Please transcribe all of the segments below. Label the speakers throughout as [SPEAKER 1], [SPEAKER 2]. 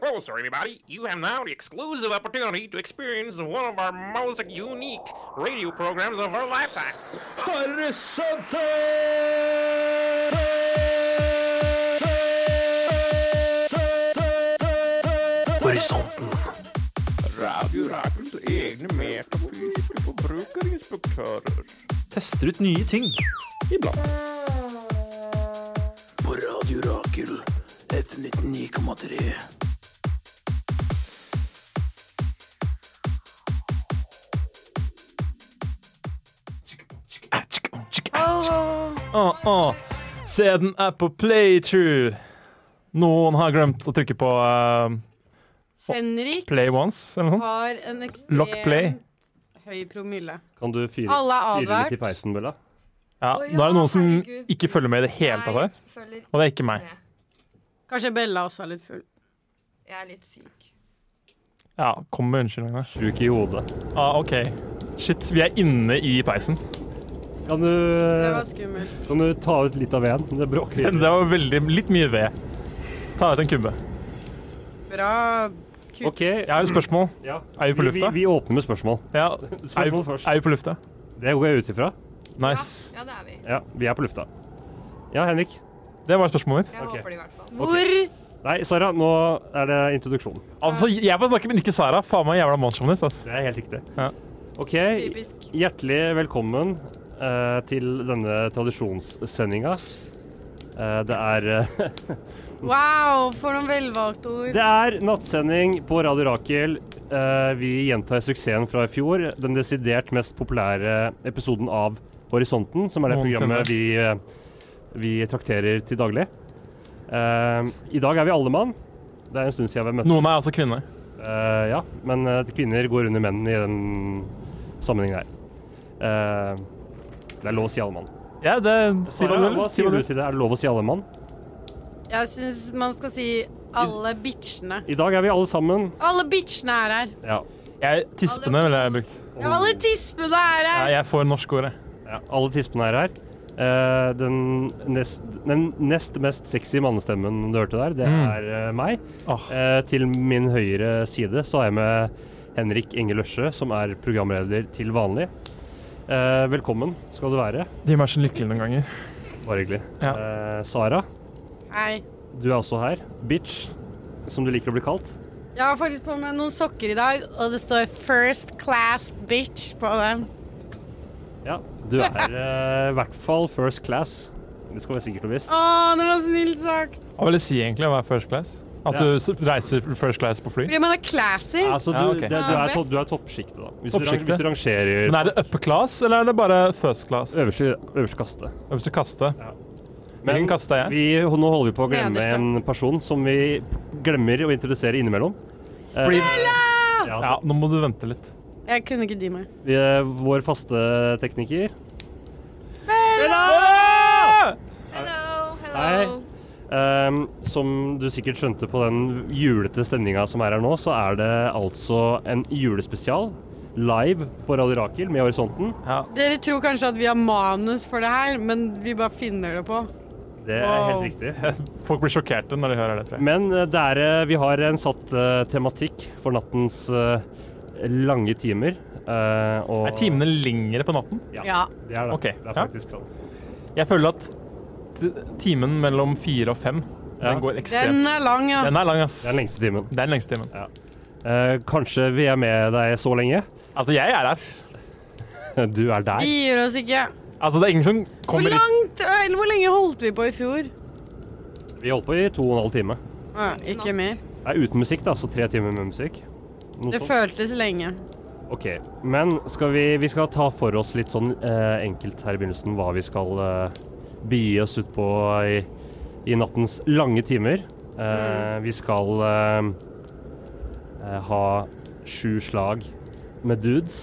[SPEAKER 1] closer, everybody. You have now the exclusive opportunity to experience one of our most unique radio programs of our lifetime.
[SPEAKER 2] Horisonte! Horisonten. Radio Rakels egne metafysiske forbrukerinspektører.
[SPEAKER 3] Tester ut nye ting.
[SPEAKER 2] Iblant.
[SPEAKER 4] på Radio Rakel, FM 99,3.
[SPEAKER 3] Åh, åh. Seden er på playthrough. Noen har glemt å trykke på eh,
[SPEAKER 5] Henrik
[SPEAKER 3] play once eller noe.
[SPEAKER 5] har en
[SPEAKER 3] Lock play.
[SPEAKER 5] ekstremt høy promille.
[SPEAKER 6] Kan du fyre
[SPEAKER 5] Alle er
[SPEAKER 6] fyre litt i
[SPEAKER 5] advart.
[SPEAKER 6] peisen, Bella?
[SPEAKER 3] Ja,
[SPEAKER 7] Å ja,
[SPEAKER 3] nå er det noen som
[SPEAKER 7] herregud.
[SPEAKER 3] ikke følger med i det hele tatt her.
[SPEAKER 7] Jeg følger
[SPEAKER 3] Og det er ikke meg.
[SPEAKER 7] med.
[SPEAKER 5] Kanskje Bella også er litt
[SPEAKER 6] Eh.
[SPEAKER 5] full.
[SPEAKER 7] Jeg er litt syk.
[SPEAKER 3] Ja, kom med unnskyldninger.
[SPEAKER 6] Sjuk i hodet.
[SPEAKER 3] Ah, OK. Shit, vi er inne i peisen.
[SPEAKER 6] Kan du,
[SPEAKER 5] Det var skummelt.
[SPEAKER 6] kan du ta ut litt av veden? Det bråker
[SPEAKER 3] Det
[SPEAKER 6] litt.
[SPEAKER 3] var veldig, litt mye ved. Ta ut en kubbe.
[SPEAKER 5] Bra.
[SPEAKER 6] OK.
[SPEAKER 3] Jeg har et spørsmål.
[SPEAKER 6] Ja.
[SPEAKER 3] Er vi på lufta?
[SPEAKER 6] Vi, vi åpner med spørsmål.
[SPEAKER 3] Ja, er vi,
[SPEAKER 6] Spørsmål først.
[SPEAKER 3] er vi på lufta?
[SPEAKER 6] Det går jeg ut ifra.
[SPEAKER 3] Nice.
[SPEAKER 7] Ja, det er vi.
[SPEAKER 6] Ja, vi er på lufta. Ja, Henrik.
[SPEAKER 3] Det var spørsmålet mitt.
[SPEAKER 7] Jeg
[SPEAKER 6] Ok.
[SPEAKER 7] håper det i hvert fall.
[SPEAKER 5] Hvor
[SPEAKER 6] Nei, Sara, nå er det introduksjonen.
[SPEAKER 3] Altså, jeg får snakke, men ikke Sara. Faen meg jævla mannssjåvinist, ass.
[SPEAKER 6] Det er helt riktig.
[SPEAKER 3] Ja.
[SPEAKER 6] OK,
[SPEAKER 5] Typisk.
[SPEAKER 6] hjertelig velkommen eh, til denne tradisjonssendinga. Eh, det er eh,
[SPEAKER 5] Wow, for noen velvalgte ord.
[SPEAKER 6] Det er nattsending på Radio Rakel. Eh, vi gjentar suksessen fra i fjor. Den desidert mest populære episoden av Horisonten, som er det
[SPEAKER 3] Noensinne.
[SPEAKER 6] programmet vi, eh, vi trakterer til daglig. Eh, I dag er vi alle mann. Det er en stund siden vi har møtt
[SPEAKER 3] Noen er altså kvinner.
[SPEAKER 6] Eh, ja, men eh, kvinner går under menn i den sammenhengen her. Eh, det er lov å si alle mann.
[SPEAKER 3] Ja, det Si hva du
[SPEAKER 6] Sara,
[SPEAKER 3] vil.
[SPEAKER 6] hva
[SPEAKER 3] Si hva du
[SPEAKER 6] sier du
[SPEAKER 3] vil.
[SPEAKER 6] til det? Er det lov å si alle mann?
[SPEAKER 5] Jeg syns man skal si alle bitchene.
[SPEAKER 6] I dag er vi alle sammen.
[SPEAKER 5] Alle bitchene er her.
[SPEAKER 6] Ja,
[SPEAKER 3] Jeg tispene ville jeg brukt.
[SPEAKER 5] Ja, alle tispene er
[SPEAKER 3] Ja,
[SPEAKER 5] her.
[SPEAKER 3] jeg får norske ord, jeg.
[SPEAKER 6] ja alle tispene er her. Eh, den, nest, den nest mest sexy mannestemmen du hørte der, det
[SPEAKER 3] Mm.
[SPEAKER 6] er eh, meg.
[SPEAKER 3] Åh.
[SPEAKER 6] Eh, til min høyre side så er jeg med Henrik Inge Løsje, som er programleder til vanlig. Eh, velkommen skal du være.
[SPEAKER 3] De gjør meg så lykkelig noen ganger.
[SPEAKER 6] Bare hyggelig.
[SPEAKER 3] Ja.
[SPEAKER 6] Eh, Sara,
[SPEAKER 5] Hei.
[SPEAKER 6] Du er også her. Bitch, som du liker å bli kalt.
[SPEAKER 5] Jeg har faktisk på meg noen sokker i dag, og det står 'First Class Bitch' på dem.
[SPEAKER 6] Ja, du er eh, i hvert fall first class. Det skal være sikkert og visst.
[SPEAKER 5] Å, det var snilt sagt.
[SPEAKER 3] Hva vil det si egentlig å være first class? At
[SPEAKER 6] Ja.
[SPEAKER 3] du s- reiser first class på fly?
[SPEAKER 5] Fordi man er classy.
[SPEAKER 6] Altså, du,
[SPEAKER 3] Ja, ok.
[SPEAKER 6] det, du,
[SPEAKER 5] Ja,
[SPEAKER 6] er, to,
[SPEAKER 5] best.
[SPEAKER 6] du er toppsjiktet, da. Hvis,
[SPEAKER 3] Toppsjiktet?
[SPEAKER 6] Du, rang- hvis du rangerer
[SPEAKER 3] Men er det upper class, eller er det bare first class?
[SPEAKER 6] øverste, øverste kaste.
[SPEAKER 3] Øverste kaste.
[SPEAKER 6] Men
[SPEAKER 3] Hvilken kaste er jeg?
[SPEAKER 6] vi, nå holder vi på å glemme
[SPEAKER 5] Nederste.
[SPEAKER 6] en person som vi glemmer å introdusere innimellom. Eh,
[SPEAKER 3] Fordi,
[SPEAKER 6] ja,
[SPEAKER 3] ja, nå må du vente litt.
[SPEAKER 5] Jeg kunne ikke dy meg.
[SPEAKER 6] vi, eh, vår faste tekniker.
[SPEAKER 3] Ah!
[SPEAKER 7] Hello,
[SPEAKER 6] Hei.
[SPEAKER 7] hello.
[SPEAKER 6] Ehm, som du sikkert skjønte på den julete stemninga som er her nå, så er det altså en julespesial live på Radio Rakel med Horisonten.
[SPEAKER 3] Ja.
[SPEAKER 5] Dere tror kanskje at vi har manus for det her, men vi bare finner det på.
[SPEAKER 6] Det er
[SPEAKER 5] Wow.
[SPEAKER 6] helt riktig.
[SPEAKER 3] Folk blir sjokkerte når de hører det, tror jeg.
[SPEAKER 6] Men eh, det er, eh, vi har en satt eh, tematikk for nattens eh, lange timer. eh, og
[SPEAKER 3] Er timene lengre på natten?
[SPEAKER 6] Ja.
[SPEAKER 5] Ja.
[SPEAKER 6] Det er det.
[SPEAKER 3] Ok,
[SPEAKER 6] Det er
[SPEAKER 3] ja.
[SPEAKER 6] faktisk sant.
[SPEAKER 3] Jeg føler at t- timen mellom fire og fem,
[SPEAKER 6] Ja.
[SPEAKER 3] den går
[SPEAKER 5] Den eh,
[SPEAKER 3] ekstremt.
[SPEAKER 5] er lang, ja.
[SPEAKER 3] Den er lang, ass.
[SPEAKER 6] Det er den lengste timen.
[SPEAKER 3] Det er den lengste timen.
[SPEAKER 6] Eh, kanskje vi er med deg så lenge?
[SPEAKER 3] Altså, jeg er her.
[SPEAKER 6] Du er
[SPEAKER 5] Vi
[SPEAKER 6] der.
[SPEAKER 5] gir oss ikke.
[SPEAKER 3] Altså, det er ingen som
[SPEAKER 5] Hvor
[SPEAKER 3] kommer hit.
[SPEAKER 5] langt, eller hvor lenge holdt vi på i fjor?
[SPEAKER 6] Vi holdt på i to og en halv time.
[SPEAKER 5] Ah, ikke mer.
[SPEAKER 6] Det er uten musikk, da, så tre timer med musikk. Noe
[SPEAKER 5] Det
[SPEAKER 6] sånt.
[SPEAKER 5] føltes lenge.
[SPEAKER 6] Ok, men skal vi, vi skal ta for oss litt sånn eh, enkelt her i begynnelsen hva vi skal eh, begi oss ut på i, i nattens lange timer. Eh, Vi skal eh, eh, ha sju slag med dudes.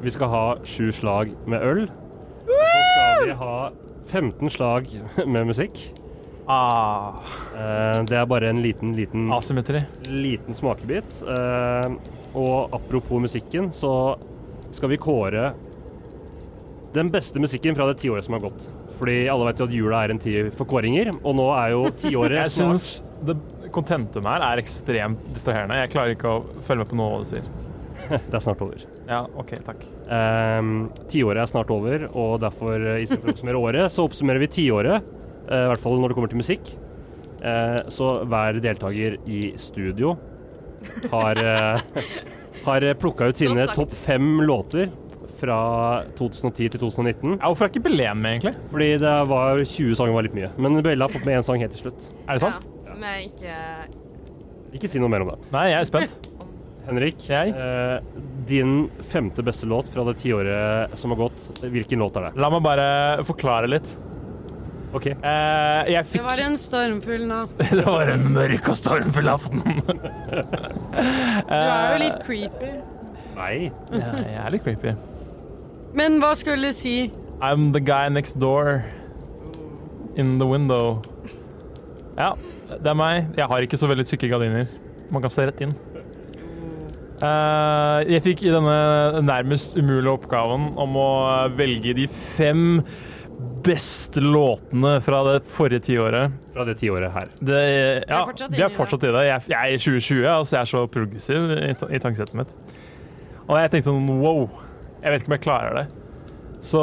[SPEAKER 6] Vi skal ha sju slag med øl. Og så skal vi ha 15 slag med musikk.
[SPEAKER 3] Ah,
[SPEAKER 6] Eh, det er bare en liten, liten
[SPEAKER 3] asymmetri.
[SPEAKER 6] liten smakebit. Eh, og apropos musikken, så skal vi kåre den beste musikken fra det tiåret som har gått. Fordi alle vet jo at jula er en tid for kåringer, og nå er jo tiåret
[SPEAKER 3] Jeg
[SPEAKER 6] snart
[SPEAKER 3] syns det kontentum her er ekstremt distraherende. Jeg klarer ikke å følge med på noe du sier.
[SPEAKER 6] Det er snart over.
[SPEAKER 3] Ja, OK, takk.
[SPEAKER 6] Ehm, Tiåret er snart over, og derfor, eh, istedenfor å oppsummere året, så oppsummerer vi tiåret. eh, I hvert fall når det kommer til musikk. Eh, så hver deltaker i studio har, eh, har plukka ut sine
[SPEAKER 7] Godt sagt.
[SPEAKER 6] topp fem låter fra 2010 til 2019.
[SPEAKER 3] Ja, hvorfor er ikke Belen med, egentlig?
[SPEAKER 6] Fordi det var 20 sanger var litt mye. Men Bella har fått med én sang helt til slutt.
[SPEAKER 3] Er det sant?
[SPEAKER 7] Ja, som jeg ikke
[SPEAKER 6] Ikke si noe mer om det.
[SPEAKER 3] Nei, jeg er spent.
[SPEAKER 6] Henrik,
[SPEAKER 3] Jeg?
[SPEAKER 6] eh, din femte beste låt fra det tiåret som har gått, hvilken låt er det?
[SPEAKER 3] La meg bare forklare litt.
[SPEAKER 6] OK.
[SPEAKER 3] Eh, jeg
[SPEAKER 5] Det
[SPEAKER 3] fikk
[SPEAKER 5] var en stormfull natt.
[SPEAKER 3] Det var en mørk og stormfull aften.
[SPEAKER 5] Du er jo
[SPEAKER 3] Eh.
[SPEAKER 5] litt creepy.
[SPEAKER 6] Nei.
[SPEAKER 3] Ja, jeg er litt creepy.
[SPEAKER 5] Men hva skulle du si?
[SPEAKER 3] I'm the guy next door in the window. Ja, det er meg. Jeg har ikke så veldig tykke gardiner. Man kan se rett inn. Eh, jeg fikk i denne nærmest umulige oppgaven om å velge de fem beste låtene fra det forrige tiåret.
[SPEAKER 6] Fra det tiåret her.
[SPEAKER 3] Det, ja,
[SPEAKER 5] fortsatt
[SPEAKER 3] vi er
[SPEAKER 5] inne i
[SPEAKER 3] fortsatt i det. Jeg, jeg er i 2020, altså jeg er så progressiv i, ta- i tankesettet mitt. Og jeg tenkte sånn wow, jeg vet ikke om jeg klarer det. Så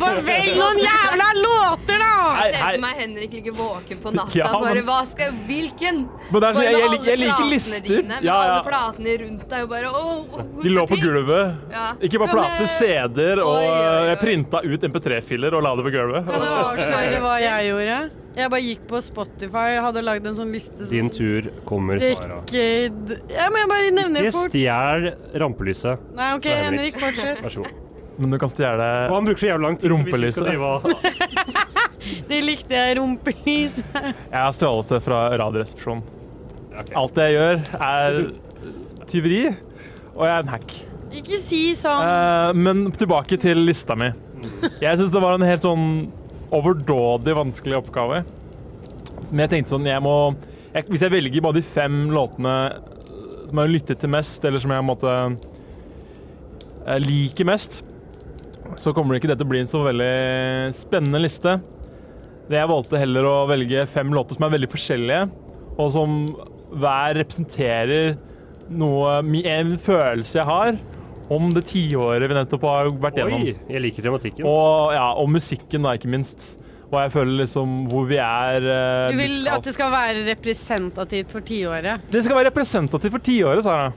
[SPEAKER 5] Bare velg noen jævla låter, da!
[SPEAKER 3] Nei,
[SPEAKER 7] Jeg ser
[SPEAKER 3] nei.
[SPEAKER 7] for meg Henrik ligger våken på natta.
[SPEAKER 3] Ja,
[SPEAKER 7] bare
[SPEAKER 3] men-
[SPEAKER 7] hva skal Hvilken?
[SPEAKER 3] Men det er
[SPEAKER 7] Bare
[SPEAKER 3] sånn, jeg,
[SPEAKER 7] med
[SPEAKER 3] jeg,
[SPEAKER 7] alle
[SPEAKER 3] lik- jeg liker
[SPEAKER 7] platene
[SPEAKER 3] lister.
[SPEAKER 7] Dine, med
[SPEAKER 3] Ja,
[SPEAKER 7] alle
[SPEAKER 3] ja.
[SPEAKER 7] platene rundt deg og bare oh, oh,
[SPEAKER 3] De lå på gulvet.
[SPEAKER 7] Ja.
[SPEAKER 3] Ikke bare
[SPEAKER 5] Kan
[SPEAKER 3] plater,
[SPEAKER 5] jeg-
[SPEAKER 3] CD-er, og
[SPEAKER 7] Oi, oi, oi.
[SPEAKER 3] jeg printa ut MP3-filer og la det på gulvet.
[SPEAKER 5] Kan du avsløre hva jeg gjorde? Jeg bare gikk på Spotify og hadde lagd en sånn liste
[SPEAKER 6] Din
[SPEAKER 5] som
[SPEAKER 6] tur kommer, Sara.
[SPEAKER 5] Decade Ja, men jeg bare nevner
[SPEAKER 6] Ikke
[SPEAKER 5] det fort.
[SPEAKER 6] stjel rampelyset.
[SPEAKER 5] Nei, OK,
[SPEAKER 6] fra Henrik.
[SPEAKER 5] Henrik, fortsett.
[SPEAKER 6] Vær så god.
[SPEAKER 3] Men du kan stjele
[SPEAKER 6] Og han bruker så jævlig lang tid. så hvis vi
[SPEAKER 3] Rumpelyset.
[SPEAKER 6] skal drive av-
[SPEAKER 5] Det likte jeg, rumpelys.
[SPEAKER 3] Jeg har stjålet det fra Radioresepsjonen.
[SPEAKER 6] Ok.
[SPEAKER 3] Alt det jeg gjør, er tyveri, og jeg er en hack.
[SPEAKER 5] Ikke si sånn.
[SPEAKER 3] Eh, men tilbake til lista mi. Jeg syns det var en helt sånn overdådig vanskelig oppgave. Men jeg tenkte sånn jeg må, jeg, Hvis jeg velger bare de fem låtene eh, som jeg har lyttet til mest, eller som jeg på en måte eh, liker mest, så kommer det ikke det til å bli en så veldig spennende liste. Det jeg valgte heller å velge fem låter som er veldig forskjellige, og som hver representerer noe, en følelse jeg har om det tiåret vi nettopp har vært gjennom.
[SPEAKER 6] Oi, jeg liker tematikken.
[SPEAKER 3] Og, ja, og musikken, da, ikke minst. Og jeg føler liksom hvor vi er eh,
[SPEAKER 5] Du vil
[SPEAKER 3] musikalsk.
[SPEAKER 5] at det skal være representativt for tiåret.
[SPEAKER 3] Det skal være representativt for tiåret, Sara.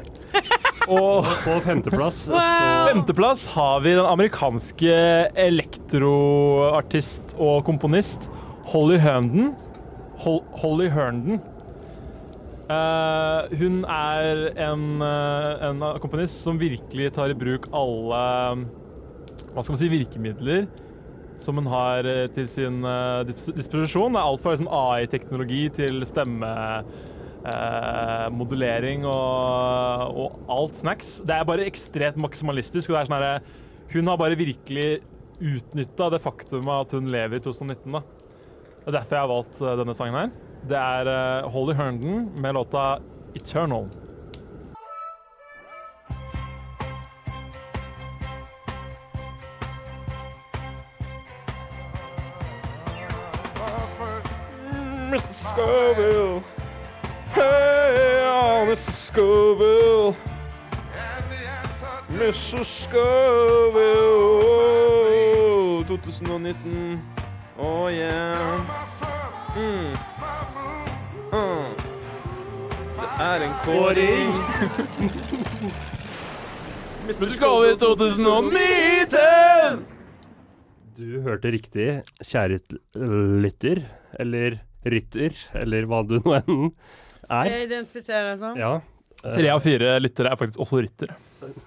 [SPEAKER 3] Og
[SPEAKER 6] På femteplass så
[SPEAKER 5] Eh,
[SPEAKER 3] femteplass har vi den amerikanske elektroartist og komponist Holly Herndon. Hol Holly Herndon. Eh, hun er en, eh, en komponist som virkelig tar i bruk alle hva skal man si, virkemidler som hun har eh, til sin eh, dis disposisjon. Det er alt fra liksom, AI-teknologi til stemmemodulering Eh, og, og alt snacks. Det er bare ekstremt maksimalistisk. Og det er sånn herre- hun har bare virkelig utnytta det faktumet at hun lever i 2019. Da. Det er derfor jeg har valgt eh, denne sangen her. Det er eh, Holly Herndon med låta 'Eternal'.
[SPEAKER 2] Mr. Scoville. Hey, oh, Mr. Scoville. Mr. Scoville. 2019. Oh, yeah. Mm. Mm. Det er en kåring. Mr. Scoville 2019.
[SPEAKER 6] Du hørte riktig, kjære lytter, eller rytter, eller hva du nå enn er.
[SPEAKER 5] Jeg identifiserer deg sånn.
[SPEAKER 6] Ja, eh,
[SPEAKER 3] Tre av fire lyttere er faktisk også ryttere.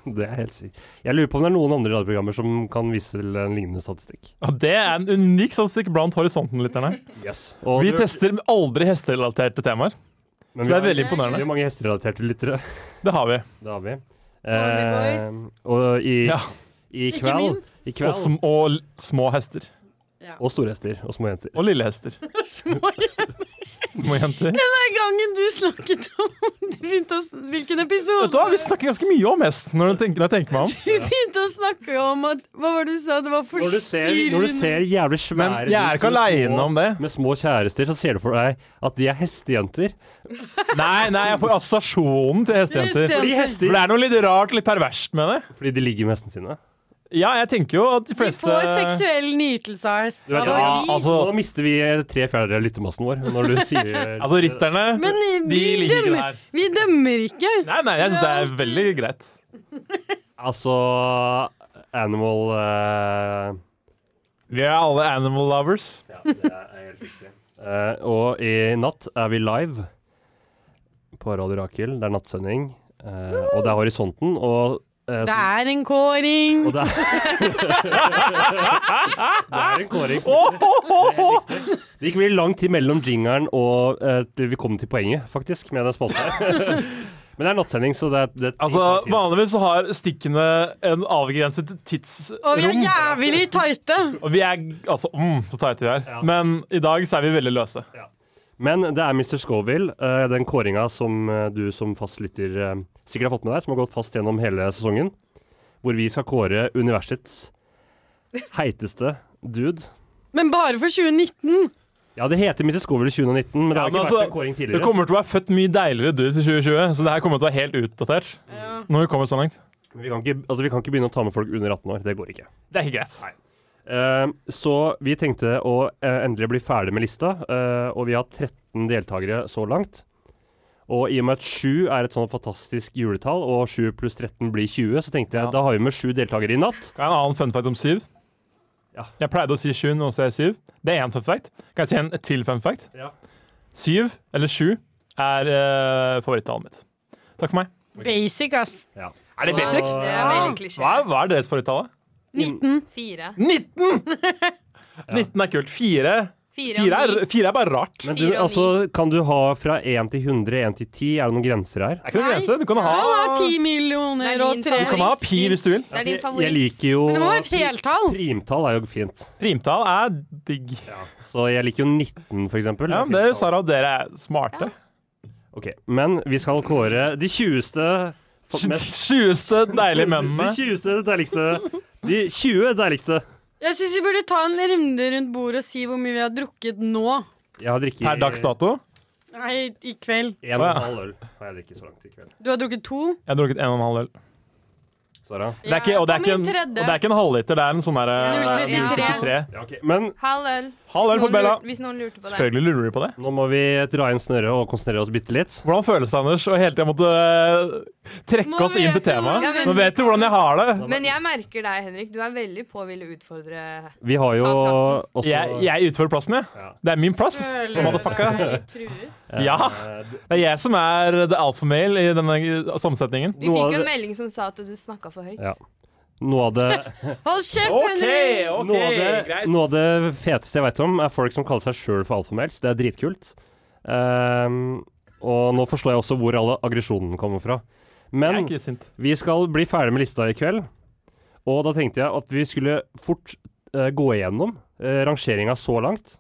[SPEAKER 6] det er helt sykt. Jeg lurer på om det er noen andre radioprogrammer som kan vise til en lignende statistikk.
[SPEAKER 3] Og det er en unik statistikk blant horisonten-lytterne.
[SPEAKER 6] Yes. Og
[SPEAKER 3] Vi
[SPEAKER 6] du-
[SPEAKER 3] tester aldri hesterelaterte temaer,
[SPEAKER 6] men
[SPEAKER 3] så det
[SPEAKER 6] vi har-
[SPEAKER 3] er veldig
[SPEAKER 6] Vi har
[SPEAKER 3] imponerende.
[SPEAKER 6] mange hesterelaterte lyttere.
[SPEAKER 3] Det har vi.
[SPEAKER 6] Det har vi. Eh,
[SPEAKER 5] Boys.
[SPEAKER 6] og i,
[SPEAKER 3] Ja.
[SPEAKER 6] i
[SPEAKER 5] Ikke
[SPEAKER 6] kveld,
[SPEAKER 5] minst.
[SPEAKER 6] i
[SPEAKER 3] Og,
[SPEAKER 6] kveld
[SPEAKER 3] sm og l- små hester.
[SPEAKER 6] Og store hester og små jenter.
[SPEAKER 3] Og lille hester.
[SPEAKER 5] Små
[SPEAKER 3] Små jenter.
[SPEAKER 5] Den der gangen du snakket om du begynte å, s- Hvilken episode?
[SPEAKER 3] Vet du hva, Vi snakker ganske mye om hest når jeg tenker, når jeg tenker meg om.
[SPEAKER 5] Du begynte å snakke om at Hva var det du sa? Det var
[SPEAKER 6] Når du ser, når du
[SPEAKER 5] forstyrrende.
[SPEAKER 6] ser jævlig svære
[SPEAKER 3] Men jeg er
[SPEAKER 6] hus
[SPEAKER 3] ikke
[SPEAKER 6] med
[SPEAKER 3] alene
[SPEAKER 6] små-
[SPEAKER 3] om det.
[SPEAKER 6] Med små kjærester så ser du for deg at de er hestejenter.
[SPEAKER 3] Nei, nei, jeg får assosiasjonen til hestejenter.
[SPEAKER 5] Hestejenter.
[SPEAKER 6] Fordi
[SPEAKER 3] For
[SPEAKER 6] hester
[SPEAKER 3] det er noe litt rart, litt perverst med det.
[SPEAKER 6] Fordi de ligger med hestene sine.
[SPEAKER 3] Ja, jeg tenker jo at de
[SPEAKER 5] Vi
[SPEAKER 3] fleste
[SPEAKER 5] får seksuell nytelse av hest.
[SPEAKER 6] Du vet,
[SPEAKER 5] Hva var
[SPEAKER 3] Ja,
[SPEAKER 5] de?
[SPEAKER 3] altså,
[SPEAKER 6] Nå mister vi tre fjerdedeler av lyttermassen vår når du sier
[SPEAKER 3] altså rytterne
[SPEAKER 5] Men i-
[SPEAKER 3] De
[SPEAKER 5] vi
[SPEAKER 3] ligger ikke
[SPEAKER 5] dømmer,
[SPEAKER 3] der.
[SPEAKER 5] vi dømmer ikke.
[SPEAKER 3] Nei, nei, jeg syns det er veldig greit.
[SPEAKER 6] Altså Animal eh,
[SPEAKER 3] Vi er alle animal lovers.
[SPEAKER 6] Eh, og i natt er vi live på Radio Rakel. Det er nattsending. eh, og det er Horisonten. Og, eh,
[SPEAKER 5] Det
[SPEAKER 6] som-
[SPEAKER 5] er en kåring.
[SPEAKER 6] og det er Det er en kåring. Det gikk veldig lang tid mellom jingeren og eh, til vi kom til poenget, faktisk, med den spalten her. Men det er nattsending, så det er det er-
[SPEAKER 3] Altså, Vanligvis så har stikkene en avgrenset
[SPEAKER 5] Og vi er
[SPEAKER 3] tidsrom.
[SPEAKER 5] jævlig tighte.
[SPEAKER 3] Og vi er altså mm, så tighte vi er.
[SPEAKER 6] Ja.
[SPEAKER 3] Men i dag så er vi veldig løse.
[SPEAKER 6] Men det er Mr. Scoville, eh, den kåringa som eh, du som fastlytter eh, sikkert har fått med deg, som har gått fast gjennom hele sesongen, hvor vi skal kåre universets heiteste dude.
[SPEAKER 5] Men bare for 2019.
[SPEAKER 6] Ja, det heter Mr. Scoville 2019, men det
[SPEAKER 3] Ja,
[SPEAKER 6] har
[SPEAKER 3] men
[SPEAKER 6] ikke
[SPEAKER 3] altså,
[SPEAKER 6] vært en kåring
[SPEAKER 3] Det
[SPEAKER 6] tidligere.
[SPEAKER 3] kommer til å være født mye deiligere dude til 2020, så det her kommer til å være helt utdatert. Når vi kommer så langt.
[SPEAKER 6] Vi kan, ikke, altså, vi kan ikke begynne å ta med folk under 18 år, det går ikke.
[SPEAKER 3] Det er ikke greit.
[SPEAKER 6] Eh, så vi tenkte å eh, endelig bli ferdig med lista, eh, og vi har 13 deltakere så langt. Og i og med at 7 er et sånn fantastisk juletall, og 7 pluss 13 blir 20, så tenkte
[SPEAKER 3] Ja.
[SPEAKER 6] jeg da har vi med 7 deltakere i natt.
[SPEAKER 3] Kan jeg ha en annen fun fact om syv?
[SPEAKER 6] Ja.
[SPEAKER 3] Jeg pleide å si sju, nå sier jeg syv. Det er én fun fact. Kan jeg si en til fun fact?
[SPEAKER 6] Ja.
[SPEAKER 3] Syv, eller sju, er uh, favorittallet mitt. Takk for meg.
[SPEAKER 5] Basic, ass.
[SPEAKER 3] Er det
[SPEAKER 7] Wow,
[SPEAKER 3] basic?
[SPEAKER 7] Det er veldig klisjé.
[SPEAKER 3] Hva er, hva er deres favorittallet?
[SPEAKER 5] 19.
[SPEAKER 7] Fire.
[SPEAKER 3] 19! 19 er kult. Fire,
[SPEAKER 7] Fire
[SPEAKER 3] fire,
[SPEAKER 7] og
[SPEAKER 3] er,
[SPEAKER 7] ni.
[SPEAKER 3] fire er bare rart.
[SPEAKER 6] Men
[SPEAKER 7] Fire
[SPEAKER 6] du,
[SPEAKER 7] og ni.
[SPEAKER 6] altså, kan du ha fra 1 til 100, 1 til 10? Er det noen grenser her?
[SPEAKER 3] Det er ikke noe
[SPEAKER 5] Nei.
[SPEAKER 3] grense. Du kan
[SPEAKER 5] Han
[SPEAKER 3] ha,
[SPEAKER 5] har 10 millioner
[SPEAKER 7] Det er
[SPEAKER 5] og
[SPEAKER 7] din
[SPEAKER 5] tre.
[SPEAKER 3] du kan ha pi hvis du vil.
[SPEAKER 7] Det er din
[SPEAKER 6] Jeg, jeg
[SPEAKER 7] favoritt.
[SPEAKER 6] liker jo
[SPEAKER 5] Men det må være et heltall.
[SPEAKER 6] Primtall er jo fint.
[SPEAKER 3] Primtall er digg.
[SPEAKER 6] Så jeg liker jo 19, for eksempel.
[SPEAKER 3] Ja, men det er Sara, dere er smarte.
[SPEAKER 6] Ok, Men vi skal kåre de 20. fa-
[SPEAKER 3] De
[SPEAKER 6] mest-
[SPEAKER 3] tjueste deilige
[SPEAKER 6] De
[SPEAKER 3] mennene.
[SPEAKER 6] 20 deiligste. De 20 deiligste.
[SPEAKER 5] Jeg syns vi burde ta en runde rundt bordet og si hvor mye vi har drukket nå.
[SPEAKER 6] Jeg har drikket
[SPEAKER 3] Per dags dato.
[SPEAKER 5] Nei, i kveld.
[SPEAKER 6] En
[SPEAKER 3] Å,
[SPEAKER 6] og
[SPEAKER 3] ja.
[SPEAKER 6] en halv øl har jeg drikket så langt i kveld.
[SPEAKER 5] Du har drukket to.
[SPEAKER 3] Jeg har drukket en og en halv øl.
[SPEAKER 6] Sara?
[SPEAKER 3] Det er ikke, og, det er
[SPEAKER 5] Ja,
[SPEAKER 3] ikke en,
[SPEAKER 5] på min
[SPEAKER 3] og det
[SPEAKER 5] tredje.
[SPEAKER 3] er ikke en halvliter, det er en sånn derre
[SPEAKER 7] 0,33.
[SPEAKER 3] 0,33.
[SPEAKER 6] Ja, ok. Men
[SPEAKER 7] Halv øl.
[SPEAKER 3] Halv øl på
[SPEAKER 7] Noen
[SPEAKER 3] Bella.
[SPEAKER 7] lur- Hvis noen lurte på det.
[SPEAKER 3] Selvfølgelig lurer de på det.
[SPEAKER 6] nå må vi dra inn snøret og konsentrere oss bitte litt.
[SPEAKER 3] Hvordan føles det, Anders, å hele tiden måtte øh,
[SPEAKER 5] Nå
[SPEAKER 3] trekke oss inn
[SPEAKER 5] vet
[SPEAKER 3] til
[SPEAKER 5] du hvordan-
[SPEAKER 7] Ja,
[SPEAKER 3] temaet?
[SPEAKER 7] men-
[SPEAKER 3] Nå vet du hvordan jeg har det.
[SPEAKER 7] Men jeg merker deg, Henrik. Du er veldig på å ville utfordre
[SPEAKER 6] Vi har jo
[SPEAKER 7] Ta
[SPEAKER 6] også
[SPEAKER 3] Jeg, jeg utfører plassen, jeg.
[SPEAKER 6] Ja.
[SPEAKER 3] Det er min plass.
[SPEAKER 5] Føler du
[SPEAKER 3] Motherfucker.
[SPEAKER 5] deg truet?
[SPEAKER 6] eh,
[SPEAKER 3] Ja. Det er jeg som er the alfamale i denne sammensetningen.
[SPEAKER 7] Vi
[SPEAKER 6] Noe av
[SPEAKER 7] fikk jo
[SPEAKER 6] det-
[SPEAKER 7] en melding som sa at du snakka for høyt.
[SPEAKER 6] Ja. Noe av det
[SPEAKER 5] Hold kjeft, Henrik!
[SPEAKER 6] noe, av det, noe av det feteste jeg vet om, er folk som kaller seg sjøl for alfamels. Det er dritkult. Ehm, og nå forstår jeg også hvor alle aggresjonen kommer fra.
[SPEAKER 3] Jeg er
[SPEAKER 6] Men
[SPEAKER 3] ikke sint.
[SPEAKER 6] vi skal bli ferdig med lista i kveld. Og da tenkte jeg at vi skulle fort eh, gå igjennom uh, rangeringa så langt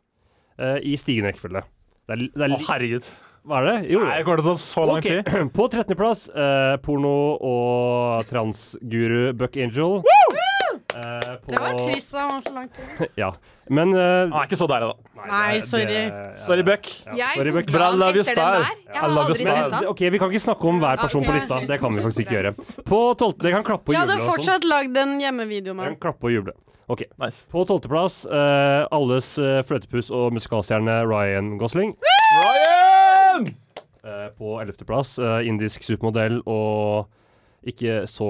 [SPEAKER 6] eh, i stigende rekkefølge. Det er, det er,
[SPEAKER 3] Å, herregud.
[SPEAKER 6] hva er det? Jo,
[SPEAKER 3] Nei, jeg kommer til å ta så lang
[SPEAKER 6] Ok,
[SPEAKER 3] tid.
[SPEAKER 6] På 13.-plass eh, porno- og transguru Buck Angel. Eh, på-
[SPEAKER 5] Det var trist da han var så langt ute.
[SPEAKER 6] Ja. Men eh,
[SPEAKER 3] Han er ikke så deilig, da.
[SPEAKER 5] Nei, sorry.
[SPEAKER 3] Sorry, Buck.
[SPEAKER 7] Jeg
[SPEAKER 6] sorry, Buck.
[SPEAKER 7] googlet
[SPEAKER 3] But I love your
[SPEAKER 7] etter
[SPEAKER 3] style.
[SPEAKER 7] den der. Jeg
[SPEAKER 3] I
[SPEAKER 7] har
[SPEAKER 3] love your
[SPEAKER 7] aldri
[SPEAKER 3] style.
[SPEAKER 7] sett
[SPEAKER 6] Men,
[SPEAKER 7] den.
[SPEAKER 6] ok, Vi kan ikke snakke om hver person
[SPEAKER 7] Ok.
[SPEAKER 6] på lista. Det kan vi faktisk ikke gjøre. På 12. Det kan klappe og
[SPEAKER 5] Jeg
[SPEAKER 6] juble.
[SPEAKER 5] hadde
[SPEAKER 6] og sånn.
[SPEAKER 5] fortsatt lagd en hjemmevideo
[SPEAKER 6] Det
[SPEAKER 5] med
[SPEAKER 6] kan klappe og juble. Ok.
[SPEAKER 3] Nice.
[SPEAKER 6] På 12. plass, eh, alles eh, fløtepus og musikalstjerne Ryan Gosling.
[SPEAKER 3] Ryan!
[SPEAKER 6] Eh, på 11. plass, eh, indisk supermodell og ikke så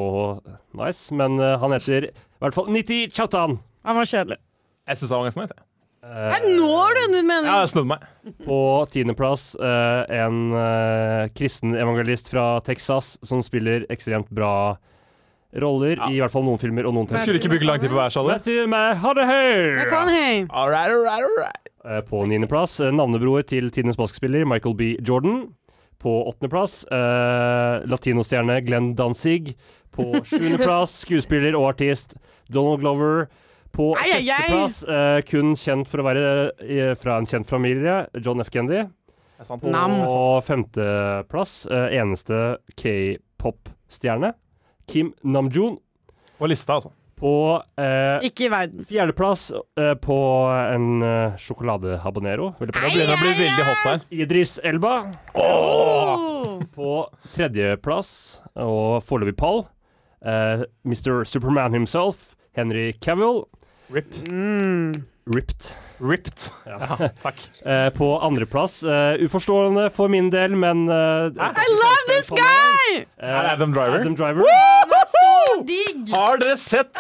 [SPEAKER 6] nice, men eh, han heter i hvert fall Niti Chautan.
[SPEAKER 5] Han var kjedelig.
[SPEAKER 3] Jeg syns han var ganske nice. jeg.
[SPEAKER 6] Eh,
[SPEAKER 5] Er det nå du endret
[SPEAKER 3] Ja, jeg
[SPEAKER 5] meningen?
[SPEAKER 3] har snudd meg.
[SPEAKER 6] På tiendeplass eh, en eh, kristen evangelist fra Texas som spiller ekstremt bra roller, i hvert fall noen filmer og noen
[SPEAKER 5] Men-
[SPEAKER 6] tekster.
[SPEAKER 3] Skulle ikke bruke lang tid på hver sjaler.
[SPEAKER 6] Matthew Mahadahur!
[SPEAKER 5] Jeg kan hei.
[SPEAKER 3] All right, all right, all right.
[SPEAKER 6] Eh, på niendeplass eh, navnebror til tidenes basketspiller Michael B. Jordan. På åttendeplass eh, latinostjerne Glenn Danzig. På sjuendeplass skuespiller og artist Donald Glover. På
[SPEAKER 5] Ai, ai, ai.
[SPEAKER 6] sjetteplass eh, kun kjent for å være eh, fra en kjent familie, John F. Kennedy.
[SPEAKER 3] Er sant.
[SPEAKER 5] Nam.
[SPEAKER 3] Og-
[SPEAKER 6] Og femteplass, eh, eneste k-pop-stjerne, Kim Namjoon.
[SPEAKER 3] På lista, altså.
[SPEAKER 6] På eh,
[SPEAKER 5] Ikke i verden.
[SPEAKER 6] fjerdeplass eh, på en eh, sjokoladehabanero. Veldig bra.
[SPEAKER 3] Nå begynner det å bli veldig hot her.
[SPEAKER 6] Idris Elba.
[SPEAKER 5] Oh.
[SPEAKER 6] På tredjeplass, og foreløpig pall, eh, Mr. Superman himself, Henry Cavill.
[SPEAKER 5] Mm.
[SPEAKER 6] Ripped.
[SPEAKER 3] Ripped.
[SPEAKER 6] Ja.
[SPEAKER 3] Ja, takk.
[SPEAKER 6] Eh, på andreplass, eh, uforstående for min del, men eh,
[SPEAKER 5] I love this guy!
[SPEAKER 6] Eh,
[SPEAKER 3] Er det Adam Driver?
[SPEAKER 6] Adam Driver.
[SPEAKER 5] Så digg!
[SPEAKER 3] Har dere sett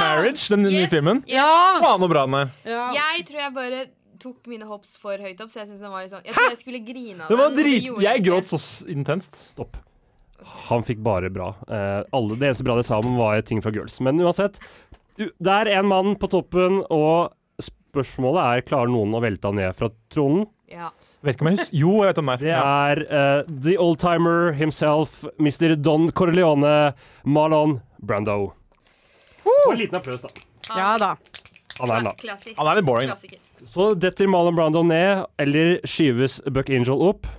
[SPEAKER 3] Marriage, den nye
[SPEAKER 7] Yes.
[SPEAKER 3] filmen?
[SPEAKER 5] Ja.
[SPEAKER 3] Faen så bra den er.
[SPEAKER 5] ja.
[SPEAKER 7] Jeg tror jeg bare tok mine hops for høyt opp, så jeg synes den var litt sånn Jeg trodde jeg skulle grine av
[SPEAKER 3] Den var
[SPEAKER 7] og det
[SPEAKER 3] drit...
[SPEAKER 7] gjorde
[SPEAKER 3] Jeg
[SPEAKER 7] ikke.
[SPEAKER 3] gråt så s- intenst.
[SPEAKER 6] Stopp. Han fikk bare bra. Eh, alle, det eneste bra de sa om, var ting fra Girls. Men uansett, u- det er en mann på toppen, og spørsmålet er klarer noen å velte han ned fra tronen.
[SPEAKER 7] Ja.
[SPEAKER 3] Vet ikke om jeg husker Jo, jeg vet om den er.
[SPEAKER 6] Det
[SPEAKER 3] Ja.
[SPEAKER 6] er eh, the oldtimer himself, Mr. Don Corleone, Marlon Brando. Og en liten applaus, da.
[SPEAKER 5] ja da.
[SPEAKER 6] Han er en, da.
[SPEAKER 7] Klassiker.
[SPEAKER 3] Han er litt boring.
[SPEAKER 7] Klassiker.
[SPEAKER 6] Så detter Marlon Brando ned, eller skyves Buck Angel opp.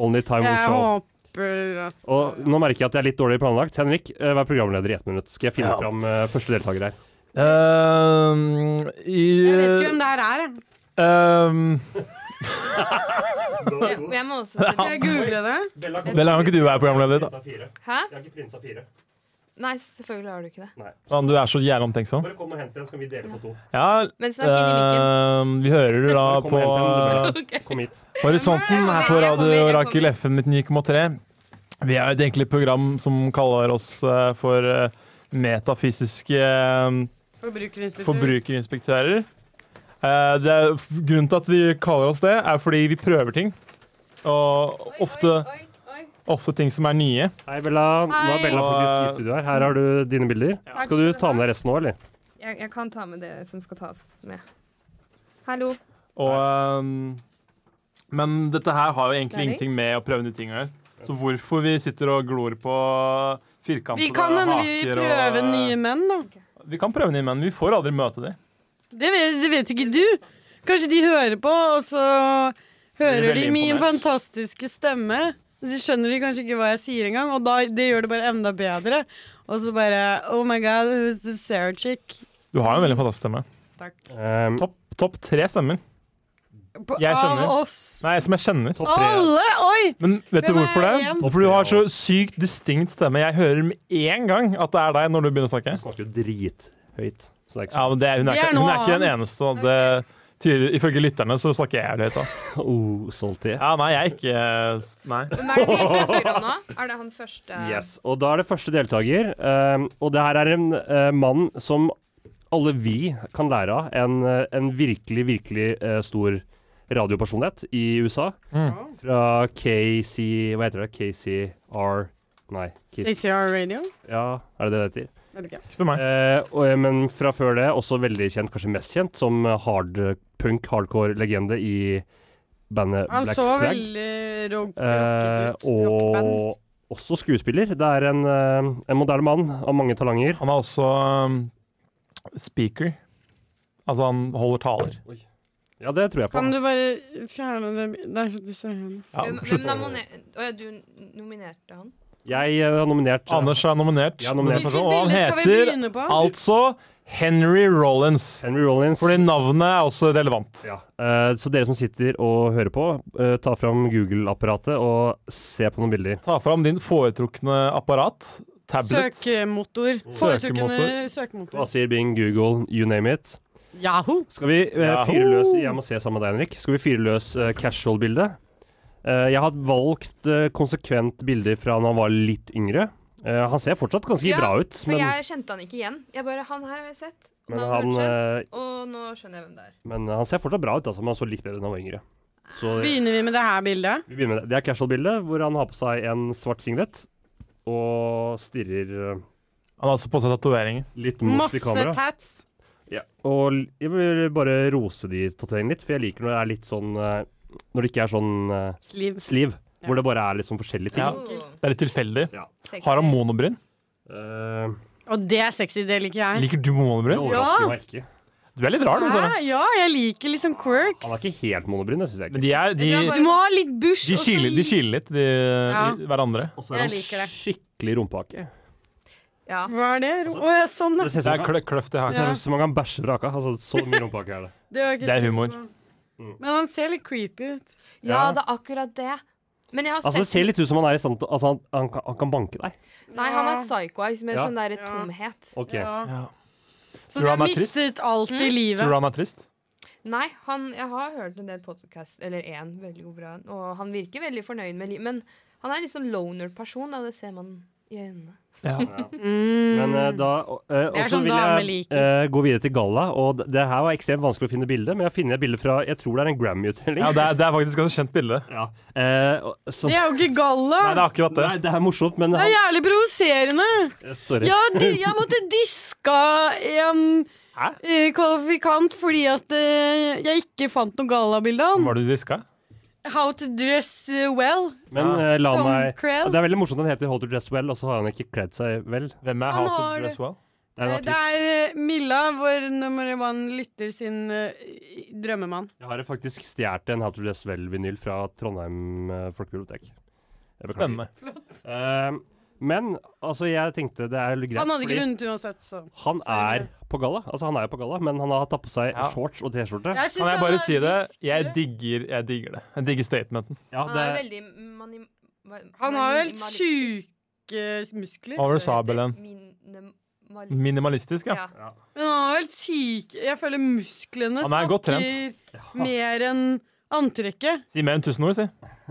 [SPEAKER 6] Only time will
[SPEAKER 5] Jeg
[SPEAKER 6] show.
[SPEAKER 5] håper at
[SPEAKER 6] Og nå merker jeg at det er litt dårlig planlagt. Henrik, eh, vær programleder i ett minutt. Skal jeg finne fram eh, første deltaker her.
[SPEAKER 3] Ehm,
[SPEAKER 5] Jeg vet ikke
[SPEAKER 3] i,
[SPEAKER 5] hvem det her er. jeg.
[SPEAKER 3] ehm,
[SPEAKER 7] Jeg, jeg må også
[SPEAKER 5] Skal jeg google det?
[SPEAKER 3] Vel, kan ikke du være programleder? da?
[SPEAKER 7] Hæ?
[SPEAKER 6] Jeg har ikke printa fire.
[SPEAKER 7] Nei, selvfølgelig har du ikke det.
[SPEAKER 3] Faen, Du er så jævlig omtenksom.
[SPEAKER 6] Bare kom og hent en, så kan vi dele på to.
[SPEAKER 3] Ja,
[SPEAKER 7] Men snakk inn i mikken.
[SPEAKER 3] ehm, vi hører du da
[SPEAKER 6] Bare kom
[SPEAKER 3] på
[SPEAKER 6] og hent en, du
[SPEAKER 7] Ok.
[SPEAKER 6] bare Kom hit.
[SPEAKER 3] Horisonten her på
[SPEAKER 7] Jeg kommer, jeg
[SPEAKER 3] Radio
[SPEAKER 7] kommer.
[SPEAKER 3] Rakel FM med 9,3. Vi er jo et egentlig program som kaller oss eh, for eh, metafysiske eh,
[SPEAKER 5] Forbrukerinspektør.
[SPEAKER 3] forbrukerinspektører. Eh, Det er, f- grunnen til at vi kaller oss det, er fordi vi prøver ting. Og Eh, ofte,
[SPEAKER 7] Oi, oi, oi.
[SPEAKER 3] ofte ting som er nye.
[SPEAKER 6] Hei, Bella. Nå er
[SPEAKER 7] Hei.
[SPEAKER 6] Bella faktisk i studio her. Her har du dine bilder. Skal du ta med deg resten nå, eller?
[SPEAKER 7] Jeg, jeg kan ta med det som skal tas med. Hallo.
[SPEAKER 3] Og, ehm, men dette her har jo egentlig
[SPEAKER 7] Læring?
[SPEAKER 3] ingenting med å prøve nye ting å gjøre. Så hvorfor vi sitter og glor på firkanter
[SPEAKER 5] Vi kan
[SPEAKER 3] og
[SPEAKER 5] hende
[SPEAKER 3] haker
[SPEAKER 5] vi prøver
[SPEAKER 3] og,
[SPEAKER 5] nye menn, da.
[SPEAKER 3] Vi kan prøve nye, men vi får aldri møte dem.
[SPEAKER 5] Det vet, det vet ikke du. Kanskje de hører på, og så
[SPEAKER 3] Blir
[SPEAKER 5] hører de
[SPEAKER 3] veldig
[SPEAKER 5] min
[SPEAKER 3] imponert.
[SPEAKER 5] fantastiske stemme. Så skjønner de kanskje ikke hva jeg sier engang, og da, det gjør det bare enda bedre. Og så bare Oh my God, who's the Sarah chick?
[SPEAKER 3] Du har jo en veldig fantastisk stemme.
[SPEAKER 6] Ehm,
[SPEAKER 3] Topp topp tre stemmer.
[SPEAKER 5] På,
[SPEAKER 3] Jeg skjønner.
[SPEAKER 5] Av oss.
[SPEAKER 3] Nei, som jeg kjenner.
[SPEAKER 6] topp tre.
[SPEAKER 5] Alle! Oi!
[SPEAKER 3] Men vet du
[SPEAKER 5] Hvem er
[SPEAKER 3] hvorfor det?
[SPEAKER 5] igjen?
[SPEAKER 3] For du har så sykt distinkt stemme. Jeg hører med en gang at det er deg når du begynner å snakke.
[SPEAKER 6] Du snakker jo drithøyt. Så det er ikke
[SPEAKER 3] Ja, men det, hun, er
[SPEAKER 5] Det er
[SPEAKER 3] ikke, hun
[SPEAKER 5] noe
[SPEAKER 3] er ikke den
[SPEAKER 5] annet.
[SPEAKER 3] eneste. og Det, tyder, ifølge lytterne så snakker jeg jævlig høyt. da.
[SPEAKER 6] så oh, salty.
[SPEAKER 3] Ja, nei, jeg er ikke eh, s- Nei.
[SPEAKER 7] Hvem er det vi skal høre om nå? Er det han første?
[SPEAKER 6] Yes, og da er det første deltaker. ehm, og det her er en eh, mann som alle vi kan lære av. En, eh, en virkelig, virkelig eh, stor radiopersonlighet i USA. Fra KC Hva heter det? KCR Nei. KC,
[SPEAKER 5] ACR Radio?
[SPEAKER 6] ja, er det det det heter?
[SPEAKER 5] Vet ikke.
[SPEAKER 3] Spør meg.
[SPEAKER 6] Eh, og, eh, men fra før det også veldig kjent, kanskje mest kjent, som eh, hard punk, hardcore-legende i bandet
[SPEAKER 5] Han
[SPEAKER 6] Black
[SPEAKER 5] så
[SPEAKER 6] Flag.
[SPEAKER 5] veldig rock,
[SPEAKER 6] Eh,
[SPEAKER 5] rocket ut. Rockband.
[SPEAKER 6] og også skuespiller. Det er en, eh, en moderne mann av mange talanger.
[SPEAKER 3] Han er også um, speaker. Altså, han holder taler.
[SPEAKER 6] Ja, det tror jeg på.
[SPEAKER 5] Kan du bare fjerne det Det er så distraherende.
[SPEAKER 3] Ja,
[SPEAKER 7] Hvem,
[SPEAKER 3] slutt.
[SPEAKER 7] hvem nomine- Å ja, du n- nominerte han?
[SPEAKER 6] Jeg eh, har nominert eh,
[SPEAKER 3] Anders er nominert.
[SPEAKER 6] Jeg er
[SPEAKER 3] Nominert
[SPEAKER 5] Hvilket
[SPEAKER 6] nominert.
[SPEAKER 3] person, Og han
[SPEAKER 5] bilde skal vi
[SPEAKER 3] heter
[SPEAKER 5] begynne på?
[SPEAKER 3] altså Henry Rollins.
[SPEAKER 6] Henry Rollins.
[SPEAKER 3] Fordi navnet er også relevant.
[SPEAKER 6] Ja. Eh, så dere som sitter og hører på, eh, ta fram Google-apparatet og se på noen bilder.
[SPEAKER 3] Ta fram din foretrukne apparat. Tablet.
[SPEAKER 5] Søkemotor.
[SPEAKER 3] Søkemotor.
[SPEAKER 5] Foretrukne
[SPEAKER 6] Hva
[SPEAKER 5] søkemotor.
[SPEAKER 6] sier Bing, Google, you name it?
[SPEAKER 5] Yahoo!
[SPEAKER 6] Skal vi eh,
[SPEAKER 3] Yahoo!
[SPEAKER 6] fyre løs Jeg må se sammen med deg, Henrik. Skal vi fyre løs eh, casual-bildet? Eh, jeg har valgt eh, konsekvent bilder fra når han var litt yngre. Eh, han ser fortsatt ganske
[SPEAKER 7] Ja,
[SPEAKER 6] bra ut,
[SPEAKER 7] For
[SPEAKER 6] men
[SPEAKER 7] jeg kjente han ikke igjen. Jeg bare Han her har jeg sett. og
[SPEAKER 6] Men
[SPEAKER 7] navnet
[SPEAKER 6] han,
[SPEAKER 7] høres kjent,
[SPEAKER 6] eh,
[SPEAKER 7] Og nå skjønner jeg hvem det er.
[SPEAKER 6] men han ser fortsatt bra ut, altså, men han så litt bedre ut da han var yngre. Så vi
[SPEAKER 5] Begynner vi med det her bildet?
[SPEAKER 6] begynner med det. Det er casual-bildet hvor han har på seg en svart singlet og stirrer eh,
[SPEAKER 3] Han har altså på seg tatoveringer.
[SPEAKER 6] litt mot i
[SPEAKER 5] Masse
[SPEAKER 6] kamera.
[SPEAKER 5] tats.
[SPEAKER 6] Ja. Og l- jeg vil bare rose de tatoveringene litt, for jeg liker når det er litt sånn eh, Når det ikke er sånn eh,
[SPEAKER 5] Sliv.
[SPEAKER 6] sliv, hvor det bare er litt sånn forskjellige ting.
[SPEAKER 3] Ja. Det er litt tilfeldig.
[SPEAKER 7] Oh, sexy.
[SPEAKER 3] Har han monobryn?
[SPEAKER 6] Eh,
[SPEAKER 5] Og det er sexy, det liker jeg.
[SPEAKER 3] Liker du monobryn?
[SPEAKER 6] Det overrasker
[SPEAKER 5] Ja.
[SPEAKER 6] meg ikke.
[SPEAKER 3] Du Du er litt rar, du, Sara.
[SPEAKER 5] Hæ? Ja, jeg liker liksom quirks.
[SPEAKER 6] Han er ikke helt monobryn, det syns jeg
[SPEAKER 3] Men
[SPEAKER 6] ikke.
[SPEAKER 3] de er De,
[SPEAKER 5] Du må ha litt bush.
[SPEAKER 3] de,
[SPEAKER 5] og så
[SPEAKER 3] skiller, de
[SPEAKER 5] litt-
[SPEAKER 3] skiller litt, de,
[SPEAKER 5] Ja.
[SPEAKER 3] i hverandre.
[SPEAKER 6] Og så er
[SPEAKER 5] Jeg liker
[SPEAKER 6] han
[SPEAKER 5] det.
[SPEAKER 6] skikkelig rumpehake.
[SPEAKER 7] Ja.
[SPEAKER 5] Hva er det? Ro- Å ja, sånn,
[SPEAKER 6] Det
[SPEAKER 5] ja.
[SPEAKER 6] ser ut
[SPEAKER 3] Altså, Det
[SPEAKER 6] som
[SPEAKER 3] er
[SPEAKER 6] han kan-
[SPEAKER 3] klø kløft i
[SPEAKER 6] det
[SPEAKER 3] haka.
[SPEAKER 6] ser ut som han kan bæsje fra haka. Altså, så mye rumpehake er det.
[SPEAKER 5] Det, var ikke
[SPEAKER 3] Det er humor.
[SPEAKER 5] Men han ser litt creepy ut.
[SPEAKER 7] ja,
[SPEAKER 6] Ja.
[SPEAKER 7] det er akkurat det. Men jeg har
[SPEAKER 6] Altså, det ser
[SPEAKER 7] sett
[SPEAKER 6] litt ut som han er i stand til at han, han, kan, han kan banke deg.
[SPEAKER 7] Nei, han er psycho eyes med
[SPEAKER 6] Ja.
[SPEAKER 7] sånn der
[SPEAKER 5] Ja.
[SPEAKER 7] tomhet.
[SPEAKER 6] Ok.
[SPEAKER 5] Ja. Så
[SPEAKER 3] Tror
[SPEAKER 5] du
[SPEAKER 3] du
[SPEAKER 5] har
[SPEAKER 3] han er trist? Mm.
[SPEAKER 5] mistet alt i livet.
[SPEAKER 3] Tror du han er trist?
[SPEAKER 7] Nei, han, jeg har hørt en del podkast, eller én veldig god bra en, og han virker veldig fornøyd med livet. Men han er en litt sånn loner-person, og det ser man i øynene.
[SPEAKER 6] Men eh, da eh,
[SPEAKER 5] Det er
[SPEAKER 6] også
[SPEAKER 5] sånn
[SPEAKER 6] vil
[SPEAKER 5] damer
[SPEAKER 6] jeg
[SPEAKER 5] liker.
[SPEAKER 6] eh, gå videre til galla, og det, det her var ekstremt vanskelig å finne bilde, men jeg finner et bilde fra Jeg tror det er en Grammy-utdeling.
[SPEAKER 3] Ja, det er, det er faktisk et kjent bilde.
[SPEAKER 6] Ja. Eh, og- som-
[SPEAKER 5] Det er jo ikke galla!
[SPEAKER 3] sånn- Nei, det er akkurat det.
[SPEAKER 6] Nei, det er morsomt, men
[SPEAKER 5] Det er
[SPEAKER 6] han,
[SPEAKER 5] jævlig provoserende.
[SPEAKER 6] eh, Sorry.
[SPEAKER 5] Ja, de, jeg måtte diska en
[SPEAKER 3] Hæ?
[SPEAKER 5] eh, kvalifikant fordi at eh, jeg ikke fant noe gallabilde av han.
[SPEAKER 3] Var det du diska?
[SPEAKER 5] How to dress eh, well.
[SPEAKER 6] Men eh, la
[SPEAKER 5] Tom
[SPEAKER 6] meg
[SPEAKER 5] Krell.
[SPEAKER 6] Det er veldig morsomt han heter How to Dress Well, og så har han ikke kledd seg vel.
[SPEAKER 3] Hvem er How
[SPEAKER 5] Han
[SPEAKER 3] to
[SPEAKER 5] har-
[SPEAKER 3] Dress Well?
[SPEAKER 6] Det er en
[SPEAKER 5] Eh, Det
[SPEAKER 6] artist.
[SPEAKER 5] er eh, Milla, vår nummer one lytter sin eh, drømmemann.
[SPEAKER 6] Jeg har faktisk stjålet en How to Dress Well-vinyl fra Trondheim eh, folkebibliotek. Jeg beklager.
[SPEAKER 3] Spennende.
[SPEAKER 6] Eh, men altså, jeg tenkte det er greit,
[SPEAKER 5] Han hadde ikke
[SPEAKER 6] fordi
[SPEAKER 5] vunnet uansett, så.
[SPEAKER 6] han
[SPEAKER 5] Sorry.
[SPEAKER 6] er på galla. Altså, han er jo på galla, men han har tatt på seg
[SPEAKER 3] Ja.
[SPEAKER 6] shorts og T-skjorte.
[SPEAKER 5] Jeg synes
[SPEAKER 3] Kan jeg
[SPEAKER 5] han er
[SPEAKER 3] bare si det?
[SPEAKER 5] diskere.
[SPEAKER 3] Jeg digger, jeg digger det. Jeg digger statementen.
[SPEAKER 6] Ja,
[SPEAKER 7] Han
[SPEAKER 6] det,
[SPEAKER 7] er veldig mani... ma-
[SPEAKER 5] Han har jo
[SPEAKER 7] mani-
[SPEAKER 5] helt
[SPEAKER 7] mani-
[SPEAKER 5] sjuke muskler.
[SPEAKER 3] Over sabelen.
[SPEAKER 7] Mine- mali-
[SPEAKER 3] Minimalistisk, ja.
[SPEAKER 7] Ja.
[SPEAKER 5] Men han har helt syke Jeg føler musklene
[SPEAKER 3] Han er godt trent.
[SPEAKER 5] mer enn antrekket.
[SPEAKER 3] Si mer enn tusen ord, si.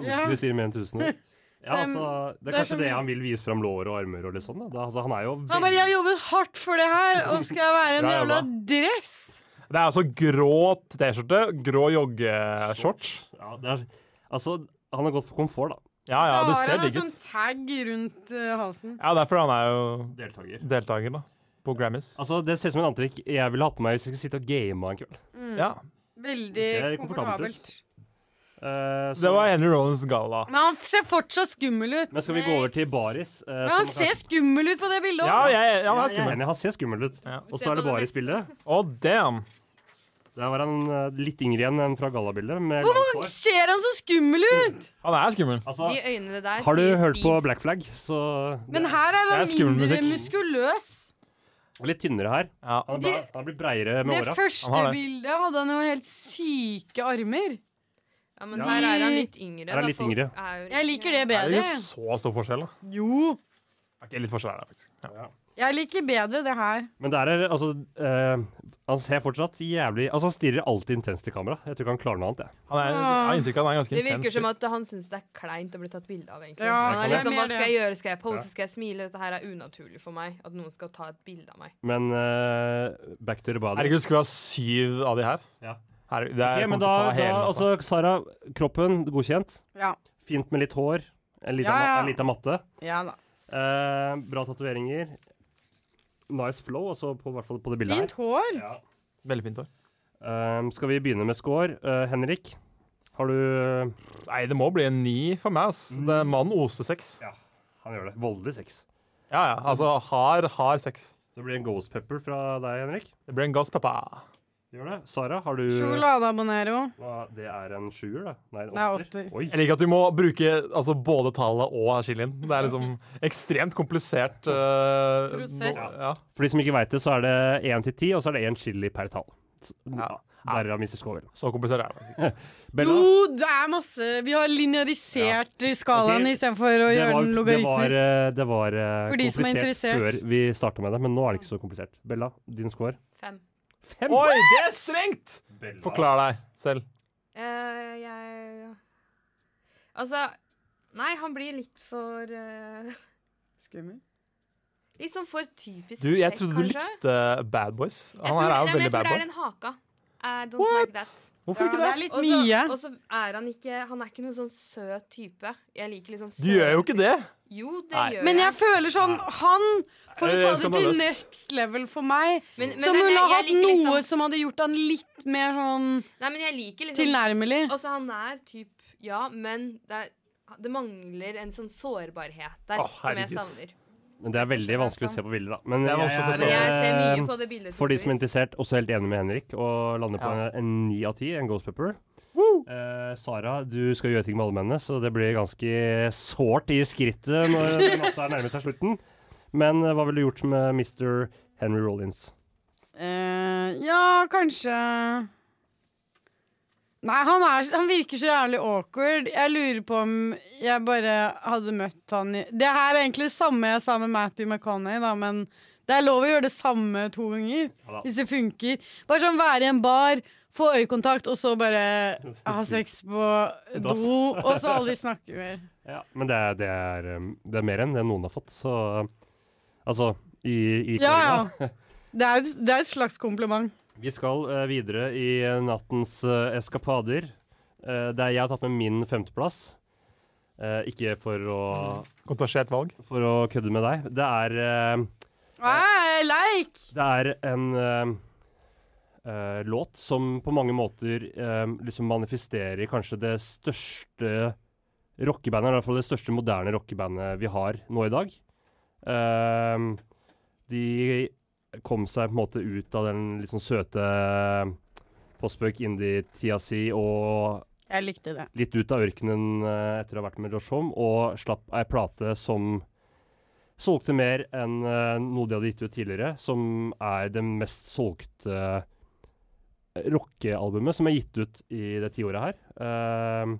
[SPEAKER 5] Ja.
[SPEAKER 6] muskler sier mer enn tusen ord. Ja,
[SPEAKER 5] Det er-
[SPEAKER 6] altså, det
[SPEAKER 5] det
[SPEAKER 6] er
[SPEAKER 5] er
[SPEAKER 6] kanskje
[SPEAKER 5] som-
[SPEAKER 6] det han vil vise fram lår og armer og litt sånn. Da. Det- Altså, han er jo
[SPEAKER 5] Han bare 'Jeg har jobbet hardt for det her, og skal jeg være en
[SPEAKER 3] Bra
[SPEAKER 5] jævla
[SPEAKER 3] jobba.
[SPEAKER 5] dress?'
[SPEAKER 3] Det er altså grå T-skjorte, grå joggeshorts.
[SPEAKER 6] ja, det er, altså, han har gått for komfort, da.
[SPEAKER 3] Ja, ja, det
[SPEAKER 5] så har
[SPEAKER 3] ser
[SPEAKER 5] han en
[SPEAKER 3] digg
[SPEAKER 5] sånn
[SPEAKER 3] ut.
[SPEAKER 5] tag rundt eh, halsen.
[SPEAKER 3] Ja, derfor han er jo
[SPEAKER 6] Deltaker.
[SPEAKER 3] deltaker, da. På Grammys.
[SPEAKER 6] Altså, Det ser ut som en antrekk jeg ville ha på meg hvis jeg skulle sitte og game en kveld.
[SPEAKER 3] Ja.
[SPEAKER 5] Veldig
[SPEAKER 6] ser komfortabelt ut.
[SPEAKER 5] komfortabelt.
[SPEAKER 6] Eh,
[SPEAKER 3] Så det var Henry Rollins galla.
[SPEAKER 5] Men han ser fortsatt skummel ut.
[SPEAKER 6] Men skal vi gå over til Baris? eh,
[SPEAKER 5] Men han
[SPEAKER 6] som
[SPEAKER 5] ser
[SPEAKER 6] kanskje-
[SPEAKER 5] skummel ut på det bildet
[SPEAKER 3] Ja,
[SPEAKER 5] òg.
[SPEAKER 3] jeg, ja, han
[SPEAKER 6] Ja,
[SPEAKER 3] er
[SPEAKER 6] jeg er
[SPEAKER 3] skummel.
[SPEAKER 6] enig, han ser skummel ut.
[SPEAKER 3] Ja.
[SPEAKER 6] Og så er det Baris-bildet.
[SPEAKER 3] Oh, damn.
[SPEAKER 6] Der var han eh, litt yngre igjen enn fra gallabildet. med langt hår.
[SPEAKER 5] Hvorfor ser han så skummel ut?
[SPEAKER 3] Han er skummel.
[SPEAKER 6] Altså,
[SPEAKER 7] De øynene der
[SPEAKER 6] har du
[SPEAKER 7] sier
[SPEAKER 6] hørt på
[SPEAKER 7] speed.
[SPEAKER 6] Black Flag, så
[SPEAKER 5] Men her er
[SPEAKER 3] Det
[SPEAKER 5] han
[SPEAKER 3] er skummel
[SPEAKER 5] mindre
[SPEAKER 3] musikk.
[SPEAKER 5] muskuløs.
[SPEAKER 6] Litt tynnere her.
[SPEAKER 3] Ja.
[SPEAKER 6] Han blir, han blir breiere med
[SPEAKER 5] Det
[SPEAKER 6] åra.
[SPEAKER 5] første
[SPEAKER 3] Han har det.
[SPEAKER 5] bildet hadde han jo helt syke armer.
[SPEAKER 7] Ja, men her er han litt yngre.
[SPEAKER 6] Her er
[SPEAKER 7] da.
[SPEAKER 6] litt
[SPEAKER 7] Folk
[SPEAKER 6] yngre.
[SPEAKER 7] er jo litt
[SPEAKER 5] Jeg liker det
[SPEAKER 3] Er det
[SPEAKER 5] bedre.
[SPEAKER 3] ikke så stor forskjell, da?
[SPEAKER 5] Jo,
[SPEAKER 3] Ok, litt forskjell er det faktisk. Ja.
[SPEAKER 5] jeg liker bedre det her.
[SPEAKER 6] Men der er altså eh, Han ser fortsatt jævlig Altså, han stirrer alltid intenst i kamera. Jeg tror ikke han klarer noe annet, jeg.
[SPEAKER 3] Han er, jeg har inntrykk av at han er ganske
[SPEAKER 7] Det virker
[SPEAKER 3] intens.
[SPEAKER 7] som at han syns det er kleint å bli tatt bilde av. egentlig
[SPEAKER 5] Ja,
[SPEAKER 7] Han er
[SPEAKER 6] det er
[SPEAKER 7] liksom,
[SPEAKER 5] mer
[SPEAKER 7] Hva skal jeg gjøre? Skal jeg
[SPEAKER 6] Ja.
[SPEAKER 7] pose? Skal jeg smile? Dette her er unaturlig for meg. At noen skal ta et bilde av meg.
[SPEAKER 6] Men eh, back to the body.
[SPEAKER 3] Herregud, skulle vi ha syv av de her?
[SPEAKER 6] Ja.
[SPEAKER 3] Her, det er,
[SPEAKER 6] Ok,
[SPEAKER 3] kommer
[SPEAKER 6] men da,
[SPEAKER 3] til å ta
[SPEAKER 6] da
[SPEAKER 3] hele natta.
[SPEAKER 6] altså, Sara, kroppen godkjent.
[SPEAKER 5] Ja.
[SPEAKER 6] Fint med litt hår. En lita,
[SPEAKER 5] Ja,
[SPEAKER 6] ma-
[SPEAKER 5] ja.
[SPEAKER 6] En lita matte.
[SPEAKER 5] Ja da.
[SPEAKER 6] Eh, bra tatoveringer. Nice flow, altså på, i hvert fall på det bildet
[SPEAKER 5] Fint hår.
[SPEAKER 6] her. Ja.
[SPEAKER 3] Veldig fint hår.
[SPEAKER 6] Eh, skal vi begynne med score? Eh, Henrik, har du
[SPEAKER 3] Nei, det må bli en ni for meg, ass. Det
[SPEAKER 6] Mm.
[SPEAKER 3] er Mannen oser sex.
[SPEAKER 6] Han gjør det. Voldelig sex.
[SPEAKER 3] Ja, ja. Altså hard, hard sex.
[SPEAKER 6] Så blir det en ghost pepper fra deg, Henrik.
[SPEAKER 3] Det blir en ghost pepper.
[SPEAKER 6] Gjør det. Sara, har du
[SPEAKER 5] Sjokolade abonnero.
[SPEAKER 6] Hva, Det er en sjuer, da? Nei, en
[SPEAKER 5] Det er
[SPEAKER 6] åtter.
[SPEAKER 5] åtter.
[SPEAKER 6] Oi.
[SPEAKER 3] Jeg liker at du må bruke altså, både tallet og chilien. Det er liksom ekstremt komplisert eh,
[SPEAKER 5] Prosess.
[SPEAKER 3] nå- Ja.
[SPEAKER 6] For de som ikke veit det, så er det én til ti, og så er det én chili per tall. Så-
[SPEAKER 3] Ja.
[SPEAKER 6] Derav Mr. Scoville.
[SPEAKER 3] Så komplisert er det faktisk. ikke.
[SPEAKER 6] Bella,
[SPEAKER 5] Jo, det er masse Vi har linearisert skalaen
[SPEAKER 6] Ok,
[SPEAKER 5] istedenfor å
[SPEAKER 6] det
[SPEAKER 5] gjøre
[SPEAKER 6] var,
[SPEAKER 5] den
[SPEAKER 6] det var,
[SPEAKER 5] logaritmisk.
[SPEAKER 6] eh, det var eh,
[SPEAKER 5] For de som er
[SPEAKER 6] komplisert
[SPEAKER 5] interessert.
[SPEAKER 6] før vi starta med det, men nå er det ikke så komplisert. Bella, din score?
[SPEAKER 7] Fem.
[SPEAKER 6] Fem!
[SPEAKER 3] Oi, det er strengt!
[SPEAKER 6] Bella.
[SPEAKER 3] Forklar deg selv.
[SPEAKER 7] Eh, jeg Altså Nei, han blir litt for eh,
[SPEAKER 5] Skummel.
[SPEAKER 7] Litt sånn for typisk
[SPEAKER 3] Du, jeg
[SPEAKER 7] sjekk,
[SPEAKER 3] trodde du
[SPEAKER 7] kanskje.
[SPEAKER 3] likte Bad Boys.
[SPEAKER 7] Jeg
[SPEAKER 3] Han
[SPEAKER 7] tror,
[SPEAKER 3] her er
[SPEAKER 7] nei,
[SPEAKER 3] jo
[SPEAKER 7] men
[SPEAKER 3] veldig
[SPEAKER 7] jeg tror
[SPEAKER 3] bad
[SPEAKER 7] det
[SPEAKER 3] boy.
[SPEAKER 7] er den haka. I don't
[SPEAKER 3] What?
[SPEAKER 7] like that.
[SPEAKER 3] Hvorfor
[SPEAKER 5] Ja,
[SPEAKER 3] ikke
[SPEAKER 5] det
[SPEAKER 3] det?
[SPEAKER 5] er litt
[SPEAKER 7] Og så-
[SPEAKER 5] mye.
[SPEAKER 7] Og så er han ikke Han er ikke noen sånn søt type. Jeg liker litt sånn søt
[SPEAKER 3] Du gjør jo ikke det.
[SPEAKER 7] Jo, det
[SPEAKER 3] Nei.
[SPEAKER 7] gjør
[SPEAKER 5] Men jeg føler sånn Han, for å
[SPEAKER 3] Eh,
[SPEAKER 5] ta det til
[SPEAKER 3] skandaløst.
[SPEAKER 5] next level for meg,
[SPEAKER 7] Men- men
[SPEAKER 5] så
[SPEAKER 7] det er
[SPEAKER 5] ville
[SPEAKER 7] det-
[SPEAKER 5] ha
[SPEAKER 7] jeg
[SPEAKER 5] hatt
[SPEAKER 7] liker liksom-
[SPEAKER 5] noe som hadde gjort han litt mer sånn
[SPEAKER 7] Nei, men jeg liker liksom
[SPEAKER 5] tilnærmelig.
[SPEAKER 7] Altså, han er typ Ja, men det, er, det mangler en sånn sårbarhet der
[SPEAKER 3] Å,
[SPEAKER 7] som jeg
[SPEAKER 3] herregud.
[SPEAKER 7] savner.
[SPEAKER 6] Men det er veldig vanskelig å se på bilder, da. Men
[SPEAKER 3] Det er
[SPEAKER 6] jeg
[SPEAKER 3] vanskelig å se.
[SPEAKER 7] Men jeg ser mye
[SPEAKER 6] eh,
[SPEAKER 7] på det bildet.
[SPEAKER 6] For de som er interessert, også helt enig med Henrik og lander på
[SPEAKER 3] Ja.
[SPEAKER 6] en- en ni av ti, en Ghost Pepper. Eh, Sara, du skal gjøre ting med alle mennene, så det blir ganske sårt i skrittet når den natta her nærmer seg slutten. Men eh, hva ville du gjort med Mr. Henry Rollins?
[SPEAKER 5] Eh, ja, kanskje Nei, han, er, han virker så jævlig awkward. Jeg lurer på om jeg bare hadde møtt han i Det her er egentlig det samme jeg sa med Matthew McConney, da, men det er lov å gjøre det samme to ganger.
[SPEAKER 6] Ja da.
[SPEAKER 5] hvis det funker. Bare sånn være i en bar, få øyekontakt, og så bare ha sex på
[SPEAKER 6] Dass.
[SPEAKER 5] do, og så aldri snakke mer.
[SPEAKER 6] Ja, men det er, det er, eh, det er mer enn det noen har fått, så eh, Altså i, i
[SPEAKER 5] Ja,
[SPEAKER 6] korona.
[SPEAKER 5] ja. Det er, et- det er et slags kompliment.
[SPEAKER 6] Vi skal eh, videre i eh, nattens eh, eskapader. Eh, der jeg har tatt med min femteplass. Eh, ikke for å,
[SPEAKER 3] Kontasjert valg.
[SPEAKER 6] for å kødde med deg. Det er, eh,
[SPEAKER 5] Nei, leik!
[SPEAKER 6] det er en eh, eh, låt som på mange måter eh, liksom manifesterer kanskje det største rockebandet, eller i hvert fall det største moderne rockebandet vi har nå i dag. Eh, de kom seg på en måte ut av den litt sånn søte postbøk indie-tida si og
[SPEAKER 5] Jeg likte det.
[SPEAKER 6] litt ut av ørkenen eh, etter å ha vært med Josh Homme, og slapp ei plate som solgte mer enn eh, noe de hadde gitt ut tidligere, som er det mest solgte eh, rockealbumet som er gitt ut i det tiåret her. Eh,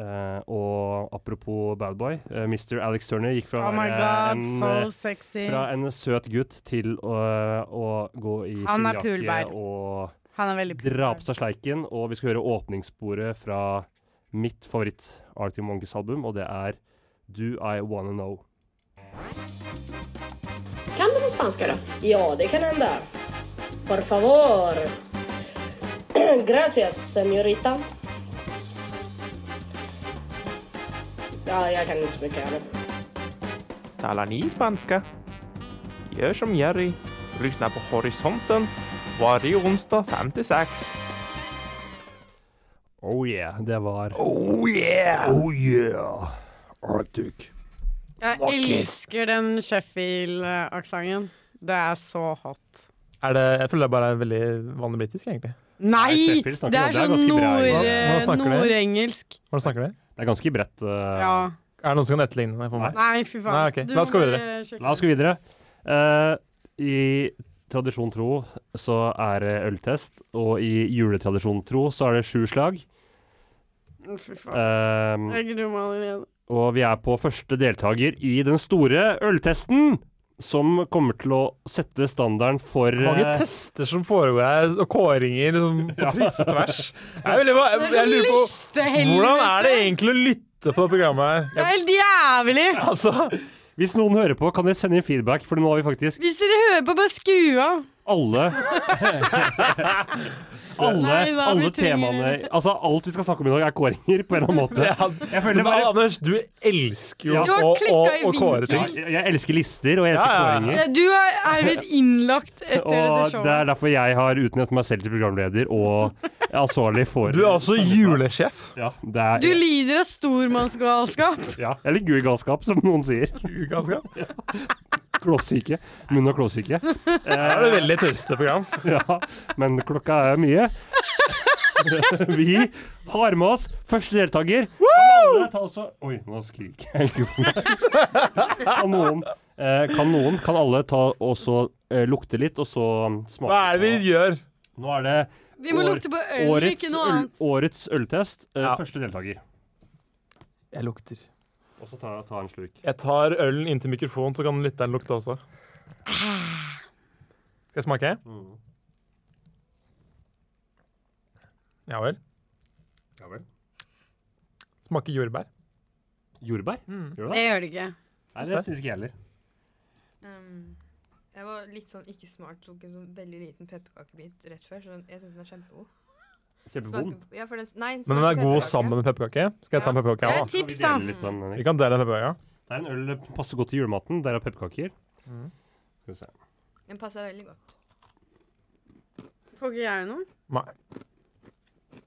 [SPEAKER 6] eh, og apropos Bad Boy, eh, Mr. Alex Turner gikk fra
[SPEAKER 5] Oh
[SPEAKER 6] å
[SPEAKER 5] my
[SPEAKER 6] være
[SPEAKER 5] god,
[SPEAKER 6] en,
[SPEAKER 5] so
[SPEAKER 6] eh,
[SPEAKER 5] sexy.
[SPEAKER 6] fra en søt gutt til å, eh, å gå i
[SPEAKER 5] Han er
[SPEAKER 6] skinnjakke
[SPEAKER 5] pulbær.
[SPEAKER 6] og
[SPEAKER 5] Han er veldig
[SPEAKER 6] dra på seg sleiken, og vi skal høre åpningssporet fra mitt favoritt Arctic Monkeys album, og det er Do I Wanna Know.
[SPEAKER 8] Kan du på spanska då? Ja, det kan hända. Por favor. Gracias, señorita. Ja, jag kan inte så mycket heller.
[SPEAKER 1] Talar ni spanska? Gör som Jerry. Lyssna på Horisonten varje onsdag 5 till 6.
[SPEAKER 6] Oh yeah, det var
[SPEAKER 4] Oh yeah!
[SPEAKER 6] Oh yeah!
[SPEAKER 4] Arctic.
[SPEAKER 5] Jeg elsker den Sheffield-aksenten. Det er så hot.
[SPEAKER 3] Er det, jeg føler det bare er veldig vanlig britisk, egentlig.
[SPEAKER 5] Nei!
[SPEAKER 6] Sheffield snakker
[SPEAKER 5] Det
[SPEAKER 6] jo-
[SPEAKER 5] er
[SPEAKER 6] det er
[SPEAKER 5] sånn
[SPEAKER 6] ganske bra,
[SPEAKER 5] nord,
[SPEAKER 3] ja. Hva- hva snakker du?
[SPEAKER 5] nordengelsk.
[SPEAKER 3] Hvordan snakker dere?
[SPEAKER 6] Det er ganske bredt. eh,
[SPEAKER 5] Ja.
[SPEAKER 3] Er det noen som kan etterligne det for meg?
[SPEAKER 5] Nei, fy faen.
[SPEAKER 3] Nei, ok.
[SPEAKER 5] Du
[SPEAKER 3] La oss gå
[SPEAKER 5] må
[SPEAKER 3] videre.
[SPEAKER 5] bare sjekke
[SPEAKER 6] La oss gå videre. Eh, I tradisjon tro så er det øltest, og i juletradisjon tro så er det sju slag.
[SPEAKER 5] det. Fy faen.
[SPEAKER 6] Eh,
[SPEAKER 5] Jeg gruer meg allerede.
[SPEAKER 6] Og vi er på første deltaker i den store øltesten, som kommer til å sette standarden for
[SPEAKER 3] Hvor mange
[SPEAKER 6] eh,
[SPEAKER 3] tester som foregår her, og kåringer liksom, på tryse og tvers. Jeg, er veldig ba- jeg,
[SPEAKER 5] Det er sånn
[SPEAKER 3] lurer på
[SPEAKER 5] listehelvete.
[SPEAKER 3] Hvordan er det egentlig å lytte på det programmet her?
[SPEAKER 5] Det er helt jævlig!
[SPEAKER 3] Altså,
[SPEAKER 6] Hvis noen hører på, kan dere sende inn feedback, for nå har vi faktisk
[SPEAKER 5] Hvis dere hører på, bare skru av.
[SPEAKER 6] alle Alle,
[SPEAKER 5] Nei, da, vi
[SPEAKER 6] alle
[SPEAKER 5] trenger-
[SPEAKER 6] temaene Altså, alt vi skal snakke om i dag, er kåringer, på en eller annen måte.
[SPEAKER 3] ja,
[SPEAKER 6] Jeg føler
[SPEAKER 3] men da,
[SPEAKER 6] bare
[SPEAKER 3] Anders, du elsker jo
[SPEAKER 6] Ja.
[SPEAKER 5] Du har
[SPEAKER 3] å, å,
[SPEAKER 5] klikket i
[SPEAKER 3] å kåre ting.
[SPEAKER 5] vinkel.
[SPEAKER 6] Jeg- Jeg elsker lister, og jeg elsker
[SPEAKER 3] Ja, ja, ja.
[SPEAKER 6] kåringer.
[SPEAKER 5] Ja, Du er, er blitt innlagt etter dette
[SPEAKER 6] Og det er
[SPEAKER 5] showet.
[SPEAKER 6] derfor jeg har utnevnt meg selv til programleder og er ansvarlig for
[SPEAKER 3] Du er også julesjef.
[SPEAKER 6] Ja, det er,
[SPEAKER 5] Du lider av stormannsgalskap.
[SPEAKER 6] ja, Eller gul galskap, som noen sier.
[SPEAKER 3] Ganske.
[SPEAKER 6] Klovsyke. Munn- og klovsyke.
[SPEAKER 3] Det er det veldig tøyste program.
[SPEAKER 6] Ja, men klokka er mye. Vi har med oss første deltaker. Kan alle ta også Oi, nå skriker jeg helt ufor meg. Kan noen, eh, kan noen, kan alle ta også eh, lukte litt, og så um, smake?
[SPEAKER 3] Hva er det
[SPEAKER 6] på-
[SPEAKER 3] vi gjør?
[SPEAKER 6] Nå er det
[SPEAKER 5] Vi må
[SPEAKER 6] År-
[SPEAKER 5] lukte på øl,
[SPEAKER 6] årets,
[SPEAKER 5] ikke noe
[SPEAKER 6] øl,
[SPEAKER 5] annet.
[SPEAKER 6] årets øltest. Eh,
[SPEAKER 3] Ja.
[SPEAKER 6] Første deltaker.
[SPEAKER 3] Jeg lukter.
[SPEAKER 6] Og så ta, ta en slurk.
[SPEAKER 3] Jeg tar ølen inntil mikrofonen, så kan lytteren lukte også. Skal jeg smake? Ja vel.
[SPEAKER 6] Ja vel.
[SPEAKER 3] Smaker jordbær.
[SPEAKER 6] Jordbær? Gjør det?
[SPEAKER 5] Det gjør det ikke.
[SPEAKER 6] Nei, det syns ikke jeg heller.
[SPEAKER 7] Um, jeg var litt sånn ikke smart, tok en sånn veldig liten pepperkakebit rett før, så den, jeg syns den er kjempegod.
[SPEAKER 6] Kjempevond.
[SPEAKER 7] Smaker- ja, for den, nei, den
[SPEAKER 3] Men den
[SPEAKER 7] smaker
[SPEAKER 3] er god
[SPEAKER 7] pepperkake.
[SPEAKER 3] sammen med pepperkake. Skal jeg ta en pepperkake?
[SPEAKER 5] Jeg
[SPEAKER 3] Ja,
[SPEAKER 5] er
[SPEAKER 3] da?
[SPEAKER 6] Skal vi
[SPEAKER 5] tips, da.
[SPEAKER 6] dele litt, den, Henrik?
[SPEAKER 3] Vi kan dele en pepperkake.
[SPEAKER 6] Det er en øl som passer godt til julematen. Der er pepperkaker.
[SPEAKER 3] Mm.
[SPEAKER 6] Skal vi se.
[SPEAKER 7] Den passer veldig godt.
[SPEAKER 5] Får ikke jeg noen?
[SPEAKER 3] Nei.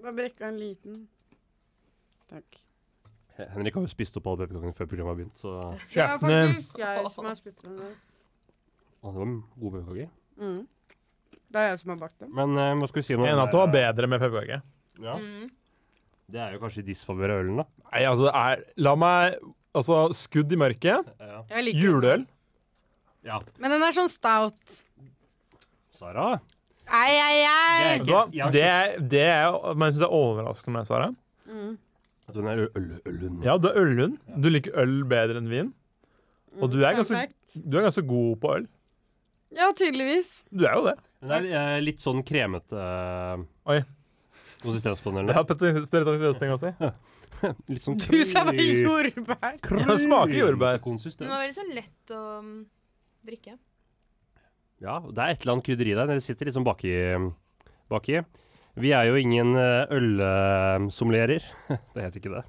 [SPEAKER 5] Bare brekka en liten. Takk.
[SPEAKER 6] Eh, Henrik har jo spist opp alle pepperkakene før programmet har begynt, så
[SPEAKER 5] Det var
[SPEAKER 3] Kjeften din.
[SPEAKER 5] faktisk jeg som har spist den der.
[SPEAKER 6] Å, det var en god pepperkake.
[SPEAKER 5] Mm. Det er jeg som har bakt den.
[SPEAKER 6] Men eh, hva skal vi si nå?
[SPEAKER 3] En at det var bedre med pepperkake.
[SPEAKER 6] Ja. Det er jo kanskje i disfavør av ølen, da.
[SPEAKER 3] Nei, altså, det er La meg Altså, skudd i mørket.
[SPEAKER 6] Ja.
[SPEAKER 5] Jeg liker den.
[SPEAKER 3] Juleøl.
[SPEAKER 5] Men den er sånn stout.
[SPEAKER 6] Sara?
[SPEAKER 5] Ei, ei, ei.
[SPEAKER 3] Vet du hva? Det, det er, men jeg synes det er overraskende med Sara.
[SPEAKER 6] At hun er ø- øl, ølhund.
[SPEAKER 3] Mm. Ja, du er ølhund. Du liker øl bedre enn vin. Og du er
[SPEAKER 5] Fun
[SPEAKER 3] ganske,
[SPEAKER 5] fact.
[SPEAKER 3] du er ganske god på øl.
[SPEAKER 5] Ja, tydeligvis.
[SPEAKER 3] Du er jo det.
[SPEAKER 6] Hun er eh, litt sånn kremete eh,
[SPEAKER 3] Oi.
[SPEAKER 6] konsistens på den
[SPEAKER 3] Det
[SPEAKER 6] ølen.
[SPEAKER 3] har pretensiøs pretensiøs ting å si.
[SPEAKER 6] Litt sånn
[SPEAKER 5] Du sa bare jordbær.
[SPEAKER 3] Ja, det smaker jordbær.
[SPEAKER 7] Den
[SPEAKER 6] Konsistens.
[SPEAKER 7] var veldig sånn lett å mm, drikke.
[SPEAKER 6] Ja, og det er et eller annet krydderi der. Dere sitter liksom baki. baki. Vi er jo ingen ølsomlerer. Det heter ikke det.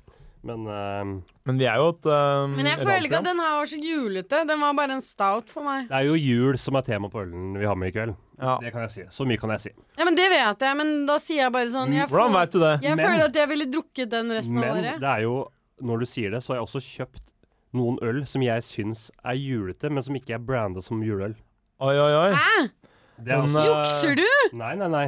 [SPEAKER 6] Men eh,
[SPEAKER 3] Men vi er jo et um,
[SPEAKER 5] Men jeg
[SPEAKER 6] Et
[SPEAKER 5] føler ikke
[SPEAKER 6] annet
[SPEAKER 5] at den her var så julete. Den var bare en stout for meg.
[SPEAKER 6] det er jo jul som er tema på ølen vi har med i kveld.
[SPEAKER 3] ja.
[SPEAKER 6] Det kan jeg si. Så mye kan jeg si.
[SPEAKER 5] Ja, men Det vet jeg, men da sier jeg bare sånn Jeg,
[SPEAKER 3] Hvordan
[SPEAKER 5] føler-
[SPEAKER 3] vet du det?
[SPEAKER 5] jeg
[SPEAKER 6] Men-
[SPEAKER 5] føler at jeg ville drukket den resten av
[SPEAKER 6] Men
[SPEAKER 5] året.
[SPEAKER 6] det er jo, når du sier det, så har jeg også kjøpt noen øl som jeg syns er julete, men som ikke er branda som juleøl.
[SPEAKER 3] Oi, oi, oi.
[SPEAKER 5] Hæ?
[SPEAKER 6] Det er
[SPEAKER 3] Men,
[SPEAKER 6] også,
[SPEAKER 3] eh,
[SPEAKER 5] Jukser du?
[SPEAKER 6] nei, nei, nei.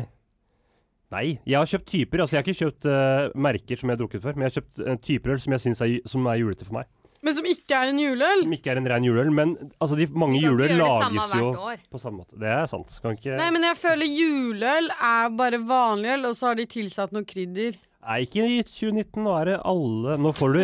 [SPEAKER 6] Nei, jeg har kjøpt typer. Altså, jeg har ikke kjøpt eh, merker som jeg har drukket før, men jeg har kjøpt eh, typer øl som jeg syns er, ju- som er julete for meg.
[SPEAKER 5] Men som ikke er en juleøl?
[SPEAKER 6] Som ikke er en ren juleøl, men altså, de mange
[SPEAKER 7] Vi kan ikke
[SPEAKER 6] juleøl
[SPEAKER 7] gjøre det
[SPEAKER 6] lages
[SPEAKER 7] samme
[SPEAKER 6] jo
[SPEAKER 7] hvert år.
[SPEAKER 6] på samme måte. Det er sant. Kan ikke
[SPEAKER 5] Nei, men jeg føler juleøl er bare vanlig øl, og så har de tilsatt noe krydder.
[SPEAKER 6] Nei, ikke i 2019. Nå er det alle Nå får du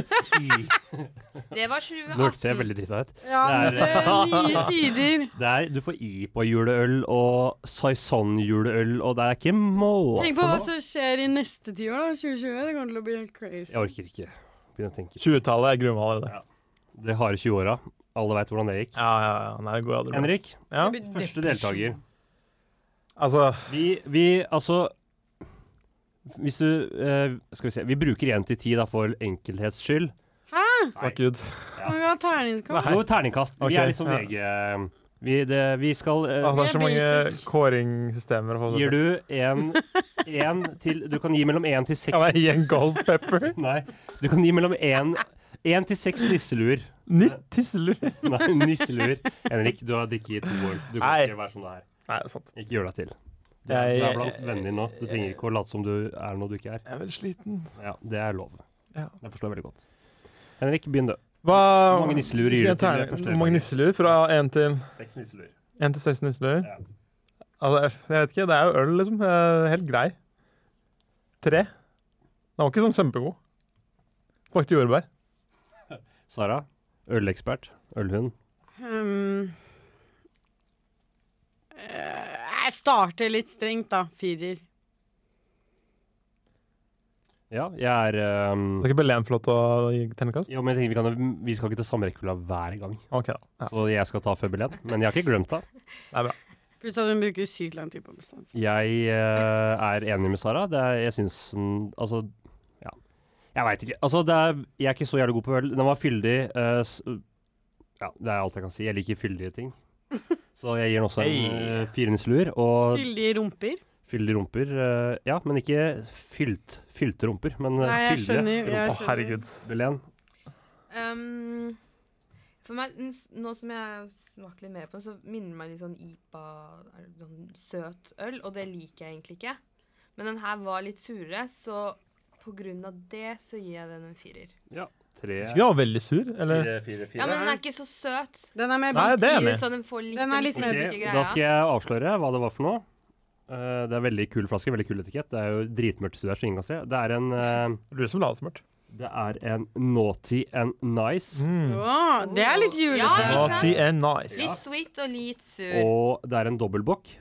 [SPEAKER 7] Det var
[SPEAKER 6] Nå hørtes jeg
[SPEAKER 7] 2018.
[SPEAKER 6] veldig drita ut.
[SPEAKER 5] Ja,
[SPEAKER 6] Det
[SPEAKER 5] det er nye tider.
[SPEAKER 6] Det er, du får IPA-juleøl og Saison-juleøl, og det er ikke måte
[SPEAKER 5] Tenk på hva
[SPEAKER 6] nå.
[SPEAKER 5] som skjer i neste tiår, da. 2020. Det kommer til å bli helt crazy.
[SPEAKER 6] Jeg orker ikke begynne å tenke.
[SPEAKER 3] 20-tallet er grumme allerede.
[SPEAKER 6] Det harde 20-åra. Alle veit hvordan det gikk.
[SPEAKER 3] Ja, ja, ja. Nei, det går aldri bra.
[SPEAKER 6] Henrik,
[SPEAKER 3] Ja.
[SPEAKER 5] Det blir
[SPEAKER 6] første
[SPEAKER 5] depresjon.
[SPEAKER 6] deltaker.
[SPEAKER 3] Altså,
[SPEAKER 6] Vi, vi altså Hvis du eh, Skal vi se. Vi bruker én til ti da, for enkelhets skyld.
[SPEAKER 3] takk gud.
[SPEAKER 5] Kan vi ha terningskamp?
[SPEAKER 6] Jo, terningkast.
[SPEAKER 3] Ok,
[SPEAKER 6] Vi er litt som
[SPEAKER 3] ja.
[SPEAKER 6] VG. eh, Vi, det, vi skal eh,
[SPEAKER 3] Ah, det er
[SPEAKER 5] Jeg
[SPEAKER 3] så
[SPEAKER 5] blir
[SPEAKER 3] mange
[SPEAKER 5] så-
[SPEAKER 3] kåringssystemer. å få-
[SPEAKER 6] Gir du en, en til Du kan gi mellom én til seks
[SPEAKER 3] Kan jeg gi en ghost pepper?
[SPEAKER 6] Nei. Du kan gi mellom én én til seks nisseluer.
[SPEAKER 3] Nytt tisselur.
[SPEAKER 6] Nei, nisseluer. Henrik, du har drikket to år. Du kan
[SPEAKER 3] Nei.
[SPEAKER 6] ikke være sånn det er.
[SPEAKER 3] Nei, det er sant.
[SPEAKER 6] Ikke gjør deg til. Du,
[SPEAKER 3] Jeg-
[SPEAKER 6] du er blant vennene dine nå. Du trenger ikke å late som du er noe du ikke er.
[SPEAKER 3] Jeg er veldig sliten.
[SPEAKER 6] Ja, Det er lov.
[SPEAKER 3] Ja.
[SPEAKER 6] Jeg forstår veldig godt. Henrik, begynn du.
[SPEAKER 3] Hva
[SPEAKER 6] Hvor mange nisseluer
[SPEAKER 3] Skal
[SPEAKER 6] gir
[SPEAKER 3] jeg
[SPEAKER 6] du til
[SPEAKER 3] terne-
[SPEAKER 6] det første
[SPEAKER 3] Hvor mange
[SPEAKER 6] laget?
[SPEAKER 3] nisseluer? Fra 1 til
[SPEAKER 6] Seks nisseluer.
[SPEAKER 3] 1 til 6 nisseluer?
[SPEAKER 6] Ja.
[SPEAKER 3] Altså, jeg vet ikke. Det er jo øl, liksom. Eh, Helt grei. Tre. Den var ikke sånn kjempegod. Smakte jordbær.
[SPEAKER 6] Sara, ølekspert. Ølhund.
[SPEAKER 5] Hmm. Eh, jeg starter litt strengt, da. Firer.
[SPEAKER 6] Ja, jeg er um,
[SPEAKER 3] Skal ikke Belén få lov til å gi terningkast?
[SPEAKER 6] jo, men jeg tenker vi, kan, jo- vi skal ikke til samme rekkefølge hver gang,
[SPEAKER 3] OK, da. Ja.
[SPEAKER 6] så jeg skal ta Føbelen. Men jeg har ikke glemt det.
[SPEAKER 5] Pluss at hun bruker sykt lang tid på å bestemme seg.
[SPEAKER 6] Jeg eh, er enig med Sara. Det er, jeg syns den Altså, ja. Jeg veit ikke. Altså, det er, jeg er ikke så jævlig god på øl. Den var fyldig. eh, s ja, det er alt jeg kan si. Jeg liker fyldige ting. Så jeg gir den også en
[SPEAKER 3] Hei.
[SPEAKER 6] uh, fire nisseluer. Og
[SPEAKER 5] Fyldige rumper.
[SPEAKER 6] fyldige rumper. eh, ja, men ikke fylt, fylte rumper, men uh,
[SPEAKER 5] Nei, jeg
[SPEAKER 6] fyldige
[SPEAKER 5] skjønner.
[SPEAKER 6] rumper.
[SPEAKER 5] Jeg
[SPEAKER 3] Å,
[SPEAKER 5] skjønner.
[SPEAKER 3] herregud.
[SPEAKER 6] Belen.
[SPEAKER 7] Um, for meg, n- s- nå som jeg har smakt litt mer på den, så minner den meg litt sånn IPA, er det sånn søt øl, og det liker jeg egentlig ikke. Men den her var litt surere, så på grunn av det så gir jeg den en firer.
[SPEAKER 6] Tre,
[SPEAKER 3] Syns ikke den var veldig sur, eller?
[SPEAKER 6] fire, fire, fire.
[SPEAKER 7] Ja, men den er ikke så søt.
[SPEAKER 5] Den er med
[SPEAKER 3] Nei, det er
[SPEAKER 7] Firer,
[SPEAKER 3] enig.
[SPEAKER 7] Så den får litt
[SPEAKER 5] Den er litt mer-
[SPEAKER 7] fysiske
[SPEAKER 6] Ok,
[SPEAKER 7] greia.
[SPEAKER 6] Da skal jeg avsløre hva det var for noe. Eh, det er veldig kul flaske, veldig kul etikett. Det er jo dritmørkt studert, så ingen kan se. Det er en eh,
[SPEAKER 3] Du som la det smart.
[SPEAKER 6] Det er en naughty and nice.
[SPEAKER 3] Mm.
[SPEAKER 5] Å, det er litt julete.
[SPEAKER 7] Ja, ikke sant?
[SPEAKER 3] Naughty and nice.
[SPEAKER 7] Litt sweet og litt sur.
[SPEAKER 6] Og det er en dobbeltbokk,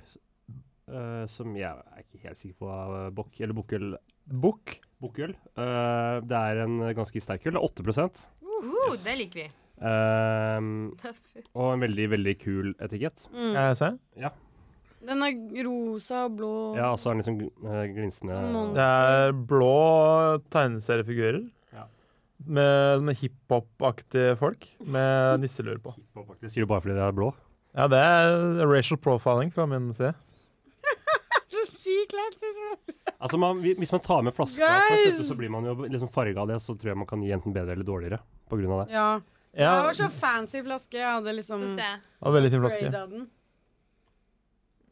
[SPEAKER 6] eh, som jeg er ikke helt sikker på hva uh, bokk eller bukkøl
[SPEAKER 3] Bukk.
[SPEAKER 6] Bukkøl. Eh, det er en ganske sterk øl, 8
[SPEAKER 7] Uh, det liker vi.
[SPEAKER 6] Ehm, Og en veldig, veldig kul etikett.
[SPEAKER 5] Mm.
[SPEAKER 3] Kan jeg se?
[SPEAKER 5] Den er rosa og blå.
[SPEAKER 6] Ja, og så er den liksom uh, glinsende
[SPEAKER 5] Sånn
[SPEAKER 3] Det er blå tegneseriefigurer.
[SPEAKER 6] Ja.
[SPEAKER 3] Med, med hiphop-aktige folk med nisseluer på.
[SPEAKER 6] Hiphop, faktisk. Sier du bare fordi det er blå?
[SPEAKER 3] Ja, det er racial profiling fra min side.
[SPEAKER 5] Så si dritlættis.
[SPEAKER 6] Altså, man, vi- Hvis man tar med flaska,
[SPEAKER 5] Guys!
[SPEAKER 6] først, vet du, så blir man jo liksom farga av det. Så tror jeg man kan gi enten bedre eller dårligere på grunn av det.
[SPEAKER 5] Ja. Det
[SPEAKER 3] Ja,
[SPEAKER 5] var så fancy flaske. Jeg hadde liksom
[SPEAKER 7] Få se.
[SPEAKER 3] og veldig fin flaske.
[SPEAKER 5] grada den.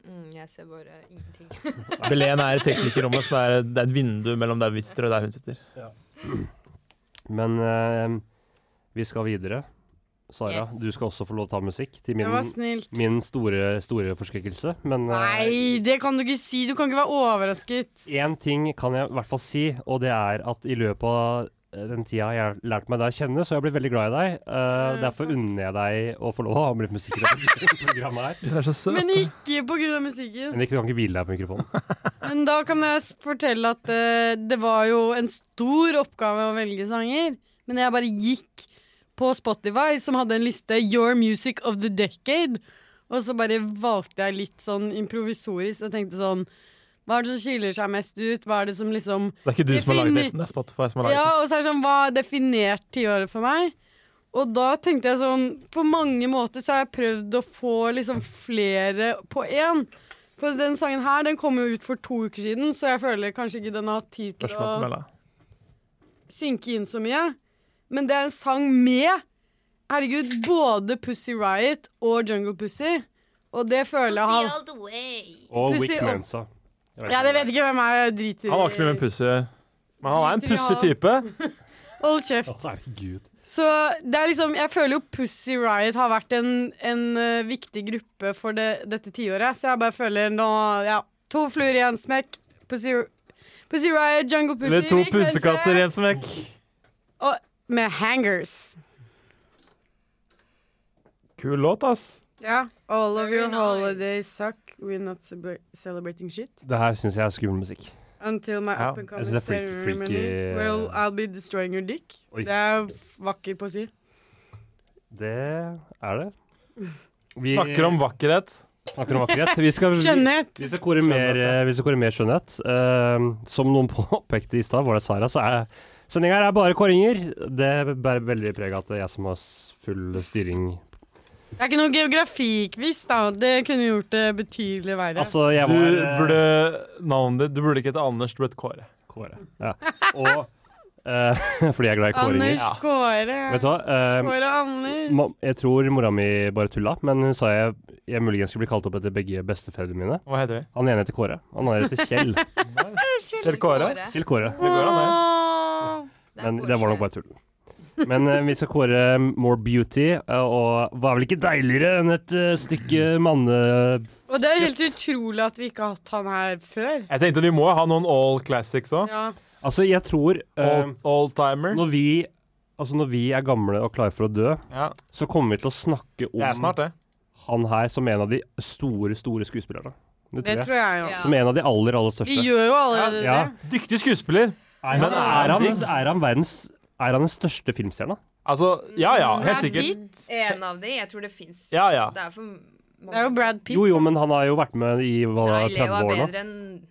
[SPEAKER 7] Mm, jeg ser bare ingenting.
[SPEAKER 3] Belen er i teknikerrommet, så det er, det er et vindu mellom der vi sitter og der hun sitter.
[SPEAKER 6] Men eh, vi skal videre. Sara,
[SPEAKER 7] Yes.
[SPEAKER 6] du skal også få lov til å ta musikk til min,
[SPEAKER 5] Det var snilt.
[SPEAKER 6] min store, store forskrekkelse. Men eh,
[SPEAKER 5] Nei, det kan du ikke si. Du kan ikke være overrasket.
[SPEAKER 6] én ting kan jeg i hvert fall si, og det er at i løpet av eh, den tida jeg har lært meg deg å kjenne, så jeg blir veldig glad i deg. Eh,
[SPEAKER 5] Mm,
[SPEAKER 6] derfor
[SPEAKER 5] takk.
[SPEAKER 6] unner jeg deg å få lov å ha med litt musikk i dette programmet her.
[SPEAKER 3] Hun er så søt.
[SPEAKER 5] Men ikke på grunn av musikken.
[SPEAKER 6] Men ikke, du kan ikke hvile deg på mikrofonen.
[SPEAKER 5] Men da kan jeg s- fortelle at eh, det var jo en stor oppgave å velge sanger. Men jeg bare gikk på Spotify, som hadde en liste 'Your Music of the Decade'. Og så bare valgte jeg litt sånn improvisorisk og tenkte sånn Hva er det som skiller seg mest ut? Hva er det som liksom
[SPEAKER 3] Så det er ikke du som har laget
[SPEAKER 5] Defini-
[SPEAKER 3] listen, det er Spotify som har laget den.
[SPEAKER 5] Ja, og så er det sånn, hva er definert tiåret for meg? Og da tenkte jeg sånn, på mange måter så har jeg prøvd å få liksom flere på én. For den sangen her, den kom jo ut for to uker siden, så jeg føler kanskje ikke den har hatt tid til
[SPEAKER 3] Førstemann til
[SPEAKER 5] å
[SPEAKER 3] mølla.
[SPEAKER 5] synke inn så mye. Men det er en sang med, herregud, både Pussy Riot og Jungle Pussy. Og det føler jeg
[SPEAKER 7] See
[SPEAKER 5] han...
[SPEAKER 7] all the way.
[SPEAKER 6] Og
[SPEAKER 5] Pussy
[SPEAKER 6] Wick
[SPEAKER 5] og-
[SPEAKER 6] Mensa. Jeg vet
[SPEAKER 5] Ja,
[SPEAKER 6] ikke
[SPEAKER 5] det
[SPEAKER 6] om
[SPEAKER 5] vet ikke hvem er, jeg driter i.
[SPEAKER 3] Han var ikke med en pussy Men han er en
[SPEAKER 5] Driter i å ha-
[SPEAKER 3] pussig type.
[SPEAKER 5] Hold kjeft.
[SPEAKER 6] Å, Herregud.
[SPEAKER 5] Så det er liksom, jeg føler jo Pussy Riot har vært en, en eh, viktig gruppe for det, dette tiåret. Så jeg bare føler nå ja, To fluer i en smekk. Pussy, Pussy Riot, Jungle Pussy.
[SPEAKER 3] Eller to
[SPEAKER 5] Rick Rense,
[SPEAKER 3] pussekatter i en smekk.
[SPEAKER 5] Med hangers.
[SPEAKER 3] Kul låt, ass.
[SPEAKER 5] Ja. All of
[SPEAKER 7] Very
[SPEAKER 5] your
[SPEAKER 7] nice.
[SPEAKER 5] holidays suck. We're not celebra- celebrating shit.
[SPEAKER 6] Det her syns jeg er skummel musikk.
[SPEAKER 5] Until my
[SPEAKER 3] Ja,
[SPEAKER 5] up and
[SPEAKER 6] jeg
[SPEAKER 5] coming
[SPEAKER 6] synes altså, det er freaky-
[SPEAKER 5] ceremony
[SPEAKER 6] freaky- eh,
[SPEAKER 5] Well, I'll be destroying your dick.
[SPEAKER 6] Oi.
[SPEAKER 5] Det er vakkert på å si.
[SPEAKER 6] Det er det. Vi
[SPEAKER 3] Snakker om vakkerhet.
[SPEAKER 6] snakker om akkurat. Vi skal,
[SPEAKER 5] Skjønnhet.
[SPEAKER 6] vi skal kåre mer, eh, vi skal kåre mer skjønnhet. Eh, som noen påpekte i stad, var det Sara, så er sendinga her er bare kåringer. Det bærer veldig preg av at det er jeg som har s- full styring.
[SPEAKER 5] Det er ikke noe geografikviss, da. Det kunne gjort det betydelig verre.
[SPEAKER 6] Altså, jeg
[SPEAKER 3] Du
[SPEAKER 6] var
[SPEAKER 3] burde navnet ditt Du burde ikke hete Anders, du burde hete Kåre.
[SPEAKER 6] Kåre. Ja. Og eh, fordi jeg er glad i kåringer.
[SPEAKER 5] Anders Kåre.
[SPEAKER 6] Vet du hva? Eh,
[SPEAKER 5] Kåre Anders.
[SPEAKER 6] ma- jeg tror mora mi bare tulla, men hun sa jeg, jeg muligens skulle bli kalt opp etter begge bestefedrene mine.
[SPEAKER 3] Hva heter vi?
[SPEAKER 6] Han ene heter Kåre, han andre heter Kjell.
[SPEAKER 3] Kjell Kåre?
[SPEAKER 7] Det
[SPEAKER 6] Kjell Kåre.
[SPEAKER 3] Det går an, det.
[SPEAKER 5] Åh.
[SPEAKER 7] er
[SPEAKER 6] Men det var nok
[SPEAKER 7] koselig.
[SPEAKER 6] bare tull. Men eh, vi skal kåre More Beauty, eh, og hva er vel ikke deiligere enn et eh, stykke manne...
[SPEAKER 5] Og det er helt utrolig at vi ikke har hatt han her før.
[SPEAKER 3] Jeg tenkte vi må jo ha noen all classics òg.
[SPEAKER 5] Ja.
[SPEAKER 6] Altså, jeg tror eh,
[SPEAKER 3] All, all timer.
[SPEAKER 6] når, vi, altså, når vi er gamle og klare for å dø,
[SPEAKER 3] Ja,
[SPEAKER 6] så kommer vi til å snakke om
[SPEAKER 3] det er snart, det.
[SPEAKER 6] han her som en av de store, store skuespillerne. Det
[SPEAKER 5] Det
[SPEAKER 6] tror jeg.
[SPEAKER 5] tror jeg jo.
[SPEAKER 7] Ja.
[SPEAKER 6] Som en av de aller, aller
[SPEAKER 5] Vi
[SPEAKER 6] største.
[SPEAKER 5] gjør jo allerede
[SPEAKER 6] Ja.
[SPEAKER 5] det.
[SPEAKER 3] Dyktig skuespiller.
[SPEAKER 6] Men
[SPEAKER 3] Men
[SPEAKER 6] er han,
[SPEAKER 3] er
[SPEAKER 6] er han verdens Er han den største filmstjerna?
[SPEAKER 3] Altså, ja ja,
[SPEAKER 5] Brad
[SPEAKER 3] helt sikkert.
[SPEAKER 5] Pitt.
[SPEAKER 7] En av de. Jeg tror det fins.
[SPEAKER 3] Ja ja.
[SPEAKER 7] Det er for mange.
[SPEAKER 5] Det er jo Brad Pitt.
[SPEAKER 6] Jo, jo, men han har jo vært med i hva,
[SPEAKER 7] Nei, Leo
[SPEAKER 6] 30
[SPEAKER 7] er
[SPEAKER 6] år nå.
[SPEAKER 7] bedre enn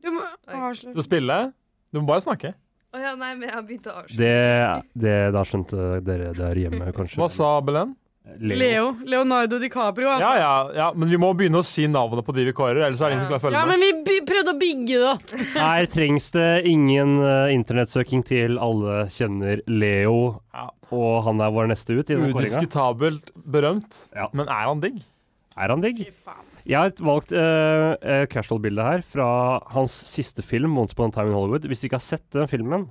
[SPEAKER 5] Du må avslutte.
[SPEAKER 3] Du spiller? Du må bare snakke.
[SPEAKER 7] Å ja, nei, men jeg har begynt å avslutte.
[SPEAKER 6] Det, det Da skjønte dere der hjemme, kanskje.
[SPEAKER 3] Hva sa Belen?
[SPEAKER 5] Leo. Leonardo DiCaprio,
[SPEAKER 3] Ja,
[SPEAKER 5] altså.
[SPEAKER 3] ja, ja, men vi må begynne å si navnet på de vi kårer, ellers er det ingen som klarer å
[SPEAKER 5] Ja,
[SPEAKER 3] følge med.
[SPEAKER 5] men vi by- prøvde å bygge det opp.
[SPEAKER 6] Her trengs det ingen eh, internettsøking til alle kjenner Leo,
[SPEAKER 3] Ja.
[SPEAKER 6] og han er vår neste ut i denne kåringa.
[SPEAKER 3] Udiskutabelt berømt.
[SPEAKER 6] Ja.
[SPEAKER 3] Men er han digg?
[SPEAKER 6] Er han digg?
[SPEAKER 5] Fy faen.
[SPEAKER 6] Jeg har valgt eh, eh, casual-bildet her fra hans siste film, 'Once upon a time in Hollywood'. Hvis du ikke har sett den filmen,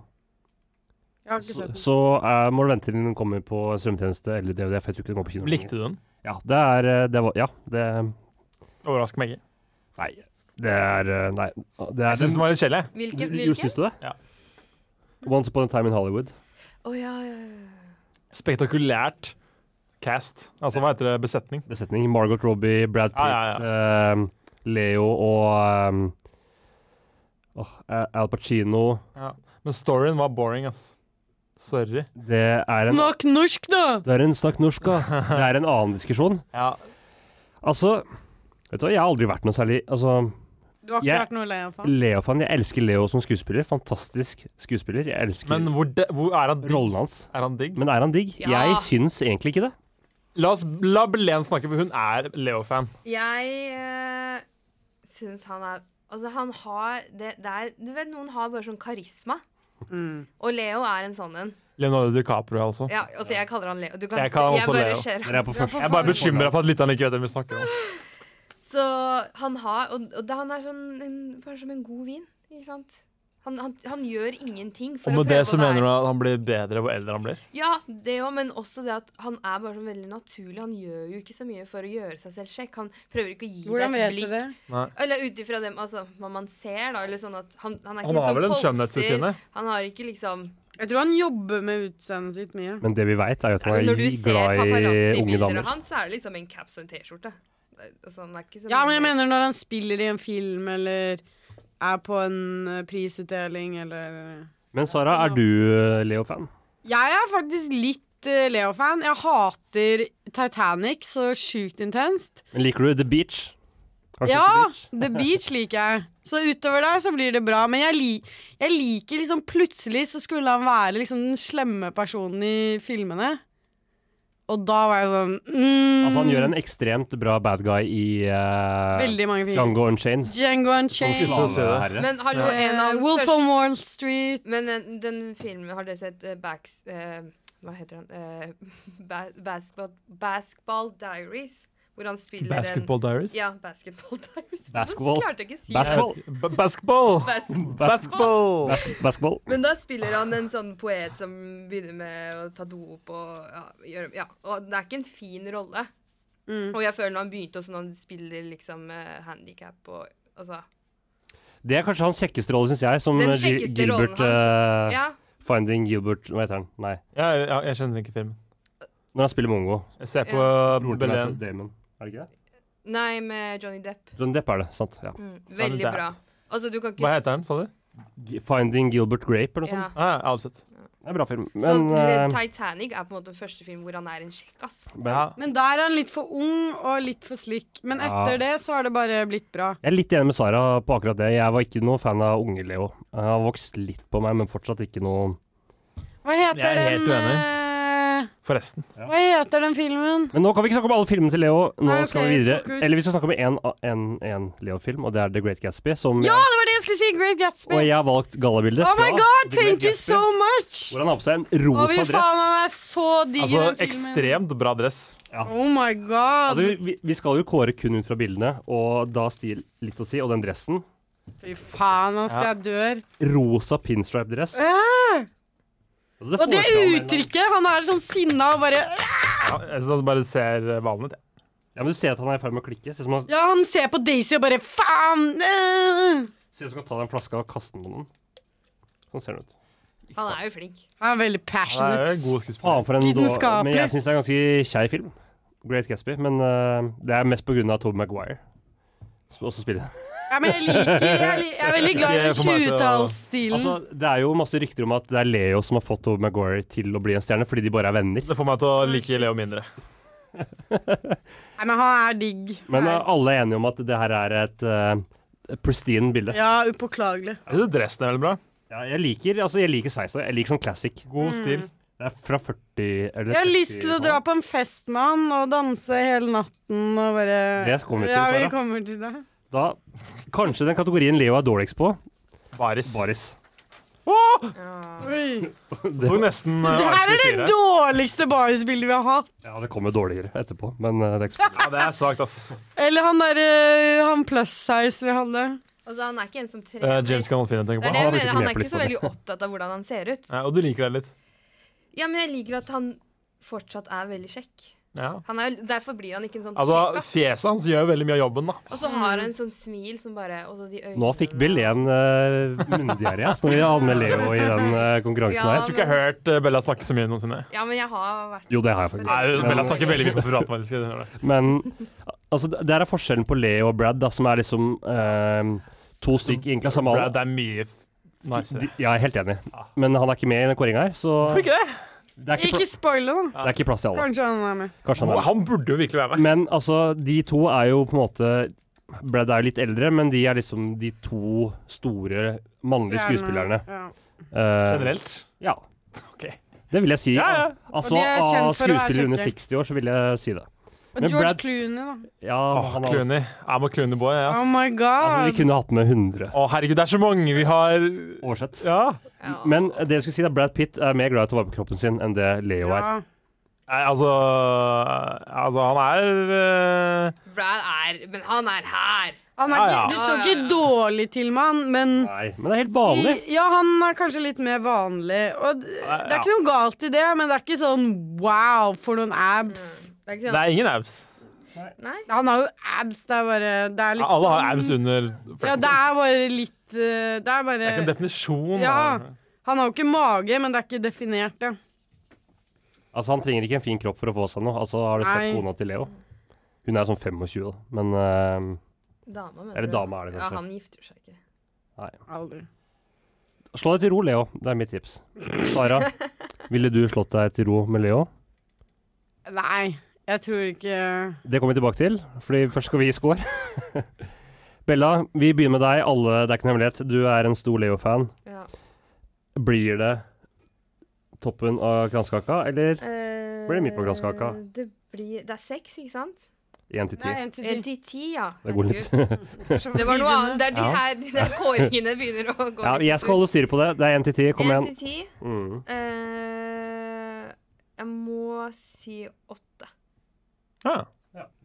[SPEAKER 5] Jeg har ikke
[SPEAKER 6] så,
[SPEAKER 5] sett den.
[SPEAKER 6] så eh, må du vente til den kommer på strømtjeneste eller DVD. For jeg tror ikke den kommer på kino.
[SPEAKER 3] Likte du den?
[SPEAKER 6] Ja, det er eh, det var, Ja, det
[SPEAKER 3] Overrasker meg ikke.
[SPEAKER 6] Nei. Det er eh, Nei. Det
[SPEAKER 3] Jeg
[SPEAKER 6] er
[SPEAKER 3] syns den var litt kjedelig.
[SPEAKER 7] Hvilken?
[SPEAKER 6] Jo,
[SPEAKER 7] hvilken?
[SPEAKER 6] syns du det?
[SPEAKER 3] Ja.
[SPEAKER 6] 'Once upon a time in Hollywood'.
[SPEAKER 7] Å ja, ja, ja.
[SPEAKER 3] Spektakulært cast. Altså, hva heter det? Besetning.
[SPEAKER 6] besetning. Margot Robbie, Brad Pitt,
[SPEAKER 3] Ja, ja,
[SPEAKER 6] ehm, Leo og ehm, åh, eh, Al Pacino.
[SPEAKER 3] Men storyen var boring, ass. Sorry.
[SPEAKER 6] Det er en,
[SPEAKER 5] Snakk norsk, da!
[SPEAKER 6] det er en snakk norsk, da. Det er en annen diskusjon.
[SPEAKER 3] Ja.
[SPEAKER 6] Altså Vet du hva, Jeg har aldri vært noe særlig altså,
[SPEAKER 5] Du har ikke
[SPEAKER 6] Jeg-
[SPEAKER 5] vært noe lei av faen.
[SPEAKER 6] Leo-fan. Jeg elsker Leo som skuespiller. Fantastisk skuespiller. Jeg elsker
[SPEAKER 3] Men hvor, de, hvor er han digg?
[SPEAKER 6] rollen hans.
[SPEAKER 3] Er han digg?
[SPEAKER 6] Men er han digg?
[SPEAKER 7] Ja.
[SPEAKER 6] Jeg syns egentlig ikke det.
[SPEAKER 3] La oss la Belen snakke, for hun er Leo-fan.
[SPEAKER 7] Jeg uh, syns eh, han er Altså, han har det, det er, Du vet, noen har bare sånn karisma. Og Leo er en sånn en.
[SPEAKER 3] Leonardo DiCaprio, altså.
[SPEAKER 7] Ja, altså, jeg kaller han Leo. Du kan
[SPEAKER 3] Jeg
[SPEAKER 7] se-
[SPEAKER 3] kaller han også
[SPEAKER 7] bare
[SPEAKER 3] Leo.
[SPEAKER 7] ser
[SPEAKER 6] Dere er på første.
[SPEAKER 3] Jeg er bare bekymra for at lytterne ikke vet hvem vi snakker om.
[SPEAKER 7] Så han har Og, og da han er sånn en, bare som en god vin, ikke sant? Han, han, han gjør ingenting for
[SPEAKER 3] Og
[SPEAKER 7] å
[SPEAKER 3] med
[SPEAKER 7] prøve
[SPEAKER 3] det
[SPEAKER 7] å
[SPEAKER 3] så
[SPEAKER 7] være
[SPEAKER 3] mener du at han blir bedre hvor eldre han blir?
[SPEAKER 7] Ja, det òg, men også det at han er bare sånn veldig naturlig. Han gjør jo ikke så mye for å gjøre seg selv sjekk. Han prøver ikke å gi
[SPEAKER 5] Hvordan
[SPEAKER 7] deg et
[SPEAKER 5] vet
[SPEAKER 7] blikk.
[SPEAKER 5] du det?
[SPEAKER 7] Eller ut ifra dem, altså, hva man ser, da. Eller sånn at han, han er ikke
[SPEAKER 3] Han har
[SPEAKER 7] liksom
[SPEAKER 3] vel en
[SPEAKER 7] poser.
[SPEAKER 3] skjønnhetsrutine?
[SPEAKER 7] Han har ikke liksom
[SPEAKER 5] Jeg tror han jobber med utseendet sitt mye.
[SPEAKER 6] Men det vi veit, er jo at
[SPEAKER 7] Men
[SPEAKER 6] han
[SPEAKER 7] Når
[SPEAKER 6] er
[SPEAKER 7] du ser
[SPEAKER 6] glad i unge
[SPEAKER 7] paparazzi-bilder av
[SPEAKER 6] damer.
[SPEAKER 7] han, så er det liksom en caps og en T-skjorte. Det- Altså, han er ikke så
[SPEAKER 5] Ja, men jeg
[SPEAKER 7] veldig-
[SPEAKER 5] mener når han spiller i en film eller er på en eh, prisutdeling eller
[SPEAKER 6] Men Sara, er du eh, Leo-fan?
[SPEAKER 5] Jeg er faktisk litt eh, Leo-fan. Jeg hater Titanic så sjukt intenst.
[SPEAKER 6] Men Liker du The Beach? Har du sett The
[SPEAKER 5] Ja!
[SPEAKER 6] Beach?
[SPEAKER 5] The Beach liker jeg. Så utover der så blir det bra. Men jeg, li jeg liker liksom Plutselig så skulle han være liksom den slemme personen i filmene. Og da var jeg sånn mm,
[SPEAKER 6] Altså, han gjør en ekstremt bra bad guy i eh,
[SPEAKER 5] Veldig mange filmer.
[SPEAKER 6] Django Unchained.
[SPEAKER 5] Django Unchained.
[SPEAKER 3] Å, herre.
[SPEAKER 7] Men hallo, en
[SPEAKER 5] Uh,
[SPEAKER 7] av hans
[SPEAKER 5] Wolf
[SPEAKER 7] største
[SPEAKER 5] on Wall Street.
[SPEAKER 7] Men den, den filmen, har dere sett eh, Backs... eh, hva heter han? Eh, ba basketball, basketball Diaries. Hvor han spiller
[SPEAKER 3] Basketball
[SPEAKER 7] en
[SPEAKER 3] Diaries?
[SPEAKER 7] Ja, Basketball Diaries.
[SPEAKER 6] Basketball.
[SPEAKER 7] Hvordan klarte jeg ikke å si det?
[SPEAKER 6] Basketball.
[SPEAKER 3] Ba- Basketball!
[SPEAKER 7] Basketball.
[SPEAKER 3] Basketball!
[SPEAKER 6] Bas basketball.
[SPEAKER 7] Men da spiller han en sånn poet som begynner med å ta dop og ja, gjøre Ja, og det er ikke en fin rolle.
[SPEAKER 5] Mm.
[SPEAKER 7] Og jeg føler når han begynte også, når han spiller liksom eh, handicap og altså
[SPEAKER 6] Det er kanskje hans kjekkeste rolle, syns jeg, som
[SPEAKER 7] Den
[SPEAKER 6] eh, Gi-
[SPEAKER 7] kjekkeste rollen
[SPEAKER 6] Gilbert
[SPEAKER 7] hans.
[SPEAKER 6] eh,
[SPEAKER 7] Ja.
[SPEAKER 6] Finding Gilbert Hva heter han? Nei.
[SPEAKER 3] Ja, ja, jeg kjenner ikke filmen.
[SPEAKER 6] Når han spiller mongo.
[SPEAKER 3] Jeg ser på
[SPEAKER 6] Broren til
[SPEAKER 3] Belen.
[SPEAKER 6] Matt Damon. Er det ikke det?
[SPEAKER 7] Nei, med Johnny Depp.
[SPEAKER 6] John Depp er det, sant. Ja.
[SPEAKER 7] Mm,
[SPEAKER 3] Johnny
[SPEAKER 7] veldig
[SPEAKER 3] Depp.
[SPEAKER 7] bra. Altså, du kan ikke
[SPEAKER 3] Hva heter den, sa du?
[SPEAKER 6] G- Finding Gilbert Grape eller noe
[SPEAKER 7] Ja.
[SPEAKER 6] sånt.
[SPEAKER 3] Ah, jeg har aldri sett.
[SPEAKER 6] Det er en bra film. Men,
[SPEAKER 7] Men,
[SPEAKER 6] eh,
[SPEAKER 7] Titanic er på en måte den første film hvor han er en kjekkas.
[SPEAKER 6] men
[SPEAKER 3] Ja.
[SPEAKER 5] Men der er han litt for ung og litt for slick. Men
[SPEAKER 6] Ja.
[SPEAKER 5] etter det så har det bare blitt bra.
[SPEAKER 6] jeg er litt enig med Sara på akkurat det. Jeg var ikke noe fan av unge Leo. Han har vokst litt på meg, men fortsatt ikke noe
[SPEAKER 5] Hva heter
[SPEAKER 3] Jeg er helt
[SPEAKER 5] den eh,
[SPEAKER 3] Forresten.
[SPEAKER 5] Hva heter den filmen?
[SPEAKER 6] Men nå kan vi ikke snakke om alle filmene til Leo. Nå
[SPEAKER 5] Nei, ok,
[SPEAKER 6] skal vi videre.
[SPEAKER 5] fokus.
[SPEAKER 6] Eller vi skal snakke om én- én- én Leo-film, og det er The Great Gatsby. Som
[SPEAKER 5] Ja,
[SPEAKER 6] jeg,
[SPEAKER 5] det var det jeg skulle si! Great Gatsby.
[SPEAKER 6] og jeg har valgt gallabildet.
[SPEAKER 5] Oh my
[SPEAKER 6] fra
[SPEAKER 5] god,
[SPEAKER 6] The Great
[SPEAKER 5] thank you
[SPEAKER 6] Gatsby,
[SPEAKER 5] so much!
[SPEAKER 6] Hvor han har på seg en
[SPEAKER 5] Å, fy
[SPEAKER 6] rosa
[SPEAKER 5] faen,
[SPEAKER 6] dress.
[SPEAKER 5] han er så digg i
[SPEAKER 3] Altså,
[SPEAKER 5] den filmen.
[SPEAKER 3] ekstremt bra dress.
[SPEAKER 5] Oh my god.
[SPEAKER 6] Altså, vi- vi, vi skal jo kåre kun ut fra bildene, og da stil litt å si. Og den dressen.
[SPEAKER 5] Fy faen, altså, jeg dør.
[SPEAKER 6] Rosa pinstripe-dress.
[SPEAKER 5] Æ!
[SPEAKER 6] Altså,
[SPEAKER 5] Eh, Og det
[SPEAKER 6] det får fram en eller annen-
[SPEAKER 5] uttrykket! Han er sånn sinna og bare
[SPEAKER 3] Ja, jeg synes han bare ser eh, valen ut. jeg.
[SPEAKER 6] Ja, men Du ser at han er i ferd med å klikke. Ser ut som han
[SPEAKER 5] Ja, han ser på Daisy og bare faen! øh!"
[SPEAKER 6] ser ut som han kan ta den flaska og kaste den på noen. Sånn ser den ut.
[SPEAKER 7] Han er jo flink.
[SPEAKER 5] Han er
[SPEAKER 3] Han er jo
[SPEAKER 5] veldig passionate.
[SPEAKER 3] god skuespiller.
[SPEAKER 6] Faen for en dår-
[SPEAKER 5] Lidenskapelig.
[SPEAKER 6] Men jeg syns det er en ganske kjei film. Great Gatsby. Men eh, det er mest på grunn av Tobey Maguire, som også spiller.
[SPEAKER 5] Ja, men jeg liker Jeg, li- jeg er veldig glad i den
[SPEAKER 3] Ikke for meg til å-
[SPEAKER 5] 20-tallsstilen.
[SPEAKER 6] Altså, det er jo masse rykter om at det er Leo som har fått Tobey Maguire til å bli en stjerne, fordi de bare er venner.
[SPEAKER 3] Det får meg til å like Leo mindre.
[SPEAKER 5] Nei, men han er digg.
[SPEAKER 6] Men eh, alle er enige om at det her er et eh, pristine bilde.
[SPEAKER 5] Ja, upåklagelig.
[SPEAKER 3] Jeg synes dressen er veldig bra.
[SPEAKER 6] Ja, jeg liker altså, jeg liker sveis og jeg liker sånn classic.
[SPEAKER 3] God stil.
[SPEAKER 6] Det er fra 40 eller
[SPEAKER 5] Jeg har lyst til å dra på en fest med han og danse hele natten og bare
[SPEAKER 6] Det kommer vi til,
[SPEAKER 5] ja,
[SPEAKER 6] Sara.
[SPEAKER 5] vi kommer til det.
[SPEAKER 6] Da, kanskje den kategorien Leo er dårligst på,
[SPEAKER 3] Baris.
[SPEAKER 6] baris.
[SPEAKER 3] Det tok nesten eh,
[SPEAKER 5] Det her er
[SPEAKER 3] artig
[SPEAKER 5] det
[SPEAKER 3] fire.
[SPEAKER 5] dårligste barisbildet vi har hatt.
[SPEAKER 6] Ja, det kommer dårligere etterpå, men eh, det er ikke så
[SPEAKER 3] Ja, det er svakt, ass.
[SPEAKER 5] Eller han derre Han plus size vi hadde.
[SPEAKER 7] Altså, han er ikke en som trener.
[SPEAKER 3] Eh, James Gandolfini tenker på.
[SPEAKER 7] det er det
[SPEAKER 6] han er
[SPEAKER 7] jeg
[SPEAKER 6] faktisk
[SPEAKER 7] mener. Han
[SPEAKER 6] med
[SPEAKER 7] er
[SPEAKER 6] på
[SPEAKER 7] ikke så
[SPEAKER 6] lista mi.
[SPEAKER 7] veldig opptatt av hvordan han ser ut.
[SPEAKER 3] Ja, og du liker det litt.
[SPEAKER 7] Ja, men jeg liker at han fortsatt er veldig kjekk.
[SPEAKER 3] Ja.
[SPEAKER 7] Han er, derfor blir han ikke en sånn
[SPEAKER 3] Altså,
[SPEAKER 7] kjekkas.
[SPEAKER 3] fjeset hans gjør jo veldig mye av jobben, da.
[SPEAKER 7] Og så har han en sånn smil som bare og så de øynene.
[SPEAKER 6] Nå fikk Bill en uh, munndiaré ass, når vi hadde med Leo i den eh, konkurransen
[SPEAKER 7] Ja,
[SPEAKER 6] her.
[SPEAKER 3] Jeg tror ikke jeg har hørt eh, Bella snakke så mye noensinne.
[SPEAKER 7] Ja, men jeg har vært
[SPEAKER 6] Jo, det har jeg faktisk.
[SPEAKER 3] Nei, Bella snakker veldig mye på privat, faktisk. jeg hører det.
[SPEAKER 6] Men altså, det- der er forskjellen på Leo og Brad, da, som er liksom eh, to stykker egentlig av samme
[SPEAKER 3] Brad
[SPEAKER 6] alder.
[SPEAKER 3] er mye f- nice.
[SPEAKER 6] De- Ja, jeg er helt enig, men han er ikke med i den kåringa her, så
[SPEAKER 3] Hvorfor
[SPEAKER 6] det
[SPEAKER 3] ikke det?
[SPEAKER 6] er ikke, pl
[SPEAKER 5] Ikke spoil det, da.
[SPEAKER 6] det er ikke plass til alle.
[SPEAKER 5] Kanskje han er med.
[SPEAKER 6] Kanskje han er
[SPEAKER 3] Han burde jo virkelig være med.
[SPEAKER 6] Men altså, de to er jo på en måte Brad er jo litt eldre, men de er liksom de to store mannlige skuespillerne.
[SPEAKER 5] Ja.
[SPEAKER 6] Eh,
[SPEAKER 3] Generelt.
[SPEAKER 6] Ja.
[SPEAKER 3] Ok.
[SPEAKER 6] Det vil jeg si.
[SPEAKER 3] Ja, ja.
[SPEAKER 6] Altså,
[SPEAKER 5] Og de er kjent
[SPEAKER 6] av
[SPEAKER 5] for å være
[SPEAKER 6] skuespillere under
[SPEAKER 5] kjekke.
[SPEAKER 6] 60 år, så vil jeg si det.
[SPEAKER 5] Og
[SPEAKER 3] Men
[SPEAKER 5] George
[SPEAKER 3] Brad-
[SPEAKER 5] Clooney, da.
[SPEAKER 6] Ja,
[SPEAKER 3] Åh,
[SPEAKER 6] han har,
[SPEAKER 3] Clooney. I'm a Clooney-boy,
[SPEAKER 5] Oh
[SPEAKER 3] ass. Å,
[SPEAKER 5] my god.
[SPEAKER 6] altså, vi kunne hatt med 100
[SPEAKER 3] herregud, det er så mange vi har
[SPEAKER 6] oversett.
[SPEAKER 3] Ja.
[SPEAKER 7] Ja.
[SPEAKER 6] Men det jeg skulle si er at Brad Pitt er mer glad i å ta vare på kroppen sin enn det Leo er.
[SPEAKER 5] ja.
[SPEAKER 3] Nei, altså Altså, han er eh,
[SPEAKER 7] Brad er Men han er her!
[SPEAKER 5] Han er
[SPEAKER 3] Ja,
[SPEAKER 5] ikke,
[SPEAKER 3] ja.
[SPEAKER 5] du står
[SPEAKER 7] Ja, ja,
[SPEAKER 5] ikke
[SPEAKER 7] ja.
[SPEAKER 5] dårlig til med han, men
[SPEAKER 6] Nei, men det er helt vanlig.
[SPEAKER 5] I- Ja, han er kanskje litt mer vanlig. Og d- det er
[SPEAKER 3] ja.
[SPEAKER 5] ikke noe galt i det, men det er ikke sånn wow for noen abs.
[SPEAKER 7] Det er ikke
[SPEAKER 3] Det
[SPEAKER 7] sånn
[SPEAKER 3] er ingen abs.
[SPEAKER 7] Nei.
[SPEAKER 5] Han har jo abs, det er bare det er litt
[SPEAKER 3] Alle har
[SPEAKER 5] sånn-
[SPEAKER 3] abs under
[SPEAKER 5] Ja, det er bare litt eh, Det er
[SPEAKER 3] Det er ikke en
[SPEAKER 5] bare
[SPEAKER 3] definisjon.
[SPEAKER 5] Ja.
[SPEAKER 3] da.
[SPEAKER 5] Han har jo ikke mage, men det er ikke definert, ja.
[SPEAKER 6] Altså, han trenger ikke en fin kropp for å få seg noe. Altså, har du sett
[SPEAKER 5] Nei.
[SPEAKER 6] kona til Leo? Hun er sånn 25, da. Men eh,
[SPEAKER 7] Dama, mener
[SPEAKER 6] Eller
[SPEAKER 7] du?
[SPEAKER 6] dame er det kanskje.
[SPEAKER 7] Ja, han gifter seg ikke.
[SPEAKER 5] Aldri.
[SPEAKER 6] slå deg til ro, Leo. Det er mitt tips. Sara, ville du slått deg til ro med Leo?
[SPEAKER 5] Nei, jeg tror ikke
[SPEAKER 6] Det kommer vi tilbake til, fordi først skal vi gi score. Bella, vi begynner med deg. Alle, det er ikke noe hemmelighet. Du er en stor Leo-fan.
[SPEAKER 7] Ja.
[SPEAKER 6] Blir det toppen av kransekaka, eller
[SPEAKER 7] Eh,
[SPEAKER 6] Blir det midt på glasskaka?
[SPEAKER 7] Det, blir, det er seks, ikke sant?
[SPEAKER 6] én til
[SPEAKER 5] Nei,
[SPEAKER 6] ti?
[SPEAKER 5] en til
[SPEAKER 7] En
[SPEAKER 5] ti.
[SPEAKER 7] til ti, ja.
[SPEAKER 6] Det går litt
[SPEAKER 7] Herregud. Det var noe annet. Det er de
[SPEAKER 6] Ja.
[SPEAKER 7] her de der kåringene begynner å gå
[SPEAKER 6] Ja, jeg skal holde styr på det. Det er én til ti. Kom igjen.
[SPEAKER 7] En til ti.
[SPEAKER 6] Mm.
[SPEAKER 7] Eh, jeg må si åtte.
[SPEAKER 3] Ja.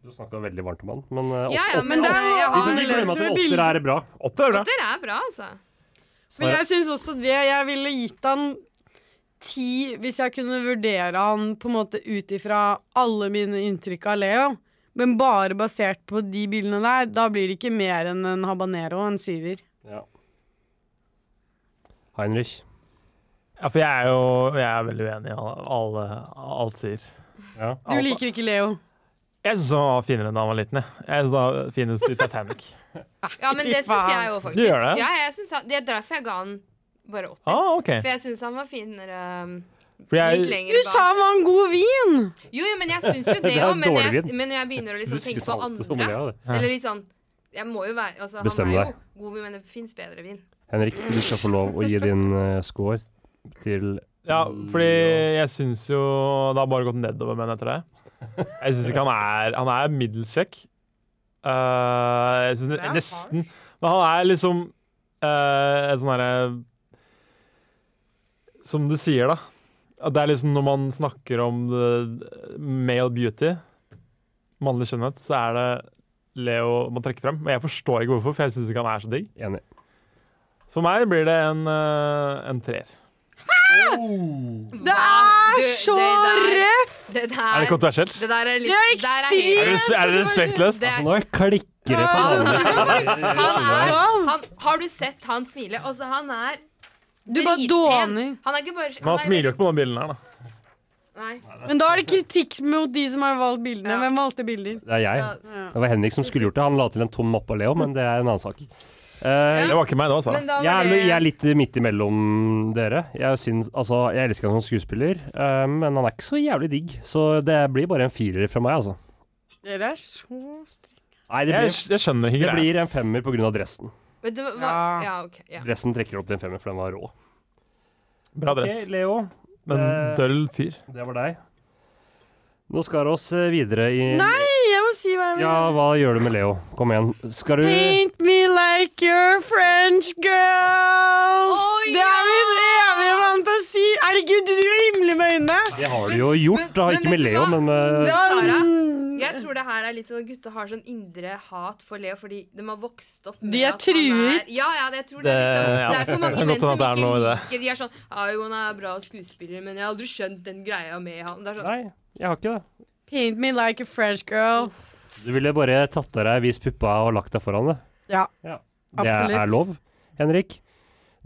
[SPEAKER 6] Du snakka veldig varmt om han, men eh, åt-
[SPEAKER 7] Ja, ja, men
[SPEAKER 5] åtte-
[SPEAKER 7] det er
[SPEAKER 5] åtte- åtte-
[SPEAKER 7] jeg
[SPEAKER 6] Ikke
[SPEAKER 7] har,
[SPEAKER 5] åtte-
[SPEAKER 6] glem at
[SPEAKER 5] Leser med
[SPEAKER 6] åtter
[SPEAKER 5] bilder.
[SPEAKER 6] er bra.
[SPEAKER 3] Åtte er bra.
[SPEAKER 7] Åtter er bra, altså.
[SPEAKER 5] Men jeg syns også det. Jeg ville gitt han ti hvis jeg kunne vurdere han på en måte ut ifra alle mine inntrykk av Leo. Men bare basert på de bildene der, da blir det ikke mer enn en habanero og en syver.
[SPEAKER 6] Ja. Heinrich.
[SPEAKER 3] Ja, for jeg er jo jeg er veldig uenig i alle, alle, alt sier.
[SPEAKER 6] Ja.
[SPEAKER 5] Du liker ikke Leo.
[SPEAKER 3] Jeg syns han var finere da han var liten. Jeg, jeg synes han var finest i Titanic.
[SPEAKER 7] Ja, men
[SPEAKER 5] Fy
[SPEAKER 7] det syns
[SPEAKER 5] faen.
[SPEAKER 7] jeg jo faktisk.
[SPEAKER 3] Du gjør det?
[SPEAKER 7] Ja, jeg synes han, det er derfor jeg ga han bare åtte.
[SPEAKER 3] ah, ok.
[SPEAKER 7] For jeg syns han var finere um,
[SPEAKER 3] For
[SPEAKER 7] Gikk
[SPEAKER 3] jeg,
[SPEAKER 7] lenger
[SPEAKER 5] Du sa han var en god vin!
[SPEAKER 7] bak. Jo, jo, men jeg syns jo det
[SPEAKER 6] Det er
[SPEAKER 7] òg. Men,
[SPEAKER 6] dårlig
[SPEAKER 7] jeg-
[SPEAKER 6] vin.
[SPEAKER 7] men jeg begynner å
[SPEAKER 6] Du
[SPEAKER 7] liksom tenke
[SPEAKER 6] synes
[SPEAKER 7] på
[SPEAKER 6] alltid som
[SPEAKER 7] andre.
[SPEAKER 6] Leo, du.
[SPEAKER 7] Eller litt sånn Jeg må jo være altså, Han
[SPEAKER 6] Bestem
[SPEAKER 7] er
[SPEAKER 6] deg.
[SPEAKER 7] jo god, men det fins bedre vin.
[SPEAKER 6] Henrik, du skal få lov å gi din eh, score til
[SPEAKER 3] ja, fordi jeg syns jo Det har bare gått nedover med han etter det. Jeg syns ikke han er Han er middels kjekk. Eh, jeg syns nesten Men han er liksom eh, et sånn herre Som du sier, da. At det er liksom når man snakker om the male beauty, mannlig skjønnhet, så er det Leo man trekker frem. Men jeg forstår ikke hvorfor, for jeg syns ikke han er så digg.
[SPEAKER 6] Enig.
[SPEAKER 3] For meg blir det en, eh, en treer.
[SPEAKER 5] Det er
[SPEAKER 7] Du,
[SPEAKER 5] så
[SPEAKER 7] det der-
[SPEAKER 5] røft!
[SPEAKER 7] Det der
[SPEAKER 3] Er det kontroversielt?
[SPEAKER 7] Det der er litt
[SPEAKER 5] Det er
[SPEAKER 7] der
[SPEAKER 5] ekstremt!
[SPEAKER 3] Er det, respe- er det respektløst?
[SPEAKER 7] Det er-
[SPEAKER 6] Altså, nå klikker det
[SPEAKER 7] Ah,
[SPEAKER 5] Ja,
[SPEAKER 6] for alle.
[SPEAKER 7] han er, han, har du sett han smile? Altså, han er
[SPEAKER 5] Du bare
[SPEAKER 7] dritpen.
[SPEAKER 5] dåner.
[SPEAKER 7] Han er ikke bare
[SPEAKER 3] Men han
[SPEAKER 7] er
[SPEAKER 3] smiler jo
[SPEAKER 7] veldig-
[SPEAKER 3] ikke på denne bilden her, da.
[SPEAKER 7] Nei.
[SPEAKER 5] Men da er det kritikk mot de som har valgt bildene.
[SPEAKER 7] Ja.
[SPEAKER 5] Hvem valgte bilder?
[SPEAKER 6] Det er jeg.
[SPEAKER 7] Ja,
[SPEAKER 6] Det var Henrik som skulle gjort det. Han la til en tom mappe av Leo, men det er en annen sak. Eh,
[SPEAKER 3] Det var ikke meg, det, altså.
[SPEAKER 7] men da var
[SPEAKER 6] jeg, er,
[SPEAKER 7] det
[SPEAKER 6] jeg er litt midt imellom dere. Jeg, syns, altså, jeg elsker han som skuespiller, eh, men han er ikke så jævlig digg. Så det blir bare en firer fra meg, altså.
[SPEAKER 5] Dere er så strenge.
[SPEAKER 6] Nei, det
[SPEAKER 3] Jeg,
[SPEAKER 6] blir,
[SPEAKER 3] jeg skjønner ikke
[SPEAKER 6] det
[SPEAKER 3] greia.
[SPEAKER 6] blir en femmer pga. dressen.
[SPEAKER 7] Vet du hva?
[SPEAKER 5] Ja.
[SPEAKER 7] Ja, ok. Ja.
[SPEAKER 6] Dressen trekker opp til en femmer, for den var rå.
[SPEAKER 3] Bra dress,
[SPEAKER 6] Ok, Leo,
[SPEAKER 3] men
[SPEAKER 6] eh,
[SPEAKER 3] døll fyr.
[SPEAKER 6] det var deg. Nå skal vi oss eh, videre i
[SPEAKER 5] Nei, jeg må si hva jeg vil.
[SPEAKER 6] Ja, hva gjør du med Leo? Kom igjen. Skal du
[SPEAKER 5] Paint me like your French girls!
[SPEAKER 7] Å,
[SPEAKER 5] Det er min evige fantasi! Herregud, du driver og himler med øynene!
[SPEAKER 6] Det har du jo gjort, da.
[SPEAKER 7] Men-
[SPEAKER 6] Ikke med
[SPEAKER 7] men vet du
[SPEAKER 6] Leo,
[SPEAKER 7] hva?
[SPEAKER 6] men eh, med
[SPEAKER 5] Det er
[SPEAKER 7] Sara,
[SPEAKER 5] min-
[SPEAKER 7] Jeg tror det her er litt sånn gutta har sånn indre hat for Leo fordi de har vokst opp med
[SPEAKER 5] De er
[SPEAKER 7] at han
[SPEAKER 5] truet.
[SPEAKER 7] Ja, ja, det, jeg tror det,
[SPEAKER 3] Det-
[SPEAKER 7] er liksom,
[SPEAKER 3] ja.
[SPEAKER 7] det er for mange
[SPEAKER 3] Godt
[SPEAKER 7] menn som
[SPEAKER 3] at det er
[SPEAKER 7] ikke
[SPEAKER 3] noe i det.
[SPEAKER 7] liker De er sånn Ja, jo, han er bra skuespiller, men jeg har aldri skjønt den greia med han. Det er sånn,
[SPEAKER 6] Nei, jeg har ikke det.
[SPEAKER 5] Paint me like a French girl.
[SPEAKER 6] Du ville bare tatt av deg vist puppa og lagt deg foran det.
[SPEAKER 5] Ja,
[SPEAKER 6] Det
[SPEAKER 5] absolutt.
[SPEAKER 6] er lov. Henrik,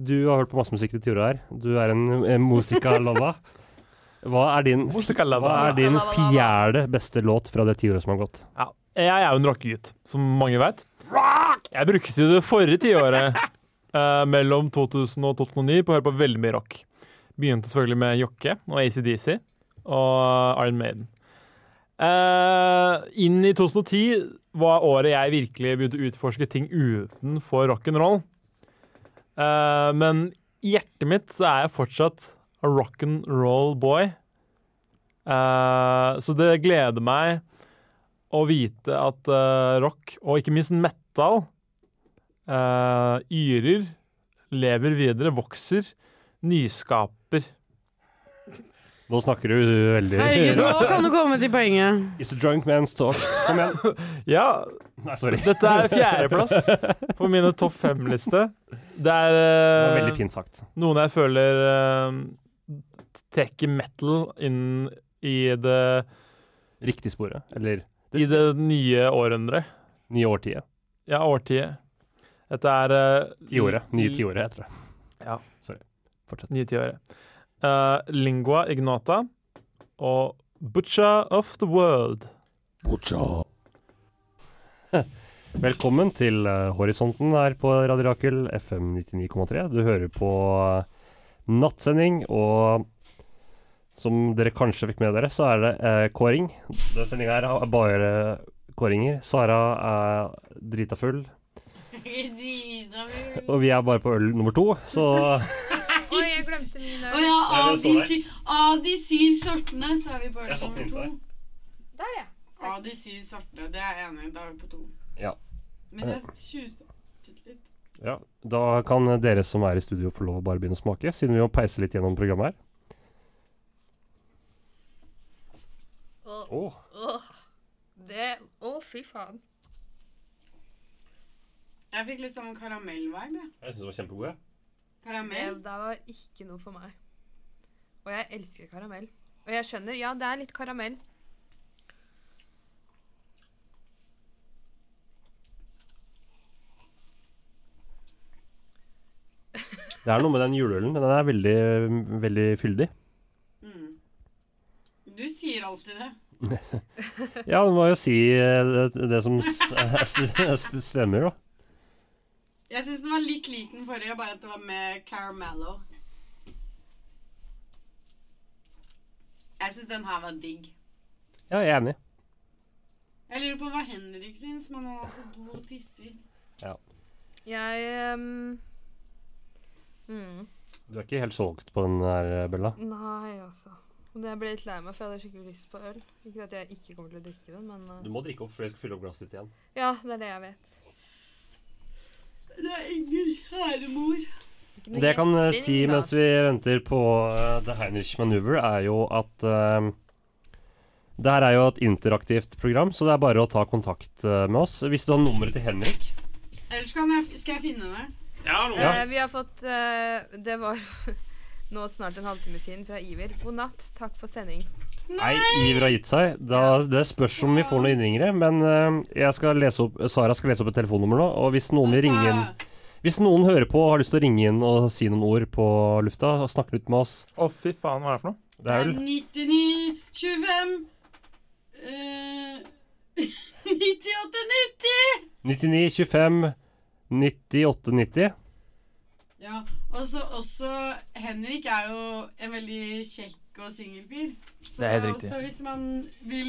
[SPEAKER 6] du har hørt på masse musikk til Tura her. Du er en eh, musicalova. Hva er din, hva
[SPEAKER 3] Musikalava.
[SPEAKER 6] er din fjerde beste låt fra det tiåret som har gått?
[SPEAKER 3] Ja, jeg er jo en rockegutt, som mange veit. Jeg brukte jo det forrige tiåret, eh, mellom 2000 og 2009, på å høre på veldig mye rock. Begynte selvfølgelig med Jokke og ACDC og Iron Maiden. Eh, inn i 2010 var året jeg virkelig begynte å utforske ting utenfor rock'n'roll. Eh, men i hjertet mitt så er jeg fortsatt a rock'n'roll boy. Eh, så det gleder meg å vite at eh, rock, og ikke minst metal, eh, yrer, lever videre, vokser, nyskaper.
[SPEAKER 6] Nå snakker du veldig
[SPEAKER 5] Herregud, nå kan du komme til poenget.
[SPEAKER 6] It's a drunk man's talk. Kom igjen.
[SPEAKER 3] Ja,
[SPEAKER 6] Nei, sorry. Det
[SPEAKER 3] dette er fjerdeplass på mine topp fem-liste. Det er eh,
[SPEAKER 6] var veldig fint sagt.
[SPEAKER 3] noen jeg føler eh, trekker metal inn i det,
[SPEAKER 6] Riktig sporet. Eller
[SPEAKER 3] i det nye århundret.
[SPEAKER 6] nye årtiet.
[SPEAKER 3] Ja, årtiet. Dette er eh,
[SPEAKER 6] Tiåret. Nye tiåret, heter det.
[SPEAKER 3] Ja.
[SPEAKER 6] Sorry. Fortsett.
[SPEAKER 3] Nye tiåret. Eh, lingua ignota og Butcha of the World.
[SPEAKER 6] Velkommen til eh, Horisonten her på Radio Rakel, FM 99,3. Du hører på eh, nattsending, og som dere kanskje fikk med dere, så er det eh, kåring. Denne sendinga her er bare kåringer. Sara er drita full,
[SPEAKER 5] Å
[SPEAKER 6] og vi er bare på øl nummer to, så
[SPEAKER 7] Oi, jeg glemte min øl.
[SPEAKER 5] ja,
[SPEAKER 6] Nei,
[SPEAKER 5] av
[SPEAKER 6] det
[SPEAKER 5] de,
[SPEAKER 6] står der.
[SPEAKER 5] sy av de syv sortene, så er vi på øl
[SPEAKER 6] Jeg satte den
[SPEAKER 5] nummer to.
[SPEAKER 6] inntil
[SPEAKER 7] Der, ja.
[SPEAKER 5] Av de syv sortene, det er jeg enig i. Da er vi på to.
[SPEAKER 6] Ja.
[SPEAKER 5] Men jeg tjuvstartet litt.
[SPEAKER 6] ja, da kan dere som er i studio, få lov å bare begynne å smake, siden vi må peise litt gjennom programmet her.
[SPEAKER 7] Åh,
[SPEAKER 6] Åh,
[SPEAKER 7] åh. Det Å, fy faen.
[SPEAKER 5] Jeg fikk litt sånn karamellvibe. jeg.
[SPEAKER 6] jeg syns de var kjempegode.
[SPEAKER 7] Det
[SPEAKER 5] Karamell.
[SPEAKER 7] der var ikke noe for meg. Og jeg elsker karamell. Og jeg skjønner, ja, det er litt karamell.
[SPEAKER 6] Det er noe med den juleølen. Den er veldig, veldig fyldig.
[SPEAKER 5] Mm. Du sier alltid det.
[SPEAKER 6] Ja, du må jo si eh, det, det som s- s- stemmer, da.
[SPEAKER 5] Jeg syns den var litt lik den forrige, bare at det var med caramello. Jeg syns den her var digg.
[SPEAKER 6] Ja, jeg er enig.
[SPEAKER 5] Jeg lurer på hva Henrik syns, men han er så do og tisser.
[SPEAKER 7] Jeg ehm, mm,
[SPEAKER 6] Du er ikke helt solgt på den der, Bella?
[SPEAKER 7] Nei, altså. Og det- jeg ble litt lei meg, for jeg hadde skikkelig lyst på øl. Ikke at jeg ikke kommer til å drikke det, men eh,
[SPEAKER 6] må drikke opp før jeg skal fylle opp glasset ditt igjen.
[SPEAKER 7] Ja, det er det jeg vet.
[SPEAKER 5] Det er ingen kjære mor.
[SPEAKER 7] Ikke noe
[SPEAKER 6] Det jeg kan eh,
[SPEAKER 7] gjesping,
[SPEAKER 6] si
[SPEAKER 7] da.
[SPEAKER 6] mens vi venter på eh, The Heinrich Maneuver, er jo at eh, Det her er jo et interaktivt program, så det er bare å ta kontakt eh, med oss. Hvis du har nummeret til Henrik
[SPEAKER 5] Ellers kan jeg, skal jeg finne det.
[SPEAKER 7] Eh, vi har fått eh, Det var nå snart en halvtime siden fra Iver. God natt, takk for sending.
[SPEAKER 6] Nei, Iver har gitt seg. Da, det spørs om vi får noen innringere. Men eh, jeg skal lese opp, Sara skal lese opp et telefonnummer nå. Og hvis noen vil ringe inn
[SPEAKER 5] Altså-
[SPEAKER 6] Hvis noen hører på og har lyst til å ringe inn og si noen ord på lufta, og snakke litt med oss
[SPEAKER 3] Å, fy faen, hva er det for noe?
[SPEAKER 6] Det er vel
[SPEAKER 5] 99, 25 eh, 98, 90!
[SPEAKER 6] 99 25 98 90.
[SPEAKER 5] Ja, og så også Henrik er jo en veldig kjekk og singelfyr. Så
[SPEAKER 3] Det er helt riktig.
[SPEAKER 5] også hvis man vil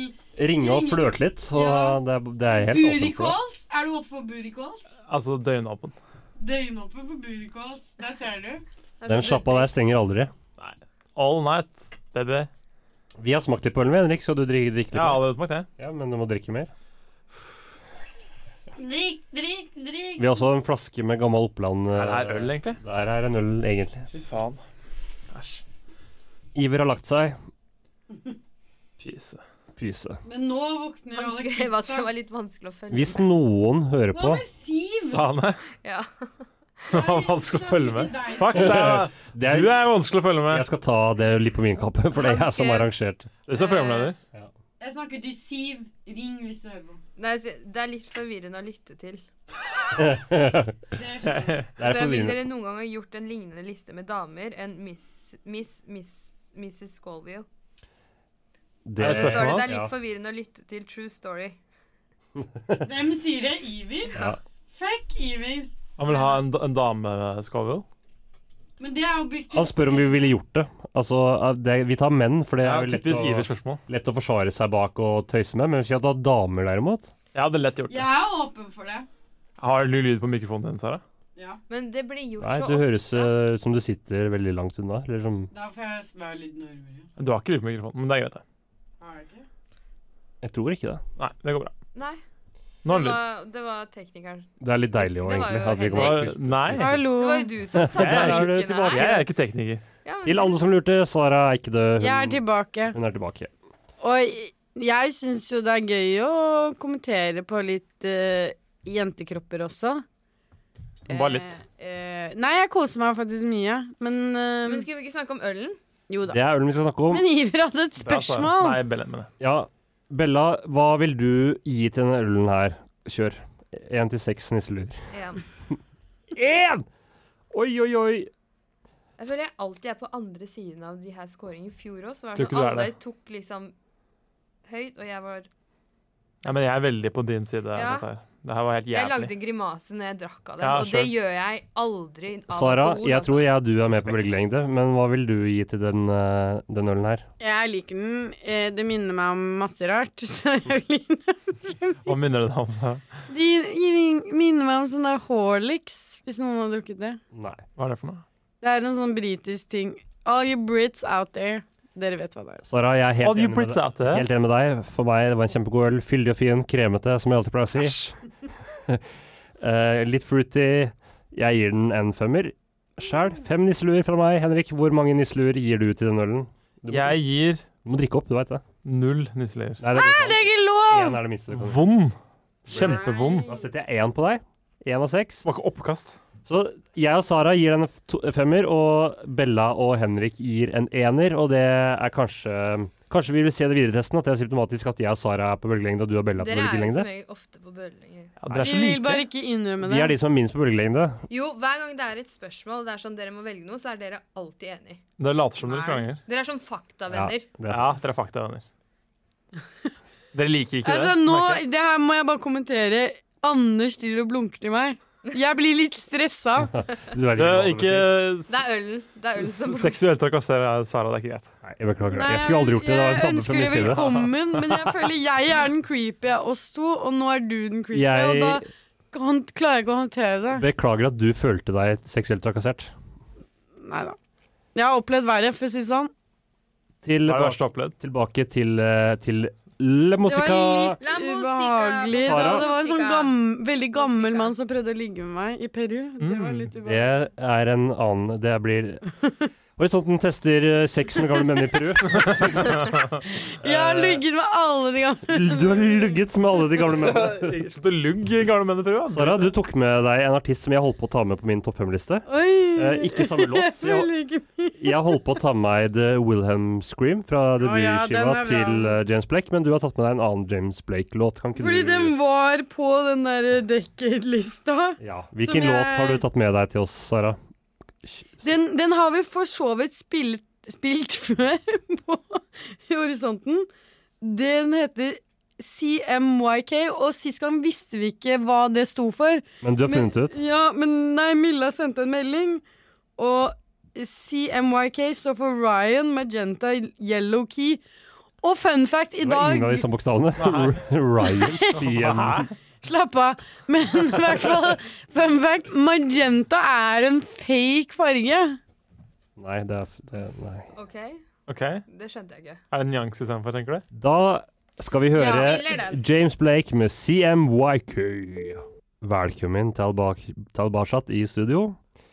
[SPEAKER 6] Ringe og flørte litt. Så
[SPEAKER 5] Ja.
[SPEAKER 6] det, er, det er helt åpent for det.
[SPEAKER 5] Burikåls! Er du oppe på burikåls?
[SPEAKER 3] Altså døgnåpen.
[SPEAKER 5] Døgnåpen på burikåls. Der ser du.
[SPEAKER 6] Den sjappa der stenger aldri.
[SPEAKER 3] All night, baby.
[SPEAKER 6] Vi har smakt litt på ølen, vi, Henrik, så du drikker, drikker litt.
[SPEAKER 3] Jeg har allerede smakt det.
[SPEAKER 6] Ja, men du må drikke mer.
[SPEAKER 5] Drikk, drikk, drikk.
[SPEAKER 6] Vi har også en flaske med gammel Oppland. eh,
[SPEAKER 3] Er det her øl, egentlig?
[SPEAKER 6] Der er en øl, egentlig.
[SPEAKER 3] Fy faen. Æsj.
[SPEAKER 6] Iver har lagt seg.
[SPEAKER 3] Pyse.
[SPEAKER 6] Pyse.
[SPEAKER 5] Men nå våkner
[SPEAKER 7] Han
[SPEAKER 5] alle
[SPEAKER 7] skrev at det
[SPEAKER 5] kidsa.
[SPEAKER 7] var litt vanskelig å følge
[SPEAKER 6] Hvis noen hører
[SPEAKER 5] Hva
[SPEAKER 6] på
[SPEAKER 5] med Siv?
[SPEAKER 3] Sa han det?
[SPEAKER 7] Ja.
[SPEAKER 5] Nei,
[SPEAKER 3] Han skal
[SPEAKER 5] slapp
[SPEAKER 3] følge
[SPEAKER 5] ikke
[SPEAKER 3] med.
[SPEAKER 5] deg.
[SPEAKER 3] Fuck deg!
[SPEAKER 6] det
[SPEAKER 3] Du er vanskelig å følge
[SPEAKER 6] Jeg
[SPEAKER 3] med.
[SPEAKER 6] skal ta det litt på min kappe, for det er jeg som har arrangert.
[SPEAKER 3] Du som er programleder.
[SPEAKER 5] Jeg snakker til Siv. Ring hvis du hører på.
[SPEAKER 7] Nei, så det er litt forvirrende å lytte til.
[SPEAKER 6] det
[SPEAKER 5] Det skjønner jeg.
[SPEAKER 6] er
[SPEAKER 7] Dere- Vil
[SPEAKER 6] forvirrende.
[SPEAKER 7] dere noen gang ha gjort en lignende liste med damer enn Miss Miss Miss Mrs. Scoville?
[SPEAKER 3] Er
[SPEAKER 6] Det
[SPEAKER 7] Det
[SPEAKER 3] det
[SPEAKER 7] står det,
[SPEAKER 3] spørsmål?
[SPEAKER 7] det er
[SPEAKER 6] Ja.
[SPEAKER 7] litt forvirrende å lytte til True Story.
[SPEAKER 5] Hvem sier det? Iver?
[SPEAKER 6] Ja.
[SPEAKER 5] Fuck Iver.
[SPEAKER 3] Han vil ha en, en dame, Skavil.
[SPEAKER 5] Men det er objektivt.
[SPEAKER 6] Han spør om vi ville gjort det. Altså, det, vi tar menn, for det
[SPEAKER 3] Det
[SPEAKER 6] er
[SPEAKER 3] er
[SPEAKER 6] jo
[SPEAKER 3] jo
[SPEAKER 6] lett
[SPEAKER 3] typisk
[SPEAKER 6] å,
[SPEAKER 3] Iver-spørsmål.
[SPEAKER 6] lett å forsvare seg bak og tøyse med. Men hvis vi hadde hatt damer, derimot
[SPEAKER 3] Jeg hadde lett gjort det.
[SPEAKER 5] Jeg er åpen for det.
[SPEAKER 3] Har du lyd på mikrofonen din, Sara?
[SPEAKER 5] Ja,
[SPEAKER 7] Men det blir gjort
[SPEAKER 6] Nei,
[SPEAKER 7] så
[SPEAKER 6] du
[SPEAKER 7] ofte.
[SPEAKER 6] høres eh, ut som du sitter veldig langt unna. Eller som
[SPEAKER 5] da får jeg være litt nærmere.
[SPEAKER 3] Du har ikke lyd på mikrofonen, men det er greit, det.
[SPEAKER 5] Har jeg ikke?
[SPEAKER 6] Jeg tror ikke det.
[SPEAKER 3] Nei, det går bra.
[SPEAKER 7] Nei,
[SPEAKER 3] Nå er
[SPEAKER 7] det
[SPEAKER 3] det litt
[SPEAKER 7] var, det var teknikeren.
[SPEAKER 6] Det er litt deilig òg,
[SPEAKER 7] Det var
[SPEAKER 6] egentlig.
[SPEAKER 7] jo
[SPEAKER 6] At vi
[SPEAKER 7] helt
[SPEAKER 6] går.
[SPEAKER 3] Hva- Nei.
[SPEAKER 5] Hallo.
[SPEAKER 7] Det var jo du som satte
[SPEAKER 3] Der
[SPEAKER 6] er du
[SPEAKER 7] teknikken
[SPEAKER 6] tilbake.
[SPEAKER 7] her.
[SPEAKER 3] Jeg er ikke tekniker.
[SPEAKER 7] Ja, men
[SPEAKER 6] Til alle som lurte, Sara er ikke død.
[SPEAKER 5] Jeg er
[SPEAKER 6] Hun,
[SPEAKER 5] tilbake.
[SPEAKER 6] hun er tilbake.
[SPEAKER 5] Og jeg syns jo det er gøy å kommentere på litt eh, jentekropper også.
[SPEAKER 3] Bare litt.
[SPEAKER 5] Eh, eh, nei, jeg koser meg faktisk mye. Men, eh,
[SPEAKER 7] Men skulle vi ikke snakke om ølen?
[SPEAKER 5] jo da.
[SPEAKER 6] Det er ølen vi skal snakke om.
[SPEAKER 5] Men Iver hadde et
[SPEAKER 3] Det er Sara.
[SPEAKER 5] spørsmål.
[SPEAKER 3] Nei, Bellen mener det.
[SPEAKER 6] Ja, Bella, hva vil du gi til denne ølen her? Kjør. Én til seks nisseluer.
[SPEAKER 7] Ja.
[SPEAKER 6] Én! Oi, oi, oi.
[SPEAKER 7] Jeg føler jeg alltid er på andre siden av de her scoringene. I fjor òg, så var
[SPEAKER 3] Tror
[SPEAKER 7] det
[SPEAKER 3] ikke
[SPEAKER 7] sånn
[SPEAKER 3] du er
[SPEAKER 7] alle
[SPEAKER 3] det.
[SPEAKER 7] tok liksom høyt, og jeg var
[SPEAKER 3] Ja, men jeg er veldig på din side. av
[SPEAKER 7] Ja.
[SPEAKER 3] Dette her. Det her var helt
[SPEAKER 7] Jeg
[SPEAKER 3] jævlig.
[SPEAKER 7] lagde grimase når jeg drakk av den,
[SPEAKER 3] Ja,
[SPEAKER 7] og det
[SPEAKER 3] sure.
[SPEAKER 7] gjør jeg aldri. av
[SPEAKER 6] Sara,
[SPEAKER 7] alkohol,
[SPEAKER 6] jeg
[SPEAKER 7] altså.
[SPEAKER 6] tror jeg og du er med på
[SPEAKER 3] Respekt.
[SPEAKER 6] bølgelengde, men hva vil du gi til den, eh, den ølen her?
[SPEAKER 5] Jeg liker den. Eh, det minner meg om masse rart. Så jeg vil gi den.
[SPEAKER 3] Hva minner det deg om? Sara?
[SPEAKER 5] De gi- minner meg om sånn der Horlicks, hvis noen har drukket det.
[SPEAKER 6] Nei.
[SPEAKER 3] Hva er det for noe?
[SPEAKER 5] Det er en sånn britisk ting. All you Brits out there. Dere vet hva det er.
[SPEAKER 6] Sara, jeg er helt
[SPEAKER 3] All you
[SPEAKER 6] enig med
[SPEAKER 3] Brits
[SPEAKER 6] deg.
[SPEAKER 3] out there.
[SPEAKER 6] Helt enig med deg. For meg, det var en kjempegod øl. Fyldig og fin, kremete, som jeg alltid pleier å si. Eh, litt fruity. Jeg gir den en femmer. Sjæl. Fem nisseluer fra meg. Henrik, hvor mange nisseluer gir du til den ølen? Du må,
[SPEAKER 3] Jeg gir
[SPEAKER 6] du må drikke opp, du veit det.
[SPEAKER 3] null nisseluer.
[SPEAKER 6] Nei, det er
[SPEAKER 5] Det
[SPEAKER 6] ikke
[SPEAKER 5] er ikke lov!
[SPEAKER 6] sant. Én er det minste. du kan få.
[SPEAKER 3] Vond. Kjempevond.
[SPEAKER 6] Da setter jeg én på deg. Én av seks.
[SPEAKER 3] Det var ikke oppkast.
[SPEAKER 6] Så jeg og Sara gir den en to- femmer, og Bella og Henrik gir en ener, og det er kanskje Kanskje vi vil se det videre i testen, at det er symptomatisk at jeg og Sara er på bølgelengde, og du og Bella er på
[SPEAKER 7] Dere er jo
[SPEAKER 6] bølgelengde.
[SPEAKER 7] som regel ofte på bølgelengde.
[SPEAKER 3] Ja, dere er
[SPEAKER 5] Vi
[SPEAKER 3] så
[SPEAKER 5] vil
[SPEAKER 3] like.
[SPEAKER 5] bare ikke innrømme
[SPEAKER 6] Vi
[SPEAKER 5] det.
[SPEAKER 6] er de som er minst på bølgelengde.
[SPEAKER 7] Jo, hver gang det er et spørsmål, det er sånn dere må velge noe, så er dere alltid enig.
[SPEAKER 3] Dere later som dere krangler.
[SPEAKER 7] Dere er sånn faktavenner.
[SPEAKER 6] det er
[SPEAKER 3] Ja, dere er faktavenner. Dere liker ikke
[SPEAKER 5] Altså
[SPEAKER 3] det.
[SPEAKER 5] nå,
[SPEAKER 3] merker jeg.
[SPEAKER 5] det her må jeg bare kommentere. Anders driver og blunker til meg. Jeg blir litt stressa.
[SPEAKER 6] Du vet
[SPEAKER 3] Det
[SPEAKER 6] hva
[SPEAKER 3] er ikke
[SPEAKER 7] Det er ølen. Det er ølen som
[SPEAKER 3] s- seksuelt trakassere, Sara. Det er ikke greit.
[SPEAKER 6] Nei, jeg beklager. jeg skulle aldri gjort det. Det var en
[SPEAKER 5] jeg
[SPEAKER 6] tabbe fra
[SPEAKER 5] ønsker
[SPEAKER 6] min
[SPEAKER 5] deg
[SPEAKER 6] side.
[SPEAKER 5] velkommen, men jeg føler jeg er den creepy av oss to, og nå er du den creepy. Og da
[SPEAKER 6] Jeg
[SPEAKER 5] kan- klarer jeg ikke å håndtere det.
[SPEAKER 6] beklager at du følte deg seksuelt trakassert.
[SPEAKER 5] Nei da. Jeg har opplevd verre, for å si det sånn.
[SPEAKER 6] Til,
[SPEAKER 3] Hva er det verste du har opplevd?
[SPEAKER 6] tilbake til, eh, til Le
[SPEAKER 5] Det var
[SPEAKER 6] Musica.
[SPEAKER 5] litt
[SPEAKER 7] La musica,
[SPEAKER 5] ubehagelig.
[SPEAKER 6] Sara?
[SPEAKER 5] Da. Det var en sånn gam, veldig gammel
[SPEAKER 7] Musica.
[SPEAKER 5] mann som prøvde å ligge med meg i Peru. Det var
[SPEAKER 3] Mm,
[SPEAKER 5] litt
[SPEAKER 6] Det
[SPEAKER 5] ubehagelig.
[SPEAKER 6] er en annen Det blir Horisonten tester eh, sex med gamle menn i Peru.
[SPEAKER 5] Jeg har ligget med alle de gamle.
[SPEAKER 6] Du har ligget med alle de gamle mennene.
[SPEAKER 3] Slutt å lugge, gamle menn i prøve. altså.
[SPEAKER 6] Sara, du tok med deg en artist som jeg holdt på å ta med på min topp fem-liste.
[SPEAKER 5] Oi!
[SPEAKER 6] Eh, ikke samme låt,
[SPEAKER 5] Jeg
[SPEAKER 6] så jeg-
[SPEAKER 5] føler ikke
[SPEAKER 6] Jeg holdt på å ta med meg The Wilhelm Scream fra
[SPEAKER 5] Å ja,
[SPEAKER 6] debutskiva
[SPEAKER 5] den er bra.
[SPEAKER 6] til eh, James Blake, men du har tatt med deg en annen James Blake-låt. Kan ikke
[SPEAKER 5] Fordi
[SPEAKER 6] du
[SPEAKER 5] den var på den der Decade-lista.
[SPEAKER 6] ja.
[SPEAKER 5] som
[SPEAKER 6] Hvilken
[SPEAKER 5] jeg-
[SPEAKER 6] låt har du tatt med deg til oss, Sara?
[SPEAKER 5] Den, den har vi for så vidt spilt, spilt før på Horisonten. Den heter CMYK, og sist gang visste vi ikke hva det sto for.
[SPEAKER 6] Men du har
[SPEAKER 5] Men-
[SPEAKER 6] funnet det ut?
[SPEAKER 5] Ja, men nei, Milla sendte en melding, og CMYK står for Ryan Magenta Yellow Key. Og fun fact i
[SPEAKER 6] Det var ingen av
[SPEAKER 5] dag
[SPEAKER 6] disse bokstavene. Ryan CM.
[SPEAKER 5] Slapp av. Men i hvert fall, fun fact, magenta er en fake farge.
[SPEAKER 6] Nei, det er f- det, Nei.
[SPEAKER 7] OK,
[SPEAKER 3] Ok, Er
[SPEAKER 7] det skjønte jeg ikke.
[SPEAKER 3] det nyanse istedenfor, tenker du?
[SPEAKER 6] Da skal vi høre
[SPEAKER 7] Ja, eller den.
[SPEAKER 6] James Blake med CMYK. Velkommen tilbake til Barsat i studio.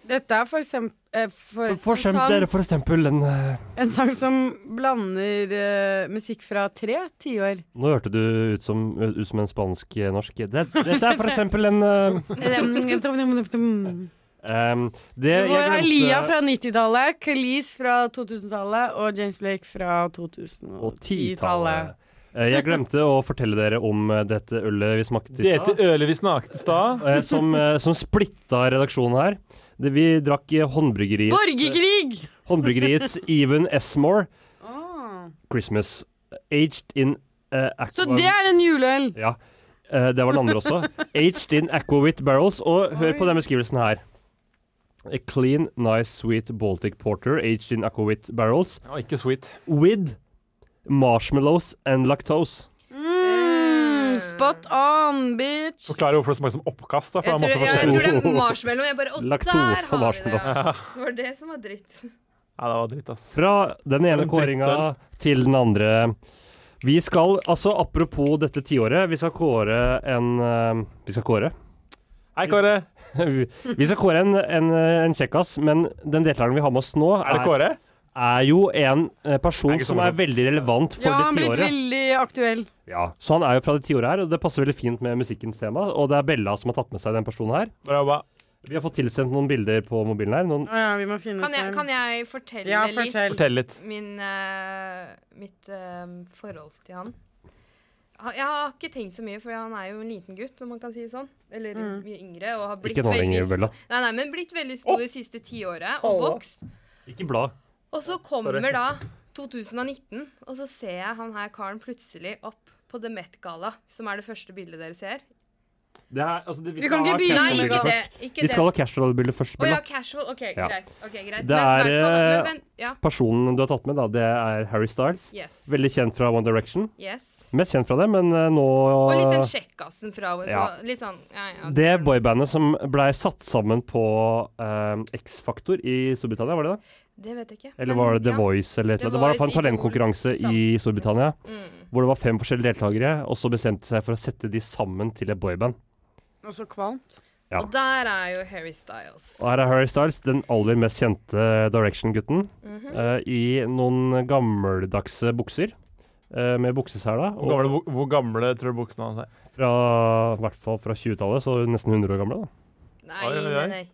[SPEAKER 5] Dette er for eksempel, eh, for
[SPEAKER 6] For, for, eksempel, for eksempel den eh,
[SPEAKER 5] en sang som blander eh, musikk fra tre tiår.
[SPEAKER 6] Nå hørte du ut som, ut som en spansk-norsk. Det- Dette er for eksempel en eh,
[SPEAKER 5] Vår
[SPEAKER 6] em, det, jeg glemte-
[SPEAKER 5] Lia fra 90-tallet, Kelis fra 2000-tallet og James Blake fra 2010-tallet.
[SPEAKER 6] Eh, Jeg glemte å fortelle dere om eh, dette ølet vi smakte i
[SPEAKER 3] Det
[SPEAKER 6] stad,
[SPEAKER 3] til ølet vi snakket i stad.
[SPEAKER 6] eh, som, eh, som splitta redaksjonen her. Det, vi drakk eh, håndbryggeriets,
[SPEAKER 5] Borgerkrig!
[SPEAKER 6] håndbryggeriets Even Esmore
[SPEAKER 5] Ah.
[SPEAKER 6] Christmas Aged in eh, Aqua...
[SPEAKER 5] Så det er en juleøl!
[SPEAKER 6] Ja. Eh, det var den andre også. Aged in aquavit barrels. Og hør på
[SPEAKER 5] Oi.
[SPEAKER 6] den beskrivelsen her. A clean, nice, sweet Baltic porter aged in aquavit barrels
[SPEAKER 3] Og ikke sweet.
[SPEAKER 6] with marshmallows and lactose.
[SPEAKER 7] Eh,
[SPEAKER 5] Mm, spot on, bitch!
[SPEAKER 3] Forklarer hvorfor det smaker som oppkast. da, for det
[SPEAKER 7] Jeg
[SPEAKER 3] er masse
[SPEAKER 7] tror, ja, jeg tror
[SPEAKER 3] forskjellig.
[SPEAKER 7] det er marshmallow. Jeg bare, og
[SPEAKER 6] Laktose og
[SPEAKER 7] der har vi det. Ja.
[SPEAKER 6] marshmallows.
[SPEAKER 7] Det var det som var dritt.
[SPEAKER 3] Ja, det var dritt, ass.
[SPEAKER 6] Fra den ene
[SPEAKER 3] En drittøl.
[SPEAKER 6] kåringa til den andre. Vi skal, altså apropos dette tiåret, vi skal kåre en eh, Vi skal kåre?
[SPEAKER 3] Hei, Kåre.
[SPEAKER 6] vi skal kåre en, en, eh, en kjekkas, men den deltakeren vi har med oss nå,
[SPEAKER 3] Er det Kåre?
[SPEAKER 6] er jo en eh, person
[SPEAKER 3] Er ikke så
[SPEAKER 6] som er
[SPEAKER 3] morsomt.
[SPEAKER 6] veldig relevant for
[SPEAKER 5] Ja, han
[SPEAKER 6] det
[SPEAKER 5] blitt
[SPEAKER 6] tiåret.
[SPEAKER 5] veldig aktuell.
[SPEAKER 6] Ja, så han er jo fra det tiåret her, og det passer veldig fint med musikkens tema. Og det er Bella som har tatt med seg den personen her.
[SPEAKER 3] Bra jobba.
[SPEAKER 6] Vi har fått tilsendt noen bilder på mobilen her. Noen,
[SPEAKER 5] Å ja, vi må finne
[SPEAKER 7] Kan jeg,
[SPEAKER 5] oss
[SPEAKER 7] kan jeg fortelle
[SPEAKER 5] Ja,
[SPEAKER 7] litt
[SPEAKER 5] fortell.
[SPEAKER 3] Fortell litt.
[SPEAKER 7] min, eh, mitt eh, forhold til han. Ha- Jeg har ikke tenkt så mye, for han er jo en liten gutt, om man kan si det sånn. Eller mye yngre. Og har blitt
[SPEAKER 6] ikke nå
[SPEAKER 7] veldig
[SPEAKER 6] lenger,
[SPEAKER 7] sto-
[SPEAKER 6] Bella.
[SPEAKER 7] Nei, nei, men blitt veldig stor det siste tiåret, og vokst.
[SPEAKER 6] Ikke blad.
[SPEAKER 7] Og så kommer da 2019, og så ser jeg han her karen plutselig opp på The Met-gala, som er det første bildet dere ser.
[SPEAKER 6] Det er, altså, det,
[SPEAKER 5] Vi kan ikke begynne
[SPEAKER 7] Nei,
[SPEAKER 5] med
[SPEAKER 7] ikke
[SPEAKER 5] det.
[SPEAKER 7] det. Ikke
[SPEAKER 6] Vi skal
[SPEAKER 7] det.
[SPEAKER 6] ha casual-bildet først,
[SPEAKER 7] Å ja,
[SPEAKER 6] Bella.
[SPEAKER 7] casual. OK,
[SPEAKER 6] Ja.
[SPEAKER 7] greit. ok, greit.
[SPEAKER 6] Det
[SPEAKER 7] Men, i
[SPEAKER 6] er,
[SPEAKER 7] hvert fall,
[SPEAKER 6] eh,
[SPEAKER 7] men, men, ja.
[SPEAKER 6] Personen du har tatt med, da, det er Harry Styles.
[SPEAKER 7] Yes.
[SPEAKER 6] Veldig kjent fra One Direction.
[SPEAKER 7] yes.
[SPEAKER 6] Mest kjent fra det, men eh, nå
[SPEAKER 7] Og litt den kjekkasen fra henne.
[SPEAKER 6] Ja.
[SPEAKER 7] Så litt sånn ja, ja,
[SPEAKER 6] Det boybandet som blei satt sammen på eh, X-Faktor i Storbritannia, var det det?
[SPEAKER 7] Det vet jeg ikke.
[SPEAKER 6] Eller
[SPEAKER 7] men
[SPEAKER 6] var det The
[SPEAKER 7] Mm, ja.
[SPEAKER 6] Voice? Eller et eller
[SPEAKER 7] The
[SPEAKER 6] annet. Det var i hvert fall en
[SPEAKER 7] Voice, Idol,
[SPEAKER 6] talentkonkurranse i
[SPEAKER 7] sant.
[SPEAKER 6] Storbritannia
[SPEAKER 7] Mm.
[SPEAKER 6] hvor det var fem forskjellige deltakere, og så bestemte de seg for å sette de sammen til et boyband.
[SPEAKER 5] Og så kvalmt.
[SPEAKER 6] Ja.
[SPEAKER 7] Og der er jo Harry Styles.
[SPEAKER 6] Og her er Harry Styles, den aller mest kjente Direction-gutten,
[SPEAKER 7] Mhm.
[SPEAKER 6] eh, i noen gammeldagse bukser. eh, med buksesela.
[SPEAKER 3] Hvor gamle, hvor- hvor gamle tror du buksene hans er?
[SPEAKER 6] Fra, I hvert fall fra 20-tallet, så nesten 100 år gamle. da.
[SPEAKER 7] Nei,
[SPEAKER 3] Oi, oi,
[SPEAKER 7] nei,
[SPEAKER 3] oi.
[SPEAKER 7] nei.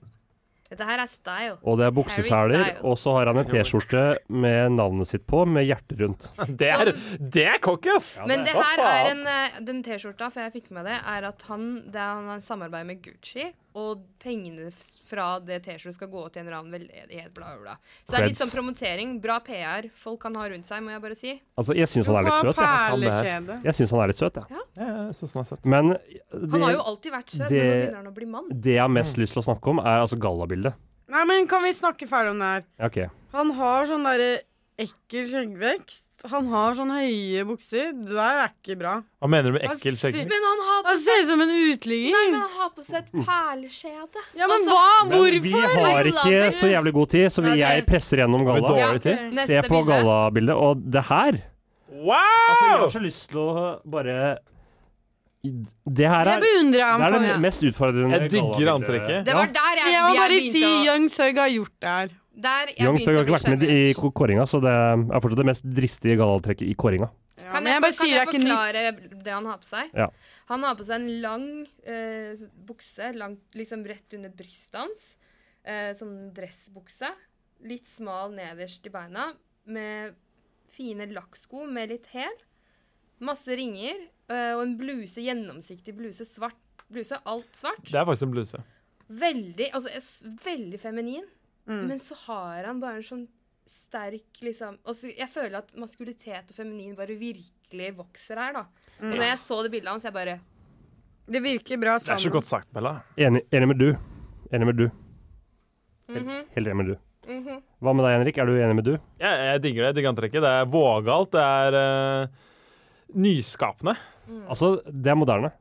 [SPEAKER 7] Dette her er style.
[SPEAKER 6] Og det er
[SPEAKER 7] Harry
[SPEAKER 6] bukseseler,
[SPEAKER 7] Styles.
[SPEAKER 6] og så har han en T-skjorte med navnet sitt på, med hjertet rundt.
[SPEAKER 3] Det er, det er cocky, ass!
[SPEAKER 7] Men det
[SPEAKER 3] Hva
[SPEAKER 7] her
[SPEAKER 3] faen?
[SPEAKER 7] er en eh, Den T-skjorta, for jeg fikk med det, er at han Det er han har en samarbeid med Gucci, og pengene f- fra det T-skjortet skal gå til en eller annen veldedighet, bla, bla, bla. Så det er litt
[SPEAKER 6] Creds.
[SPEAKER 7] sånn promotering. Bra PR folk kan ha rundt seg, må jeg bare si.
[SPEAKER 6] Altså, jeg syns
[SPEAKER 5] Jo,
[SPEAKER 6] han er litt
[SPEAKER 5] for
[SPEAKER 6] søt, jeg.
[SPEAKER 3] kan det her.
[SPEAKER 5] perlekjede.
[SPEAKER 6] Jeg syns han er litt søt, jeg.
[SPEAKER 3] Ja, jeg synes den er søt.
[SPEAKER 6] Men
[SPEAKER 7] Han har jo
[SPEAKER 6] det,
[SPEAKER 7] alltid vært søt, men nå
[SPEAKER 6] det-
[SPEAKER 7] begynner han å bli mann.
[SPEAKER 6] det jeg har mest lyst til å snakke om, er altså gallabildet.
[SPEAKER 5] Nei, men kan vi snakke ferdig om det her?
[SPEAKER 6] Ja, OK.
[SPEAKER 5] Han har sånn derre ekkel skjeggvekst. Han har sånn høye bukser. Det der er ikke bra.
[SPEAKER 3] Hva mener du med
[SPEAKER 5] Han
[SPEAKER 3] ekkel
[SPEAKER 5] sier-
[SPEAKER 3] skjegg?
[SPEAKER 7] Men han har på
[SPEAKER 5] Han ser ut som en uteligger.
[SPEAKER 7] men han har på seg et perleskjede.
[SPEAKER 5] Ja, men
[SPEAKER 7] Altså,
[SPEAKER 5] hva?
[SPEAKER 6] Men Vi
[SPEAKER 5] Hvorfor?
[SPEAKER 6] har ikke så jævlig god tid, så vi,
[SPEAKER 7] Ok.
[SPEAKER 6] jeg presser gjennom
[SPEAKER 3] Har vi
[SPEAKER 6] galla.
[SPEAKER 3] dårlig tid?
[SPEAKER 7] Neste
[SPEAKER 6] Se på
[SPEAKER 7] bilde.
[SPEAKER 6] gallabildet, og det her altså, Jeg har
[SPEAKER 3] Wow!
[SPEAKER 6] så lyst til å bare Det her
[SPEAKER 5] Jeg
[SPEAKER 6] er,
[SPEAKER 5] beundrer
[SPEAKER 6] det er
[SPEAKER 5] ham
[SPEAKER 6] det
[SPEAKER 5] for det.
[SPEAKER 6] mest utfordrende
[SPEAKER 3] Jeg digger antrekket.
[SPEAKER 7] Det
[SPEAKER 6] Ja.
[SPEAKER 7] var der jeg,
[SPEAKER 5] Jeg må
[SPEAKER 7] jeg
[SPEAKER 5] bare
[SPEAKER 7] begynte
[SPEAKER 5] si
[SPEAKER 7] å-
[SPEAKER 5] Young Thug har gjort det her.
[SPEAKER 7] Der jeg
[SPEAKER 6] Young Thug
[SPEAKER 7] begynte
[SPEAKER 6] har ikke
[SPEAKER 7] å bli
[SPEAKER 6] vært med i
[SPEAKER 7] sjenert.
[SPEAKER 6] ko- kåringa, så det er fortsatt det mest dristige gallaantrekket i kåringa.
[SPEAKER 5] Ja, men
[SPEAKER 7] Kan
[SPEAKER 5] jeg
[SPEAKER 7] for-
[SPEAKER 5] bare sier det er ikke nytt.
[SPEAKER 7] Kan jeg forklare det han har på seg?
[SPEAKER 6] Ja.
[SPEAKER 7] Han har på seg en lang eh, bukse, langt, liksom rett under brystet hans. Eh, sånn dressbukse. Litt smal nederst i beina, med fine lakksko med litt hæl. Masse ringer, eh, og en bluse, gjennomsiktig bluse, svart bluse, alt svart.
[SPEAKER 3] Det er faktisk en bluse.
[SPEAKER 7] Veldig, altså, jeg s- veldig feminin.
[SPEAKER 5] Mm.
[SPEAKER 7] Men så har han bare en sånn sterk liksom og så Jeg føler at maskulitet og feminin bare virkelig vokser her, da.
[SPEAKER 5] Mm.
[SPEAKER 7] Og når jeg så det bildet hans, jeg bare
[SPEAKER 5] Det virker bra sånn.
[SPEAKER 3] Det er så
[SPEAKER 5] sammen.
[SPEAKER 3] godt sagt, Bella.
[SPEAKER 6] Enig, enig med du. Enig med du. Helt-
[SPEAKER 7] Mhm.
[SPEAKER 6] Helt enig med du. Hva med deg, Henrik? Er du enig med du?
[SPEAKER 3] Jeg, jeg digger det. Jeg digger antrekket. Det er vågalt. Det er eh, nyskapende.
[SPEAKER 6] Altså, det er moderne.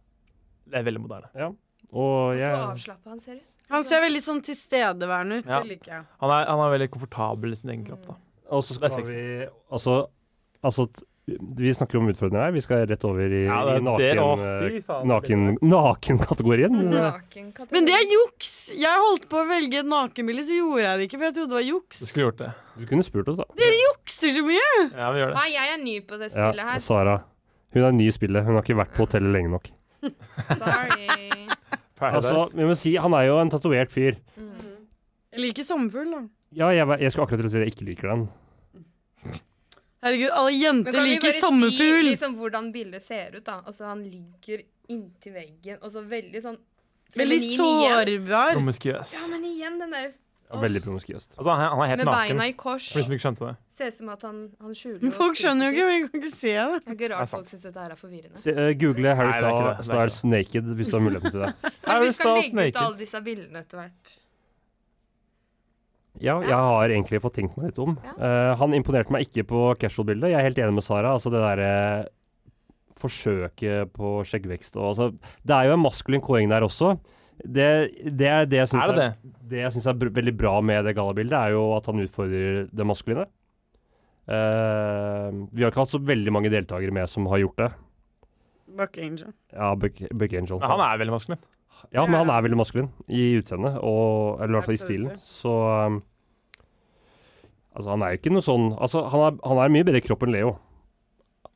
[SPEAKER 3] Det er veldig moderne.
[SPEAKER 6] Og
[SPEAKER 7] Så
[SPEAKER 6] jeg
[SPEAKER 7] avslappa han ser ut.
[SPEAKER 5] Han ser veldig sånn tilstedeværende ut.
[SPEAKER 3] Ja.
[SPEAKER 5] Det liker jeg.
[SPEAKER 3] Han er, han er veldig komfortabel i sin egen kropp. da.
[SPEAKER 6] Og så
[SPEAKER 3] Det
[SPEAKER 6] skal
[SPEAKER 3] er sexy.
[SPEAKER 6] vi Altså, altså t- vi snakker om utfordringer her. Vi skal rett over i,
[SPEAKER 3] Ja,
[SPEAKER 6] i
[SPEAKER 3] det, det, å,
[SPEAKER 6] naken, eh,
[SPEAKER 3] fy faen.
[SPEAKER 6] naken, nakenkategorien.
[SPEAKER 7] Naken kategori.
[SPEAKER 5] Men det er juks! Jeg holdt på å velge et nakenbilde, så gjorde jeg det ikke, for jeg trodde det var juks.
[SPEAKER 3] Du skulle gjort det.
[SPEAKER 6] Du kunne spurt oss, da.
[SPEAKER 5] Jukser så mye!
[SPEAKER 3] Ja, vi gjør det.
[SPEAKER 7] Nei, jeg er ny på det
[SPEAKER 6] Ja, altså.
[SPEAKER 7] spillet her.
[SPEAKER 6] og Sara. Hun er ny i spillet. Hun har ikke vært på hotellet lenge nok.
[SPEAKER 7] Sorry.
[SPEAKER 3] Paradise.
[SPEAKER 6] Altså, vi må si, Han er jo en tatovert fyr.
[SPEAKER 5] Jeg liker sommerfugl, da.
[SPEAKER 6] Ja, jeg, var- jeg skulle akkurat til å si at jeg ikke liker den.
[SPEAKER 5] Herregud, alle
[SPEAKER 7] Men
[SPEAKER 5] jenter
[SPEAKER 7] kan vi
[SPEAKER 5] liker
[SPEAKER 7] bare
[SPEAKER 5] sommerfugl!
[SPEAKER 7] Si liksom hvordan bildet ser ut, da. Altså, han ligger inntil veggen, og så veldig sånn
[SPEAKER 5] Veldig
[SPEAKER 7] feminin igjen.
[SPEAKER 5] sårbar.
[SPEAKER 3] Promiskuøs.
[SPEAKER 7] Ja, men igjen den der
[SPEAKER 6] Ja, veldig promiskuøst.
[SPEAKER 3] Altså, han, er- han er helt
[SPEAKER 7] med
[SPEAKER 3] naken.
[SPEAKER 7] beina i kors.
[SPEAKER 3] For de som ikke skjønte det.
[SPEAKER 7] Ser ut som at han, han skjuler
[SPEAKER 5] Men Folk skjønner jo ikke, vi kan ikke se det.
[SPEAKER 7] Det er ikke
[SPEAKER 3] Det er
[SPEAKER 7] rart
[SPEAKER 3] sant.
[SPEAKER 7] folk syns dette her er forvirrende.
[SPEAKER 6] Se, eh, google
[SPEAKER 3] Nei,
[SPEAKER 6] Harry
[SPEAKER 3] det er ikke det. Det er
[SPEAKER 6] Styles naked hvis du har muligheten til det.
[SPEAKER 7] Kanskje vi
[SPEAKER 3] Harry
[SPEAKER 7] skal
[SPEAKER 3] Styles
[SPEAKER 7] legge ut
[SPEAKER 3] naked.
[SPEAKER 7] alle disse bildene etter hvert.
[SPEAKER 6] Ja, jeg har egentlig fått tenkt meg litt om. Eh, han imponerte meg ikke på casual-bildet. Jeg er helt enig med Sara. Altså det derre forsøket på skjeggvekst og altså Det er jo en maskulin kåring der også. Det, det er det jeg syns
[SPEAKER 3] Er det det?
[SPEAKER 6] Det jeg syns er br veldig bra med det gallabildet, er jo at han utfordrer det maskuline. Eh, vi har ikke hatt så veldig mange deltakere med som har gjort det.
[SPEAKER 5] Buck Angel.
[SPEAKER 6] Ja, Buck, Buck Angel.
[SPEAKER 3] Men han er veldig maskulin.
[SPEAKER 6] Ja, men han er veldig maskulin i utseendet, og, eller i hvert fall i stilen. Så um, Altså, han er jo ikke noe sånn Altså, han er, han er mye bedre i kropp enn Leo.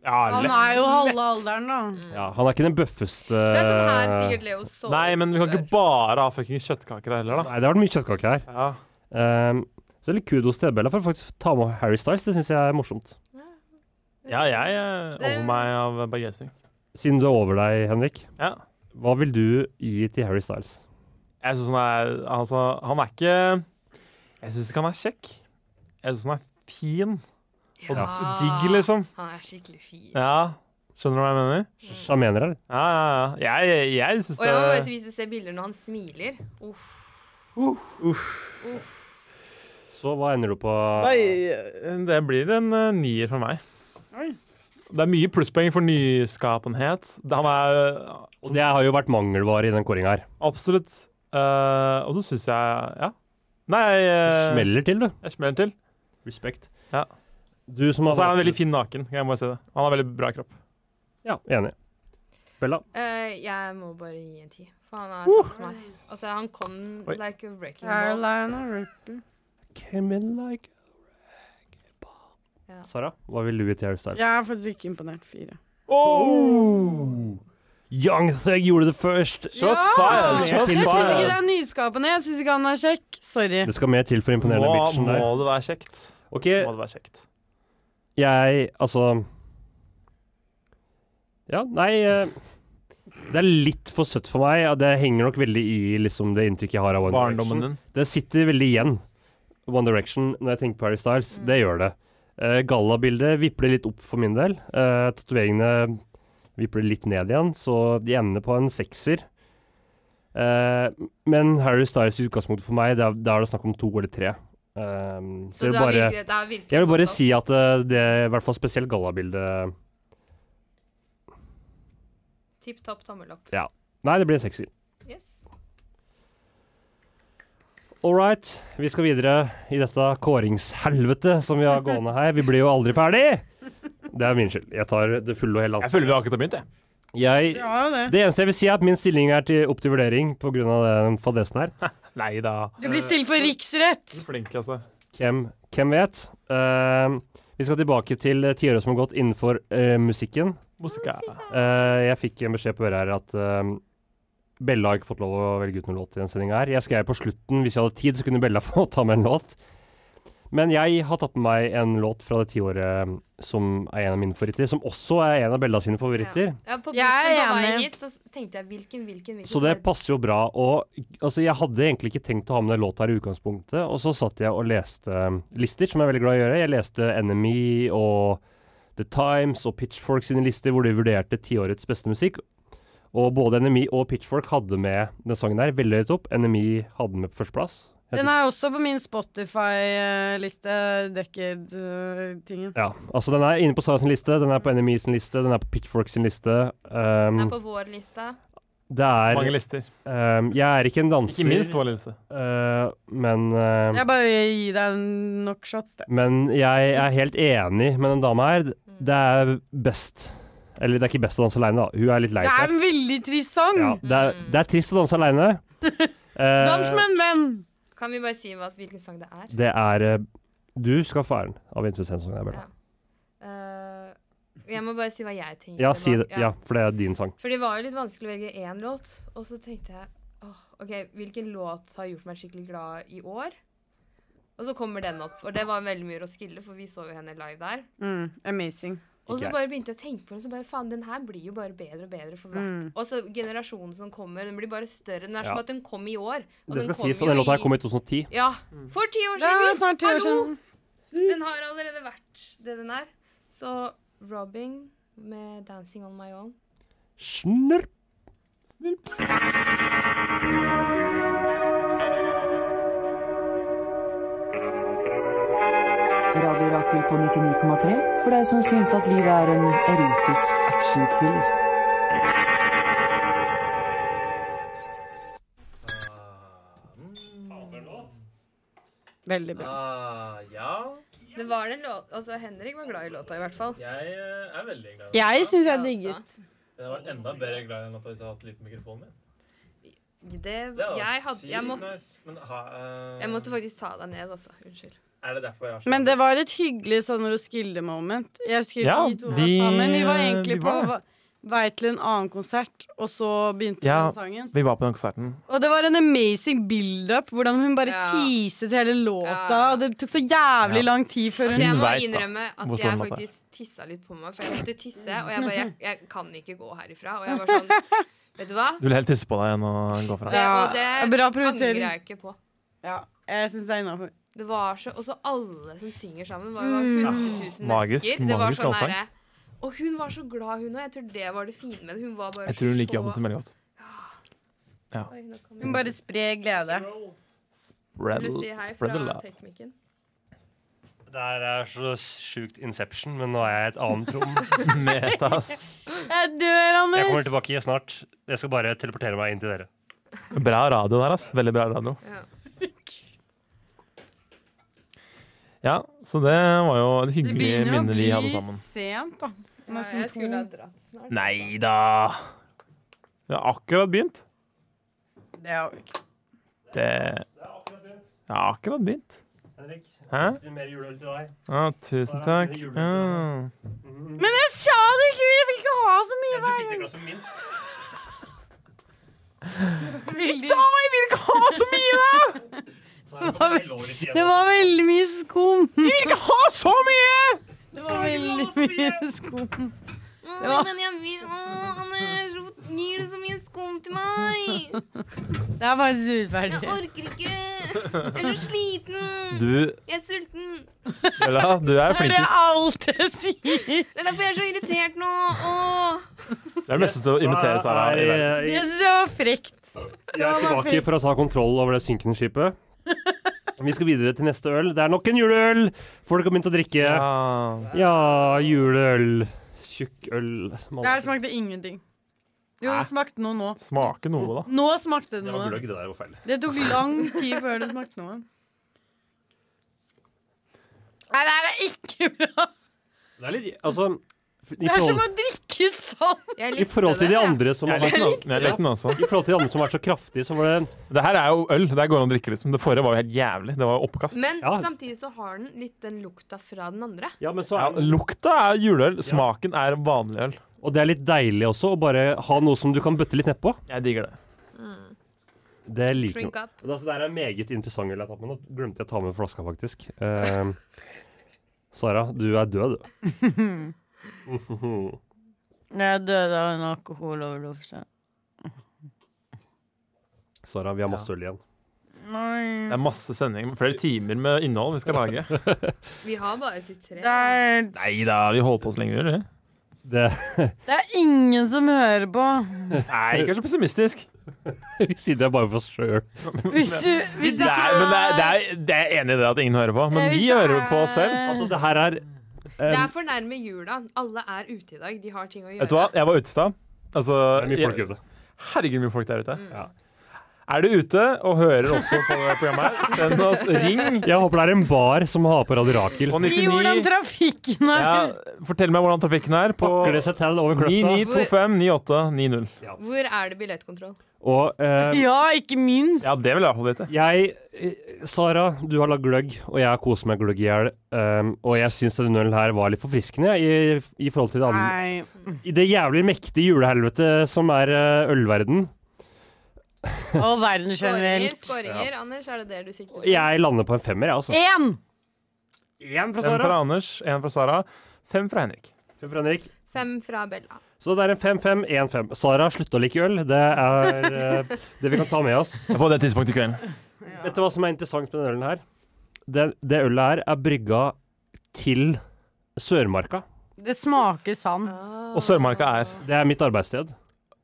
[SPEAKER 3] Ja,
[SPEAKER 5] Han
[SPEAKER 3] lett. Mm.
[SPEAKER 5] er jo halve alderen, da.
[SPEAKER 6] Ja, han er ikke den bøffeste
[SPEAKER 7] Det er sånn her sikkert Leo så
[SPEAKER 3] Nei, men vi kan ikke bare ha fuckings kjøttkaker her heller, da.
[SPEAKER 6] Nei, det har vært mye kjøttkake her.
[SPEAKER 3] Ja.
[SPEAKER 6] Um, så litt kudos til Bella for å faktisk ta med Harry Styles. Det syns jeg er morsomt.
[SPEAKER 3] Ja, jeg eh, over meg av begeistring.
[SPEAKER 6] Siden du er over deg, Henrik,
[SPEAKER 3] Ja.
[SPEAKER 6] hva vil du gi til Harry Styles?
[SPEAKER 3] Jeg syns han er Altså, han er ikke Jeg syns ikke han er kjekk. Jeg syns han er fin. Og
[SPEAKER 7] Ja.
[SPEAKER 3] digg, liksom.
[SPEAKER 7] Han er skikkelig fin.
[SPEAKER 3] Ja. Skjønner du hva jeg mener?
[SPEAKER 6] Hva mener dere?
[SPEAKER 3] Ja, ja, ja. Jeg, jeg syns
[SPEAKER 7] Og jeg må bare si,
[SPEAKER 3] det
[SPEAKER 7] hvis du ser bilder når han smiler Uff. Uff.
[SPEAKER 6] Så hva ender du på?
[SPEAKER 3] Nei, det blir en eh, nier for meg. Det er mye plusspoeng for nyskapenhet. Det- Han er eh,
[SPEAKER 6] Og det har jo vært mangelvare i den kåringa her.
[SPEAKER 3] absolutt eh, Og så syns jeg Ja. Nei,
[SPEAKER 6] Det
[SPEAKER 3] jeg, eh,
[SPEAKER 6] smeller til, du.
[SPEAKER 3] jeg smeller til.
[SPEAKER 6] Respekt.
[SPEAKER 3] Ja.
[SPEAKER 6] Du som
[SPEAKER 3] Og
[SPEAKER 6] har
[SPEAKER 3] så er han veldig fin naken. Jeg må bare si det. Han har veldig bra kropp.
[SPEAKER 6] Ja, enig. Bella.
[SPEAKER 7] Eh, jeg må bare gi en ti. For han er takk for meg. Altså, han kom
[SPEAKER 3] Oi.
[SPEAKER 7] like a wrecking ball.
[SPEAKER 5] Carolina Ripper.
[SPEAKER 6] Came in like
[SPEAKER 7] Ja.
[SPEAKER 6] Sara, hva vil du gi til Harry Styles?
[SPEAKER 5] Jeg er faktisk ikke imponert. Fire.
[SPEAKER 6] Oh! Young Thug gjorde det først!
[SPEAKER 3] Shots fired!
[SPEAKER 6] Jeg
[SPEAKER 3] Shots
[SPEAKER 5] Jeg syns ikke det
[SPEAKER 3] fired!
[SPEAKER 5] er nyskapende. Jeg syns ikke han er kjekk. Sorry.
[SPEAKER 6] Det skal mer til for å imponere
[SPEAKER 3] Må,
[SPEAKER 6] den bitchen
[SPEAKER 3] må
[SPEAKER 6] der.
[SPEAKER 3] det være kjekt.
[SPEAKER 6] OK,
[SPEAKER 3] Må det være kjekt.
[SPEAKER 6] jeg Altså Ja, nei eh, Det er litt for søtt for meg. Ja, det henger nok veldig i liksom, det inntrykket jeg har av One Direction.
[SPEAKER 3] Barndommen din.
[SPEAKER 6] Det sitter veldig igjen. One Direction, når jeg tenker på Harry Styles, det gjør det. Uh, Gallabildet vipper det litt opp for min del. Uh, Tatoveringene vipper det litt ned igjen, så de ender på en sekser. Eh, men Harry Styles i utgangspunktet for meg, da er, da er det snakk om to eller tre. Eh, så
[SPEAKER 7] Så
[SPEAKER 6] jeg
[SPEAKER 7] det
[SPEAKER 6] vil
[SPEAKER 7] er
[SPEAKER 6] bare,
[SPEAKER 7] virkelig, det er virkelig
[SPEAKER 6] jeg vil bare
[SPEAKER 7] godt opp.
[SPEAKER 6] si at eh, det i hvert fall spesielt gallabildet
[SPEAKER 7] Tipp topp, tommel opp.
[SPEAKER 6] Nei, det blir en sekser.
[SPEAKER 7] Yes.
[SPEAKER 6] All right, vi skal videre i dette kåringshelvete som vi har gående her. Vi blir jo aldri ferdig! Det er min skyld. Jeg tar det fulle og hele altså.
[SPEAKER 3] Jeg føler vi har akkurat begynt, jeg.
[SPEAKER 6] Jeg,
[SPEAKER 5] Ja, jo det.
[SPEAKER 6] det eneste jeg vil si, er at min stilling er til, opp til vurdering pga. den fadesen her.
[SPEAKER 3] Nei da.
[SPEAKER 5] Du blir stilt for riksrett.
[SPEAKER 3] Flink, altså.
[SPEAKER 6] Hvem, hvem vet? Eh, vi skal tilbake til eh, tiåret som har gått innenfor eh, musikken.
[SPEAKER 3] Musika.
[SPEAKER 6] Eh, jeg fikk en beskjed på øret her at eh, Bella har ikke fått lov å velge ut noen låt i den sendinga her. Jeg skrev på slutten, hvis jeg hadde tid, så kunne Bella få ta med en låt. Men jeg har tatt med meg en låt fra det tiåret eh, som er en av mine favoritter, som også er en av Bella sine favoritter.
[SPEAKER 7] Ja, på bussen
[SPEAKER 5] Jeg er
[SPEAKER 7] på vei
[SPEAKER 5] enig.
[SPEAKER 7] hit så tenkte jeg hvilken, hvilken, hvilken
[SPEAKER 6] Så det passer jo bra. Og altså, jeg hadde egentlig ikke tenkt å ha med den låta her i utgangspunktet, og så satt jeg og leste um, lister, som jeg er veldig glad i å gjøre. Jeg leste NME og The Times og Pitchfork sine lister, hvor de vurderte tiårets beste musikk. Og både NME og Pitchfork hadde med den sangen her veldig høyt opp. NME hadde den med på førsteplass.
[SPEAKER 5] Den er også på min Spotify-liste, øh, Decade-tingen.
[SPEAKER 6] Ja, altså den er inne på Sara sin liste, den er på NME sin liste, den er på Pitchfork sin liste. Um,
[SPEAKER 7] Den er på vår liste.
[SPEAKER 6] det er
[SPEAKER 3] Mange lister.
[SPEAKER 6] um, Jeg er ikke en danser,
[SPEAKER 3] Ikke minst vår liste.
[SPEAKER 6] uh, men um,
[SPEAKER 5] Jeg bare gir deg nok shots, det.
[SPEAKER 6] Men jeg er helt enig med den dama her. Det er best Eller det er ikke best å danse aleine, da. Hun er litt lei
[SPEAKER 5] Det er
[SPEAKER 6] seg.
[SPEAKER 5] en veldig trist sang.
[SPEAKER 6] Ja, det, er, det er trist å danse Eh, aleine.
[SPEAKER 5] Dans med en venn.
[SPEAKER 7] Kan vi bare si hva, hvilken sang det er?
[SPEAKER 6] Det er eh, Du skal få æren av Vintersendsongen. jeg bare.
[SPEAKER 7] Eh, jeg må bare si hva jeg tenkte.
[SPEAKER 6] Ja,
[SPEAKER 7] bak-
[SPEAKER 6] si det. Ja, for det er din sang.
[SPEAKER 7] For det var jo litt vanskelig å velge én låt, og så tenkte jeg åh, OK, hvilken låt har gjort meg skikkelig glad i år? Og så kommer den opp, og det var veldig mye Roskilde, for vi så jo henne live der.
[SPEAKER 5] Mm, amazing.
[SPEAKER 7] Og så
[SPEAKER 6] Ikke jeg.
[SPEAKER 7] bare begynte jeg å tenke på det, så bare faen, den her blir jo bare bedre og bedre for hvert.
[SPEAKER 5] Mm.
[SPEAKER 7] Og så generasjonen som kommer, den blir bare større. Den er som
[SPEAKER 6] Ja.
[SPEAKER 7] at den kom i år. Og
[SPEAKER 6] Det skal
[SPEAKER 7] kom
[SPEAKER 6] sies,
[SPEAKER 7] jo
[SPEAKER 6] og den låta her
[SPEAKER 7] i-
[SPEAKER 6] kom i 2010.
[SPEAKER 7] Ja. For ti år
[SPEAKER 5] Det
[SPEAKER 7] siden!
[SPEAKER 5] er snart ti år
[SPEAKER 7] Hallo!
[SPEAKER 5] siden.
[SPEAKER 7] Den har allerede vært det den er. Så Robbing med 'Dancing on my own'.
[SPEAKER 6] Snurp!
[SPEAKER 9] Radio Rakel på 99,3 for deg som syns at livet er en erotisk actionthriller.
[SPEAKER 5] Veldig bra.
[SPEAKER 3] Ah,
[SPEAKER 2] ja.
[SPEAKER 7] Det var den låt, altså Henrik var glad i låta, i hvert fall.
[SPEAKER 3] Jeg eh, er veldig glad
[SPEAKER 5] Jeg syns
[SPEAKER 7] Ja,
[SPEAKER 5] jeg
[SPEAKER 7] altså.
[SPEAKER 5] digget.
[SPEAKER 3] Jeg var enda bedre glad enn at jeg hadde lyd på mikrofonen min.
[SPEAKER 7] Det, jeg, hadde, jeg, måtte,
[SPEAKER 3] Men, eh,
[SPEAKER 7] jeg måtte faktisk ta deg ned, altså. Unnskyld.
[SPEAKER 3] Er det derfor jeg har
[SPEAKER 5] Men det var et hyggelig sånn Roskilde-moment. Jeg husker
[SPEAKER 3] Ja,
[SPEAKER 5] vi to var
[SPEAKER 3] vi-
[SPEAKER 5] sammen. Vi var egentlig
[SPEAKER 3] vi var
[SPEAKER 5] på va- vei til en annen konsert, og så begynte
[SPEAKER 3] Ja.
[SPEAKER 5] den sangen.
[SPEAKER 3] Vi var på den konserten.
[SPEAKER 5] Og det var en amazing build-up, hvordan hun bare
[SPEAKER 7] Ja.
[SPEAKER 5] teaset hele låta.
[SPEAKER 7] Ja.
[SPEAKER 5] Og det tok så jævlig
[SPEAKER 3] Ja.
[SPEAKER 5] lang tid før
[SPEAKER 7] Altså,
[SPEAKER 5] hun
[SPEAKER 7] jeg må
[SPEAKER 3] vet da
[SPEAKER 7] innrømme
[SPEAKER 3] hvor stor
[SPEAKER 7] at jeg
[SPEAKER 3] den låta er.
[SPEAKER 7] faktisk tissa litt på meg, for jeg måtte tisse. Og jeg bare Jeg, jeg kan ikke gå herifra. Og jeg var sånn Vet du hva?
[SPEAKER 3] Du vil helt tisse på deg enn å gå fra.
[SPEAKER 7] Det,
[SPEAKER 5] Ja,
[SPEAKER 7] og det
[SPEAKER 5] bra
[SPEAKER 7] angrer
[SPEAKER 5] prioritering.
[SPEAKER 7] jeg ikke på.
[SPEAKER 5] Ja, jeg syns det er innafor.
[SPEAKER 7] Det var så Og så alle som synger sammen, var jo bare
[SPEAKER 3] Ah,
[SPEAKER 7] 100 000
[SPEAKER 3] Magisk-
[SPEAKER 7] mennesker. Det var
[SPEAKER 3] magisk
[SPEAKER 7] sånn
[SPEAKER 3] allsang.
[SPEAKER 7] derre- og hun var så glad, hun òg. Jeg tror det var det fine med det. Hun var bare
[SPEAKER 3] Jeg tror hun liker
[SPEAKER 7] så-
[SPEAKER 3] jobben sin veldig godt.
[SPEAKER 7] Oi, nå kom
[SPEAKER 5] Hun bare sprer glede.
[SPEAKER 7] Vil du si hei
[SPEAKER 3] Spread the
[SPEAKER 7] fra
[SPEAKER 3] love.
[SPEAKER 7] teknikken?
[SPEAKER 6] Det her er så sjukt Inception, men nå er jeg i et annet rom.
[SPEAKER 3] Metas.
[SPEAKER 5] Jeg dør,
[SPEAKER 6] Jeg kommer
[SPEAKER 5] Anders!
[SPEAKER 6] tilbake snart. Jeg skal bare teleportere meg inn til dere.
[SPEAKER 3] Bra radio der, ass. Veldig bra radio.
[SPEAKER 7] Ja.
[SPEAKER 3] Ja, så det var jo et
[SPEAKER 5] Det
[SPEAKER 3] hyggelig
[SPEAKER 5] begynner
[SPEAKER 3] minne vi
[SPEAKER 5] jo å
[SPEAKER 3] hadde
[SPEAKER 5] bli
[SPEAKER 3] sammen.
[SPEAKER 5] sent, da.
[SPEAKER 7] Ja,
[SPEAKER 5] Nesten
[SPEAKER 7] jeg skulle ha
[SPEAKER 5] to.
[SPEAKER 7] dratt snart.
[SPEAKER 3] Nei da. Vi har akkurat begynt.
[SPEAKER 5] Det har vi ikke.
[SPEAKER 3] Det Jeg har akkurat begynt.
[SPEAKER 6] Henrik,
[SPEAKER 3] Hæ?
[SPEAKER 6] mer juleøl til deg.
[SPEAKER 3] Å, tusen
[SPEAKER 6] Bare
[SPEAKER 3] takk.
[SPEAKER 6] julebord.
[SPEAKER 3] Ja.
[SPEAKER 5] Men jeg sa det ikke! Jeg vil ikke ha så mye hver gang.
[SPEAKER 6] glasset minst.
[SPEAKER 5] Veldig-
[SPEAKER 3] jeg vil ikke ha så mye!
[SPEAKER 5] Det var veldig mye skum.
[SPEAKER 3] Jeg vil ikke ha så mye!
[SPEAKER 5] Det var veldig mye skum.
[SPEAKER 7] Åh, men jeg vil Åh, Anders, hvorfor gir du så mye skum til meg?
[SPEAKER 5] Det er faktisk
[SPEAKER 7] Jeg
[SPEAKER 5] urettferdig.
[SPEAKER 7] orker ikke. Jeg er så sliten.
[SPEAKER 3] Du,
[SPEAKER 7] Jeg er sulten.
[SPEAKER 3] Bella, du er
[SPEAKER 5] Det er
[SPEAKER 3] flinkest.
[SPEAKER 5] alt jeg sier.
[SPEAKER 7] Det er derfor jeg er så irritert nå. Åh.
[SPEAKER 3] Det er det beste til å imitere Sara i verden.
[SPEAKER 5] Det syns jeg var frekt.
[SPEAKER 6] Jeg er tilbake for å ta kontroll over det synkende skipet. Vi skal videre til neste øl. Det er nok en juleøl! Folk har begynt å drikke.
[SPEAKER 3] Ja.
[SPEAKER 6] Ja, juleøl. Tjukkøl.
[SPEAKER 5] Det her smakte ingenting. Jo, det smakte noe nå.
[SPEAKER 3] Smake noe, da.
[SPEAKER 5] Nå smakte det noe.
[SPEAKER 6] gløgg, det der var feil.
[SPEAKER 5] Det tok lang tid før det smakte noe. Nei, det her er ikke bra.
[SPEAKER 6] Det er litt, altså, f- i
[SPEAKER 5] Det er som
[SPEAKER 6] forhold,
[SPEAKER 5] å drikke sand.
[SPEAKER 7] Jeg
[SPEAKER 6] i forhold til de andre som
[SPEAKER 3] Jeg
[SPEAKER 6] har
[SPEAKER 3] er
[SPEAKER 6] vært
[SPEAKER 3] liten, også. jeg er liten også.
[SPEAKER 6] i forhold til de andre som har vært så kraftige, så var det
[SPEAKER 3] Det her er jo øl. Det her går an å drikke, liksom. Det forrige var jo helt jævlig. Det var jo oppkast.
[SPEAKER 7] Men
[SPEAKER 6] Ja.
[SPEAKER 7] samtidig så har den litt den lukta fra den andre.
[SPEAKER 6] Ja, men så
[SPEAKER 3] Ja,
[SPEAKER 6] er
[SPEAKER 3] lukta er juleøl. Smaken er vanlig øl.
[SPEAKER 6] Og det er litt deilig også, å bare ha noe som du kan bøtte litt nedpå.
[SPEAKER 3] Jeg digger det.
[SPEAKER 6] Det liker
[SPEAKER 7] Drink
[SPEAKER 6] jeg.
[SPEAKER 7] up.
[SPEAKER 6] Og Det altså, det her er meget interessant øl jeg har tatt med. Nå glemte jeg å ta med flaska, faktisk. Ehm, Sara, du er død, du.
[SPEAKER 5] Jeg døde av en alkoholoverdose.
[SPEAKER 6] Sara, vi har masse øl igjen.
[SPEAKER 3] Det er masse sendinger. Flere timer med innhold vi skal lage.
[SPEAKER 7] Vi har bare til tre.
[SPEAKER 5] Det er,
[SPEAKER 3] Nei da, vi holder på så lenge vi gjør det.
[SPEAKER 6] Det,
[SPEAKER 5] det er ingen som hører på.
[SPEAKER 3] Nei, ikke vær så pessimistisk.
[SPEAKER 6] vi sier det bare for oss sjøl.
[SPEAKER 5] Hvis du hvis
[SPEAKER 3] Det er, men det er, det er, det er enig i det at ingen hører på, men vi hører jo på oss selv.
[SPEAKER 6] Altså, det her er
[SPEAKER 7] Det er for nærme jula. Alle er ute i dag. De har ting å gjøre.
[SPEAKER 3] Vet du hva, jeg var ute i stad. Altså,
[SPEAKER 6] det er mye folk
[SPEAKER 3] jeg-
[SPEAKER 6] ute.
[SPEAKER 3] herregud, mye folk der ute.
[SPEAKER 6] Ja.
[SPEAKER 3] Er du ute og hører også på det programmet her, send oss ring
[SPEAKER 6] Jeg håper det er en bar som har på Radio Rakel.
[SPEAKER 3] på
[SPEAKER 5] Si hvordan
[SPEAKER 3] 99.
[SPEAKER 5] trafikken er.
[SPEAKER 3] Ja, fortell meg hvordan trafikken er på
[SPEAKER 6] Pakker det seg til over kløfta.
[SPEAKER 3] 99259890.
[SPEAKER 7] Hvor er det billettkontroll?
[SPEAKER 6] Og eh,
[SPEAKER 5] Ja, ikke minst.
[SPEAKER 3] Ja, det vil jeg iallfall vite.
[SPEAKER 6] Jeg, eh, Sara, du har lagd gløgg, og jeg har kost meg gløgg i hjel. Um, og jeg syns den ølen her var litt forfriskende i, i forhold til det andre.
[SPEAKER 5] Nei.
[SPEAKER 6] I det jævlig mektige julehelvetet som er eh, ølverden.
[SPEAKER 5] Og verden
[SPEAKER 7] Skåringer,
[SPEAKER 5] generelt.
[SPEAKER 7] skåringer. Anders, er det det du sikter til?
[SPEAKER 6] Jeg lander på en femmer, jeg, altså.
[SPEAKER 5] Én!
[SPEAKER 6] Én fra
[SPEAKER 3] En
[SPEAKER 6] Sara.
[SPEAKER 3] fra Anders, en fra Sara, fem fra Henrik.
[SPEAKER 6] Fem fra Henrik.
[SPEAKER 7] Fem fra Bella.
[SPEAKER 6] Så det er en fem-fem, én fem. Sara slutta å like øl. Det er eh, det vi kan ta med oss.
[SPEAKER 3] På det tidspunktet i kvelden.
[SPEAKER 6] Vet du hva som er interessant med denne ølen her? Det, det ølet her er brygga til Sørmarka.
[SPEAKER 5] Det smaker sand.
[SPEAKER 7] Ah.
[SPEAKER 3] Og Sørmarka er
[SPEAKER 6] Det er mitt arbeidssted.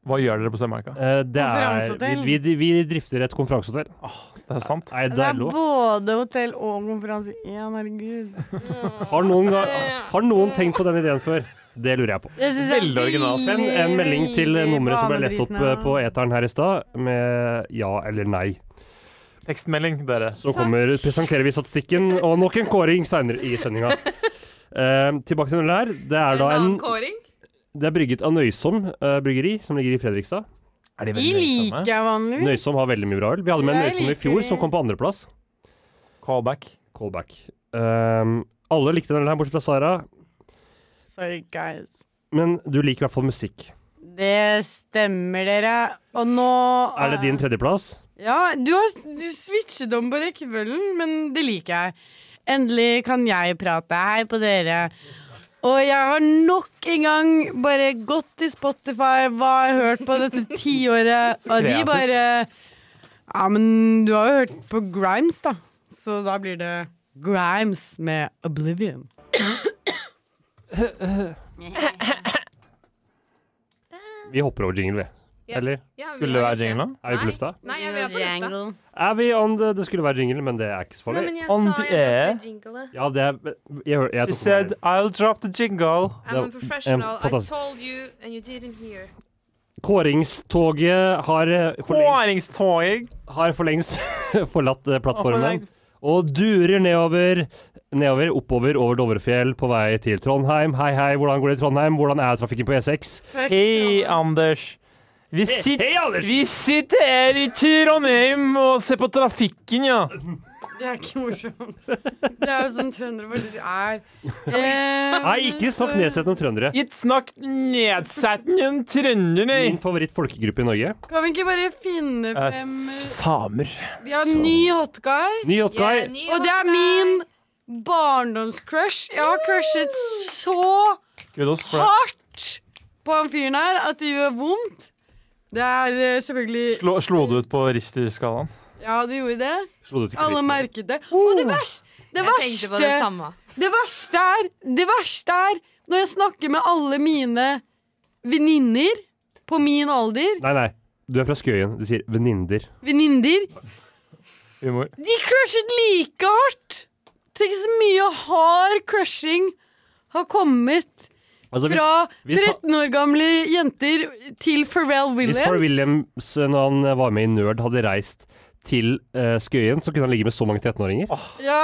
[SPEAKER 3] Hva gjør dere på Sørmarka?
[SPEAKER 6] Eh, det er,
[SPEAKER 5] Konferansehotell.
[SPEAKER 6] vi, vi, vi drifter et konferansehotell.
[SPEAKER 3] Det er sant.
[SPEAKER 6] Nei,
[SPEAKER 5] Det
[SPEAKER 6] det
[SPEAKER 5] er
[SPEAKER 6] er lov.
[SPEAKER 5] både hotell og konferanse i én, herregud.
[SPEAKER 6] Har noen, ga- har noen tenkt på den ideen før? Det lurer jeg på.
[SPEAKER 5] Det synes jeg er
[SPEAKER 3] Veldig originalt.
[SPEAKER 6] Send
[SPEAKER 5] veldig, eh,
[SPEAKER 6] en melding til
[SPEAKER 5] veldig
[SPEAKER 6] nummeret som ble lest opp
[SPEAKER 5] banebrytende.
[SPEAKER 6] eh, på eteren her i stad, med ja eller nei.
[SPEAKER 3] Tekstmelding, dere.
[SPEAKER 6] Så kommer, presenterer vi statistikken, og nok en kåring seinere i sendinga. Eh, tilbake til den der. Det er
[SPEAKER 7] En
[SPEAKER 6] da en
[SPEAKER 7] annen kåring?
[SPEAKER 6] Det er brygget av Nøysom eh, bryggeri, som ligger i Fredrikstad.
[SPEAKER 3] Er de
[SPEAKER 5] De liker jeg vanligvis.
[SPEAKER 6] Nøysom har veldig mye bra øl. Vi hadde med en
[SPEAKER 5] Jeg
[SPEAKER 6] Nøysom i
[SPEAKER 5] liker
[SPEAKER 6] fjor,
[SPEAKER 5] det.
[SPEAKER 6] som kom på andreplass.
[SPEAKER 3] Callback.
[SPEAKER 6] Callback. Ehm, alle likte den ølen her, bortsett fra Sara.
[SPEAKER 5] Sorry, guys.
[SPEAKER 6] Men du liker i hvert fall musikk.
[SPEAKER 5] Det stemmer, dere. Og nå
[SPEAKER 6] Er
[SPEAKER 7] Ah.
[SPEAKER 6] det din tredjeplass?
[SPEAKER 5] Ja, du har du switchet om på rekkefølgen, men det liker jeg. Endelig kan jeg prate. Hei på dere. Og jeg har nok en gang bare gått til Spotify, hva har jeg hørt på dette tiåret? Og de
[SPEAKER 3] kreativt.
[SPEAKER 5] bare Ja, men du har jo hørt på Grimes, da. Så da blir det Grimes med Oblivion.
[SPEAKER 6] Vi hopper over jingle, vi.
[SPEAKER 7] Ja.
[SPEAKER 6] Eller
[SPEAKER 7] Ja, vi
[SPEAKER 3] Skulle det være
[SPEAKER 7] har ikke-
[SPEAKER 3] jingle,
[SPEAKER 6] er vi på lufta?
[SPEAKER 7] Nei, ja, vi er på lufta.
[SPEAKER 6] Er vi on the, det skulle være jingle, men det er ikke så
[SPEAKER 7] Nei,
[SPEAKER 6] farlig.
[SPEAKER 7] men jeg
[SPEAKER 3] On
[SPEAKER 7] sa
[SPEAKER 3] the air.
[SPEAKER 7] jeg måtte jingle det.
[SPEAKER 6] Ja, det er Jeg, hører- jeg
[SPEAKER 3] She
[SPEAKER 6] tok
[SPEAKER 3] said
[SPEAKER 6] med meg.
[SPEAKER 3] I'll drop the jingle.
[SPEAKER 7] I'm a
[SPEAKER 6] Det- em,
[SPEAKER 7] professional. I
[SPEAKER 6] fantastisk.
[SPEAKER 7] told you, and you didn't hear.
[SPEAKER 6] Kåringstoget har eh, for lengst,
[SPEAKER 3] Kåringstog.
[SPEAKER 6] har for lengst forlatt eh, plattformen.
[SPEAKER 3] lengst.
[SPEAKER 6] Og durer nedover, nedover, oppover, over Dovrefjell, på vei til Trondheim. Hei, hei, hvordan går det i Trondheim? Hvordan er trafikken på E E6?
[SPEAKER 3] Hei, Anders. Vi sitter,
[SPEAKER 6] hei, Anders.
[SPEAKER 3] vi sitter her i Trondheim og ser på trafikken, ja.
[SPEAKER 5] Det er ikke morsomt. Det er jo sånn trøndere faktisk er.
[SPEAKER 6] Nei, ikke snakk nedsettende om trøndere.
[SPEAKER 3] Ikke snakk nedsettende om trønderne.
[SPEAKER 6] Min favoritt-folkegruppe i Norge.
[SPEAKER 5] Kan vi ikke bare finne
[SPEAKER 3] Eh,
[SPEAKER 5] frem
[SPEAKER 3] Samer.
[SPEAKER 5] Vi har en ny hotguy,
[SPEAKER 6] Ny hot guy.
[SPEAKER 7] Yeah, ny
[SPEAKER 5] og det er
[SPEAKER 7] hotline.
[SPEAKER 5] min barndomscrush. Jeg har crushet så
[SPEAKER 3] Kudos for det.
[SPEAKER 5] hardt på han fyren her at det gjør vondt. Det er eh, selvfølgelig
[SPEAKER 3] Slo, slo du ut på Richter-skalaen?
[SPEAKER 5] Ja, det gjorde det.
[SPEAKER 6] Slo det til
[SPEAKER 5] Alle
[SPEAKER 6] klitten.
[SPEAKER 5] merket det. Og
[SPEAKER 3] Uh.
[SPEAKER 5] det vers- det
[SPEAKER 7] Jeg tenkte på det
[SPEAKER 5] verste
[SPEAKER 7] samme.
[SPEAKER 5] Det verste er Det verste er når jeg snakker med alle mine venninner på min alder
[SPEAKER 6] Nei, nei. Du er fra Skøyen. Du sier venninder.
[SPEAKER 5] Venninner
[SPEAKER 3] Humor.
[SPEAKER 5] De crushet like hardt! Tenk så mye hard crushing har kommet
[SPEAKER 6] Altså, hvis,
[SPEAKER 5] fra
[SPEAKER 6] hvis han-
[SPEAKER 5] 13 år gamle jenter til Pharrell
[SPEAKER 6] hvis Far
[SPEAKER 5] Williams.
[SPEAKER 6] Williams, eh, når han eh, var med i Nerd, hadde reist til eh, Skøyen, så kunne han ligge med så mange 13-åringer.
[SPEAKER 5] Ja,
[SPEAKER 7] Ja.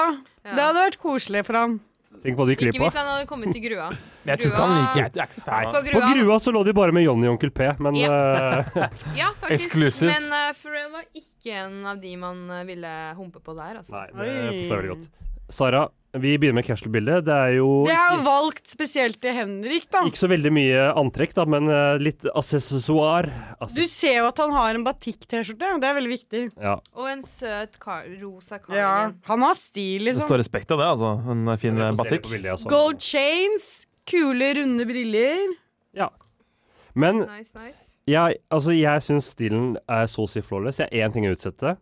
[SPEAKER 5] Det hadde vært koselig for han.
[SPEAKER 6] Tenk hva du gikk
[SPEAKER 7] Ikke
[SPEAKER 6] glipp av.
[SPEAKER 7] hvis han hadde kommet til grua.
[SPEAKER 3] Men jeg tror ikke han liker jeg er ikke så fan av
[SPEAKER 7] På
[SPEAKER 3] det.
[SPEAKER 6] På
[SPEAKER 7] grua.
[SPEAKER 6] Grua så lå de bare med Johnny og Onkel P, men eh,
[SPEAKER 7] Ja, faktisk.
[SPEAKER 3] Exclusive.
[SPEAKER 7] Men eh, Pharrell var ikke en av de man eh, ville humpe på der, altså.
[SPEAKER 6] Nei, det forstår jeg veldig godt. Sara, vi begynner med casual-bildet. Det er jo
[SPEAKER 5] Det er jo valgt spesielt til Henrik, da.
[SPEAKER 6] ikke så veldig mye antrekk, da, men eh, litt accessoire.
[SPEAKER 5] Du
[SPEAKER 6] Assess-
[SPEAKER 5] ser jo at han har en batikk-T-skjorte. Det er veldig viktig.
[SPEAKER 6] ja.
[SPEAKER 7] Og en søt kar rosa
[SPEAKER 5] Ja,
[SPEAKER 7] cardigan.
[SPEAKER 5] Han har stil,
[SPEAKER 3] Det
[SPEAKER 5] liksom.
[SPEAKER 3] står respekt av det, altså. En fin eh, batikk.
[SPEAKER 5] Gold chains, kule, runde briller.
[SPEAKER 6] Men
[SPEAKER 7] Nice, nice.
[SPEAKER 6] jeg, altså, jeg syns stilen er så å si flawless. Jeg har én ting å utsette,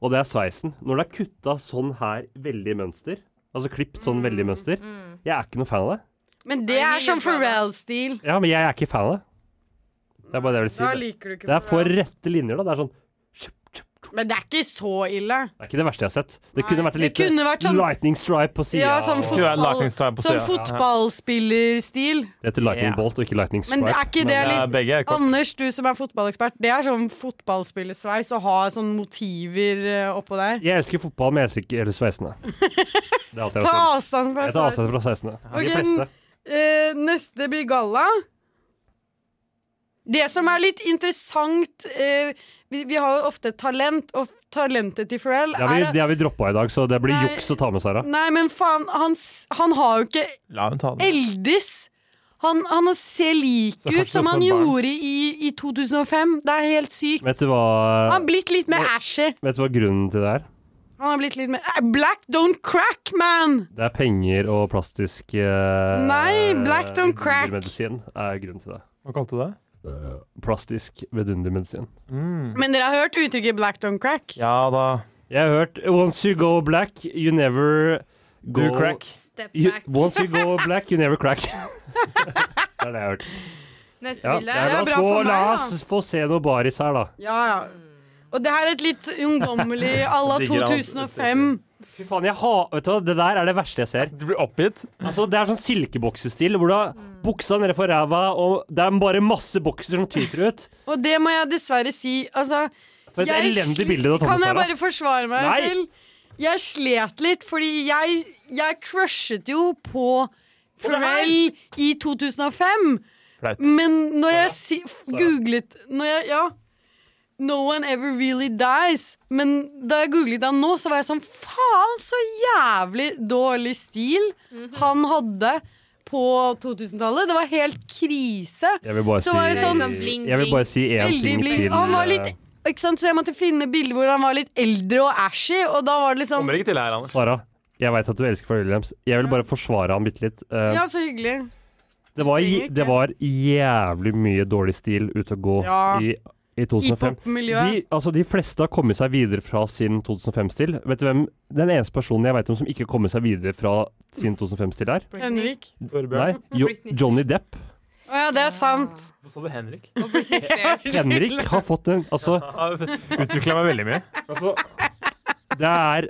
[SPEAKER 6] og det er sveisen. Når det er kutta sånn her, veldig i mønster, altså klippet
[SPEAKER 5] Mm,
[SPEAKER 6] sånn veldig i mønster, jeg er ikke noe fan av det.
[SPEAKER 5] Men det
[SPEAKER 7] Nei,
[SPEAKER 5] er sånn
[SPEAKER 7] jeg gjør det.
[SPEAKER 5] Pharrell-stil.
[SPEAKER 6] Ja, men jeg er ikke fan av det. Det er bare det jeg vil
[SPEAKER 5] Da
[SPEAKER 6] si.
[SPEAKER 5] liker du ikke
[SPEAKER 6] Det er for
[SPEAKER 5] Pharrell.
[SPEAKER 6] rette linjer, da. Det er sånn
[SPEAKER 5] Men det er ikke så ille.
[SPEAKER 6] Det er ikke det verste jeg har sett. Det kunne vært en
[SPEAKER 5] det
[SPEAKER 6] liten
[SPEAKER 5] kunne vært sånn-
[SPEAKER 6] lightning stripe på sida.
[SPEAKER 5] Ja, sånn
[SPEAKER 3] Skulle være en
[SPEAKER 5] fotball...
[SPEAKER 3] lakningstime på
[SPEAKER 5] Sånn
[SPEAKER 3] siden.
[SPEAKER 5] fotballspillerstil.
[SPEAKER 6] Det heter lightning
[SPEAKER 3] Ja.
[SPEAKER 6] bolt og ikke lightning stripe.
[SPEAKER 5] Men er ikke det
[SPEAKER 3] Ja,
[SPEAKER 5] litt
[SPEAKER 3] Begge er kort.
[SPEAKER 5] Anders, du som er fotballekspert, det er sånn fotballspillersveis å ha sånne motiver eh, oppå der.
[SPEAKER 6] Jeg elsker fotball, men jeg elsker ikke eller sveisene. Det er alt
[SPEAKER 5] Ta
[SPEAKER 6] jeg har å si.
[SPEAKER 5] avstand fra
[SPEAKER 6] Jeg tar
[SPEAKER 5] sveis.
[SPEAKER 6] avstand fra sveisene.
[SPEAKER 5] Ok,
[SPEAKER 6] De fleste.
[SPEAKER 5] Eh, neste blir galla. Det som er litt interessant eh, vi, vi har jo ofte talent, og talentet til Pharrell
[SPEAKER 6] Det har vi,
[SPEAKER 5] er
[SPEAKER 6] det har vi droppa i dag, så det blir
[SPEAKER 5] Nei.
[SPEAKER 6] juks å ta med, Sara.
[SPEAKER 5] Nei, men faen, han, s- han har jo ikke
[SPEAKER 3] La hun ta den.
[SPEAKER 5] eldes. Han, han ser lik
[SPEAKER 3] Ser
[SPEAKER 5] ut
[SPEAKER 3] faktisk
[SPEAKER 5] som
[SPEAKER 3] ut som
[SPEAKER 5] han
[SPEAKER 3] et barn.
[SPEAKER 5] gjorde i, i 2005. Det er helt sykt.
[SPEAKER 6] Vet du hva
[SPEAKER 5] Han har blitt litt mer ashy.
[SPEAKER 6] Vet du hva grunnen til det er?
[SPEAKER 5] Han har blitt litt mer Eh, Black don't crack, man!
[SPEAKER 6] Det er penger og plastisk eh,
[SPEAKER 5] Nei, black don't crack.
[SPEAKER 6] Vidundermedisin er grunnen til det.
[SPEAKER 3] Hva kalte du det?
[SPEAKER 6] Plastisk vidundermedisin.
[SPEAKER 5] Men dere har hørt uttrykket black don't crack?
[SPEAKER 3] Ja da.
[SPEAKER 6] Jeg har hørt Once you go black, you never go
[SPEAKER 3] Do crack.
[SPEAKER 7] Step
[SPEAKER 6] You,
[SPEAKER 7] back.
[SPEAKER 6] once you go black, you never crack. det er det jeg har hørt.
[SPEAKER 7] Neste
[SPEAKER 6] Ja,
[SPEAKER 7] bilde.
[SPEAKER 5] det
[SPEAKER 6] nei, la,
[SPEAKER 5] er
[SPEAKER 6] oss
[SPEAKER 5] bra
[SPEAKER 6] gå,
[SPEAKER 5] for meg,
[SPEAKER 6] la
[SPEAKER 5] da.
[SPEAKER 6] oss få se noe baris her, da.
[SPEAKER 5] Ja, ja. Og det her er et litt ungdommelig à la
[SPEAKER 3] Digger han.
[SPEAKER 5] 2005.
[SPEAKER 6] Fy faen, jeg ha, vet du, hva, Det der er det verste jeg ser.
[SPEAKER 3] Du blir oppgitt.
[SPEAKER 6] Altså, Det er sånn silkeboksestil hvor du har
[SPEAKER 5] Mm.
[SPEAKER 6] buksa nede for ræva, og det er bare masse bokser som tyter ut.
[SPEAKER 5] Og det må jeg dessverre si. Altså,
[SPEAKER 6] For et
[SPEAKER 5] Jeg
[SPEAKER 6] elendig
[SPEAKER 5] sli-
[SPEAKER 6] bilde du har tatt
[SPEAKER 5] Kan
[SPEAKER 6] med,
[SPEAKER 5] jeg
[SPEAKER 6] Sara.
[SPEAKER 5] bare forsvare meg
[SPEAKER 6] Nei.
[SPEAKER 5] selv? Jeg slet litt, fordi jeg, jeg crushet jo på Pharrell i 2005.
[SPEAKER 3] Flaut.
[SPEAKER 5] Men når jeg si, f- googlet når jeg, ja, No one ever really dies. Men da jeg googlet han nå, så var jeg sånn Faen, så jævlig dårlig stil
[SPEAKER 6] Mhm.
[SPEAKER 5] han hadde på 2000-tallet. Det var helt krise.
[SPEAKER 6] Jeg vil bare
[SPEAKER 5] Så var det
[SPEAKER 6] si
[SPEAKER 5] sånn-
[SPEAKER 7] Sånn bling,
[SPEAKER 6] Jeg vil bare si én
[SPEAKER 5] Veldig
[SPEAKER 6] ting
[SPEAKER 5] blid.
[SPEAKER 6] til.
[SPEAKER 5] Han var
[SPEAKER 6] eh,
[SPEAKER 5] litt ikke sant? Så jeg måtte finne bilder hvor han var litt eldre og ashy, og da var det liksom
[SPEAKER 3] Kommer ikke til her, Anders.
[SPEAKER 6] Sara, jeg veit at du elsker Pharrell Williams. Jeg vil bare forsvare ham bitte litt. Eh,
[SPEAKER 5] Ja, så hyggelig.
[SPEAKER 6] det, var,
[SPEAKER 5] trenger ikke.
[SPEAKER 6] det var jævlig mye dårlig stil ute og gå
[SPEAKER 5] Ja.
[SPEAKER 6] i, i 2005.
[SPEAKER 5] Hiphop-miljøet.
[SPEAKER 6] De, altså, de fleste har kommet seg videre fra sin 2005-stil. Vet du hvem den eneste personen jeg veit om som ikke kommer seg videre fra sin 2005-stil, er?
[SPEAKER 5] Henrik.
[SPEAKER 6] Nei, jo,
[SPEAKER 7] Britney.
[SPEAKER 6] Johnny Depp.
[SPEAKER 5] Å ja, det er sant.
[SPEAKER 3] Hva sa du, Henrik?
[SPEAKER 7] Og Britney Spears.
[SPEAKER 6] Henrik har fått en Altså,
[SPEAKER 3] Utvikla meg veldig mye.
[SPEAKER 6] altså det er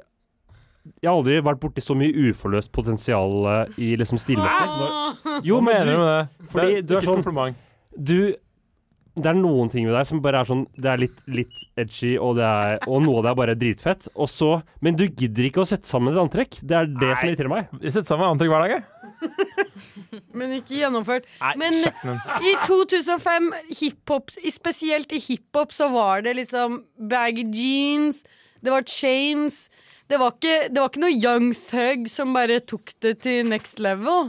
[SPEAKER 6] Jeg har aldri vært borti så mye uforløst potensial eh, i liksom stillheten. Jo,
[SPEAKER 3] Hva mener
[SPEAKER 6] men
[SPEAKER 3] du
[SPEAKER 6] du,
[SPEAKER 3] med det?
[SPEAKER 6] fordi
[SPEAKER 3] det
[SPEAKER 6] du er
[SPEAKER 3] ikke
[SPEAKER 6] sånn-
[SPEAKER 3] kompliment.
[SPEAKER 6] du Det er noen ting ved deg som bare er sånn Det er litt, litt edgy, og, det er, og noe av det er bare dritfett. Og så Men du gidder ikke å sette sammen et antrekk. Det er det som irriterer meg.
[SPEAKER 3] Vi sitter sammen med antrekk hver dag, jeg.
[SPEAKER 5] Men ikke gjennomført.
[SPEAKER 3] Nei,
[SPEAKER 5] Men
[SPEAKER 3] kjeften din.
[SPEAKER 5] i 2005, hiphop, i- spesielt i hiphop, så var det liksom baggy jeans, det var chains det var, ikke, det var ikke noe young thug som bare tok det til next level.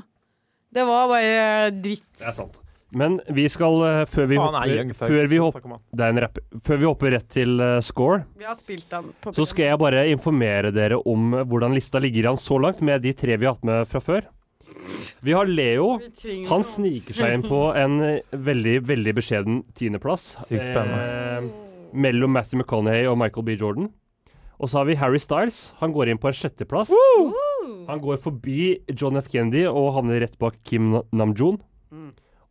[SPEAKER 5] Det var bare dritt.
[SPEAKER 6] Det er sant. Men vi skal, eh, før vi
[SPEAKER 3] Faen, er
[SPEAKER 6] hopper,
[SPEAKER 3] young thug.
[SPEAKER 6] før vi hopper
[SPEAKER 3] Snakk om han.
[SPEAKER 6] Det er en rapper. Før vi hopper rett til eh, score,
[SPEAKER 5] Vi har spilt den på
[SPEAKER 6] så skal jeg bare informere dere om eh, hvordan lista ligger an så langt, med de tre vi har hatt med fra før. Vi har Leo. Han sniker seg inn på en eh, veldig, veldig beskjeden tiendeplass.
[SPEAKER 3] Sykt spennende.
[SPEAKER 6] Eh, mellom Matthew McConaughey og Michael B. Jordan. Og så har vi Harry Styles. Han går inn på en sjetteplass. Han går forbi John F. Kennedy og havner rett bak Kim Na- Namjoon.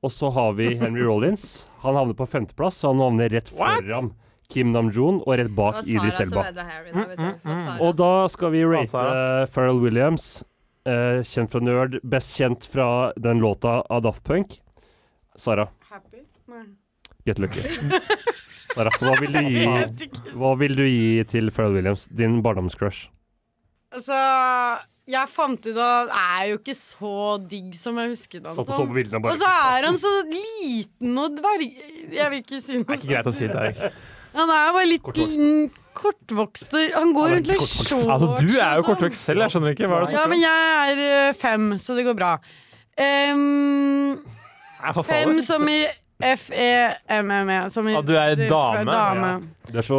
[SPEAKER 6] Og så har vi Henry Rollins. Han havner på femteplass, så han havner rett foran Kim Namjoon og rett
[SPEAKER 7] Det
[SPEAKER 6] bak
[SPEAKER 7] var Sara
[SPEAKER 6] Idris
[SPEAKER 7] som
[SPEAKER 6] Elba.
[SPEAKER 7] ødela Harry. Da, vet
[SPEAKER 5] Mm,
[SPEAKER 7] du. Det var Sara.
[SPEAKER 6] Og da skal vi rate
[SPEAKER 3] Sara.
[SPEAKER 6] eh, Pharrell Williams, eh, kjent fra Nerd, best kjent fra den låta av Daft Punk. Sara,
[SPEAKER 5] Happy?
[SPEAKER 6] get lucky. Sara, hva vil du gi, hva vil du gi til Pharrell Williams, din barndomscrush?
[SPEAKER 5] Altså, jeg fant ut at han er jo ikke så digg som jeg husket han
[SPEAKER 6] Satt og så
[SPEAKER 5] som.
[SPEAKER 6] på bildene og
[SPEAKER 5] Og så
[SPEAKER 6] bare
[SPEAKER 5] er han så liten og dverg... Jeg vil ikke si
[SPEAKER 3] Det
[SPEAKER 5] noe
[SPEAKER 3] er ikke greit altså. å si det, Erik.
[SPEAKER 5] Han er jo bare litt
[SPEAKER 6] Kortvokst.
[SPEAKER 5] liten, kortvokst. og Han går rundt med shorts.
[SPEAKER 3] Altså, du er jo
[SPEAKER 5] og sånn.
[SPEAKER 3] kortvekst selv, jeg skjønner ikke. Hva er det
[SPEAKER 5] Ja, men jeg er eh, fem, så det går bra. Ehm,
[SPEAKER 3] som Hva sa
[SPEAKER 5] fem
[SPEAKER 3] du?
[SPEAKER 5] som i E F-E-M-M-E. Som i
[SPEAKER 3] At du er
[SPEAKER 5] det-
[SPEAKER 3] dame?
[SPEAKER 5] dame.
[SPEAKER 6] Det er så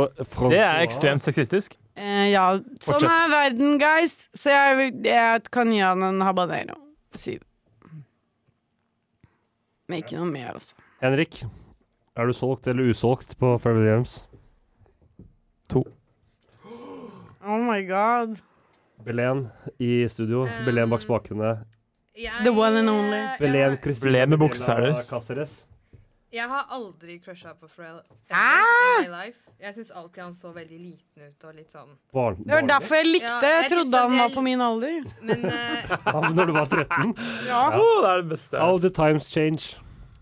[SPEAKER 3] Det er ekstremt sexistisk.
[SPEAKER 5] Eh, ja. Sånn
[SPEAKER 3] Fortsett.
[SPEAKER 5] er verden, guys. Så jeg, vil- jeg kan gi han en habanero. Syv. Men ikke noe mer, altså.
[SPEAKER 6] Henrik, er du solgt eller usolgt på Pharrell Williams?
[SPEAKER 5] Oh my god.
[SPEAKER 6] Belen i studio.
[SPEAKER 5] Um,
[SPEAKER 6] Belen bak spakene.
[SPEAKER 7] Jeg- eh,
[SPEAKER 5] The one and only.
[SPEAKER 6] Belen
[SPEAKER 7] Jeg,
[SPEAKER 6] Kristine.
[SPEAKER 3] Belen med
[SPEAKER 6] Belen
[SPEAKER 3] bukseseler.
[SPEAKER 6] Cáceres.
[SPEAKER 7] jeg har aldri crusha på Pharrell. ever
[SPEAKER 5] Ah!
[SPEAKER 7] in my life. Jeg syns alltid han så veldig liten ut og litt sånn.
[SPEAKER 6] Barn,
[SPEAKER 5] Det var
[SPEAKER 6] barnlig.
[SPEAKER 5] derfor jeg likte.
[SPEAKER 7] Ja,
[SPEAKER 5] Jeg
[SPEAKER 7] jeg
[SPEAKER 5] trodde
[SPEAKER 7] tipset
[SPEAKER 5] han var
[SPEAKER 7] det-
[SPEAKER 5] på min alder.
[SPEAKER 7] Men, eh,
[SPEAKER 6] Ja, Når du var 13?
[SPEAKER 3] Å, det er det beste.
[SPEAKER 6] How the times change.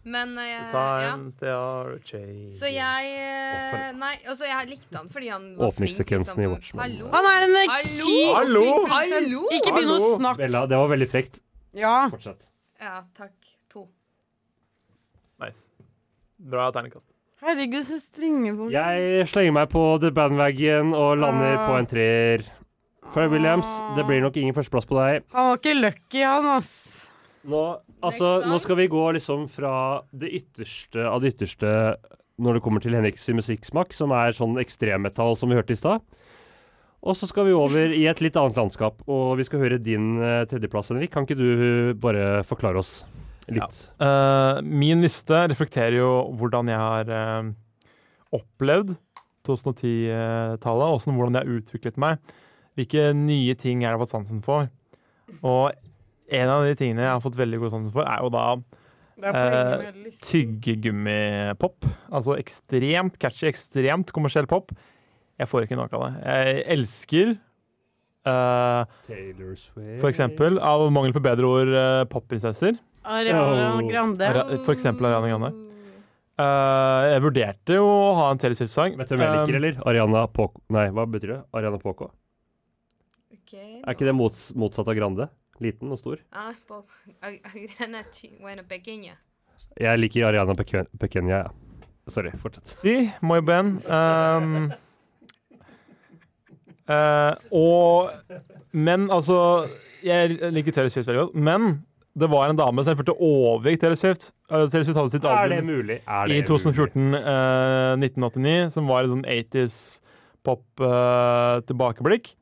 [SPEAKER 7] men eh, jeg, ja.
[SPEAKER 3] Times they are changing.
[SPEAKER 7] Så jeg eh,
[SPEAKER 6] Hvorfor?
[SPEAKER 7] Nei, altså, jeg likte han fordi han var flink. liksom.
[SPEAKER 6] Åpningssekvensen i Watchmen.
[SPEAKER 7] Hallo.
[SPEAKER 5] Han er en
[SPEAKER 7] Hallo!
[SPEAKER 5] sykt
[SPEAKER 3] Hallo!
[SPEAKER 5] flink
[SPEAKER 7] Hallo!
[SPEAKER 5] produsent. Ikke begynn å
[SPEAKER 3] Hallo!
[SPEAKER 5] snakke.
[SPEAKER 6] Bella, det var veldig frekt.
[SPEAKER 5] Ja.
[SPEAKER 6] Fortsett.
[SPEAKER 7] Ja, takk. To.
[SPEAKER 3] Nice. Bra terningkast.
[SPEAKER 5] Herregud, så strenge folk.
[SPEAKER 6] Jeg slenger meg på the bandwagon og lander på en treer. Pharrell Williams, det blir nok ingen førsteplass på deg.
[SPEAKER 5] Han var ikke lucky, han, ass.
[SPEAKER 6] Nå, altså,
[SPEAKER 7] Next song.
[SPEAKER 6] nå skal vi gå liksom fra det ytterste av det ytterste når det kommer til Henriks musikksmak, som er sånn ekstremmetall som vi hørte i stad. Og så skal vi over i et litt annet landskap, og vi skal høre din eh, tredjeplass, Henrik. Kan ikke du bare forklare oss litt?
[SPEAKER 3] Eh, min liste reflekterer jo hvordan jeg har eh, opplevd 2010-tallet, og sånn hvordan det har utviklet meg. Hvilke nye ting jeg har fått sansen for. Og en av de tingene jeg har fått veldig god sansen for, er jo da
[SPEAKER 5] Det er
[SPEAKER 3] Eh,
[SPEAKER 5] poenget med hele listen.
[SPEAKER 3] tyggegummipop. Altså ekstremt catchy, ekstremt kommersiell pop. Jeg får ikke nok av det. Jeg elsker eh,
[SPEAKER 6] Taylor Swift.
[SPEAKER 3] for eksempel, av mangel på bedre ord, eh, popprinsesser.
[SPEAKER 5] Ariana Grande.
[SPEAKER 3] Ara- For eksempel Ariana Grande. Eh, Eh, jeg vurderte jo å ha en Taylor Swift-sang.
[SPEAKER 6] Vet du hvem jeg liker,
[SPEAKER 3] Eh,
[SPEAKER 6] eller? Ariana Poco Nei, hva betyr det? Ariana Poco.
[SPEAKER 7] Ok.
[SPEAKER 6] Er ikke det mots motsatt av Grande? Liten og stor?
[SPEAKER 7] Ah, på- Ag- Agrana chi- bueno, pequeña.
[SPEAKER 6] Jeg liker Ariana Pequen- Pequeña, ja. Sorry, fortsett.
[SPEAKER 3] Si, muy bien. Ehm, eh, og Men altså Jeg liker Taylor Swift veldig godt, men det var en dame som jeg følte overgikk Taylor Swift. Eh, Taylor Swift hadde sitt album
[SPEAKER 6] mulig? Er
[SPEAKER 3] i 2014, eh, 1989, som var et sånn eh, 80s pop-tilbakeblikk.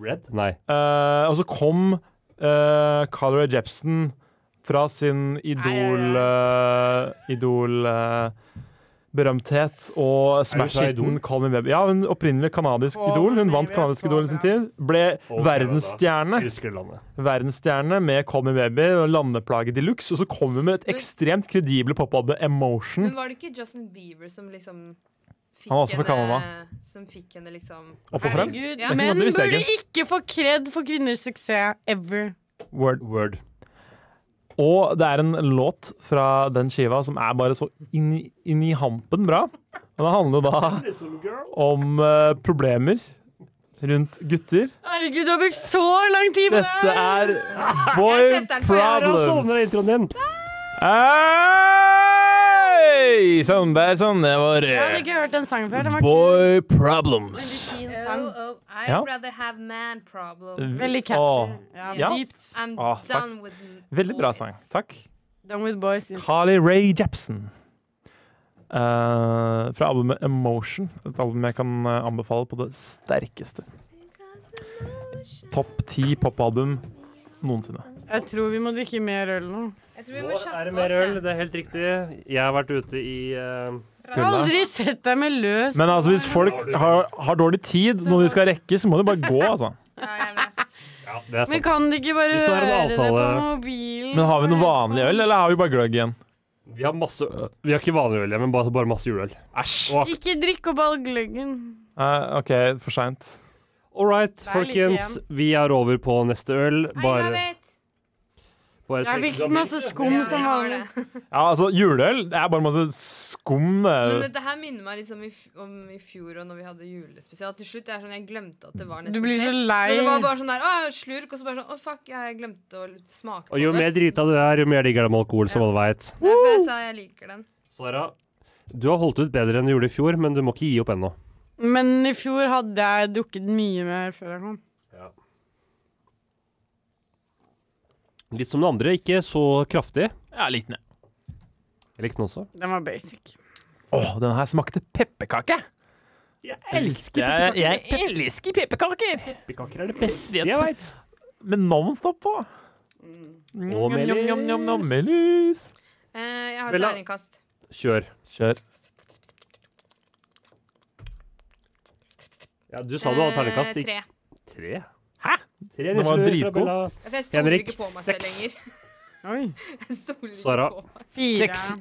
[SPEAKER 6] Red? Nei.
[SPEAKER 3] Eh, og så kom uh, Carlo Jepson fra sin idol... eh, idol... eh, berømthet og smash-hiten
[SPEAKER 6] Idol?
[SPEAKER 3] Call Me Baby. Ja, hun opprinnelig kanadisk
[SPEAKER 5] Å,
[SPEAKER 3] idol. Hun
[SPEAKER 5] Baby
[SPEAKER 3] vant
[SPEAKER 5] er
[SPEAKER 3] kanadisk
[SPEAKER 5] så
[SPEAKER 3] idol i sin
[SPEAKER 5] bra.
[SPEAKER 3] tid. Ble
[SPEAKER 6] Og
[SPEAKER 3] verdensstjerne.
[SPEAKER 6] Jeg Husker landet.
[SPEAKER 3] Verdensstjerne med Call Me Baby og Landeplage de luxe. Og så kommer hun med et ekstremt kredible popalbum, Emotion.
[SPEAKER 7] Men var det ikke Justin Bieber som liksom fikk
[SPEAKER 3] Han var også fra
[SPEAKER 7] henne Som fikk henne liksom
[SPEAKER 3] Opp og frem.
[SPEAKER 5] Herregud,
[SPEAKER 7] Ja.
[SPEAKER 5] menn
[SPEAKER 3] Det visste jeg
[SPEAKER 5] burde ikke få kred for kvinners suksess ever.
[SPEAKER 3] Word. Word. Og det er en låt fra den skiva som er bare så inn, i- inn i hampen bra. Og det handler jo da om eh, problemer rundt gutter.
[SPEAKER 5] Herregud, du har brukt så lang tid på
[SPEAKER 3] Dette
[SPEAKER 5] det!
[SPEAKER 3] er Boy
[SPEAKER 7] Jeg setter den på.
[SPEAKER 6] Sovner
[SPEAKER 3] Problems.
[SPEAKER 6] introen din?
[SPEAKER 3] Hei! Sånn, det er sånn det var.
[SPEAKER 5] Jeg hadde ikke hørt den sangen før. Den var
[SPEAKER 3] Boy Problems.
[SPEAKER 5] kul. Fin sang.
[SPEAKER 7] Oh, oh, I'd
[SPEAKER 3] Ja.
[SPEAKER 7] rather have man problems.
[SPEAKER 3] Åh,
[SPEAKER 5] Veldig catchy. Ja,
[SPEAKER 7] Ja.
[SPEAKER 5] Dypt.
[SPEAKER 7] I'm
[SPEAKER 3] Ah, takk.
[SPEAKER 7] done with
[SPEAKER 3] veldig bra
[SPEAKER 7] all
[SPEAKER 3] sang. Takk.
[SPEAKER 5] Done with boys. yes.
[SPEAKER 3] Carly Ray Jepsen. Eh, fra albumet Emotion. Et album jeg kan eh, anbefale på det sterkeste.
[SPEAKER 7] this.
[SPEAKER 3] Topp ti popalbum noensinne.
[SPEAKER 5] Jeg tror vi må drikke mer øl nå.
[SPEAKER 7] Jeg tror vi
[SPEAKER 6] Nå
[SPEAKER 7] må
[SPEAKER 6] er
[SPEAKER 7] kjappe
[SPEAKER 6] det mer øl,
[SPEAKER 7] oss.
[SPEAKER 6] det er helt riktig. Jeg har vært ute i eh,
[SPEAKER 5] Jeg har aldri sett deg med løs
[SPEAKER 3] Men altså, hvis folk har, har dårlig tid når de skal rekke, så må de bare gå, altså.
[SPEAKER 7] Ja, Ja, jeg vet.
[SPEAKER 6] Ja, det er
[SPEAKER 5] Men
[SPEAKER 6] sant.
[SPEAKER 5] kan de ikke bare
[SPEAKER 6] Hvis det er en
[SPEAKER 5] høre det på
[SPEAKER 6] avtale-
[SPEAKER 5] mobilen?
[SPEAKER 3] Men har vi noe vanlig øl, eller har vi bare gløgg igjen?
[SPEAKER 6] Vi har masse Vi har ikke vanlig øl, ja, men bare, bare masse juleøl.
[SPEAKER 3] Æsj.
[SPEAKER 6] Og-
[SPEAKER 5] Ikke drikk opp all gløggen.
[SPEAKER 3] Eh, OK, for seint.
[SPEAKER 6] All right,
[SPEAKER 5] er litt
[SPEAKER 6] folkens. Vi er over på neste øl.
[SPEAKER 7] I love
[SPEAKER 6] Bare,
[SPEAKER 7] it.
[SPEAKER 6] bare
[SPEAKER 5] Jeg
[SPEAKER 6] tenk-
[SPEAKER 5] fikk masse skum
[SPEAKER 7] Ja, jeg
[SPEAKER 5] som
[SPEAKER 7] har
[SPEAKER 5] vanlig.
[SPEAKER 7] det.
[SPEAKER 3] Ja, altså, juleøl det er bare masse skum. eh,
[SPEAKER 7] Men
[SPEAKER 3] det.
[SPEAKER 7] dette her minner meg liksom i, f- om i fjor og når vi hadde julespesial. Til slutt jeg er sånn, jeg glemte at det var
[SPEAKER 5] Du
[SPEAKER 7] nesten
[SPEAKER 5] blir så
[SPEAKER 7] fest.
[SPEAKER 5] lei.
[SPEAKER 7] Så det var bare sånn der, å, slurk, og så bare sånn, å fuck, jeg glemte å smake på
[SPEAKER 6] Og jo
[SPEAKER 7] det.
[SPEAKER 6] mer drita du er, jo mer digger de alkohol, som alle veit.
[SPEAKER 7] Derfor jeg sa jeg liker den.
[SPEAKER 6] Sara, du har holdt ut bedre enn du gjorde i fjor, men du må ikke gi opp ennå.
[SPEAKER 5] Men i fjor hadde jeg drukket mye mer før jeg kom.
[SPEAKER 6] Litt som det andre, ikke så kraftig.
[SPEAKER 3] Ja, litt ned.
[SPEAKER 6] Jeg likte den også.
[SPEAKER 5] Den var basic.
[SPEAKER 3] Åh, den her smakte pepperkake! Jeg elsker pepperkaker. Jeg, elsker pepperkaker!
[SPEAKER 6] Pepperkaker er det beste
[SPEAKER 3] jeg
[SPEAKER 6] veit.
[SPEAKER 3] Med nonstop på.
[SPEAKER 6] Og Mm. melis.
[SPEAKER 3] Njam, njam, njam, njam, melis.
[SPEAKER 7] Eh, jeg har et
[SPEAKER 6] Bella.
[SPEAKER 7] terningkast.
[SPEAKER 6] Kjør.
[SPEAKER 3] Kjør.
[SPEAKER 6] Ja, du sa du hadde terningkast.
[SPEAKER 7] Eh,
[SPEAKER 6] Ikke-
[SPEAKER 7] Tre.
[SPEAKER 6] Tre?
[SPEAKER 3] Hæ?
[SPEAKER 6] Tre
[SPEAKER 3] Den var
[SPEAKER 6] nisser fra
[SPEAKER 3] dritgod.
[SPEAKER 6] Bella.
[SPEAKER 7] For jeg stoler
[SPEAKER 6] Henrik,
[SPEAKER 7] ikke på meg selv
[SPEAKER 6] seks.
[SPEAKER 7] lenger.
[SPEAKER 5] Oi.
[SPEAKER 7] Jeg stoler ikke
[SPEAKER 6] Sara.
[SPEAKER 7] på meg.
[SPEAKER 5] Fire.
[SPEAKER 3] Seks.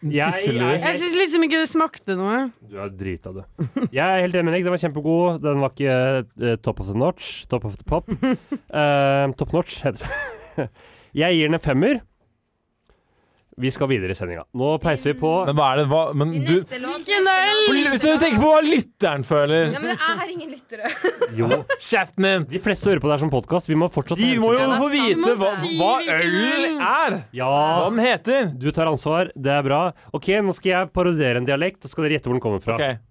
[SPEAKER 6] Jeg
[SPEAKER 5] Jeg syns liksom ikke det smakte noe.
[SPEAKER 6] Du er drita, du. Jeg er helt enig med deg. Den var kjempegod. Den var ikke eh, top of the notch. Top of the pop. Eh, top notch, heter det. Jeg gir den en femmer. Vi skal videre i sendinga. Nå peiser vi på.
[SPEAKER 3] Men hva er det hva, Men
[SPEAKER 7] I
[SPEAKER 3] du
[SPEAKER 7] neste låt.
[SPEAKER 5] Hvilken
[SPEAKER 7] neste
[SPEAKER 5] øl?
[SPEAKER 7] låt,
[SPEAKER 3] Hvis du
[SPEAKER 7] neste
[SPEAKER 3] tenker
[SPEAKER 7] låt.
[SPEAKER 3] på hva lytteren føler
[SPEAKER 7] Ja, men det er ingen lyttere.
[SPEAKER 6] Jo,
[SPEAKER 3] Kjeften din!
[SPEAKER 6] de fleste hører på det her som podkast. Vi må fortsatt
[SPEAKER 3] De må jo
[SPEAKER 7] Ja, det er
[SPEAKER 3] få
[SPEAKER 7] sant.
[SPEAKER 3] vite
[SPEAKER 5] Du må
[SPEAKER 3] hva,
[SPEAKER 5] si
[SPEAKER 3] hva
[SPEAKER 5] hvilken
[SPEAKER 3] øl
[SPEAKER 5] øl.
[SPEAKER 3] er! Hva
[SPEAKER 6] Ja,
[SPEAKER 3] den heter.
[SPEAKER 6] du tar ansvar. Det er bra. OK, nå skal jeg parodiere en dialekt, og så skal dere gjette hvor den kommer fra.
[SPEAKER 3] OK.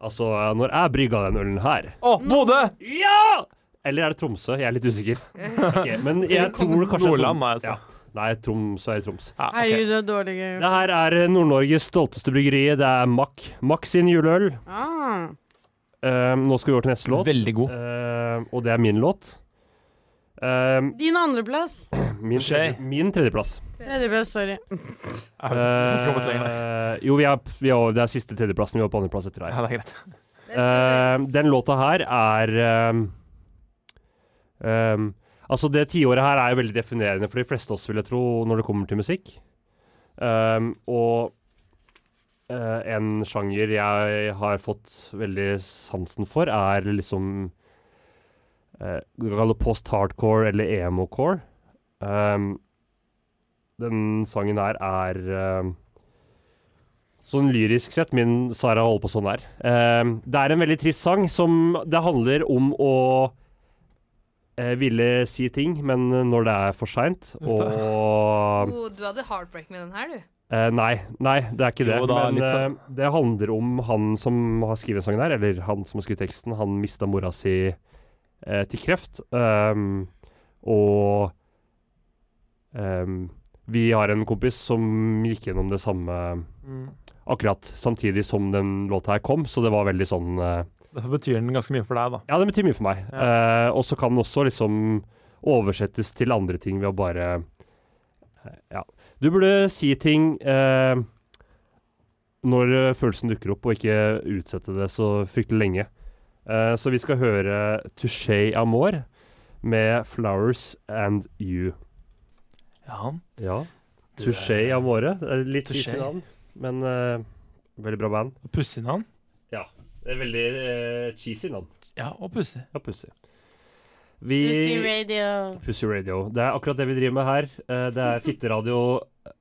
[SPEAKER 6] Altså, når jeg brygga den ølen her
[SPEAKER 3] Å, Bodø!
[SPEAKER 6] Ja! Eller er det Tromsø? Jeg er litt usikker. Ok, men jeg tror kanskje
[SPEAKER 3] Nordland, da, jeg sa.
[SPEAKER 6] ja. Nei, Tromsø er i Troms.
[SPEAKER 3] Ja, ok.
[SPEAKER 5] Herregud, det var dårlig gøy.
[SPEAKER 6] Det her er eh, Nord-Norges stolteste bryggeri. Det er Mack. Mack sin juleøl.
[SPEAKER 5] Ah.
[SPEAKER 6] Ehm, nå skal vi over til neste låt.
[SPEAKER 3] Veldig god.
[SPEAKER 6] Ehm, og det er min låt. Ehm,
[SPEAKER 5] Din andreplass.
[SPEAKER 6] min, tredje, min tredjeplass.
[SPEAKER 5] Tredjeplass, sorry.
[SPEAKER 3] Jeg har ikke kommet lenger, nei.
[SPEAKER 6] Ehm, jo, vi er, vi er, over- det er siste tredjeplassen. Vi var på andreplass etter deg.
[SPEAKER 3] Ja, det er greit.
[SPEAKER 6] Ehm, den låta her er ehm, ehm, Altså, det tiåret her er jo veldig definerende for de fleste av oss, vil jeg tro, når det kommer til musikk. Ehm, og eh, en sjanger jeg har fått veldig sansen for, er liksom eh, Du kan kalle det post-hardcore eller emo-core. Ehm, den sangen her er ehm, Sånn lyrisk sett. Min Sara holder på sånn her. Eh, det er en veldig trist sang som Det handler om å eh, ville si ting, men når det er for seint, og
[SPEAKER 7] Oh, du hadde heartbreak med den her, du.
[SPEAKER 6] Eh, nei, nei, det er ikke det.
[SPEAKER 3] Jo da,
[SPEAKER 6] men
[SPEAKER 3] litt sånn.
[SPEAKER 6] eh, det handler om han som har skrevet sangen her, eller han som har skrevet teksten. Han mista mora si eh, til kreft. ehm, og ehm, vi har en kompis som gikk gjennom det samme
[SPEAKER 3] Mm.
[SPEAKER 6] akkurat samtidig som den låta her kom, så det var veldig sånn eh,
[SPEAKER 3] Derfor betyr den ganske mye for deg, da.
[SPEAKER 6] ja, det betyr mye for meg. Eh, og så kan den også liksom oversettes til andre ting ved å bare eh, Ja. Du burde si ting eh, når eh, følelsen dukker opp, og ikke utsette det så fryktelig lenge. Eh, så vi skal høre Touché Amour med 'Flowers and You'.
[SPEAKER 3] Ja.
[SPEAKER 6] Ja. Touché Amour. eh, Litt
[SPEAKER 3] Touché.
[SPEAKER 6] kjipt navn, men eh, veldig bra band.
[SPEAKER 3] Pussig navn.
[SPEAKER 6] Det er veldig eh, cheesy navn.
[SPEAKER 3] Ja, og pussig.
[SPEAKER 6] Ja, pussig. Vi
[SPEAKER 5] radio.
[SPEAKER 6] Pussy Radio. Det er akkurat det vi driver med her. Eh, Det er fitteradio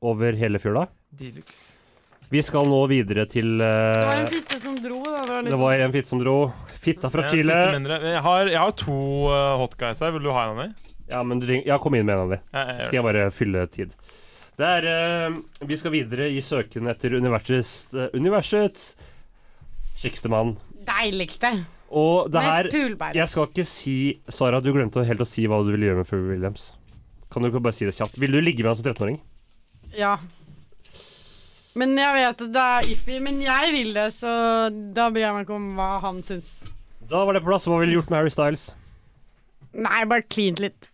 [SPEAKER 6] over hele fjøla.
[SPEAKER 1] Deluxe.
[SPEAKER 6] Vi skal nå videre til
[SPEAKER 5] Det var
[SPEAKER 6] eh,
[SPEAKER 5] en fitte som dro. Da. Det var litt...
[SPEAKER 6] Det var en fitte som dro. Fitta fra Chile.
[SPEAKER 3] Jeg har, jeg har to eh, hot guys her. Vil du ha en av dem?
[SPEAKER 6] Ja, men du ring- ja, kom inn med en av de.
[SPEAKER 3] Jeg- jeg gjør
[SPEAKER 6] Skal jeg bare fylle tid. Det er eh, Vi skal videre i søken etter universets, eh, universets kjekkeste mann.
[SPEAKER 5] Deiligste.
[SPEAKER 6] Og det her
[SPEAKER 5] Mest pulbær.
[SPEAKER 6] Jeg skal ikke si Sara, du glemte helt å si hva du ville gjøre med Phoebe Williams. Kan du ikke bare si det kjapt? Vil du ligge med han som 13-åring?
[SPEAKER 5] Ja. Men jeg vet at det er iffy. Men jeg vil det, så da bryr jeg meg ikke om hva han syns.
[SPEAKER 6] Da var det på plass. Hva ville du gjort med Harry Styles?
[SPEAKER 5] Nei, bare klint litt.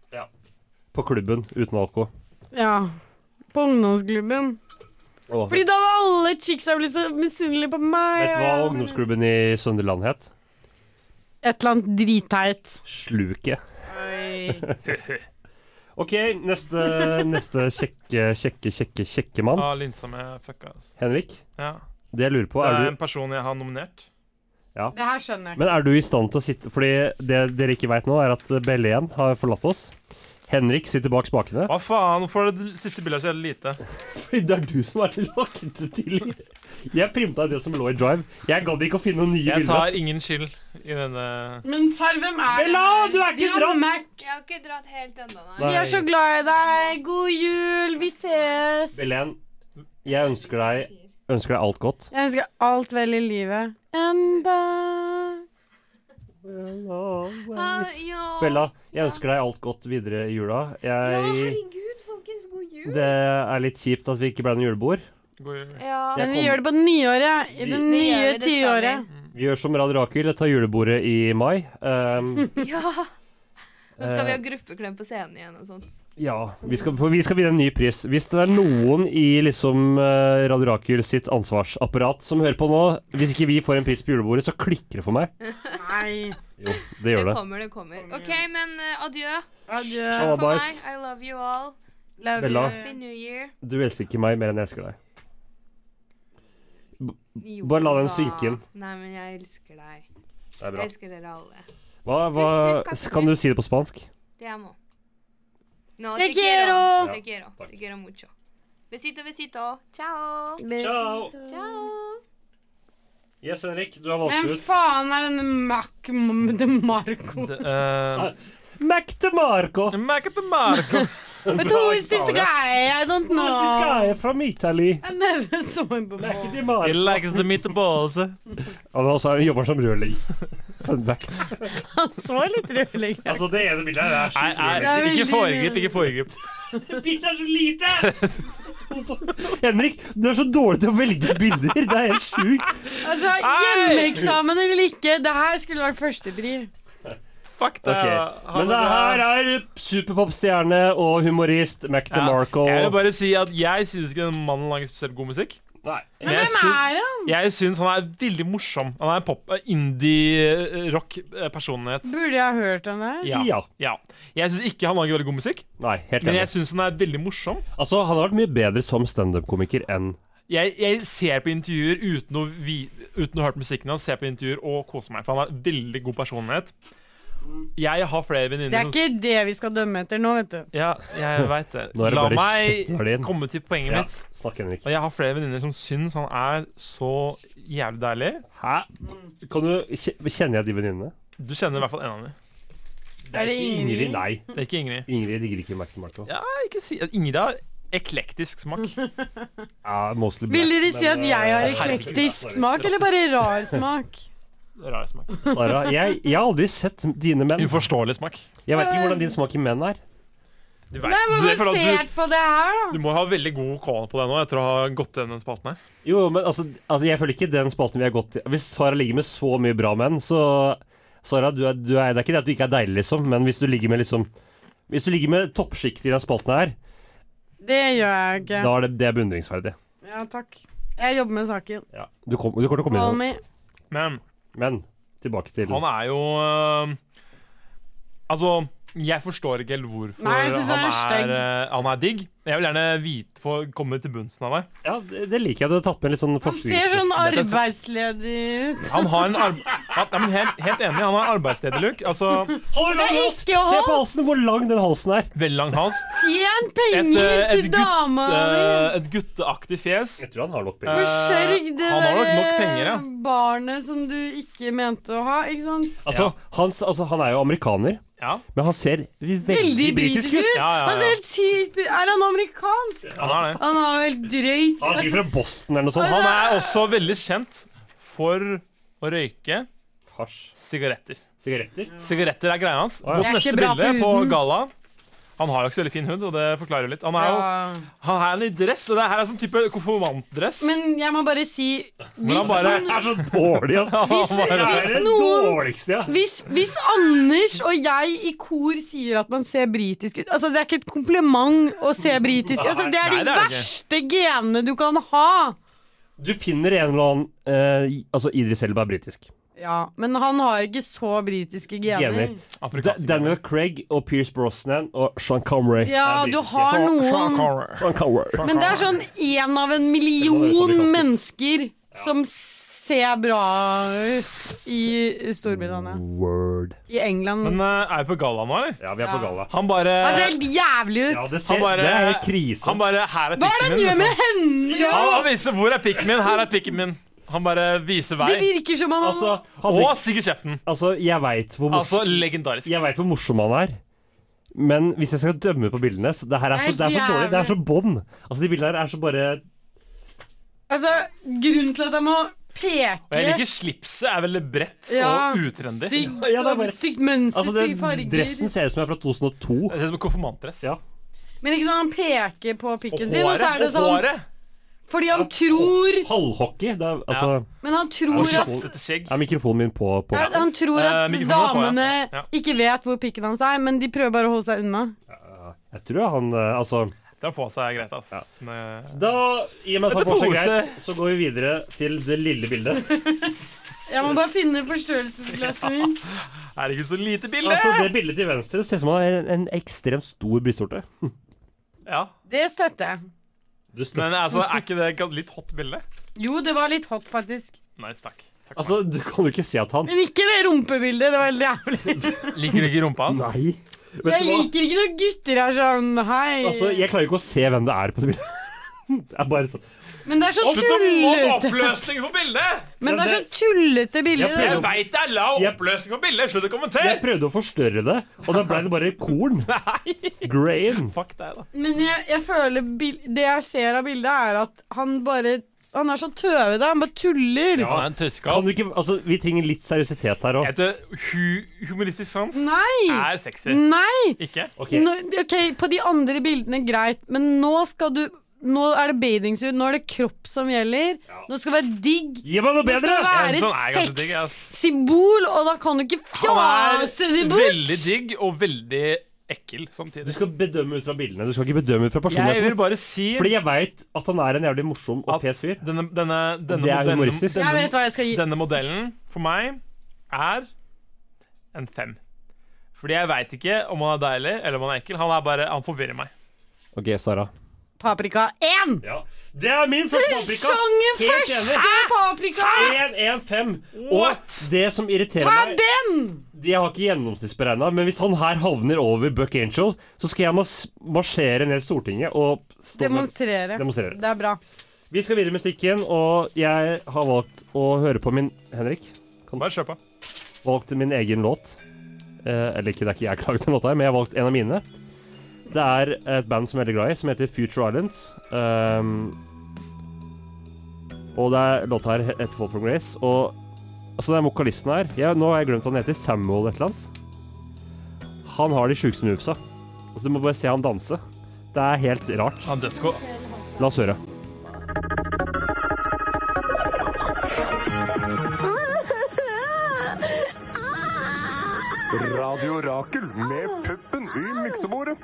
[SPEAKER 6] På klubben uten alko.
[SPEAKER 5] Ja. På ungdomsklubben.
[SPEAKER 6] Åh,
[SPEAKER 5] Fordi da var alle chicksa blitt så misunnelige på meg.
[SPEAKER 6] vet du hva ungdomsklubben i Sønderland het?
[SPEAKER 5] Et eller annet dritteit.
[SPEAKER 6] Sluket.
[SPEAKER 5] Oi.
[SPEAKER 6] OK, neste, neste kjekke, kjekke, kjekke, kjekke mann.
[SPEAKER 1] Ja, linsa med fucka, altså.
[SPEAKER 6] Henrik,
[SPEAKER 1] Ja.
[SPEAKER 6] det jeg lurer på,
[SPEAKER 1] Det er
[SPEAKER 6] er
[SPEAKER 1] en
[SPEAKER 6] du
[SPEAKER 1] person jeg har nominert.
[SPEAKER 5] Det her skjønner jeg.
[SPEAKER 6] Men er du i stand til å sitte Fordi det dere ikke veit nå, er at Belén har forlatt oss. Henrik sitter bak spakene.
[SPEAKER 1] Hva faen, hvorfor er det siste bildet så jævlig lite?
[SPEAKER 6] Fordi det er du som er tilbake til Jeg printa det som lå i Drive. Jeg gadd ikke å finne noen nye
[SPEAKER 1] Jeg tar
[SPEAKER 6] bilder.
[SPEAKER 1] ingen skyld i denne
[SPEAKER 5] Men serr, hvem er det?
[SPEAKER 6] Bella, du er ikke
[SPEAKER 5] Bjørn
[SPEAKER 6] dratt.
[SPEAKER 5] Mac.
[SPEAKER 7] Jeg har ikke dratt helt ennå,
[SPEAKER 6] Nei.
[SPEAKER 7] nei.
[SPEAKER 5] Vi er så glad i deg. God jul. Vi ses.
[SPEAKER 6] Belén, jeg ønsker deg, ønsker deg alt godt.
[SPEAKER 5] Jeg ønsker alt vel i livet. Enda
[SPEAKER 7] ja.
[SPEAKER 6] Bella, jeg ønsker deg alt godt videre i jula.
[SPEAKER 7] Ja,
[SPEAKER 6] Jeg,
[SPEAKER 7] herregud, folkens. God jul.
[SPEAKER 6] det er litt kjipt at vi ikke ble noe julebord.
[SPEAKER 1] God jul.
[SPEAKER 7] Ja.
[SPEAKER 6] Jeg
[SPEAKER 5] Men vi
[SPEAKER 6] kom-
[SPEAKER 5] gjør det på det nye året. I det
[SPEAKER 6] Vi-
[SPEAKER 7] Det
[SPEAKER 5] nye
[SPEAKER 7] gjør vi
[SPEAKER 5] tiåret.
[SPEAKER 6] Vi gjør som Radio Rakel, tar julebordet i mai. Um,
[SPEAKER 7] dessverre. Ja. Nå skal vi ha
[SPEAKER 6] eh,
[SPEAKER 7] gruppeklem på scenen igjen og sånt.
[SPEAKER 6] ja, vi skal, for vi skal vinne en ny pris. Hvis det er noen i liksom eh, Radio Rakel sitt ansvarsapparat som hører på nå, hvis ikke vi får en pris på julebordet, så klikker det for meg.
[SPEAKER 5] Nei.
[SPEAKER 6] Jo, det
[SPEAKER 7] Det
[SPEAKER 6] gjør det.
[SPEAKER 7] kommer, det kommer. OK, men eh, adjø.
[SPEAKER 5] Adjø.
[SPEAKER 6] Ja,
[SPEAKER 7] Takk for
[SPEAKER 6] boys.
[SPEAKER 7] meg. I love you all.
[SPEAKER 5] Love
[SPEAKER 6] Bella.
[SPEAKER 5] you.
[SPEAKER 7] Happy New Year.
[SPEAKER 6] Du elsker ikke meg mer enn jeg elsker deg.
[SPEAKER 7] Jo,
[SPEAKER 6] Bare la den
[SPEAKER 7] da.
[SPEAKER 6] synke inn.
[SPEAKER 7] Nei, men jeg elsker deg.
[SPEAKER 6] Det er
[SPEAKER 7] Jeg
[SPEAKER 6] bra.
[SPEAKER 7] elsker dere alle.
[SPEAKER 6] Hva, hva, kan du si det på spansk?
[SPEAKER 7] Te amo. No,
[SPEAKER 5] Te quiero.
[SPEAKER 7] Te quiero. Te quiero mucho. Besito, besito. Ciao.
[SPEAKER 6] Ciao.
[SPEAKER 7] Ciao.
[SPEAKER 6] Yes, Henrik, du har
[SPEAKER 5] Hvem faen er denne Mac de Marco?
[SPEAKER 1] Det, eh,
[SPEAKER 6] Mac de Marco.
[SPEAKER 1] Mac at the Marco.
[SPEAKER 5] But who is this guy? I don't know.
[SPEAKER 6] Norske er fra Italy.
[SPEAKER 5] I never saw him before.
[SPEAKER 6] Mac de
[SPEAKER 1] He
[SPEAKER 6] Marco.
[SPEAKER 1] likes the meatballs.
[SPEAKER 6] Han er også- altså, jobber som rørlegger. Fun fact.
[SPEAKER 5] Han så litt rødlig ut.
[SPEAKER 6] Altså, det ene bildet her er
[SPEAKER 1] Nei,
[SPEAKER 6] skikkelig
[SPEAKER 1] nei,
[SPEAKER 5] Det er
[SPEAKER 1] ikke
[SPEAKER 5] veldig-
[SPEAKER 1] foregrip, ikke foregrip.
[SPEAKER 6] Det bildet er så lite! Henrik, du er så dårlig til å velge bilder. Det er helt sjukt.
[SPEAKER 5] Altså, hjemmeeksamen eller ikke, det her skulle vært førstepri.
[SPEAKER 1] Fuck det.
[SPEAKER 6] Ok,
[SPEAKER 1] ha
[SPEAKER 6] Men det
[SPEAKER 1] bra.
[SPEAKER 6] her er superpopstjerne og humorist Mac
[SPEAKER 1] Ja,
[SPEAKER 6] DeMarco.
[SPEAKER 1] Jeg vil bare si at jeg syns ikke den mannen lager spesielt god musikk.
[SPEAKER 6] Nei.
[SPEAKER 1] Men jeg
[SPEAKER 5] Hvem
[SPEAKER 1] syns-
[SPEAKER 5] er han?
[SPEAKER 1] Jeg syns han er veldig morsom. Han er en pop, eh, indie-rock-personlighet.
[SPEAKER 5] Burde jeg ha hørt han der?
[SPEAKER 1] Ja.
[SPEAKER 6] Ja.
[SPEAKER 1] eh, ja. Jeg syns ikke han lager veldig god musikk,
[SPEAKER 6] Nei, helt
[SPEAKER 1] men
[SPEAKER 6] enig.
[SPEAKER 1] jeg syns han er veldig morsom.
[SPEAKER 6] Altså, han har vært mye bedre som standup-komiker enn
[SPEAKER 1] Jeg, jeg ser på intervjuer uten å, vi, uten å ha hørt musikken hans, ser på intervjuer og koser meg, for han har veldig god personlighet.
[SPEAKER 3] Jeg har flere
[SPEAKER 5] Det er
[SPEAKER 3] venninner
[SPEAKER 5] ikke det vi skal dømme etter nå, vet du.
[SPEAKER 3] Ja, jeg veit det.
[SPEAKER 6] Nå er det
[SPEAKER 3] La
[SPEAKER 6] bare kjøttverdien.
[SPEAKER 3] meg komme til poenget
[SPEAKER 6] Ja.
[SPEAKER 3] mitt.
[SPEAKER 6] Snakk, Henrik.
[SPEAKER 3] Og jeg har flere venninner som syns han er så jævlig deilig.
[SPEAKER 6] Hæ? Kan du, kje- kjenner jeg de venninnene?
[SPEAKER 3] Du kjenner i hvert fall en av dem.
[SPEAKER 5] Er det
[SPEAKER 6] Ingrid, nei.
[SPEAKER 3] Det er ikke Ingrid.
[SPEAKER 6] Ingrid ligger ikke i Mac and Marco.
[SPEAKER 3] Ja, ikke si Ingrid har eklektisk smak.
[SPEAKER 6] Ja, mostly black,
[SPEAKER 5] Vil dere si
[SPEAKER 6] men,
[SPEAKER 5] at jeg har
[SPEAKER 6] eh,
[SPEAKER 5] eklektisk
[SPEAKER 3] altså,
[SPEAKER 5] smak, eller bare rar smak?
[SPEAKER 3] Rar smak.
[SPEAKER 6] Sara, jeg, jeg har aldri sett dine menn.
[SPEAKER 3] Uforståelig smak.
[SPEAKER 6] Jeg vet ikke hvordan din smak i menn er.
[SPEAKER 3] Du, vet,
[SPEAKER 5] Nei, men
[SPEAKER 3] du, jeg føler at
[SPEAKER 5] basert på det her,
[SPEAKER 3] du,
[SPEAKER 5] da.
[SPEAKER 3] du må ha veldig god kål på deg nå etter å ha gått gjennom den spalten her.
[SPEAKER 6] Jo, jo, men altså, altså jeg føler ikke den spalten vi har gått i Hvis Sara ligger med så mye bra menn, så Sara, du er, du er, det er ikke det at du ikke er deilig, liksom, men hvis du ligger med liksom Hvis du ligger med toppsjikt i den spalten her,
[SPEAKER 5] Det gjør jeg ikke.
[SPEAKER 6] da er det, det er beundringsverdig.
[SPEAKER 5] Ja, takk. Jeg jobber med saken.
[SPEAKER 6] Ja. Du, kom, du kommer til å komme
[SPEAKER 5] Call
[SPEAKER 6] inn i det.
[SPEAKER 5] me.
[SPEAKER 3] Men
[SPEAKER 6] Men tilbake til
[SPEAKER 3] han er jo øh, Altså, jeg forstår ikke helt hvorfor
[SPEAKER 5] Nei, jeg synes han er stygg.
[SPEAKER 3] øh, han er digg. Jeg vil gjerne vite, få komme til bunnsen av det.
[SPEAKER 6] Ja, det, det liker jeg. Du har tatt med litt sånn
[SPEAKER 5] Han ser sånn
[SPEAKER 6] forskningstest.
[SPEAKER 5] arbeidsledig ut.
[SPEAKER 3] Han har en arb han, nei, men helt, helt enig, han har arbeidsledig look. Altså,
[SPEAKER 5] Det er ikke
[SPEAKER 6] Se på
[SPEAKER 5] å
[SPEAKER 6] halsen, hvor lang den halsen er.
[SPEAKER 3] veldig lang hals.
[SPEAKER 5] Tjen
[SPEAKER 3] Et, eh,
[SPEAKER 5] penger
[SPEAKER 3] et
[SPEAKER 5] til
[SPEAKER 3] gutt,
[SPEAKER 5] dama di!
[SPEAKER 3] eh, et gutteaktig fjes.
[SPEAKER 6] Jeg tror han har nok
[SPEAKER 3] Eh,
[SPEAKER 5] Forsørg det
[SPEAKER 3] han har nok nok penger,
[SPEAKER 5] derre
[SPEAKER 3] ja.
[SPEAKER 5] barnet som du ikke mente å ha, ikke sant?
[SPEAKER 6] Altså, hans, altså, han er jo amerikaner,
[SPEAKER 3] Ja.
[SPEAKER 6] men han ser veldig,
[SPEAKER 5] Veldig
[SPEAKER 6] britisk
[SPEAKER 5] britisk
[SPEAKER 6] ut.
[SPEAKER 5] ut!
[SPEAKER 3] Ja, ja, ja.
[SPEAKER 5] Han ser helt sykt bri- Er han amerikansk?
[SPEAKER 3] Han er det.
[SPEAKER 5] Han har jo helt drøyt
[SPEAKER 6] Han er sikkert fra Boston eller noe
[SPEAKER 5] Altså-
[SPEAKER 6] sånt.
[SPEAKER 3] Han er også veldig kjent for å røyke
[SPEAKER 6] Han hasj.
[SPEAKER 3] sigaretter.
[SPEAKER 6] Sigaretter?
[SPEAKER 3] Sigaretter er greia hans.
[SPEAKER 6] ja.
[SPEAKER 3] Vårt
[SPEAKER 5] Det er
[SPEAKER 3] neste
[SPEAKER 5] ikke bra
[SPEAKER 3] bilde
[SPEAKER 5] for
[SPEAKER 3] på
[SPEAKER 5] huden.
[SPEAKER 3] gala Han har jo ikke så veldig fin hud, og det forklarer jo litt. Han er jo
[SPEAKER 5] Ja.
[SPEAKER 3] han er i dress, og det her er sånn type konfirmantdress.
[SPEAKER 5] Men jeg må bare si
[SPEAKER 3] hvor
[SPEAKER 5] Hvis,
[SPEAKER 3] han bare
[SPEAKER 6] Det er så dårlig, altså.
[SPEAKER 5] hvis,
[SPEAKER 6] Det
[SPEAKER 5] hvis
[SPEAKER 6] er det
[SPEAKER 5] noen
[SPEAKER 6] dårligste, ja.
[SPEAKER 5] hvis, hvis Anders og jeg i kor sier at man ser britisk ut Altså, det er ikke et kompliment å se britisk ut. Altså, det
[SPEAKER 3] Nei,
[SPEAKER 5] er de
[SPEAKER 3] det er det ikke.
[SPEAKER 5] verste genene du kan ha.
[SPEAKER 6] Du finner en eller annen eh, i- Altså, Idris Elba er britisk.
[SPEAKER 5] Ja, men han har ikke så britiske gener.
[SPEAKER 6] Gener. Da-
[SPEAKER 3] Afrikansk.
[SPEAKER 6] Daniel Craig og Pierce Brosnan og Sean Connery.
[SPEAKER 5] Ja,
[SPEAKER 6] er
[SPEAKER 5] du
[SPEAKER 6] britiske.
[SPEAKER 5] har noen
[SPEAKER 6] Sean Connery.
[SPEAKER 5] Men det er sånn én av en million mennesker som ser bra ut i Storbritannia.
[SPEAKER 6] Word.
[SPEAKER 5] I England.
[SPEAKER 3] Men eh, er vi på galla nå, eller?
[SPEAKER 6] Ja, vi er på
[SPEAKER 5] Ja.
[SPEAKER 6] galla.
[SPEAKER 3] Han bare
[SPEAKER 5] Han ser helt jævlig
[SPEAKER 6] eh, Ja,
[SPEAKER 5] ut.
[SPEAKER 6] det, ser,
[SPEAKER 3] Han bare-
[SPEAKER 6] det er helt krise.
[SPEAKER 3] Han bare Her er
[SPEAKER 5] Hva er
[SPEAKER 3] pikken
[SPEAKER 5] det han
[SPEAKER 3] min.
[SPEAKER 5] gjør
[SPEAKER 3] liksom.
[SPEAKER 5] med hendene?
[SPEAKER 3] Han, han
[SPEAKER 6] altså-
[SPEAKER 3] viser hvor er pikken min. Her er pikken min. Han bare viser vei.
[SPEAKER 5] Det virker som han
[SPEAKER 6] altså, hadde,
[SPEAKER 3] Og
[SPEAKER 6] ikke-
[SPEAKER 3] stikker kjeften.
[SPEAKER 6] altså, jeg veit hvor, mors
[SPEAKER 3] Altså legendarisk.
[SPEAKER 6] jeg vet hvor morsom han er. Men hvis jeg skal dømme på bildene så Det her er så, det er så dårlig. Det er så bånd. Altså, de bildene her er så bare
[SPEAKER 5] Altså, grunnen til at jeg må peke
[SPEAKER 3] Og jeg liker slipset. Er veldig bredt
[SPEAKER 5] Ja,
[SPEAKER 3] og utrendy. Det
[SPEAKER 5] Stygt,
[SPEAKER 6] Ja, det er bare-
[SPEAKER 5] stygt mønster,
[SPEAKER 6] altså,
[SPEAKER 5] stygge
[SPEAKER 6] den,
[SPEAKER 5] farger.
[SPEAKER 6] Dressen ser ut som den er fra 2002.
[SPEAKER 3] ser ut som konfirmantdress.
[SPEAKER 6] Ja.
[SPEAKER 5] Men ikke sant, han peker på
[SPEAKER 3] Og
[SPEAKER 5] pikken sin, og så er
[SPEAKER 3] håret.
[SPEAKER 5] det
[SPEAKER 3] Og
[SPEAKER 5] sånn
[SPEAKER 3] håret.
[SPEAKER 5] Fordi han tror
[SPEAKER 6] Halvhockey. Det er, altså,
[SPEAKER 5] Men han
[SPEAKER 3] Og
[SPEAKER 5] tror at
[SPEAKER 3] slapsete skjegg.
[SPEAKER 6] er mikrofonen min på, på.
[SPEAKER 5] Ja, Han tror
[SPEAKER 3] Eh,
[SPEAKER 5] at
[SPEAKER 3] mikrofonen på, ja.
[SPEAKER 5] damene
[SPEAKER 3] Ja.
[SPEAKER 5] ikke vet hvor pikken hans er, men de prøver bare å holde seg unna.
[SPEAKER 6] Jeg tror han eh, Altså
[SPEAKER 3] Det å få seg greit, ass. eh, Med
[SPEAKER 6] Da, i og med at
[SPEAKER 3] Dette
[SPEAKER 6] han får seg
[SPEAKER 3] pose.
[SPEAKER 6] greit, så går vi videre til det lille bildet.
[SPEAKER 5] Jeg må bare finne forstørrelsesglasset mitt.
[SPEAKER 3] Herregud, så lite bilde!
[SPEAKER 6] Altså, det bildet til venstre ser ut som han har en, en ekstremt stor brystvorte.
[SPEAKER 3] Ja.
[SPEAKER 5] Det støtter jeg.
[SPEAKER 6] Du støtter-
[SPEAKER 3] Men altså, er ikke det et litt hot bilde?
[SPEAKER 5] Jo, det var litt hot, faktisk.
[SPEAKER 3] Nice, takk. takk
[SPEAKER 6] Altså, du kan jo ikke si at han
[SPEAKER 5] Men ikke det rumpebildet. Det var helt jævlig.
[SPEAKER 3] for meg. Liker du ikke rumpa hans?
[SPEAKER 6] Nei. Vet
[SPEAKER 5] Jeg
[SPEAKER 6] du hva?
[SPEAKER 5] liker ikke når gutter er sånn hei.
[SPEAKER 6] Altså, jeg klarer ikke å se hvem det er på det bildet. Det er bare sånn.
[SPEAKER 5] Men det er så
[SPEAKER 3] Slutt å mobbe
[SPEAKER 5] tullete.
[SPEAKER 3] oppløsningen på bildet!
[SPEAKER 5] Men det er så tullete bilde.
[SPEAKER 6] Jeg
[SPEAKER 5] det
[SPEAKER 3] Jeg
[SPEAKER 5] er
[SPEAKER 6] prøver-
[SPEAKER 5] sånn-
[SPEAKER 3] veit det er lav
[SPEAKER 6] Altså, Jeg-
[SPEAKER 3] oppløsning på bildet! Slutt å
[SPEAKER 6] Jeg
[SPEAKER 3] kommentere!
[SPEAKER 6] prøvde å forstørre det, og da ble det bare korn. Grain.
[SPEAKER 3] Fuck deg, da.
[SPEAKER 5] Men jeg, jeg føler bil Det jeg ser av bildet, er at han bare Han er så tøvete. Han bare tuller.
[SPEAKER 3] Han er en
[SPEAKER 6] Kan
[SPEAKER 3] tøysekall.
[SPEAKER 6] du ikke Altså, vi trenger litt seriøsitet her òg.
[SPEAKER 3] Jeg vet, hu humoristisk sans
[SPEAKER 5] Nei!
[SPEAKER 3] er sexy.
[SPEAKER 5] Nei!
[SPEAKER 3] Ikke?
[SPEAKER 5] Nå, ok, På de andre bildene, greit, men nå skal du Nå er det badingsuit, nå er det kropp som gjelder. Nå skal det være digg.
[SPEAKER 6] Gi meg noe
[SPEAKER 5] Det skal
[SPEAKER 6] bedre!
[SPEAKER 5] være
[SPEAKER 3] Ja, sånn er
[SPEAKER 5] et
[SPEAKER 3] ganske digg, ass.
[SPEAKER 5] sexsymbol, og da kan du ikke
[SPEAKER 3] Han
[SPEAKER 5] fjase det
[SPEAKER 3] er
[SPEAKER 5] bort!
[SPEAKER 3] veldig digg og veldig ekkel
[SPEAKER 6] Du
[SPEAKER 3] samtidig.
[SPEAKER 6] skal bedømme ut fra bildene, du skal ikke bedømme ut fra
[SPEAKER 3] Jeg vil
[SPEAKER 6] personligheten.
[SPEAKER 3] bare si
[SPEAKER 6] Fordi jeg veit at han er en jævlig morsom og
[SPEAKER 3] at
[SPEAKER 6] pes fyr.
[SPEAKER 3] denne, denne, denne
[SPEAKER 6] Det er
[SPEAKER 3] modellen-
[SPEAKER 6] humoristisk.
[SPEAKER 5] Jeg vet hva jeg skal gi.
[SPEAKER 3] Denne modellen for meg er en fem. Fordi jeg veit ikke om han er deilig eller om han er ekkel. Han er bare, han forvirrer meg.
[SPEAKER 6] OK, Sara.
[SPEAKER 5] Paprika 1!
[SPEAKER 6] Ja. Det er min første paprika!
[SPEAKER 5] Sangen
[SPEAKER 6] Helt
[SPEAKER 5] første
[SPEAKER 6] enig.
[SPEAKER 5] paprika!
[SPEAKER 6] 1-1-5. Og det som irriterer
[SPEAKER 5] Ta
[SPEAKER 6] meg
[SPEAKER 5] den!
[SPEAKER 6] De har ikke gjennomsnittsberegna, men hvis han her havner over Buck Angel, så skal jeg mas marsjere ned Stortinget og stå med-
[SPEAKER 5] Demonstrere.
[SPEAKER 6] demonstrere.
[SPEAKER 5] Det er bra.
[SPEAKER 6] Vi skal videre med stikken, og jeg har valgt å høre på min Henrik.
[SPEAKER 3] Bare kjør på.
[SPEAKER 6] Valgte min egen låt. Eh, eller ikke, det er ikke jeg som har lagd den låta her, men jeg har valgt en av mine. Det er et band som jeg er veldig glad i, som heter Future Islands. Ehm, og det er låta her etter Fall from Grace. Og altså, den vokalisten her jeg, Nå har jeg glemt hva han heter. Samuel et eller annet. Han har de sjukeste movesa. Altså, du må bare se han danse. Det er helt rart.
[SPEAKER 3] Han dødsko.
[SPEAKER 6] La oss høre.
[SPEAKER 2] Radio Rakel med puppen i miksebordet.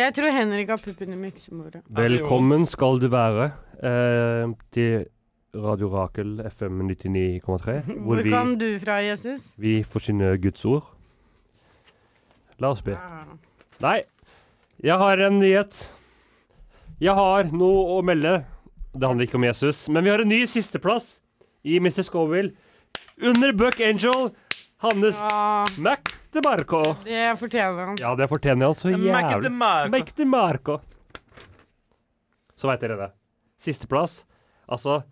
[SPEAKER 5] Jeg tror Henrik har puppen i miksemora.
[SPEAKER 6] Velkommen skal du være eh, til Radio Rakel FM 99,3, hvor
[SPEAKER 5] Hvor
[SPEAKER 6] vi,
[SPEAKER 5] kom du fra, Jesus?
[SPEAKER 6] vi forsyner Guds ord. La oss be. Nei, jeg har en nyhet. Jeg har noe å melde. Det handler ikke om Jesus, men vi har en ny sisteplass i Mr. Scoville. Under Buck Angel, Hannes
[SPEAKER 5] Ja,
[SPEAKER 6] Mac de Marco.
[SPEAKER 5] det fortjener han.
[SPEAKER 6] Ja, det fortjener han så jævlig.
[SPEAKER 3] Jævlig.
[SPEAKER 6] Make the Marco. Så veit dere det. Sisteplass. Altså,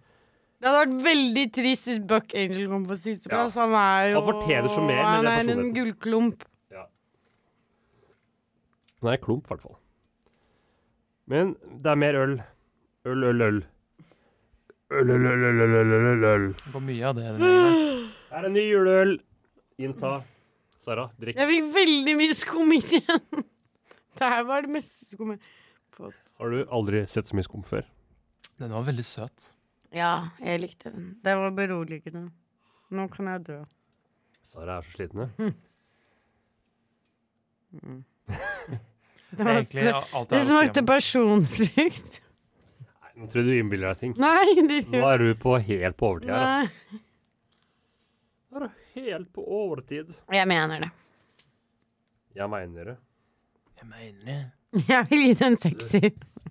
[SPEAKER 5] Det hadde vært veldig trist hvis Buck Angel kom på sisteplass. Han er jo
[SPEAKER 6] Han fortjener så mer, men
[SPEAKER 5] Han
[SPEAKER 6] det er
[SPEAKER 5] er en
[SPEAKER 6] personligheten.
[SPEAKER 5] gullklump.
[SPEAKER 6] den er en klump, i hvert fall. Men det er mer øl. Øl, øl, øl. Øl, øl, øl, øl, øl, øl, øl, øl.
[SPEAKER 3] På mye av det. den gangen.
[SPEAKER 6] Her er ny juleøl. Innta. Sara, drikk.
[SPEAKER 5] Jeg fikk veldig mye skum i igjen. Det her var det meste skummet.
[SPEAKER 6] Har du aldri sett så mye skum før?
[SPEAKER 3] Den var veldig søt.
[SPEAKER 5] Ja, jeg likte den. Det var beroligende. Nå kan jeg dø.
[SPEAKER 6] Sara er så sliten. ja.
[SPEAKER 5] Det, var
[SPEAKER 3] Egentlig,
[SPEAKER 5] sø-
[SPEAKER 3] alt
[SPEAKER 5] det
[SPEAKER 3] er å si om
[SPEAKER 5] smakte
[SPEAKER 3] den.
[SPEAKER 5] pasjonsfrukt.
[SPEAKER 6] Nei, Nå tror jeg du innbiller deg ting.
[SPEAKER 5] Nei, det
[SPEAKER 6] Nå er du på helt på overtid her,
[SPEAKER 5] Nei.
[SPEAKER 6] ass. Nå er du helt på overtid.
[SPEAKER 5] Jeg mener det.
[SPEAKER 6] Jeg mener det.
[SPEAKER 3] Jeg mener det.
[SPEAKER 5] Jeg vil gi den sekser.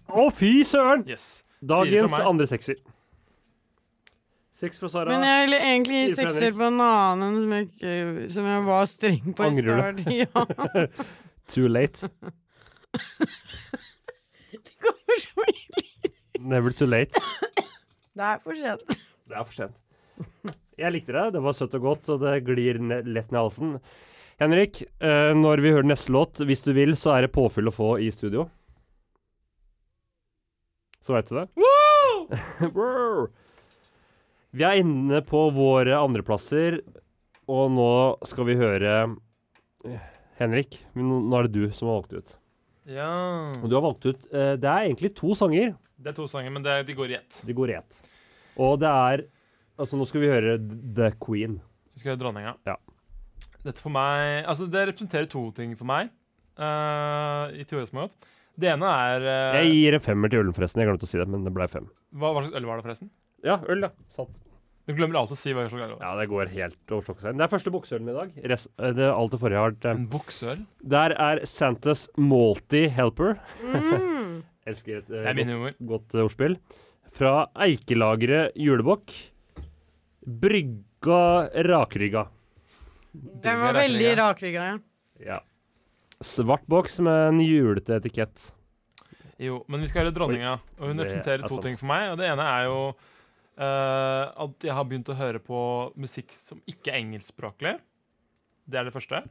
[SPEAKER 6] Å, fy søren!
[SPEAKER 3] Yes.
[SPEAKER 6] Dagens
[SPEAKER 3] meg.
[SPEAKER 6] andre sekser. Seks fra Sara.
[SPEAKER 5] Men jeg ville egentlig gi
[SPEAKER 6] Fire fra
[SPEAKER 5] sekser
[SPEAKER 6] Henrik.
[SPEAKER 5] på en annen som jeg, ikke- som jeg var streng på i
[SPEAKER 6] Angrer
[SPEAKER 5] start. Ja,
[SPEAKER 6] Too late.
[SPEAKER 5] det kommer så mye.
[SPEAKER 6] Never too late.
[SPEAKER 5] Det er for sent.
[SPEAKER 6] Det er for sent. Jeg likte det. Det var søtt og godt, og det glir ne lett ned halsen. Henrik, eh, når vi hører neste låt, hvis du vil, så er det påfyll å få i studio. Så veit du det. Wow! vi er inne på våre andreplasser, og nå skal vi høre eh, Henrik, men nå nå er det du som har valgt ut.
[SPEAKER 3] Ja.
[SPEAKER 6] Og du har valgt ut eh, Det er egentlig to sanger.
[SPEAKER 3] Det er to sanger, men det, de går i ett.
[SPEAKER 6] Det går i ett. Og det er Altså, nå skal vi høre The Queen.
[SPEAKER 3] Vi skal høre dronninga.
[SPEAKER 6] Ja.
[SPEAKER 3] Dette for meg Altså, det representerer to ting for meg. eh, I teorismålet. Det ene er eh,
[SPEAKER 6] Jeg gir en femmer til ølen, forresten. Jeg glemte å si det, men det ble fem.
[SPEAKER 3] hva, hva slags øl var det, forresten?
[SPEAKER 6] Ja, øl, ja. Sant.
[SPEAKER 3] Du glemmer alltid å si hva slags øl det var.
[SPEAKER 6] Ja, det går helt over stokk og stein. Det er første bukseølen i dag. Rest, eh, det, alt det forrige har vært eh,
[SPEAKER 3] En bukseøl?
[SPEAKER 6] Der er Santas Malty Helper.
[SPEAKER 5] Mm.
[SPEAKER 6] Elsker et
[SPEAKER 3] Det
[SPEAKER 6] eh,
[SPEAKER 3] er min humor.
[SPEAKER 6] godt, godt eh, ordspill. Fra Eikelageret julebukk. Brygga Rakrygga.
[SPEAKER 5] Den var
[SPEAKER 3] Digger
[SPEAKER 5] veldig rakrygga, ja.
[SPEAKER 6] Ja. Svart boks med en julete etikett.
[SPEAKER 3] Jo, men vi skal høre dronninga, og hun
[SPEAKER 6] Det
[SPEAKER 3] representerer
[SPEAKER 6] er
[SPEAKER 3] to
[SPEAKER 6] sant.
[SPEAKER 3] ting for meg. Og det ene er jo eh, at jeg har begynt å høre på musikk som ikke er engelskspråklig. Det er det første.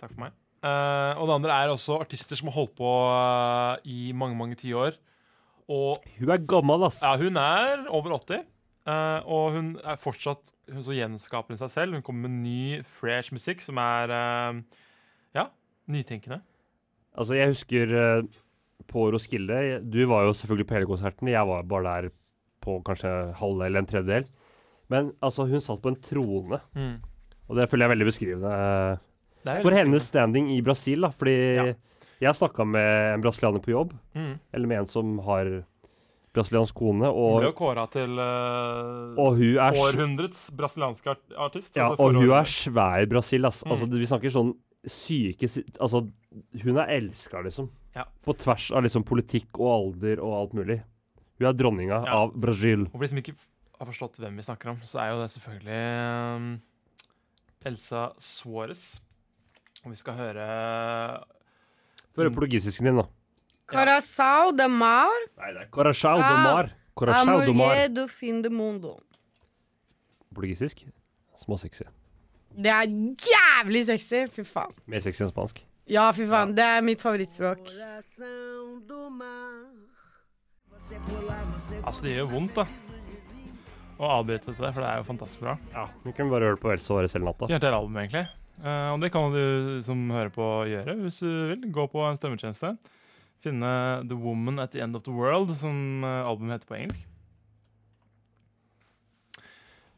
[SPEAKER 3] Takk for meg. Eh, og det andre er også artister som har holdt på eh, i mange, mange tiår. Og
[SPEAKER 6] Hun er gammel, ass.
[SPEAKER 3] ja, hun er over 80, eh, og hun er fortsatt hun så gjenskaper hun seg selv. Hun kommer med ny, fresh musikk som er eh, ja, nytenkende.
[SPEAKER 6] Altså, jeg husker eh, på Roskilde jeg- Du var jo selvfølgelig på hele konserten. Jeg var bare der på kanskje halve eller en tredjedel. Men altså, hun satt på en trone,
[SPEAKER 3] Mm.
[SPEAKER 6] og det føler jeg er veldig beskrivende.
[SPEAKER 3] Det er
[SPEAKER 6] eh, For
[SPEAKER 3] veldig
[SPEAKER 6] hennes standing i Brasil, da, fordi
[SPEAKER 3] Ja.
[SPEAKER 6] jeg snakka med en brasilianer på jobb,
[SPEAKER 3] Mm.
[SPEAKER 6] eller med en som har brasiliansk kone,
[SPEAKER 3] Ble jo
[SPEAKER 6] og,
[SPEAKER 3] kåra til eh,
[SPEAKER 6] og hun er
[SPEAKER 3] århundrets brasilianske art- artist.
[SPEAKER 6] Ja,
[SPEAKER 3] altså Mm.
[SPEAKER 6] og hun
[SPEAKER 3] forår-
[SPEAKER 6] er svær i Brasil, ass. Altså, vi snakker sånn syke si- Altså, hun er elska, liksom.
[SPEAKER 3] Ja.
[SPEAKER 6] På tvers av liksom politikk og alder og alt mulig. Hun er dronninga
[SPEAKER 3] Ja. Mm.
[SPEAKER 6] av Brasil.
[SPEAKER 3] Og for de som ikke f- har forstått hvem vi snakker om, så er jo det selvfølgelig ehm, Elsa Suárez. Og vi skal høre eh,
[SPEAKER 6] Før
[SPEAKER 3] Mm.
[SPEAKER 6] portugisisken din, da.
[SPEAKER 5] Corazao de mar,
[SPEAKER 6] Nei, det er Corachau do
[SPEAKER 5] Ah.
[SPEAKER 6] Mar. Corachau do Mar.
[SPEAKER 5] amor do fim de mundo.
[SPEAKER 6] Portugisisk. Småsexy.
[SPEAKER 5] Det er jævlig sexy! Fy faen.
[SPEAKER 6] Mer sexy enn spansk.
[SPEAKER 5] Ja, fy faen. Det er mitt favorittspråk.
[SPEAKER 3] Altså, det gjør vondt, da. Å avbryte dette, for det er jo fantastisk bra.
[SPEAKER 6] Ja, Vi kan bare høre på Elsa Suárez hele natta.
[SPEAKER 3] Gjør til album, egentlig. Eh, og det kan du som hører på gjøre, hvis du vil. Gå på en stemmetjeneste. Finne The Woman at the End of the World, som eh, albumet heter på engelsk.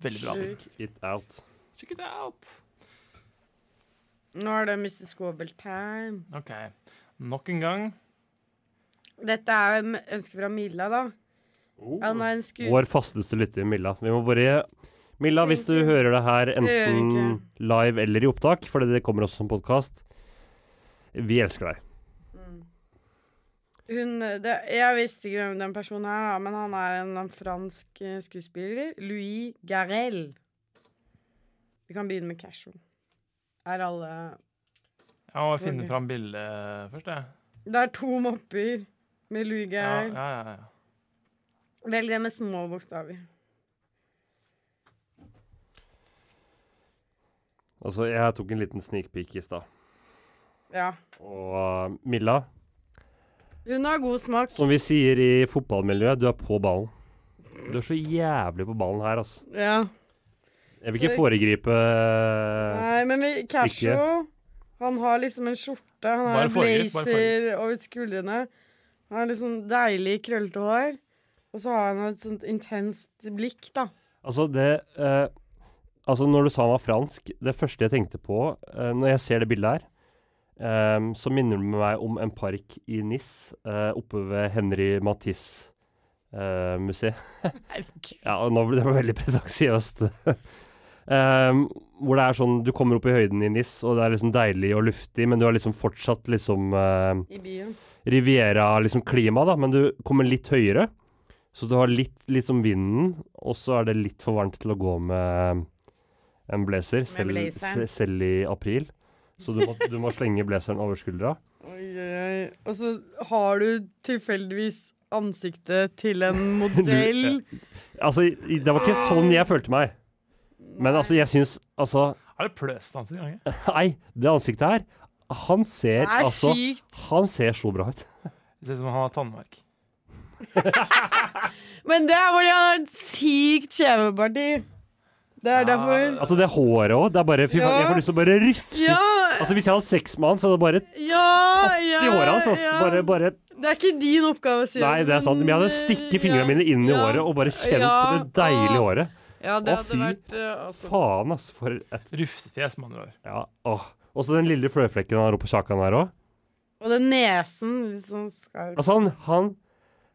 [SPEAKER 3] Veldig bra. album.
[SPEAKER 6] It out.
[SPEAKER 3] Check it out!
[SPEAKER 5] Nå er det Mr. Squabble time.
[SPEAKER 3] OK. Nok en gang.
[SPEAKER 5] Dette er jo et ønske fra Milla, da. Han er en
[SPEAKER 6] Oh. Vår
[SPEAKER 5] skuespiller
[SPEAKER 6] fasteste lytter, Milla. Vi må bare Milla, hvis du hører det her
[SPEAKER 5] gjør vi
[SPEAKER 6] enten live eller i opptak, fordi det kommer også som podkast Vi elsker deg.
[SPEAKER 5] Hun, det, Jeg visste ikke hvem den personen er, da, men han er en, en fransk eh, skuespiller. Louis Garel. Vi kan begynne med Casho. Er alle
[SPEAKER 3] Jeg må finne
[SPEAKER 5] Ok.
[SPEAKER 3] fram bildet først, jeg.
[SPEAKER 5] Det er to mopper med Louis
[SPEAKER 3] Ja,
[SPEAKER 5] Garel.
[SPEAKER 3] ja, ja, ja.
[SPEAKER 5] Velg det med små bokstaver.
[SPEAKER 6] Altså, jeg tok en liten sneak peek i stad.
[SPEAKER 5] Ja.
[SPEAKER 6] Og uh, Milla,
[SPEAKER 5] Hun har god smak.
[SPEAKER 6] som vi sier i fotballmiljøet, du er på ballen. Du er så jævlig på ballen her, altså.
[SPEAKER 5] Ja.
[SPEAKER 6] Jeg vil
[SPEAKER 5] Så-
[SPEAKER 6] ikke foregripe
[SPEAKER 5] Nei, men vi- Casho Han har liksom en skjorte, han
[SPEAKER 3] Bare
[SPEAKER 5] har en
[SPEAKER 3] farger, bare
[SPEAKER 5] blazer over skuldrene. Han har liksom deilig, krøllete hår. Og så har han et sånt intenst blikk, da.
[SPEAKER 6] Altså, det eh, Altså, når du sa han var fransk, det første jeg tenkte på eh, når jeg ser det bildet her, eh, så minner det meg om en park i Nis, eh, oppe ved Henry Matisse-museet. ja, og nå ble det veldig pretensiøst. Em, hvor det er sånn Du kommer opp i høyden i Nis, og det er liksom deilig og luftig, men du har liksom fortsatt liksom eh,
[SPEAKER 5] I byen.
[SPEAKER 6] Riviera liksom klima da, men du kommer litt høyere. Så du har litt, litt som vinden, og så er det litt for varmt til å gå med eh, en blazer, selv,
[SPEAKER 5] blazeren.
[SPEAKER 6] se- selv i april. Så du må, du må slenge blazeren over skuldra.
[SPEAKER 5] Oi, oi, oi. Og så har du tilfeldigvis ansiktet til en modell.
[SPEAKER 6] Altså, i- det var ikke sånn jeg følte meg. Men altså, jeg syns altså
[SPEAKER 3] Er det pløst hans i gang? jeg?
[SPEAKER 6] Nei, det ansiktet her Han ser
[SPEAKER 5] Det er
[SPEAKER 6] altså
[SPEAKER 5] sykt.
[SPEAKER 6] Han ser så bra ut.
[SPEAKER 3] Det ser ut som han har tannverk.
[SPEAKER 5] Men det er fordi han har et sykt kjeveparti. Det er derfor.
[SPEAKER 6] Altså, det håret òg. Det er bare Fy faen,
[SPEAKER 5] Ja.
[SPEAKER 6] jeg får lyst til å bare rufse.
[SPEAKER 5] Ja,
[SPEAKER 6] Altså, hvis jeg hadde sex med han, så hadde jeg bare
[SPEAKER 5] ja,
[SPEAKER 6] tatt
[SPEAKER 5] ja,
[SPEAKER 6] i håret hans. Altså.
[SPEAKER 5] ja.
[SPEAKER 6] Bare, bare
[SPEAKER 5] Det er ikke din oppgave å si
[SPEAKER 6] Nei, det er sant. Men jeg hadde stikket fingrene mine inn i
[SPEAKER 5] ja.
[SPEAKER 6] håret og bare kjent
[SPEAKER 5] Ja,
[SPEAKER 6] på det deilige
[SPEAKER 5] og-
[SPEAKER 6] håret.
[SPEAKER 5] Ja, det
[SPEAKER 6] Å,
[SPEAKER 5] hadde
[SPEAKER 6] fy
[SPEAKER 5] vært eh, altså.
[SPEAKER 6] Faen, ass. For et
[SPEAKER 3] Rufsefjes, med andre ord.
[SPEAKER 6] Ja, åh. Og så den lille fløyeflekken han har oppå kjakan her òg.
[SPEAKER 5] Og den nesen litt sånn skarp.
[SPEAKER 6] Altså, han, han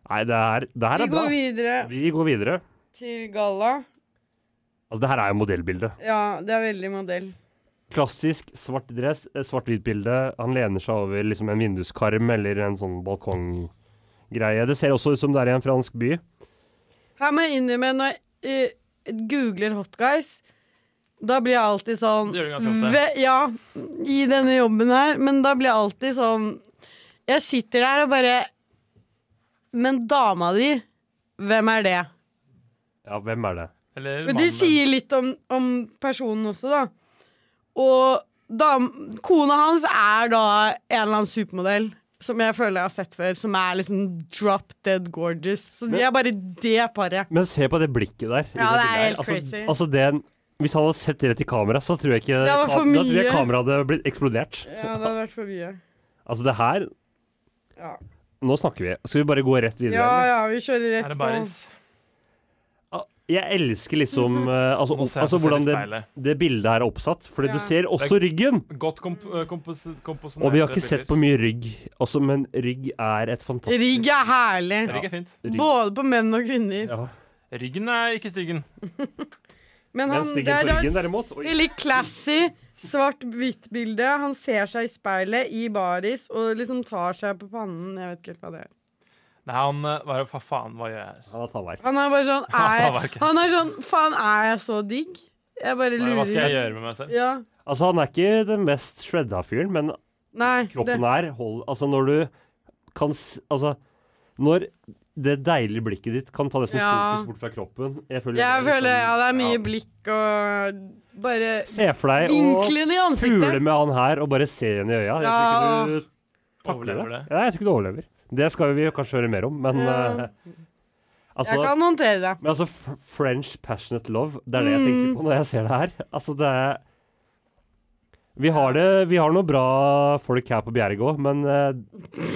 [SPEAKER 6] Nei, det her, det her
[SPEAKER 5] Vi
[SPEAKER 6] er bra.
[SPEAKER 5] går videre
[SPEAKER 6] Vi går videre.
[SPEAKER 5] til galla.
[SPEAKER 6] Altså, det her er jo modellbilde.
[SPEAKER 5] Ja, det er veldig modell.
[SPEAKER 6] Klassisk svart dress, eh, svart-hvitt bilde. Han lener seg over liksom en vinduskarm eller en sånn balkonggreie. Det ser også ut som det er i en fransk by.
[SPEAKER 5] Her må jeg innrømme, når jeg eh, googler hot guys, da blir jeg alltid sånn
[SPEAKER 3] Det gjør du ganske ofte.
[SPEAKER 5] ve- Ja, i denne jobben her. Men da blir jeg alltid sånn Jeg sitter der og bare Men dama di, hvem er det?
[SPEAKER 6] Ja, hvem er det?
[SPEAKER 3] Eller
[SPEAKER 5] Men det
[SPEAKER 3] mannen.
[SPEAKER 5] sier litt om, om personen også, da. Og dam, kona hans er da en eller annen supermodell som jeg føler jeg har sett før, som er liksom drop dead gorgeous. Så de er bare det paret.
[SPEAKER 6] Men se på det blikket der. i
[SPEAKER 5] Ja, det er
[SPEAKER 6] bildet her.
[SPEAKER 5] helt
[SPEAKER 6] altså,
[SPEAKER 5] crazy.
[SPEAKER 6] Altså den, hvis han hadde sett rett i kamera, så tror jeg ikke
[SPEAKER 5] Det var for
[SPEAKER 6] da tror jeg
[SPEAKER 5] mye.
[SPEAKER 6] kameraet hadde blitt eksplodert.
[SPEAKER 5] Ja, det hadde vært for mye.
[SPEAKER 6] Altså det her
[SPEAKER 5] Ja.
[SPEAKER 6] Nå snakker vi. Skal vi bare gå rett videre?
[SPEAKER 5] Ja,
[SPEAKER 6] eller?
[SPEAKER 5] ja, vi kjører
[SPEAKER 3] Er
[SPEAKER 5] rett
[SPEAKER 3] det
[SPEAKER 5] på.
[SPEAKER 3] Baris?
[SPEAKER 6] Ah, jeg elsker liksom eh, altså,
[SPEAKER 3] Nå ser jeg
[SPEAKER 6] altså
[SPEAKER 3] meg selv i
[SPEAKER 6] hvordan det,
[SPEAKER 3] speilet.
[SPEAKER 6] det bildet her er oppsatt. Fordi
[SPEAKER 5] Ja.
[SPEAKER 6] du ser også ryggen!
[SPEAKER 3] Godt komp eh, kompos komposisjonerte
[SPEAKER 6] Og vi har ikke
[SPEAKER 3] bilder.
[SPEAKER 6] sett på mye rygg, altså, men rygg er et fantastisk
[SPEAKER 5] Rigg er herlig.
[SPEAKER 3] Rygg er fint.
[SPEAKER 6] Rygg.
[SPEAKER 5] Både på menn og kvinner.
[SPEAKER 6] Ja.
[SPEAKER 3] Ryggen er ikke styggen.
[SPEAKER 5] Men
[SPEAKER 6] Men
[SPEAKER 5] han, det
[SPEAKER 6] styggen
[SPEAKER 5] er
[SPEAKER 6] på ryggen,
[SPEAKER 5] det er
[SPEAKER 6] derimot oi.
[SPEAKER 5] veldig classy svart-hvitt-bilde. Han ser seg i speilet i baris og liksom tar seg på pannen. Jeg vet ikke helt hva det er.
[SPEAKER 3] Nei, han eh, Hva hva faen, hva gjør jeg her?
[SPEAKER 6] Han har tannverk.
[SPEAKER 5] Han er bare sånn
[SPEAKER 3] Han
[SPEAKER 5] er,
[SPEAKER 3] tar verken.
[SPEAKER 5] Han er sånn Faen, er jeg så digg? Jeg bare
[SPEAKER 3] Hva hva skal jeg
[SPEAKER 5] lurer.
[SPEAKER 3] gjøre med meg selv?
[SPEAKER 5] Ja.
[SPEAKER 6] Altså, han er ikke den mest shredda fyren, men
[SPEAKER 5] Nei. Det.
[SPEAKER 6] kroppen er hold, Altså, når du kan s- Altså, når det deilige blikket ditt kan ta det som
[SPEAKER 5] Ja.
[SPEAKER 6] fokus bort fra kroppen Jeg føler,
[SPEAKER 5] Jeg
[SPEAKER 6] det er
[SPEAKER 5] føler ja, det er mye
[SPEAKER 6] ja.
[SPEAKER 5] blikk og bare
[SPEAKER 6] Se for deg å
[SPEAKER 5] vinklene i
[SPEAKER 6] pule
[SPEAKER 5] ansiktet.
[SPEAKER 6] med han her og bare se henne i øya. Jeg
[SPEAKER 5] Ja.
[SPEAKER 6] tror ikke du takler
[SPEAKER 3] Overlever det.
[SPEAKER 6] Ja, jeg tror ikke du overlever. Det skal vi jo kanskje høre mer om, men
[SPEAKER 5] Ja.
[SPEAKER 6] eh, Altså,
[SPEAKER 5] Jeg kan håndtere det.
[SPEAKER 6] Men altså, f- French passionate love, det er det jeg tenker på når jeg ser det her. Altså, det er Vi har det Vi har noen bra folk her på Bjerg òg, men, eh,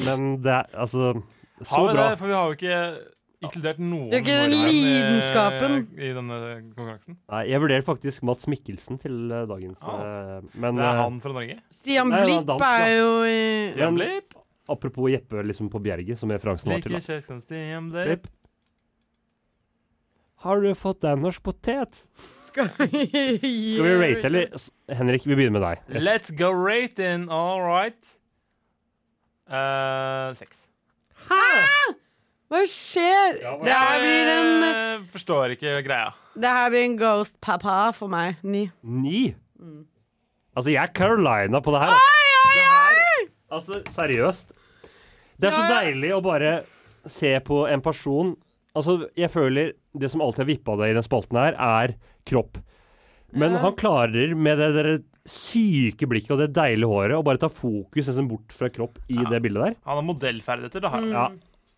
[SPEAKER 6] men det er altså Så
[SPEAKER 3] Har vi
[SPEAKER 6] bra.
[SPEAKER 3] det? For vi har jo ikke inkludert noen
[SPEAKER 5] Det er ikke den
[SPEAKER 3] nordmenn i- eh,
[SPEAKER 5] lidenskapen.
[SPEAKER 3] i denne konkurransen.
[SPEAKER 6] Nei, jeg vurderer faktisk Mats Mikkelsen til eh, dagens
[SPEAKER 3] Ah,
[SPEAKER 6] eh, Men
[SPEAKER 3] Det er
[SPEAKER 6] eh,
[SPEAKER 3] han fra Norge.
[SPEAKER 5] Stian
[SPEAKER 6] Nei, det er
[SPEAKER 5] Blipp
[SPEAKER 6] dansk, da.
[SPEAKER 5] er jo i
[SPEAKER 3] Stian
[SPEAKER 6] men-
[SPEAKER 3] Blipp.
[SPEAKER 6] apropos Jeppe liksom på Bjerget, som referansen var til.
[SPEAKER 3] Like
[SPEAKER 6] da.
[SPEAKER 3] kjekk som Stian Blipp.
[SPEAKER 6] Har du fått deg en norsk potet?
[SPEAKER 5] Skal vi
[SPEAKER 6] Skal vi rate, eller? S- Henrik, vi begynner med deg.
[SPEAKER 3] Let's go rating, all right. Eh, seks.
[SPEAKER 5] Hva skjer? Det her blir en
[SPEAKER 3] Jeg Eh, Forstår ikke greia.
[SPEAKER 5] Det her blir en ghost pappa for meg. Ni.
[SPEAKER 6] Ni. Altså, jeg er Carolina på det her.
[SPEAKER 5] Ah!
[SPEAKER 6] altså. Det her Altså, seriøst. Det er så
[SPEAKER 5] Ja, ja.
[SPEAKER 6] deilig å bare se på en person Altså, jeg føler det som alltid har vippa deg i den spalten her, er kropp. Men
[SPEAKER 5] Ja.
[SPEAKER 6] han klarer med det der syke blikket og det deilige håret å bare ta fokus nesten bort fra kropp i det bildet der.
[SPEAKER 3] Han har modellferdigheter, det har han.
[SPEAKER 6] Ja.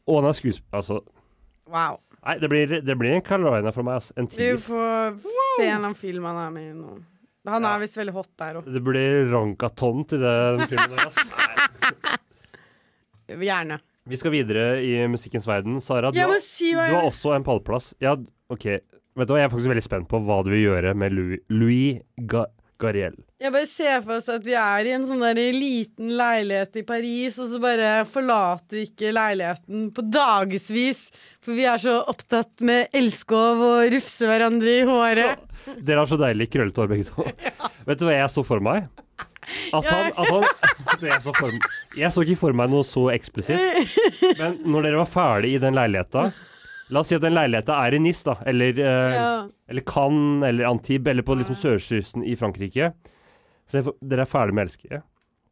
[SPEAKER 6] Og han er skuespiller Altså,
[SPEAKER 5] Wow.
[SPEAKER 6] nei, det blir, det blir en Carolina for meg, altså. En
[SPEAKER 5] Vi
[SPEAKER 6] tier.
[SPEAKER 5] får se en eller annen film han er med i nå. Han er visst veldig hot der òg.
[SPEAKER 6] Det blir rankaton til den filmen der, altså.
[SPEAKER 5] Gjerne.
[SPEAKER 6] Vi skal videre i musikkens verden. Sara, du
[SPEAKER 5] Jeg må
[SPEAKER 6] har
[SPEAKER 5] si hva
[SPEAKER 6] Du har
[SPEAKER 5] jeg
[SPEAKER 6] også en pallplass. Ja, ok. Vet du hva, jeg er faktisk veldig spent på hva du vil gjøre med Louis, Louis Ga Gariel.
[SPEAKER 5] Jeg bare ser for oss at vi er i en sånn der liten leilighet i Paris, og så bare forlater vi ikke leiligheten på dagevis, for vi er så opptatt med elskov og rufse hverandre i håret.
[SPEAKER 6] Dere har så deilig krøllete hår, begge to. Vet du hva jeg så for meg? At han, at han det jeg, så for, jeg så ikke for meg noe så eksplisitt. Men når dere var ferdig i den leiligheta La oss si at den leiligheta er i Nis, da. Eller, eh,
[SPEAKER 5] Ja.
[SPEAKER 6] eller Cannes, eller Antibes, eller på liksom sørkysten i Frankrike. Så jeg får- dere er ferdig med elskere.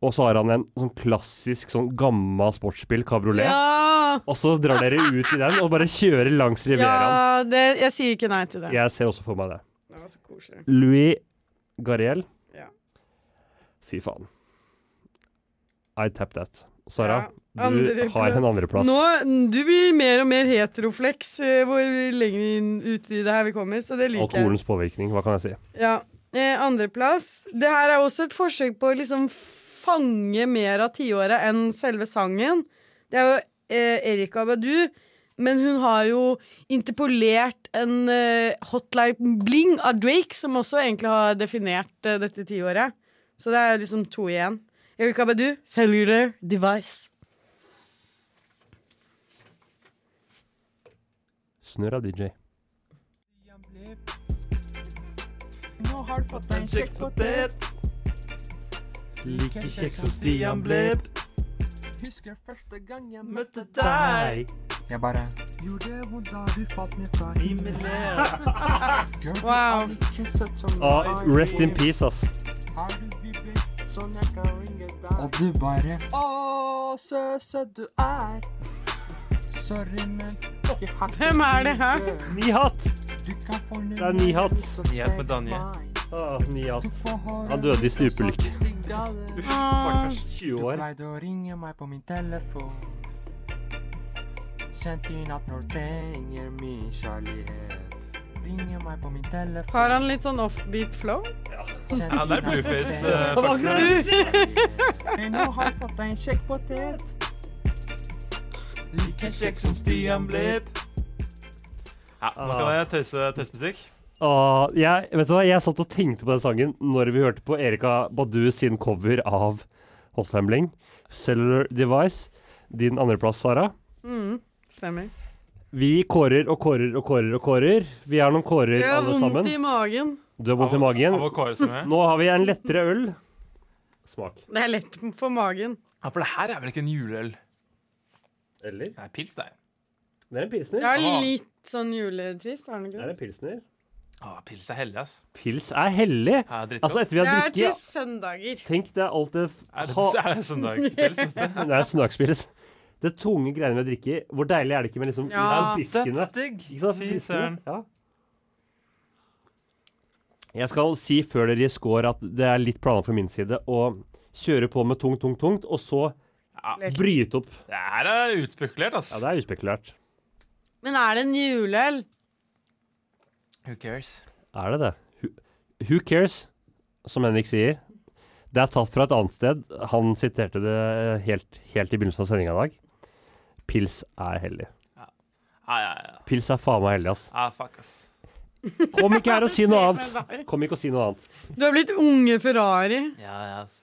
[SPEAKER 6] Og så har han en sånn klassisk sånn gamma sportsbil, kabriolet.
[SPEAKER 5] Ja!
[SPEAKER 6] Og så drar dere ut i den og bare kjører langs Rivieraen.
[SPEAKER 5] ja det, jeg sier ikke nei til det.
[SPEAKER 6] Jeg ser også for meg det.
[SPEAKER 5] Det var så koselig.
[SPEAKER 6] Louis Gariel.
[SPEAKER 5] Ja.
[SPEAKER 6] Fy faen. I tap that. Sara,
[SPEAKER 5] Ja,
[SPEAKER 6] du
[SPEAKER 5] andre
[SPEAKER 6] har en
[SPEAKER 5] plass.
[SPEAKER 6] andreplass.
[SPEAKER 5] Nå, Du blir mer og mer heteroflex eh, hvor lenger inn ut i det her vi kommer, så det liker jeg.
[SPEAKER 6] Alkoholens påvirkning, hva kan jeg si?
[SPEAKER 5] Ja. Eh, Andreplass. Det her er også et forsøk på å liksom fange mer av tiåret enn selve sangen. Det er jo eh, Erika Badu, men hun har jo interpolert en eh, hotline bling av Drake, som også egentlig har definert eh, dette tiåret. Så det er liksom to igjen. Erika Badu, Cellular Device.
[SPEAKER 6] Snurr av DJ.
[SPEAKER 1] Nå har du fått deg en kjekk potet.
[SPEAKER 6] Like kjekk som
[SPEAKER 1] Stian Blipp. Husker første gang jeg møtte deg.
[SPEAKER 10] Jeg bare gjorde det vondt da du falt ned fra himmelen. Girl, du
[SPEAKER 5] Wow.
[SPEAKER 10] er ikke søt som du
[SPEAKER 6] Ah,
[SPEAKER 10] er.
[SPEAKER 6] rest in peace, ass.
[SPEAKER 10] Har du viber, sånn jeg kan ringe deg? Og du bare Å, så søt du er. Sorry, men jeg har ikke
[SPEAKER 5] Hvem er det her?
[SPEAKER 10] tid.
[SPEAKER 6] Nihat!
[SPEAKER 10] Du kan fornemme
[SPEAKER 6] Det er Nihat.
[SPEAKER 10] så
[SPEAKER 1] Nihat med Danje.
[SPEAKER 10] meg.
[SPEAKER 6] Ah, Nihat.
[SPEAKER 10] Du får høre
[SPEAKER 6] Han døde i stupulykke.
[SPEAKER 10] sånn ting gale.
[SPEAKER 6] 20
[SPEAKER 10] Du
[SPEAKER 6] år.
[SPEAKER 10] pleide å ringe meg på min telefon. Sent i natt når du trenger min kjærlighet. Ringe meg på min telefon.
[SPEAKER 5] Har han litt sånn offbeat flow?
[SPEAKER 10] Sent
[SPEAKER 3] Ja,
[SPEAKER 10] i
[SPEAKER 3] det er
[SPEAKER 10] natt når du
[SPEAKER 3] Blueface.
[SPEAKER 10] trenger
[SPEAKER 3] eh, fuckeren.
[SPEAKER 10] kjærlighet. Men nå har jeg fått deg en kjekk potet.
[SPEAKER 1] Like kjekk som Stian Blipp.
[SPEAKER 3] Ja, nå skal jeg tøyse tøysemusikk.
[SPEAKER 6] Ah, jeg, vet du hva, jeg satt og tenkte på den sangen når vi hørte på Erika Badu sin cover av Hotline Bling. Cellular Device. Din andreplass, Sara.
[SPEAKER 5] Mm, stemmer.
[SPEAKER 6] Vi kårer og kårer og kårer og kårer. Vi er noen kårer
[SPEAKER 5] Jeg har
[SPEAKER 6] alle
[SPEAKER 5] vondt
[SPEAKER 6] sammen.
[SPEAKER 5] i magen.
[SPEAKER 6] Du har vondt i magen.
[SPEAKER 3] Av å kåre seg med.
[SPEAKER 6] Nå har vi en lettere øl. Smak.
[SPEAKER 5] Det er lett for magen.
[SPEAKER 3] Ja, for det her er vel ikke en juleøl?
[SPEAKER 6] Eller?
[SPEAKER 3] Det er pils, det.
[SPEAKER 6] Det er en pilsner.
[SPEAKER 5] Jeg har
[SPEAKER 3] Ah.
[SPEAKER 5] litt sånn juletvist, har den
[SPEAKER 6] Det
[SPEAKER 5] ikke
[SPEAKER 6] er
[SPEAKER 5] det?
[SPEAKER 6] en pilsner.
[SPEAKER 3] Ah, pils er hellig, ass.
[SPEAKER 6] Pils er hellig.
[SPEAKER 3] Ja, drittgodt.
[SPEAKER 6] Altså, etter vi
[SPEAKER 5] Det
[SPEAKER 6] har
[SPEAKER 5] er til
[SPEAKER 6] drukket
[SPEAKER 5] søndager.
[SPEAKER 6] Tenk, det er alt det
[SPEAKER 3] er det,
[SPEAKER 6] ha-
[SPEAKER 3] er det søndagspils, synes du?
[SPEAKER 6] Det er søndagspils. Det tunge greiene med å drikke. Hvor deilig er det ikke med liksom
[SPEAKER 5] Ja.
[SPEAKER 6] litt friskende
[SPEAKER 3] Dødsdigg!
[SPEAKER 6] Ikke sant?
[SPEAKER 3] Fy søren.
[SPEAKER 6] Ja. Jeg skal si før dere gir score at det er litt planer fra min side å kjøre på med tungt, tungt, tungt, og så bryte opp.
[SPEAKER 3] Det her er utspekulert, ass.
[SPEAKER 6] Ja, det er uspekulert.
[SPEAKER 5] Men er det en juleøl?
[SPEAKER 3] Who cares?
[SPEAKER 6] Er det det? Who, who cares, som Henrik sier. Det er tatt fra et annet sted. Han siterte det helt, helt i begynnelsen av sendinga i dag. Pils er hellig.
[SPEAKER 3] Ja, ja, ja.
[SPEAKER 6] Pils er faen meg hellig, ass.
[SPEAKER 3] Ah, fuck, ass.
[SPEAKER 6] Kom ikke her og si noe annet. Kom ikke og si noe annet.
[SPEAKER 5] Du har blitt unge Ferrari.
[SPEAKER 3] Ja, ja, ass.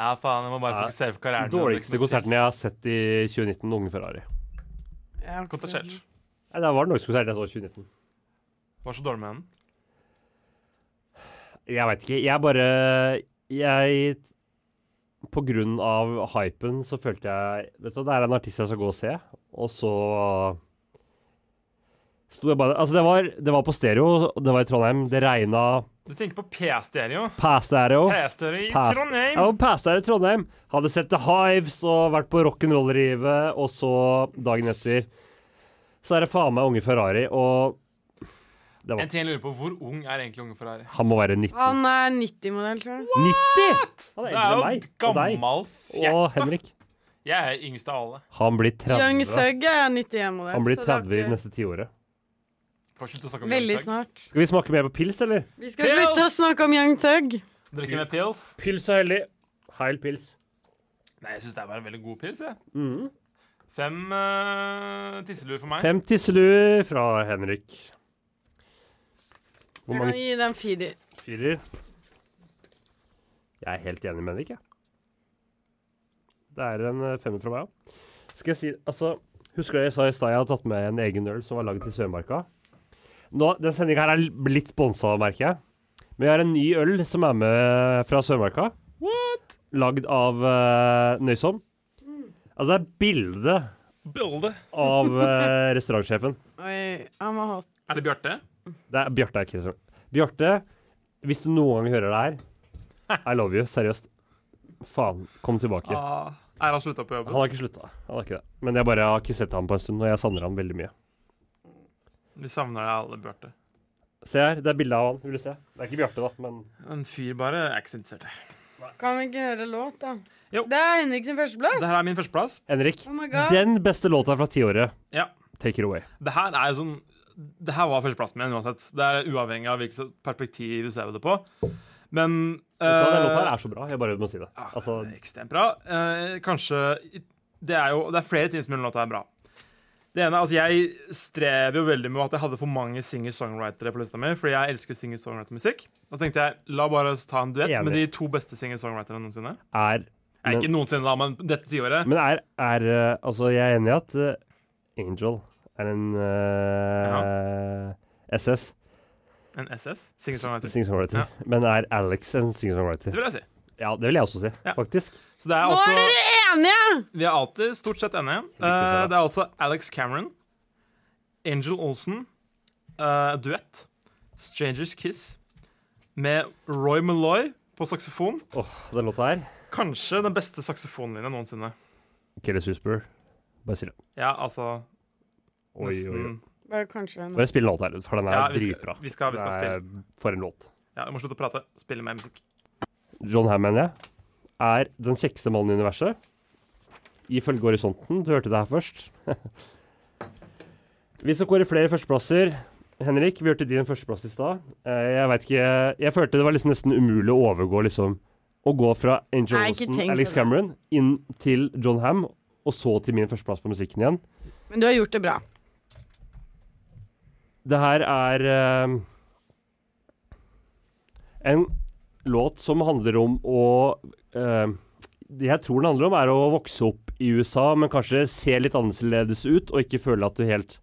[SPEAKER 3] Ja, faen, jeg må bare
[SPEAKER 6] Ja,
[SPEAKER 3] fokusere på karrieren. min og drikke
[SPEAKER 6] Dårligste
[SPEAKER 3] noe
[SPEAKER 6] konserten
[SPEAKER 3] pils.
[SPEAKER 6] jeg har sett i 2019, Unge Ferrari.
[SPEAKER 5] Ja,
[SPEAKER 3] Kontroversielt.
[SPEAKER 6] Nei, det var den dårligste konserten jeg så i 2019.
[SPEAKER 3] Var så dårlig med den.
[SPEAKER 6] Jeg veit ikke. Jeg bare Jeg På grunn av hypen så følte jeg Vet du, det er en artist jeg skal gå og se, og så Sto jeg bare Altså, det var, det var på stereo, det var i Trondheim, det regna
[SPEAKER 3] Du tenker på P-stereo.
[SPEAKER 6] P-stereo.
[SPEAKER 3] P-stereo i
[SPEAKER 6] Pæs-
[SPEAKER 3] Trondheim.
[SPEAKER 6] Jeg var passer i Trondheim. Hadde sett The Hives og vært på rock'n'roll-rivet, og så dagen etter så er det faen meg unge Ferrari, og det
[SPEAKER 3] En
[SPEAKER 6] var,
[SPEAKER 3] ting jeg lurer på, hvor ung er egentlig unge Ferrari?
[SPEAKER 6] han må være 19.
[SPEAKER 5] Han er 90-modell, tror jeg.
[SPEAKER 6] 90! Han
[SPEAKER 3] Det er
[SPEAKER 6] er eldre enn
[SPEAKER 3] jo
[SPEAKER 6] meg.
[SPEAKER 3] et
[SPEAKER 6] Og deg.
[SPEAKER 3] gammel
[SPEAKER 6] Og
[SPEAKER 3] fjert.
[SPEAKER 6] Henrik.
[SPEAKER 3] Jeg er yngst av alle.
[SPEAKER 6] Han blir
[SPEAKER 5] Young
[SPEAKER 6] 30.
[SPEAKER 5] Thug er 91-modell.
[SPEAKER 6] Han blir 30 i neste tiåret.
[SPEAKER 3] Kan vi slutte å snakke om
[SPEAKER 5] Veldig
[SPEAKER 3] Young Thug?
[SPEAKER 5] snart.
[SPEAKER 6] Skal vi smake mer på pils, eller?
[SPEAKER 5] Vi skal slutte å snakke om Young Thug.
[SPEAKER 3] Drikke med pils?
[SPEAKER 6] Pils er hellig. Heil pils.
[SPEAKER 3] Nei, jeg syns det var en veldig god pils. jeg. Fem uh, tisseluer for meg.
[SPEAKER 6] Mm. Fem tisseluer fra Henrik. Hvor
[SPEAKER 5] Jeg kan
[SPEAKER 6] mange
[SPEAKER 5] gi den firer.
[SPEAKER 6] firer? Jeg er helt enig med Henrik, jeg. Det er en eh, femmer fra meg òg. Skal jeg si Altså, husker dere jeg sa i stad jeg hadde tatt med en egen øl som var laget i Sørmarka? Nå, Den sendinga her er l- blitt sponsa, merker jeg. Men jeg har en ny øl som er med fra Sørmarka.
[SPEAKER 3] What?
[SPEAKER 6] Lagd av eh, Nøysom. Altså, det er bilde
[SPEAKER 3] Bilde.
[SPEAKER 6] av eh, restaurantsjefen.
[SPEAKER 5] Oi, han var hot.
[SPEAKER 3] Er det Bjarte?
[SPEAKER 6] Det er Bjarte er ikke restaurant. Bjarte, hvis du noen gang hører det her, I love you. Seriøst. Faen, kom tilbake.
[SPEAKER 3] Ah, er han slutta på
[SPEAKER 6] Han
[SPEAKER 3] jobben?
[SPEAKER 6] har ikke slutta. Han har ikke det. Men jeg bare har ikke sett ham på en stund, og jeg savner ham veldig mye.
[SPEAKER 3] Vi savner deg alle, Bjarte.
[SPEAKER 6] Se her, det er bilde av han. Vil du se? Det er ikke Bjarte, da, men
[SPEAKER 3] En fyr bare er ikke så interessert.
[SPEAKER 5] Kan vi ikke høre låt, da?
[SPEAKER 3] Jo.
[SPEAKER 5] Det er Henrik sin førsteplass.
[SPEAKER 3] Det her er min førsteplass.
[SPEAKER 6] Henrik.
[SPEAKER 5] Oh my god.
[SPEAKER 6] Den beste låta fra tiåret.
[SPEAKER 3] Ja.
[SPEAKER 6] Take it away.
[SPEAKER 3] Det her er jo sånn Det her var førsteplassen min uansett. Det er uavhengig av hvilket perspektiv du ser på det på. Men
[SPEAKER 6] Vet du hva, Den låta her
[SPEAKER 3] eh, ah,
[SPEAKER 6] er så bra. Jeg bare må si det.
[SPEAKER 3] ja,
[SPEAKER 6] Altså,
[SPEAKER 3] den er Ekstremt bra. Eh, kanskje Det er jo Det er flere ting som gjør den låta her bra. Det ene, altså Jeg strever jo veldig med at jeg hadde for mange singer-songwritere på lista mi, fordi jeg elsker singer-songwriter-musikk. Da tenkte jeg la bare ta en duett
[SPEAKER 6] Enig.
[SPEAKER 3] med de to beste singer-songwriterne noensinne.
[SPEAKER 6] er
[SPEAKER 3] Nei,
[SPEAKER 6] Men-
[SPEAKER 3] ikke noensinne, da, men dette tiåret.
[SPEAKER 6] Men er, er eh, Altså, jeg er enig i at eh, Angel er en eh, SS.
[SPEAKER 3] En SS? Singer-songwriter.
[SPEAKER 6] Singer-songwriter.
[SPEAKER 3] Ja.
[SPEAKER 6] Men er Alex en singer-songwriter?
[SPEAKER 3] Det vil jeg si.
[SPEAKER 6] Ja, det vil jeg også si,
[SPEAKER 3] Ja.
[SPEAKER 6] faktisk.
[SPEAKER 3] Så det er
[SPEAKER 5] Nå
[SPEAKER 3] også
[SPEAKER 5] er dere enige!
[SPEAKER 3] Vi er alltid stort sett enige.
[SPEAKER 6] Helt riktig, Sara.
[SPEAKER 3] Eh, det er altså Alex Cameron, Angel Olsen, eh, duett, Strangers Kiss, med Roy Malloy på saksofon.
[SPEAKER 6] Åh, den låta her.
[SPEAKER 3] Kanskje den beste saksofonlinja noensinne.
[SPEAKER 6] Kelly Susper. Bare si det.
[SPEAKER 3] Ja, altså
[SPEAKER 6] Oi, oi, oi.
[SPEAKER 3] Nesten.
[SPEAKER 5] Bare kanskje den.
[SPEAKER 6] Bare spill den låta her, for den er
[SPEAKER 3] Ja, vi
[SPEAKER 6] dritbra.
[SPEAKER 3] skal, vi skal, vi skal
[SPEAKER 6] Det er-
[SPEAKER 3] spille.
[SPEAKER 6] For en låt.
[SPEAKER 3] Ja, Vi må slutte å prate. Spille mer musikk.
[SPEAKER 6] John Hamm, mener jeg, er den kjekkeste mannen i universet. Ifølge Horisonten. Du hørte det her først. vi skal kåre flere førsteplasser. Henrik, vi hørte din førsteplass i stad. Eh, Jeg vet ikke Jeg følte det var liksom nesten umulig å overgå, liksom. Å gå fra Angel
[SPEAKER 5] Nei, ikke tenk
[SPEAKER 6] Olsen,
[SPEAKER 5] på
[SPEAKER 6] Alex
[SPEAKER 5] det.
[SPEAKER 6] Cameron, inn til John Ham, og så til min førsteplass på musikken igjen.
[SPEAKER 5] Men du har gjort det bra.
[SPEAKER 6] Det her er eh, en låt som handler om å eh, Det jeg tror den handler om, er å vokse opp i USA, men kanskje se litt annerledes ut og ikke føle at du helt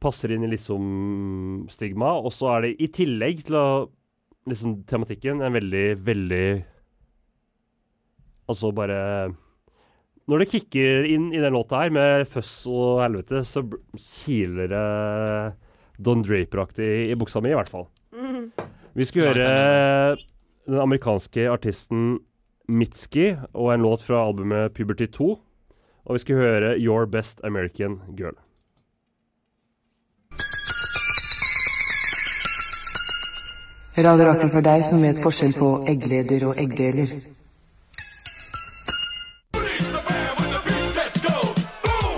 [SPEAKER 6] passer inn i liksom stigma. Og så er det i tillegg til å, liksom tematikken en veldig, veldig Altså bare når det kicker inn i den låta her, med føss og helvete, så bl- kiler det Don Draper-aktig i, i buksa mi, i hvert fall. Vi skal høre den amerikanske artisten Mitski og en låt fra albumet Puberty 2. Og vi skal høre Your Best American Girl.
[SPEAKER 9] Radio Rakel for deg som vet forskjell på eggleder og eggdeler.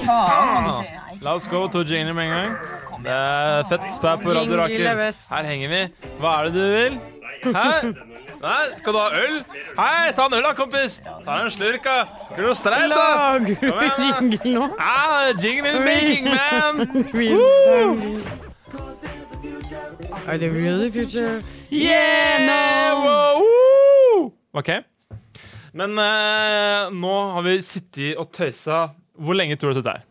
[SPEAKER 3] La oss gå to jingler med en gang. Det er fett spær på Radio Rakel.
[SPEAKER 5] Jingle er best.
[SPEAKER 3] Her henger vi. Hva er det du vil? Hæ? Nei, skal du ha øl? Hei, ta en øl da, kompis. Ta en slurk, da. Skal du streite, da?
[SPEAKER 5] Lager du jingle nå?
[SPEAKER 3] Ah, jingle in the making, man.
[SPEAKER 5] Are they really future?
[SPEAKER 3] Yeah!
[SPEAKER 5] No!
[SPEAKER 3] Wow, woo! OK. Men eh, nå har vi sittet og tøysa. Hvor lenge tror du dette er?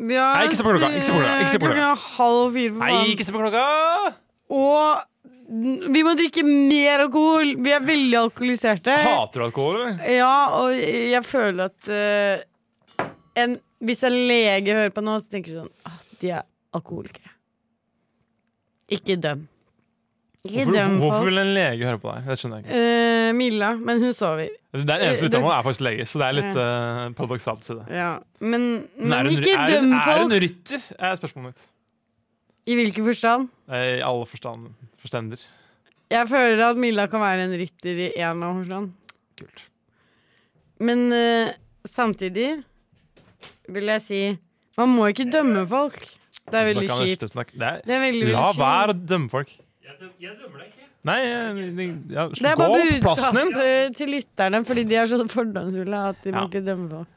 [SPEAKER 3] Nei, ikke se på klokka, ikke se på klokka, ikke se på klokka.
[SPEAKER 5] Klokka er halv fire for
[SPEAKER 3] Nei,
[SPEAKER 5] faen.
[SPEAKER 3] ikke se på klokka!
[SPEAKER 5] Og vi må drikke mer alkohol. Vi er veldig alkoholiserte.
[SPEAKER 3] Hater du alkohol, eller?
[SPEAKER 5] Ja, og jeg føler at eh, en, Hvis en lege hører på nå, så tenker de sånn ah, De er alkoholikere. Ikke døm. Ikke
[SPEAKER 3] Hvorfor,
[SPEAKER 5] døm
[SPEAKER 3] hvorfor
[SPEAKER 5] folk.
[SPEAKER 3] vil en lege høre på deg? Det skjønner jeg ikke.
[SPEAKER 5] Eh, Milla, men hun sover.
[SPEAKER 3] Det er eneste
[SPEAKER 5] Det-
[SPEAKER 3] uttalen er faktisk lege, så det er litt eh, paradoksalt. å si det.
[SPEAKER 5] Ja. Men, men,
[SPEAKER 3] Men er hun-
[SPEAKER 5] ikke
[SPEAKER 3] er hun-
[SPEAKER 5] døm
[SPEAKER 3] Er hun
[SPEAKER 5] folk.
[SPEAKER 3] rytter, er spørsmålet mitt.
[SPEAKER 5] I hvilken forstand?
[SPEAKER 3] Eh, I alle forstand, forstender.
[SPEAKER 5] Jeg føler at Milla kan være en rytter i en av Horsland.
[SPEAKER 3] Kult.
[SPEAKER 5] Men eh, samtidig vil jeg si Man må ikke dømme folk. Det er
[SPEAKER 3] Tusen
[SPEAKER 5] veldig
[SPEAKER 3] takk, Anders.
[SPEAKER 5] kjipt.
[SPEAKER 3] Tusen takk. Det er,
[SPEAKER 5] Det er veldig, veldig
[SPEAKER 3] la
[SPEAKER 5] kjipt.
[SPEAKER 3] være å dømme folk.
[SPEAKER 6] Jeg dømmer deg ikke.
[SPEAKER 3] Nei, eh, ja,
[SPEAKER 5] Det er
[SPEAKER 3] gå
[SPEAKER 5] bare
[SPEAKER 3] på plassen
[SPEAKER 5] budskap
[SPEAKER 3] din!
[SPEAKER 5] til- til lytterne, fordi de er så fordomsfulle at de
[SPEAKER 3] Ja.
[SPEAKER 5] må ikke dømme folk.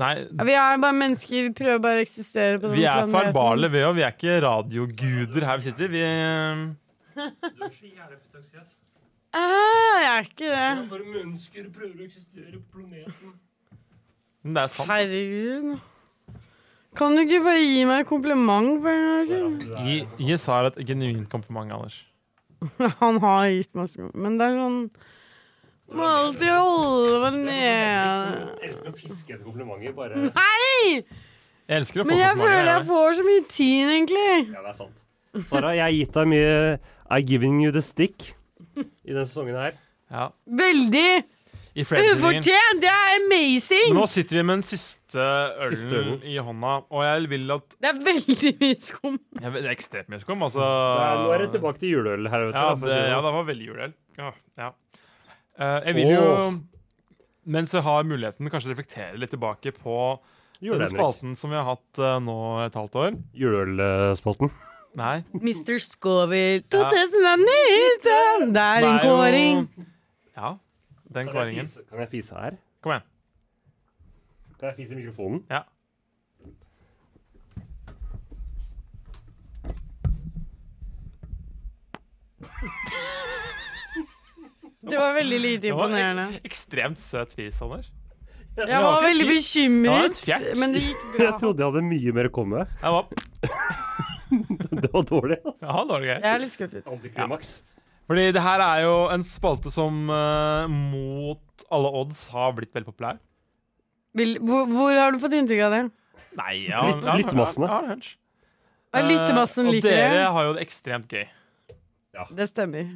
[SPEAKER 3] Nei,
[SPEAKER 5] Ja, Vi er bare mennesker. Vi prøver bare å eksistere på denne
[SPEAKER 3] vi er
[SPEAKER 5] planeten.
[SPEAKER 3] farbale, vi òg. Vi er ikke radioguder her vi sitter. Vi eh,
[SPEAKER 5] Ah, jeg er ikke det.
[SPEAKER 6] Bare mennesker prøver å eksistere på planeten.
[SPEAKER 3] Men det er sant.
[SPEAKER 5] Herregud. Kan du ikke bare gi meg et kompliment? For en gang skyld?
[SPEAKER 3] Gi, gi Sara et genuint kompliment, Anders.
[SPEAKER 5] Han har gitt masse god- Men det er sånn Må alltid holde meg nede.
[SPEAKER 6] Liksom, elsker å fiske etter komplimenter, bare
[SPEAKER 5] Hei!
[SPEAKER 3] Jeg elsker å få
[SPEAKER 5] Men jeg
[SPEAKER 3] komplimenter.
[SPEAKER 5] føler jeg
[SPEAKER 3] jeg.
[SPEAKER 5] får så mye tyn, egentlig.
[SPEAKER 6] Ja, det er sant. Sara, jeg har gitt deg mye I giving you the stick i denne sesongen her.
[SPEAKER 3] Ja,
[SPEAKER 5] Veldig
[SPEAKER 3] i Fredrikstad-ringen.
[SPEAKER 5] ufortjent! Det er
[SPEAKER 3] Men
[SPEAKER 5] amazing!
[SPEAKER 3] nå sitter vi med den siste
[SPEAKER 6] Siste
[SPEAKER 3] ølen
[SPEAKER 6] ølen.
[SPEAKER 3] i hånda, og jeg vil at
[SPEAKER 5] Det er veldig mye skum.
[SPEAKER 3] Jeg vet, det er ekstremt mye skum, altså.
[SPEAKER 6] nå er det tilbake til juleøl her, vet du.
[SPEAKER 3] Ja,
[SPEAKER 6] da, for å
[SPEAKER 3] det,
[SPEAKER 6] si det
[SPEAKER 3] ja,
[SPEAKER 6] sånn.
[SPEAKER 3] det var veldig juleøl. Ja, ja. Eh, jeg vil jo, mens jeg har muligheten, kanskje reflektere litt tilbake på den
[SPEAKER 6] Juleøl,
[SPEAKER 3] spalten som vi har hatt eh, nå et halvt år.
[SPEAKER 6] Juleølspalten.
[SPEAKER 3] Nei.
[SPEAKER 5] Mr. Scover 2019! Det er en
[SPEAKER 3] jo-
[SPEAKER 5] kåring.
[SPEAKER 3] Ja, den kåringen.
[SPEAKER 6] Kan jeg fise her?
[SPEAKER 3] Kom igjen.
[SPEAKER 6] Kan jeg fise i mikrofonen?
[SPEAKER 3] Ja.
[SPEAKER 5] Det var veldig lite
[SPEAKER 3] Det var
[SPEAKER 5] imponerende.
[SPEAKER 3] ek ekstremt søt fis, Anders.
[SPEAKER 5] Jeg var veldig bekymret,
[SPEAKER 3] Det var et fjert.
[SPEAKER 5] men det gikk
[SPEAKER 6] Jeg
[SPEAKER 5] bra.
[SPEAKER 6] trodde jeg hadde mye mer å komme med.
[SPEAKER 3] Jeg var,
[SPEAKER 6] Det var dårlig. altså.
[SPEAKER 3] ja, det var gøy.
[SPEAKER 5] Jeg er litt skuffet.
[SPEAKER 6] Antiklimaks.
[SPEAKER 3] Fordi det her er jo en spalte som eh, mot alle odds har blitt veldig populær.
[SPEAKER 5] Vil, hvor, hvor har du fått inntrykk av det?
[SPEAKER 3] Nei, ja.
[SPEAKER 6] Lytt-
[SPEAKER 3] ja,
[SPEAKER 6] lyttemassene.
[SPEAKER 3] Ja, ja, hunch.
[SPEAKER 5] Ja, lyttemassen
[SPEAKER 3] Eh,
[SPEAKER 5] liker
[SPEAKER 3] Og
[SPEAKER 5] det.
[SPEAKER 3] dere har jo det ekstremt gøy.
[SPEAKER 5] Det stemmer.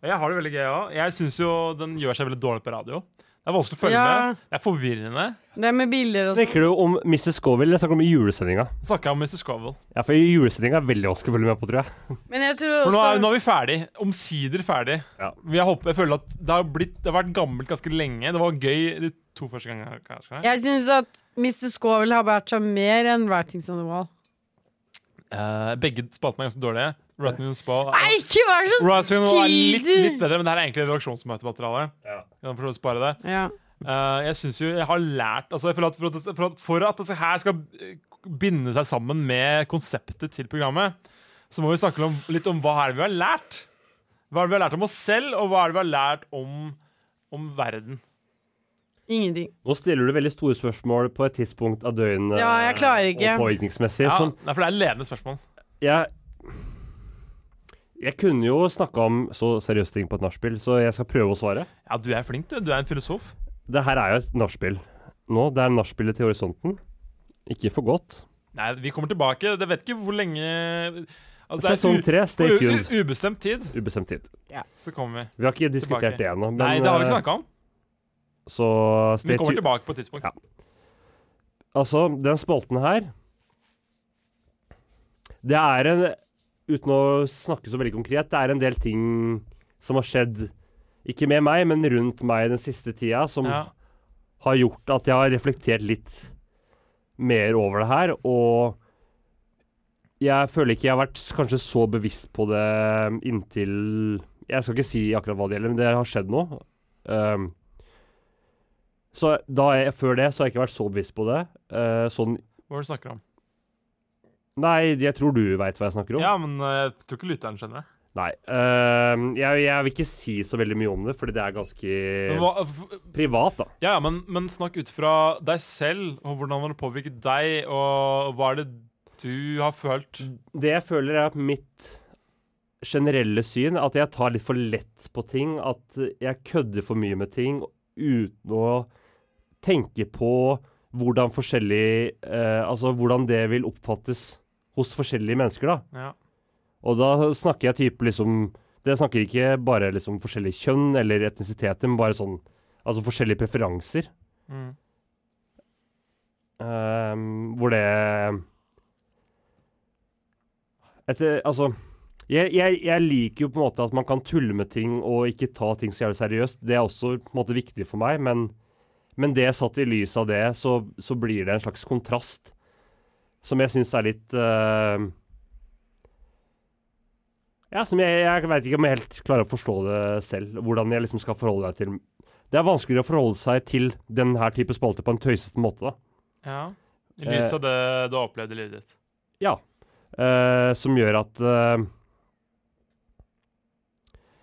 [SPEAKER 3] Og jeg har det veldig gøy òg. Jeg syns jo den gjør seg veldig dårlig på radio. Det er vanskelig å følge
[SPEAKER 5] Ja.
[SPEAKER 3] med. Det er forvirrende.
[SPEAKER 5] Det er med bilder og sånn.
[SPEAKER 6] Snakker du om Mrs. Scoville? Jeg snakker om julesendinga.
[SPEAKER 3] Snakka om Mr. Scovel.
[SPEAKER 6] Ja, for julesendinga er veldig vanskelig å følge med på, tror jeg.
[SPEAKER 5] Men jeg tror
[SPEAKER 3] For nå er,
[SPEAKER 5] også
[SPEAKER 3] nå er vi ferdig. Omsider ferdig.
[SPEAKER 6] Ja.
[SPEAKER 3] Vi har hoppet, jeg føler at det har, blitt, det har vært gammelt ganske lenge. Det var gøy de to første gangene. kanskje.
[SPEAKER 5] Jeg syns at Mr. Scovel har vært seg mer enn Writings on the Wall.
[SPEAKER 3] Eh, begge spaltene er ganske dårlige. Rotten in Spall
[SPEAKER 5] Nei, ikke vær så
[SPEAKER 3] Rotten er litt, litt
[SPEAKER 5] skrider!
[SPEAKER 3] bedre, men det her er egentlig redaksjonsmøtemateriale.
[SPEAKER 6] Ja.
[SPEAKER 3] Kan for så vidt spare det.
[SPEAKER 5] Ja.
[SPEAKER 3] Eh, jeg synes jo jeg har lært altså jeg føler at for, at, for, at, for at dette her skal eh, binde seg sammen med konseptet til programmet, så må vi snakke om, litt om hva er det vi har lært. Hva er det vi har lært om oss selv, og hva er det vi har lært om, om verden?
[SPEAKER 5] Ingenting.
[SPEAKER 6] Nå stiller du veldig store spørsmål på et tidspunkt av døgnet
[SPEAKER 5] Ja, jeg klarer
[SPEAKER 6] eh,
[SPEAKER 5] ikke.
[SPEAKER 6] og påvirkningsmessig.
[SPEAKER 3] Ja,
[SPEAKER 6] Som
[SPEAKER 3] nei, for det er sånn- ledende spørsmål.
[SPEAKER 6] jeg Jeg kunne jo snakka om så seriøse ting på et nachspiel, så jeg skal prøve å svare.
[SPEAKER 3] Ja, du er flink, du. Du er en filosof.
[SPEAKER 6] Det her er jo et nachspiel nå. Det er nachspielet til horisonten. Ikke for godt.
[SPEAKER 3] Nei, vi kommer tilbake. Jeg vet ikke hvor lenge altså, det er
[SPEAKER 6] Sesong
[SPEAKER 3] u-
[SPEAKER 6] tre, stay
[SPEAKER 3] u- u-
[SPEAKER 6] tuned.
[SPEAKER 3] Ubestemt tid,
[SPEAKER 6] Ubestemt tid.
[SPEAKER 3] så kommer vi.
[SPEAKER 6] Vi har ikke diskutert
[SPEAKER 3] Tilbake.
[SPEAKER 6] det ennå, men
[SPEAKER 3] Nei, det har vi
[SPEAKER 6] eh,
[SPEAKER 3] ikke snakka om.
[SPEAKER 6] Så
[SPEAKER 3] Vi
[SPEAKER 6] stay
[SPEAKER 3] kommer
[SPEAKER 6] tuned.
[SPEAKER 3] tilbake på et tidspunkt.
[SPEAKER 6] Ja. Altså, den spalten her Det er en Uten å snakke så veldig konkret, det er en del ting som har skjedd Ikke med meg, men rundt meg den siste tida, som
[SPEAKER 3] Ja.
[SPEAKER 6] har gjort at jeg har reflektert litt mer over det her, og jeg føler ikke jeg har vært s- kanskje så bevisst på det inntil Jeg skal ikke si akkurat hva det gjelder, men det har skjedd nå. Um, så da jeg, før det så har jeg ikke vært så bevisst på det. Eh, sånn
[SPEAKER 3] Hva er det du snakker om?
[SPEAKER 6] Nei, jeg tror du veit hva jeg snakker om.
[SPEAKER 3] Ja, men eh, jeg tror ikke lytteren skjønner det.
[SPEAKER 6] Nei. eh, jeg, jeg vil ikke si så veldig mye om det, fordi det er ganske
[SPEAKER 3] Men hva- f-
[SPEAKER 6] privat, da.
[SPEAKER 3] Ja, ja, men, men snakk ut fra deg selv, og hvordan har det påvirket deg, og hva er det du har følt?
[SPEAKER 6] Det jeg føler, er at mitt generelle syn er at jeg tar litt for lett på ting. At jeg kødder for mye med ting uten å tenke på hvordan forskjellig eh, Altså hvordan det vil oppfattes hos forskjellige mennesker, da.
[SPEAKER 3] Ja.
[SPEAKER 6] Og da snakker jeg type liksom Det snakker ikke bare liksom forskjellig kjønn eller etnisiteter, men bare sånn Altså forskjellige preferanser.
[SPEAKER 3] Mm.
[SPEAKER 6] Ehm, hvor det Etter, altså jeg, jeg, jeg liker jo på en måte at man kan tulle med ting og ikke ta ting så jævlig seriøst. Det er også på en måte viktig for meg, men, men det satt i lys av det, så, så blir det en slags kontrast som jeg syns er litt eh, Ja, som jeg, jeg veit ikke om jeg helt klarer å forstå det selv, hvordan jeg liksom skal forholde meg til Det er vanskeligere å forholde seg til den her type spalte på en tøysete måte, da.
[SPEAKER 3] ja. I lys
[SPEAKER 6] Eh.
[SPEAKER 3] av det du har opplevd i livet ditt.
[SPEAKER 6] Ja. Eh, som gjør at eh,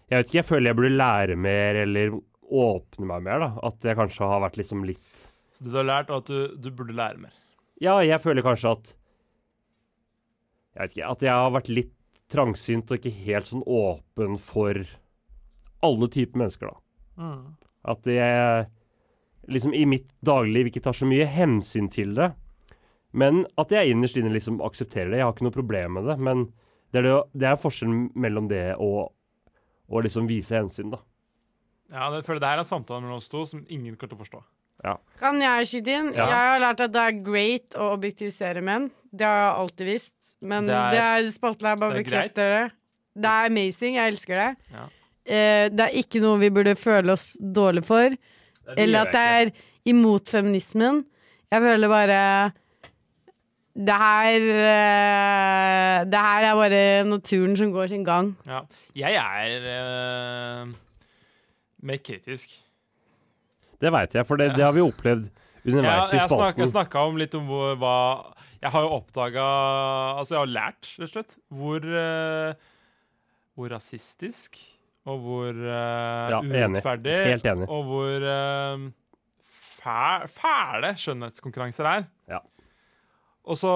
[SPEAKER 6] Jeg vet ikke, jeg føler jeg burde lære mer eller åpne meg mer, da. At jeg kanskje har vært liksom litt
[SPEAKER 3] Så det du har lært, er at du, du burde lære mer.
[SPEAKER 6] Ja, jeg føler kanskje at Jeg vet ikke, at jeg har vært litt trangsynt og ikke helt sånn åpen for alle typer mennesker, da. At jeg liksom i mitt dagligliv ikke tar så mye hensyn til det. Men at jeg innerst inne liksom aksepterer det. Jeg har ikke noe problem med det. Men det er, det, det er forskjellen mellom det og å liksom vise hensyn, da.
[SPEAKER 3] Ja, det, jeg føler det her er en samtale mellom oss to som ingen kommer til å forstå.
[SPEAKER 5] Kan jeg skyte inn?
[SPEAKER 6] Ja.
[SPEAKER 5] Jeg har lært at det er great å objektivisere menn. Det har jeg alltid visst. Men
[SPEAKER 3] Det
[SPEAKER 5] det
[SPEAKER 3] er-
[SPEAKER 5] er, spalten her bare
[SPEAKER 3] det er greit.
[SPEAKER 5] bekrefter det. Det er amazing. Jeg elsker det.
[SPEAKER 3] Ja.
[SPEAKER 5] Eh, det er ikke noe vi burde føle oss dårlig for. Eller at det er imot feminismen. Jeg føler bare Det her eh, Det her er bare naturen som går sin gang.
[SPEAKER 3] Ja. Jeg er eh, mer kritisk.
[SPEAKER 6] Det veit jeg, for det, det har vi opplevd
[SPEAKER 3] Jeg,
[SPEAKER 6] underveis
[SPEAKER 3] jeg, snak,
[SPEAKER 6] i
[SPEAKER 3] jeg
[SPEAKER 6] spalten.
[SPEAKER 3] snakka om litt om hvor, hva Jeg har jo oppdaga Altså, jeg har lært, rett og slett, hvor eh, Hvor rasistisk og hvor eh,
[SPEAKER 6] Ja, enig.
[SPEAKER 3] urettferdig
[SPEAKER 6] Helt enig.
[SPEAKER 3] og hvor eh, fæ- fæle skjønnhetskonkurranser er.
[SPEAKER 6] Ja.
[SPEAKER 3] Og så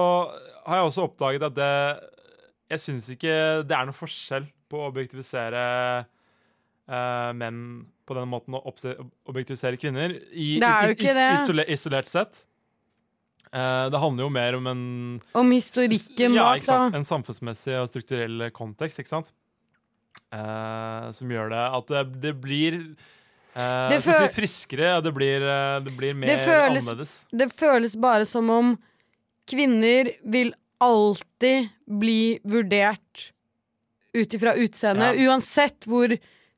[SPEAKER 3] har jeg også oppdaget at det Jeg syns ikke det er noen forskjell på å objektivisere eh, menn på den måten og obse- objektivisere kvinner. I,
[SPEAKER 5] Det er jo
[SPEAKER 3] i- i-
[SPEAKER 5] ikke det.
[SPEAKER 3] Isole, isolert sett. Eh, det handler jo mer om en
[SPEAKER 5] Om historikken
[SPEAKER 3] ja,
[SPEAKER 5] bak,
[SPEAKER 3] ikke sant?
[SPEAKER 5] da.
[SPEAKER 3] En samfunnsmessig og strukturell kontekst, ikke sant? Eh, som gjør det at det, det blir eh, skal vi
[SPEAKER 5] Det føl-
[SPEAKER 3] si friskere, og det blir, eh, det blir mer
[SPEAKER 5] føles-
[SPEAKER 3] annerledes.
[SPEAKER 5] Det føles bare som om kvinner vil alltid bli vurdert ut ifra utseendet.
[SPEAKER 3] Ja.
[SPEAKER 5] Uansett hvor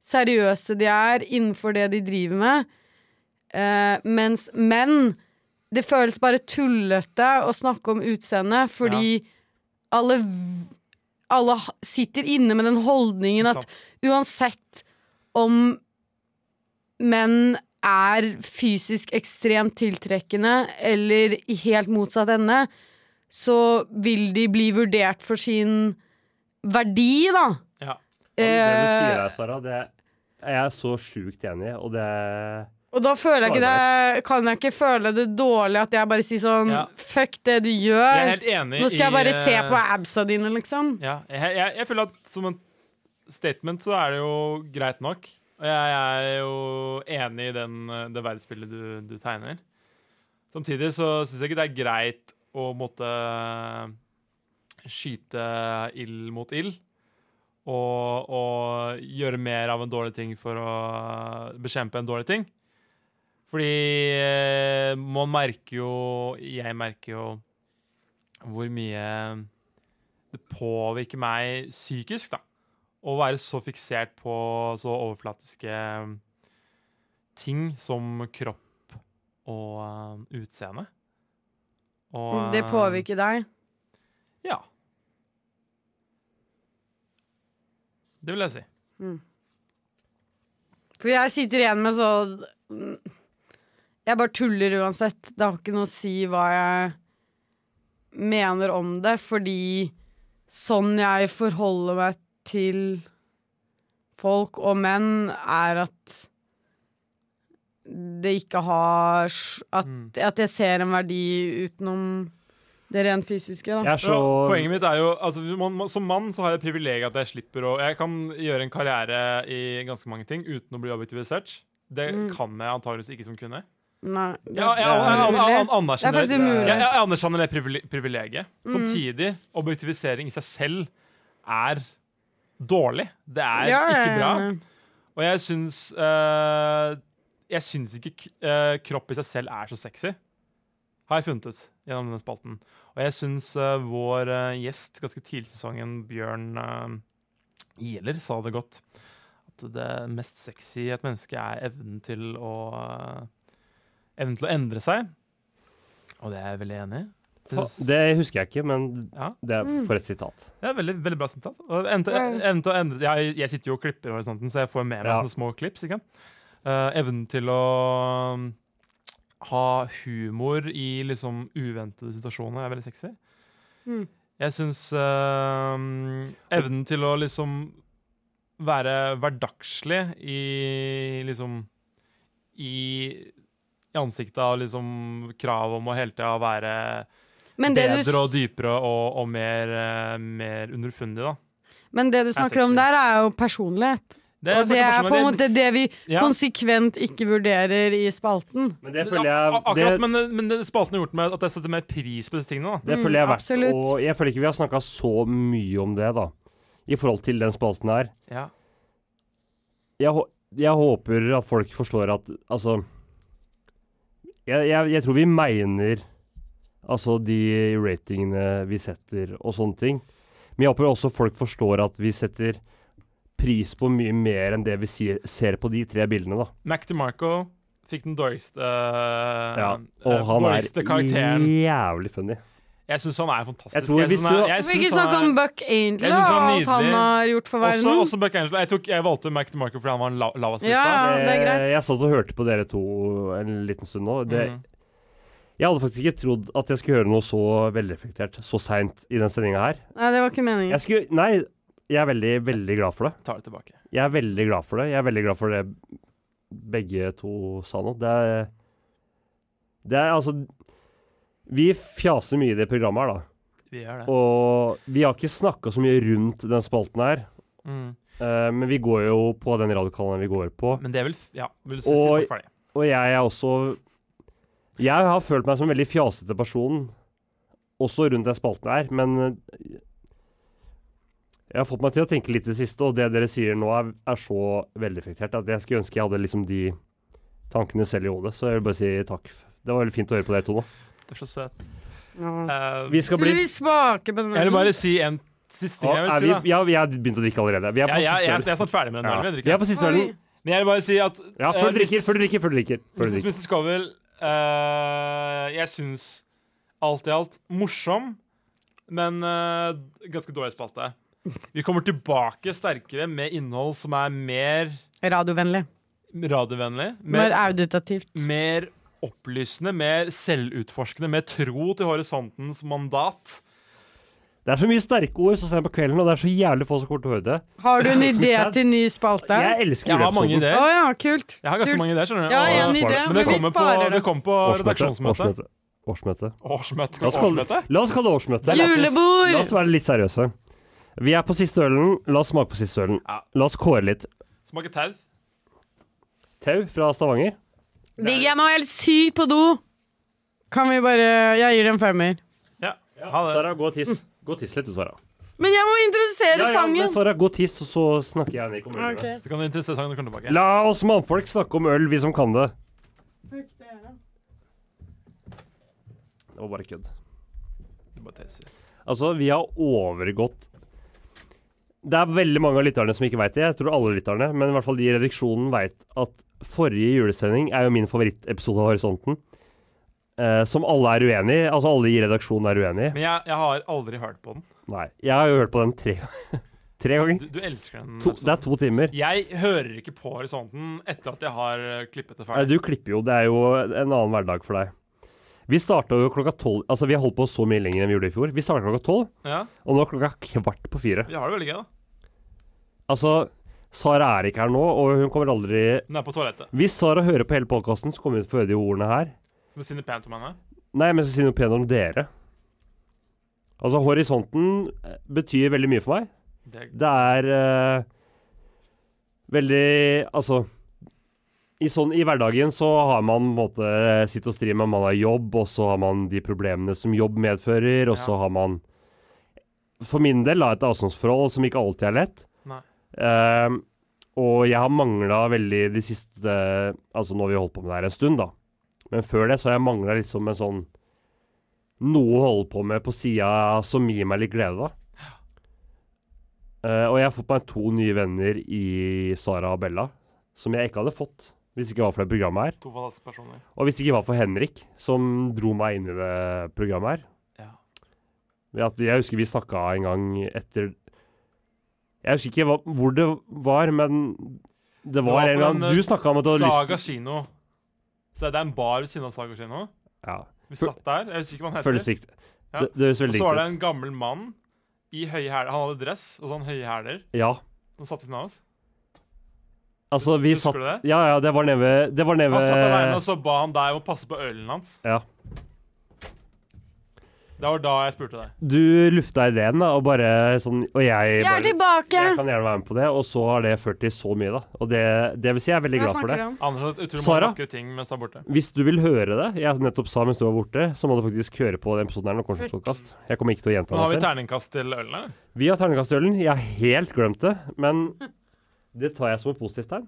[SPEAKER 5] seriøse de er innenfor det de driver med. Eh, mens menn Det føles bare tullete å snakke om utseendet, fordi alle, v- alle h- sitter inne med den holdningen
[SPEAKER 3] ikke
[SPEAKER 5] at
[SPEAKER 3] sant?
[SPEAKER 5] uansett om menn er fysisk ekstremt tiltrekkende eller i helt motsatt ende, så vil de bli vurdert for sin verdi, da.
[SPEAKER 3] Ja.
[SPEAKER 6] Det du sier
[SPEAKER 5] Eh,
[SPEAKER 6] der, Sara, det er jeg så sjukt enig i, og det
[SPEAKER 5] og da føler jeg ikke det, kan jeg ikke føle det dårlig at jeg bare sier sånn
[SPEAKER 3] Ja.
[SPEAKER 5] Fuck det du gjør.
[SPEAKER 3] Jeg er helt enig
[SPEAKER 5] Nå skal jeg bare
[SPEAKER 3] i, eh,
[SPEAKER 5] se på absa dine, liksom.
[SPEAKER 3] Ja, jeg, jeg, jeg føler at som en statement så er det jo greit nok. Og jeg er jo enig i den, eh, det verdensbildet du, du tegner. Samtidig så syns jeg ikke det er greit å måtte skyte ild mot ild. Og, og gjøre mer av en dårlig ting for å bekjempe en dårlig ting. Fordi eh, man merker jo Jeg merker jo hvor mye det påvirker meg psykisk, da. Å være så fiksert på så overflatiske eh, ting som kropp og eh, utseende. Og,
[SPEAKER 5] Det
[SPEAKER 3] eh,
[SPEAKER 5] påvirker deg.
[SPEAKER 3] Ja. Det vil jeg si.
[SPEAKER 5] For jeg sitter igjen med sånn Jeg bare tuller uansett. Det har ikke noe å si hva jeg mener om det, fordi sånn jeg forholder meg til folk og menn, er at det ikke har s- At, at jeg ser en verdi utenom det rent fysiske, da.
[SPEAKER 6] Jeg er så
[SPEAKER 3] Ja, poenget mitt er jo altså, man, man, Som mann så har jeg det privilegiet at jeg slipper å Jeg kan gjøre en karriere i ganske mange ting uten å bli objektivisert. Det kan jeg antageligvis ikke som kvinne.
[SPEAKER 5] Nei, Mm. det-
[SPEAKER 3] Jeg, jeg, jeg, jeg, jeg, jeg,
[SPEAKER 5] Det er
[SPEAKER 3] anerkjenner,
[SPEAKER 5] faktisk
[SPEAKER 3] jeg,
[SPEAKER 5] umulig. Mm.
[SPEAKER 3] jeg anerkjenner det privile- privilegiet. Samtidig, objektivisering i seg selv er dårlig. Det er
[SPEAKER 5] Ja, ja,
[SPEAKER 3] ikke
[SPEAKER 5] ja,
[SPEAKER 3] bra.
[SPEAKER 5] ja.
[SPEAKER 3] Og jeg syns eh, Jeg syns ikke k eh, kropp i seg selv er så sexy. Har jeg funnet ut gjennom denne spalten. Og jeg syns eh, vår eh, gjest ganske tidlig i sesongen, Bjørn eh, Ihler, sa det godt. At det mest sexy i et menneske er evnen til å eh, Evnen til å endre seg. Og det er jeg veldig enig i.
[SPEAKER 6] Fa- Det husker jeg ikke, men
[SPEAKER 3] Ja.
[SPEAKER 6] det er
[SPEAKER 5] Mm.
[SPEAKER 6] for et sitat.
[SPEAKER 3] Det er veldig, veldig bra sitat. Og evnen til- evnen til å endre- Jeg, jeg sitter jo og klipper horisonten, så jeg får med meg
[SPEAKER 6] Ja.
[SPEAKER 3] sånne små klips. Ikke? sant? Eh, evnen til å um, ha humor i liksom uventede situasjoner er veldig sexy.
[SPEAKER 5] Mm.
[SPEAKER 3] Jeg syns um, evnen til å liksom være hverdagslig i liksom i, i ansiktet av liksom krav om å hele tida være
[SPEAKER 5] Men det du
[SPEAKER 3] bedre og dypere og, og mer, eh, mer underfundig, da.
[SPEAKER 5] Men det du snakker om der, er jo personlighet.
[SPEAKER 3] Det
[SPEAKER 5] og det er på en måte det vi
[SPEAKER 3] Ja.
[SPEAKER 5] konsekvent ikke vurderer i spalten.
[SPEAKER 6] Men det føler jeg
[SPEAKER 3] Akkurat,
[SPEAKER 6] det,
[SPEAKER 3] men, men det spalten har gjort med at jeg setter mer pris på disse tingene. da.
[SPEAKER 6] Det
[SPEAKER 5] Mm,
[SPEAKER 6] føler jeg er verdt,
[SPEAKER 5] absolutt.
[SPEAKER 6] og jeg føler ikke vi har snakka så mye om det, da. I forhold til den spalten her.
[SPEAKER 3] Ja.
[SPEAKER 6] Jeg, hå- jeg håper at folk forstår at altså jeg, jeg, jeg tror vi mener altså de ratingene vi setter og sånne ting. Men jeg håper også folk forstår at vi setter pris på mye mer enn det vi sier, ser på de tre bildene, da.
[SPEAKER 3] Mac DeMarco fikk den dårligste, eh,
[SPEAKER 6] Ja.
[SPEAKER 3] eh,
[SPEAKER 6] Og han
[SPEAKER 3] dårligste
[SPEAKER 6] er
[SPEAKER 3] karakteren.
[SPEAKER 6] jævlig funny.
[SPEAKER 3] Jeg syns han er fantastisk.
[SPEAKER 6] Jeg tror
[SPEAKER 3] synes
[SPEAKER 6] hvis
[SPEAKER 3] han er-
[SPEAKER 6] du-
[SPEAKER 3] jeg
[SPEAKER 5] Vi vil
[SPEAKER 3] synes
[SPEAKER 5] ikke snakke
[SPEAKER 3] han er-
[SPEAKER 5] om Buck Angel
[SPEAKER 3] Jeg synes han
[SPEAKER 5] og
[SPEAKER 3] er
[SPEAKER 5] alt han
[SPEAKER 3] nydelig.
[SPEAKER 5] har gjort for verden.
[SPEAKER 3] Også, også Buck Angela. Jeg, tok, jeg valgte Mac DeMarco fordi han var en la lavest lista.
[SPEAKER 5] ja, ja, det er
[SPEAKER 6] Eh,
[SPEAKER 5] greit.
[SPEAKER 6] Jeg satt og hørte på dere to en liten stund nå. Det,
[SPEAKER 3] Mhm.
[SPEAKER 6] Jeg hadde faktisk ikke trodd at jeg skulle høre noe så velreflektert så seint i den sendinga her.
[SPEAKER 5] Nei, det var ikke meningen.
[SPEAKER 6] Jeg skulle, nei, jeg er veldig, veldig glad for det.
[SPEAKER 3] Tar det tilbake.
[SPEAKER 6] Jeg er veldig glad for det. Jeg er veldig glad for det begge to sa nå. Det er, det er altså Vi fjaser mye i det programmet her, da.
[SPEAKER 3] Vi gjør det.
[SPEAKER 6] Og vi har ikke snakka så mye rundt den spalten her.
[SPEAKER 3] Mm.
[SPEAKER 6] eh, men vi går jo på den radiokanalen vi går på.
[SPEAKER 3] Men det er vel f- Ja, vil du si
[SPEAKER 6] Og-
[SPEAKER 3] siste ferdig?
[SPEAKER 6] Og jeg er også Jeg har følt meg som en veldig fjasete person, også rundt den spalten her, men eh, jeg har fått meg til å tenke litt i det siste, og det dere sier nå, er, er så velreflektert at jeg skulle ønske jeg hadde liksom de tankene selv i hodet. Så jeg vil bare si takk. Det var veldig fint å høre på dere to nå.
[SPEAKER 3] Det er så søt.
[SPEAKER 5] Ja.
[SPEAKER 3] Eh,
[SPEAKER 6] Vi skal
[SPEAKER 5] Skulle vi
[SPEAKER 6] bli
[SPEAKER 5] smake på den?
[SPEAKER 3] jeg vil bare si en siste ting.
[SPEAKER 6] Å,
[SPEAKER 3] jeg
[SPEAKER 6] er
[SPEAKER 3] vil si
[SPEAKER 6] vi,
[SPEAKER 3] da.
[SPEAKER 6] Ja, vi har begynt å drikke allerede. Vi er på
[SPEAKER 3] Jeg, jeg, jeg,
[SPEAKER 6] siste
[SPEAKER 3] jeg er snart ferdig med den.
[SPEAKER 6] ølen.
[SPEAKER 3] ølen, jeg
[SPEAKER 6] Ja.
[SPEAKER 3] drikker
[SPEAKER 6] Vi
[SPEAKER 3] den.
[SPEAKER 6] er på siste ølen.
[SPEAKER 3] Men jeg vil bare si at
[SPEAKER 6] Ja, før
[SPEAKER 3] eh,
[SPEAKER 6] du drikker,
[SPEAKER 3] Mrs.
[SPEAKER 6] før du drikker, før du drikker. Før du
[SPEAKER 3] Mrs.
[SPEAKER 6] drikker.
[SPEAKER 3] Mrs. Scovel, eh, jeg syns alt i alt morsom, men eh, ganske dårlig spalte. Vi kommer tilbake sterkere med innhold som er mer
[SPEAKER 5] Radiovennlig.
[SPEAKER 3] radiovennlig,
[SPEAKER 5] Mer
[SPEAKER 3] mer,
[SPEAKER 5] auditativt.
[SPEAKER 3] mer opplysende, mer selvutforskende, mer tro til horisontens mandat.
[SPEAKER 6] Det er så mye sterke ord så sent på kvelden, og det er så jævlig få som kommer til å høre det.
[SPEAKER 5] Har du en
[SPEAKER 6] Som
[SPEAKER 5] idé
[SPEAKER 6] sad.
[SPEAKER 5] til ny spalte?
[SPEAKER 6] Jeg elsker
[SPEAKER 3] Jeg har mange
[SPEAKER 5] Å
[SPEAKER 3] ideer.
[SPEAKER 5] ja, kult.
[SPEAKER 3] Jeg har ganske
[SPEAKER 5] Kult.
[SPEAKER 3] mange ideer, skjønner du.
[SPEAKER 5] Ja, jeg har
[SPEAKER 3] Og-
[SPEAKER 5] en idé,
[SPEAKER 3] men det
[SPEAKER 5] men vi
[SPEAKER 3] kommer på,
[SPEAKER 5] sparer
[SPEAKER 3] det
[SPEAKER 5] det.
[SPEAKER 3] kommer på redaksjonsmøte.
[SPEAKER 6] Årsmøte. Årsmøte.
[SPEAKER 3] Årsmøte. Skal
[SPEAKER 6] La oss
[SPEAKER 3] vi ha
[SPEAKER 6] kalle,
[SPEAKER 3] årsmøte?
[SPEAKER 6] la oss kalle det årsmøte.
[SPEAKER 3] Det er lættis.
[SPEAKER 6] La
[SPEAKER 5] Julebord!
[SPEAKER 6] oss være litt seriøse. Vi er på siste ølen. La oss smake på siste ølen.
[SPEAKER 3] Ja.
[SPEAKER 6] La oss kåre litt.
[SPEAKER 3] Smaker tau.
[SPEAKER 6] Tau fra Stavanger.
[SPEAKER 5] Digg, jeg må helt sykt på do! Kan vi bare Jeg gir det en femmer.
[SPEAKER 3] Ja. Ha det.
[SPEAKER 6] Sara, gå og tiss. Gå og tiss litt, du, Sara.
[SPEAKER 5] Men jeg må introdusere
[SPEAKER 6] Ja, ja, men
[SPEAKER 5] sangen!
[SPEAKER 6] Sara, gå og tiss, og så snakker jeg ned i kommunen.
[SPEAKER 5] Ok.
[SPEAKER 3] Så kan det interessere seg når du kommer tilbake.
[SPEAKER 6] La oss mannfolk snakke om øl, vi som kan det. Det var bare kødd.
[SPEAKER 3] Du bare tøyser.
[SPEAKER 6] Altså, vi har overgått Det er veldig mange av lytterne som ikke veit det. Jeg tror alle lytterne, men i hvert fall de i redaksjonen veit at forrige julesending er jo min favorittepisode av Horisonten. Eh, som alle er uenig i. Altså, alle i redaksjonen er uenig i.
[SPEAKER 3] Men jeg, jeg har aldri hørt på den.
[SPEAKER 6] Nei. Jeg har jo hørt på den tre, tre ganger.
[SPEAKER 3] Du, du elsker den.
[SPEAKER 6] To, det er
[SPEAKER 3] episoden.
[SPEAKER 6] to timer.
[SPEAKER 3] Jeg hører ikke på horisonten etter at jeg har eh, klippet det
[SPEAKER 6] Nei,
[SPEAKER 3] ferdig.
[SPEAKER 6] Du klipper jo. Det er jo en annen hverdag for deg. Vi starta jo klokka tolv Altså, vi har holdt på så mye lenger enn vi gjorde i fjor. Vi starta klokka tolv,
[SPEAKER 3] Ja,
[SPEAKER 6] og nå er klokka kvart på fire.
[SPEAKER 3] Vi har det veldig gøy, da.
[SPEAKER 6] Altså, Sara er ikke her nå, og hun kommer aldri
[SPEAKER 3] Den er på toalettet.
[SPEAKER 6] Hvis Sara hører på hele podkasten, så kommer hun til å få høre de ordene her.
[SPEAKER 3] Skal du si noe pent om henne?
[SPEAKER 6] Nei, men så sier noe pent om dere. Altså, horisonten eh, betyr veldig mye for meg.
[SPEAKER 3] Det,
[SPEAKER 6] Det er eh, veldig Altså i, sånn, I hverdagen så har man på en måte eh, sitt og stri med man har jobb, og så har man de problemene som jobb medfører, og så
[SPEAKER 3] Ja.
[SPEAKER 6] har man For min del da, et avstandsforhold som ikke alltid er lett.
[SPEAKER 3] Nei.
[SPEAKER 6] Eh, og jeg har mangla veldig de siste Altså nå har vi holdt på med det her en stund, da. Men før det så har jeg mangla liksom en sånn Noe å holde på med på sida som gir meg litt glede, da. Eh, og jeg har fått meg to nye venner i Sara og Bella, som jeg ikke hadde fått hvis ikke var for det programmet her.
[SPEAKER 3] to fantastiske personer.
[SPEAKER 6] Og hvis ikke var for Henrik, som dro meg inn i det programmet her.
[SPEAKER 3] Ja.
[SPEAKER 6] Ved at- Jeg husker vi snakka en gang etter Jeg husker ikke hva, hvor det var, men det var,
[SPEAKER 3] var
[SPEAKER 6] en
[SPEAKER 3] på
[SPEAKER 6] gang
[SPEAKER 3] den,
[SPEAKER 6] du snakka om at du hadde
[SPEAKER 3] Saga
[SPEAKER 6] lyst
[SPEAKER 3] kino. Så det er en bar ved siden av Saga kino.
[SPEAKER 6] Ja,
[SPEAKER 3] Vi satt der. Jeg husker ikke hva han heter.
[SPEAKER 6] Føles riktig.
[SPEAKER 3] Ja.
[SPEAKER 6] Det, det høres
[SPEAKER 3] Og
[SPEAKER 6] veldig
[SPEAKER 3] så var det
[SPEAKER 6] riktig ut.
[SPEAKER 3] en gammel mann i høye hæler. Han hadde dress og sånn høye hæler.
[SPEAKER 6] Ja.
[SPEAKER 3] Han satt ved siden av oss.
[SPEAKER 6] Altså, vi
[SPEAKER 3] Husker du
[SPEAKER 6] satt
[SPEAKER 3] det?
[SPEAKER 6] Ja, ja, det var nede ved Det var nede
[SPEAKER 3] Han satt alene, og
[SPEAKER 6] ved
[SPEAKER 3] så ba han deg om å passe på ølen hans.
[SPEAKER 6] Ja.
[SPEAKER 3] Det var da jeg spurte deg.
[SPEAKER 6] Du lufta ideen, da, og bare sånn Og jeg
[SPEAKER 5] Jeg
[SPEAKER 6] bare
[SPEAKER 5] er tilbake!
[SPEAKER 6] Jeg kan gjerne være med på det, og så har det ført til så mye, da. Og det, det vil si jeg er veldig
[SPEAKER 5] Hva
[SPEAKER 6] glad for
[SPEAKER 5] snakker du
[SPEAKER 6] det.
[SPEAKER 5] om?
[SPEAKER 3] Anders har utrolig mange
[SPEAKER 6] Sara?
[SPEAKER 3] vakre ting mens han er borte.
[SPEAKER 6] Hvis du vil høre det jeg nettopp sa mens du var borte, så må du faktisk høre på den episoden her. når det kommer som podcast. Jeg kommer ikke til å gjenta
[SPEAKER 3] Men har
[SPEAKER 6] det
[SPEAKER 3] vi
[SPEAKER 6] selv.
[SPEAKER 3] terningkast til ølene?
[SPEAKER 6] Vi har terningkastølen. Jeg har helt glemt det, men det tar jeg som et positivt tegn.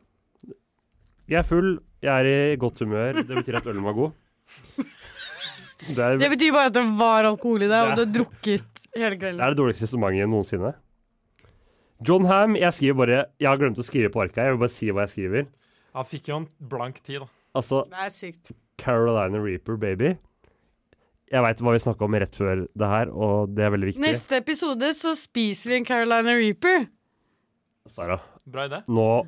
[SPEAKER 6] Jeg er full, jeg er i godt humør. Det betyr at ølen var god. Det er
[SPEAKER 5] Det
[SPEAKER 6] det,
[SPEAKER 5] betyr bare at det var alkohol i det, og
[SPEAKER 6] Ja.
[SPEAKER 5] du har drukket hele kvelden.
[SPEAKER 6] er det dårligste resonnementet noensinne. John Ham, jeg skriver bare Jeg har glemt å skrive på arket. her. Jeg vil bare si hva jeg skriver.
[SPEAKER 3] Han fikk jo en blank tid, da.
[SPEAKER 6] Altså,
[SPEAKER 5] Det er sykt.
[SPEAKER 6] Carolina Reaper, baby. Jeg veit hva vi snakka om rett før det her, og det er veldig viktig.
[SPEAKER 5] Neste episode så spiser vi en Carolina Reaper.
[SPEAKER 6] Sara,
[SPEAKER 3] Bra idé.
[SPEAKER 6] nå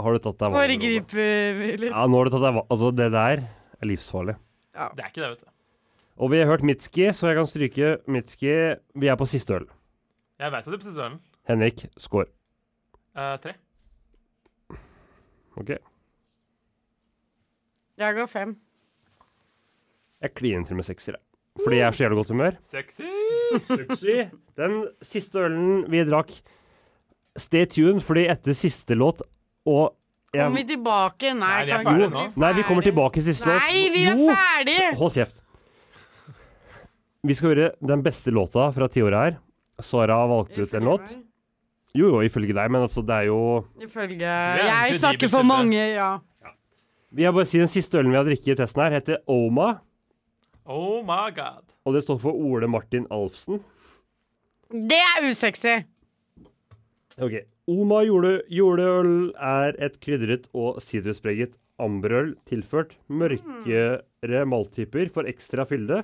[SPEAKER 6] har du tatt deg vann.
[SPEAKER 5] Hårgriper.
[SPEAKER 6] Ja, nå har du tatt deg vann. Altså, det der er livsfarlig.
[SPEAKER 3] Det er ikke det, vet du.
[SPEAKER 6] Og vi har hørt Mitski, så jeg kan stryke Mitski. Vi er på siste øl.
[SPEAKER 3] Jeg vet at det er på siste ølen.
[SPEAKER 6] Henrik, score.
[SPEAKER 3] Eh, tre.
[SPEAKER 6] OK.
[SPEAKER 5] Jeg går fem.
[SPEAKER 6] Jeg kliner til med sekser, jeg. Fordi jeg er så jævlig godt humør.
[SPEAKER 3] Sexy!
[SPEAKER 6] Suksess. Den siste ølen vi drakk Stay tuned, fordi etter siste låt og jeg-
[SPEAKER 5] Kommer vi tilbake? Nei,
[SPEAKER 3] Nei, vi er
[SPEAKER 5] kan ikke
[SPEAKER 3] ferdige nå.
[SPEAKER 6] Nei, vi kommer tilbake til siste låt.
[SPEAKER 5] Nei, vi er
[SPEAKER 6] Jo.
[SPEAKER 5] ferdige!
[SPEAKER 6] Hold kjeft. Vi skal høre den beste låta fra tiåret her. Sara valgte ut en låt. Jo, jo, ifølge deg, men altså, det er jo
[SPEAKER 5] Ifølge
[SPEAKER 3] er
[SPEAKER 5] Jeg
[SPEAKER 3] egentlig
[SPEAKER 5] snakker
[SPEAKER 3] de
[SPEAKER 5] for
[SPEAKER 3] bestemte.
[SPEAKER 5] mange, ja.
[SPEAKER 6] Jeg bare si den siste ølen vi har drikket i testen her, heter Oma.
[SPEAKER 3] Oh my god.
[SPEAKER 6] Og det står for Ole Martin Alfsen.
[SPEAKER 5] Det er usexy!
[SPEAKER 6] Ok. Oma jule, juleøl er et krydret og sitruspreget amberøl tilført mørkere malttyper for ekstra fylde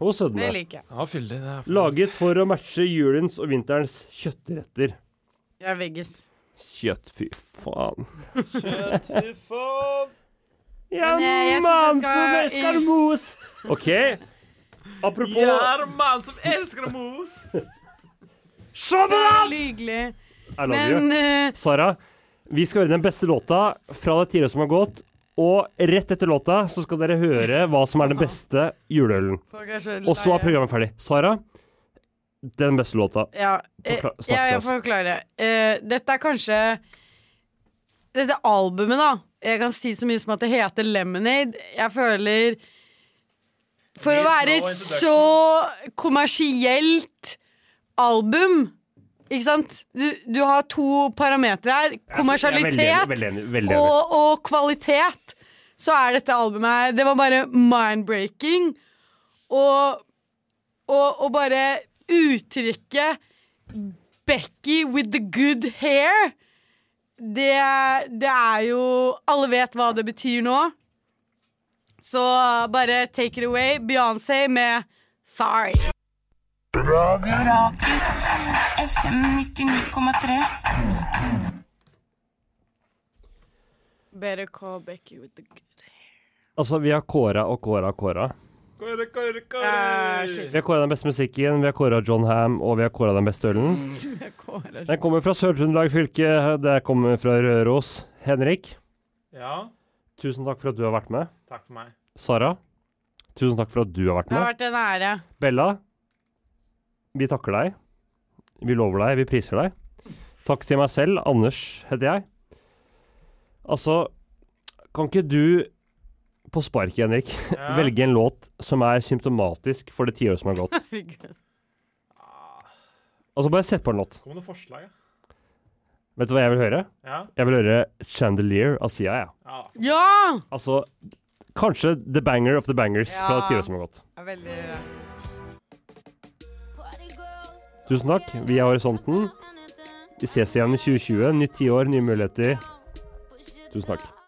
[SPEAKER 6] og sødme.
[SPEAKER 5] Det liker jeg.
[SPEAKER 3] Ja, fyldig. Det er
[SPEAKER 6] Laget for å matche julens og vinterens kjøttretter.
[SPEAKER 5] Jeg er veggis.
[SPEAKER 6] Kjøtt, fy faen.
[SPEAKER 3] Fy faen.
[SPEAKER 6] Ja,
[SPEAKER 5] Men, eh, jeg synes jeg
[SPEAKER 6] mann
[SPEAKER 5] skal-
[SPEAKER 6] som elsker mos! OK. Apropos
[SPEAKER 3] mann som elsker mos!
[SPEAKER 6] Se på
[SPEAKER 5] Det
[SPEAKER 6] den!
[SPEAKER 5] er veldig hyggelig.
[SPEAKER 6] I love you.
[SPEAKER 5] Men eh,
[SPEAKER 6] Sara, vi skal høre den beste låta fra det tiåret som har gått. Og rett etter låta så skal dere høre hva som er den beste juleølen.
[SPEAKER 5] folk er så
[SPEAKER 6] Og så er
[SPEAKER 5] leie.
[SPEAKER 6] programmet ferdig. Sara, den beste låta.
[SPEAKER 5] Ja, eh,
[SPEAKER 6] Forkla- snakk
[SPEAKER 5] ja
[SPEAKER 6] til
[SPEAKER 5] jeg
[SPEAKER 6] oss.
[SPEAKER 5] forklarer. Eh, dette er kanskje Dette albumet, da. Jeg kan si så mye som at det heter Lemonade. Jeg føler For å være et så kommersielt album ikke sant? Du, du har to parametere her.
[SPEAKER 6] Jeg er
[SPEAKER 5] Kommersialitet
[SPEAKER 6] veldig enig. Veldig enig, veldig enig.
[SPEAKER 5] og, og kvalitet. Så er dette albumet her Det var bare mind-breaking. Og, og, og bare uttrykket 'Becky with the good hair' det, det er jo Alle vet hva det betyr nå. Så bare take it away. Beyoncé med 'Sorry'. Better call Becky with the good
[SPEAKER 6] Altså, vi har kåra og kåra og kåra.
[SPEAKER 3] Kåre, kåre,
[SPEAKER 5] hair.
[SPEAKER 6] Vi har kåra den beste musikken, vi har kåra John Ham, og vi har kåra den beste ølen. Den kommer fra Sør-Trøndelag fylke, det kommer fra Røros. Henrik,
[SPEAKER 3] Ja,
[SPEAKER 6] tusen takk for at du har vært med.
[SPEAKER 3] takk for meg.
[SPEAKER 6] Sara, tusen takk for at du har vært
[SPEAKER 5] Det
[SPEAKER 6] med.
[SPEAKER 5] har vært en ære.
[SPEAKER 6] Bella, vi takker deg. Vi lover deg, vi priser deg. Takk til meg selv. Anders heter jeg. Altså, kan ikke du på sparket, Henrik,
[SPEAKER 3] Ja.
[SPEAKER 6] velge en låt som er symptomatisk for det tiåret som har gått?
[SPEAKER 5] Herregud.
[SPEAKER 6] Altså, bare sett på en låt.
[SPEAKER 3] Kom med noen forslag, ja.
[SPEAKER 6] Vet du hva jeg vil høre?
[SPEAKER 3] Ja,
[SPEAKER 6] Jeg vil høre 'Chandelier' av Sia, jeg.
[SPEAKER 3] ja.
[SPEAKER 5] Ja!
[SPEAKER 6] Altså, kanskje 'The Banger of the Bangers' fra det tiåret som har gått. Tusen takk. Vi er Horisonten. Vi ses igjen i 2020. Nytt tiår, nye muligheter. Tusen takk.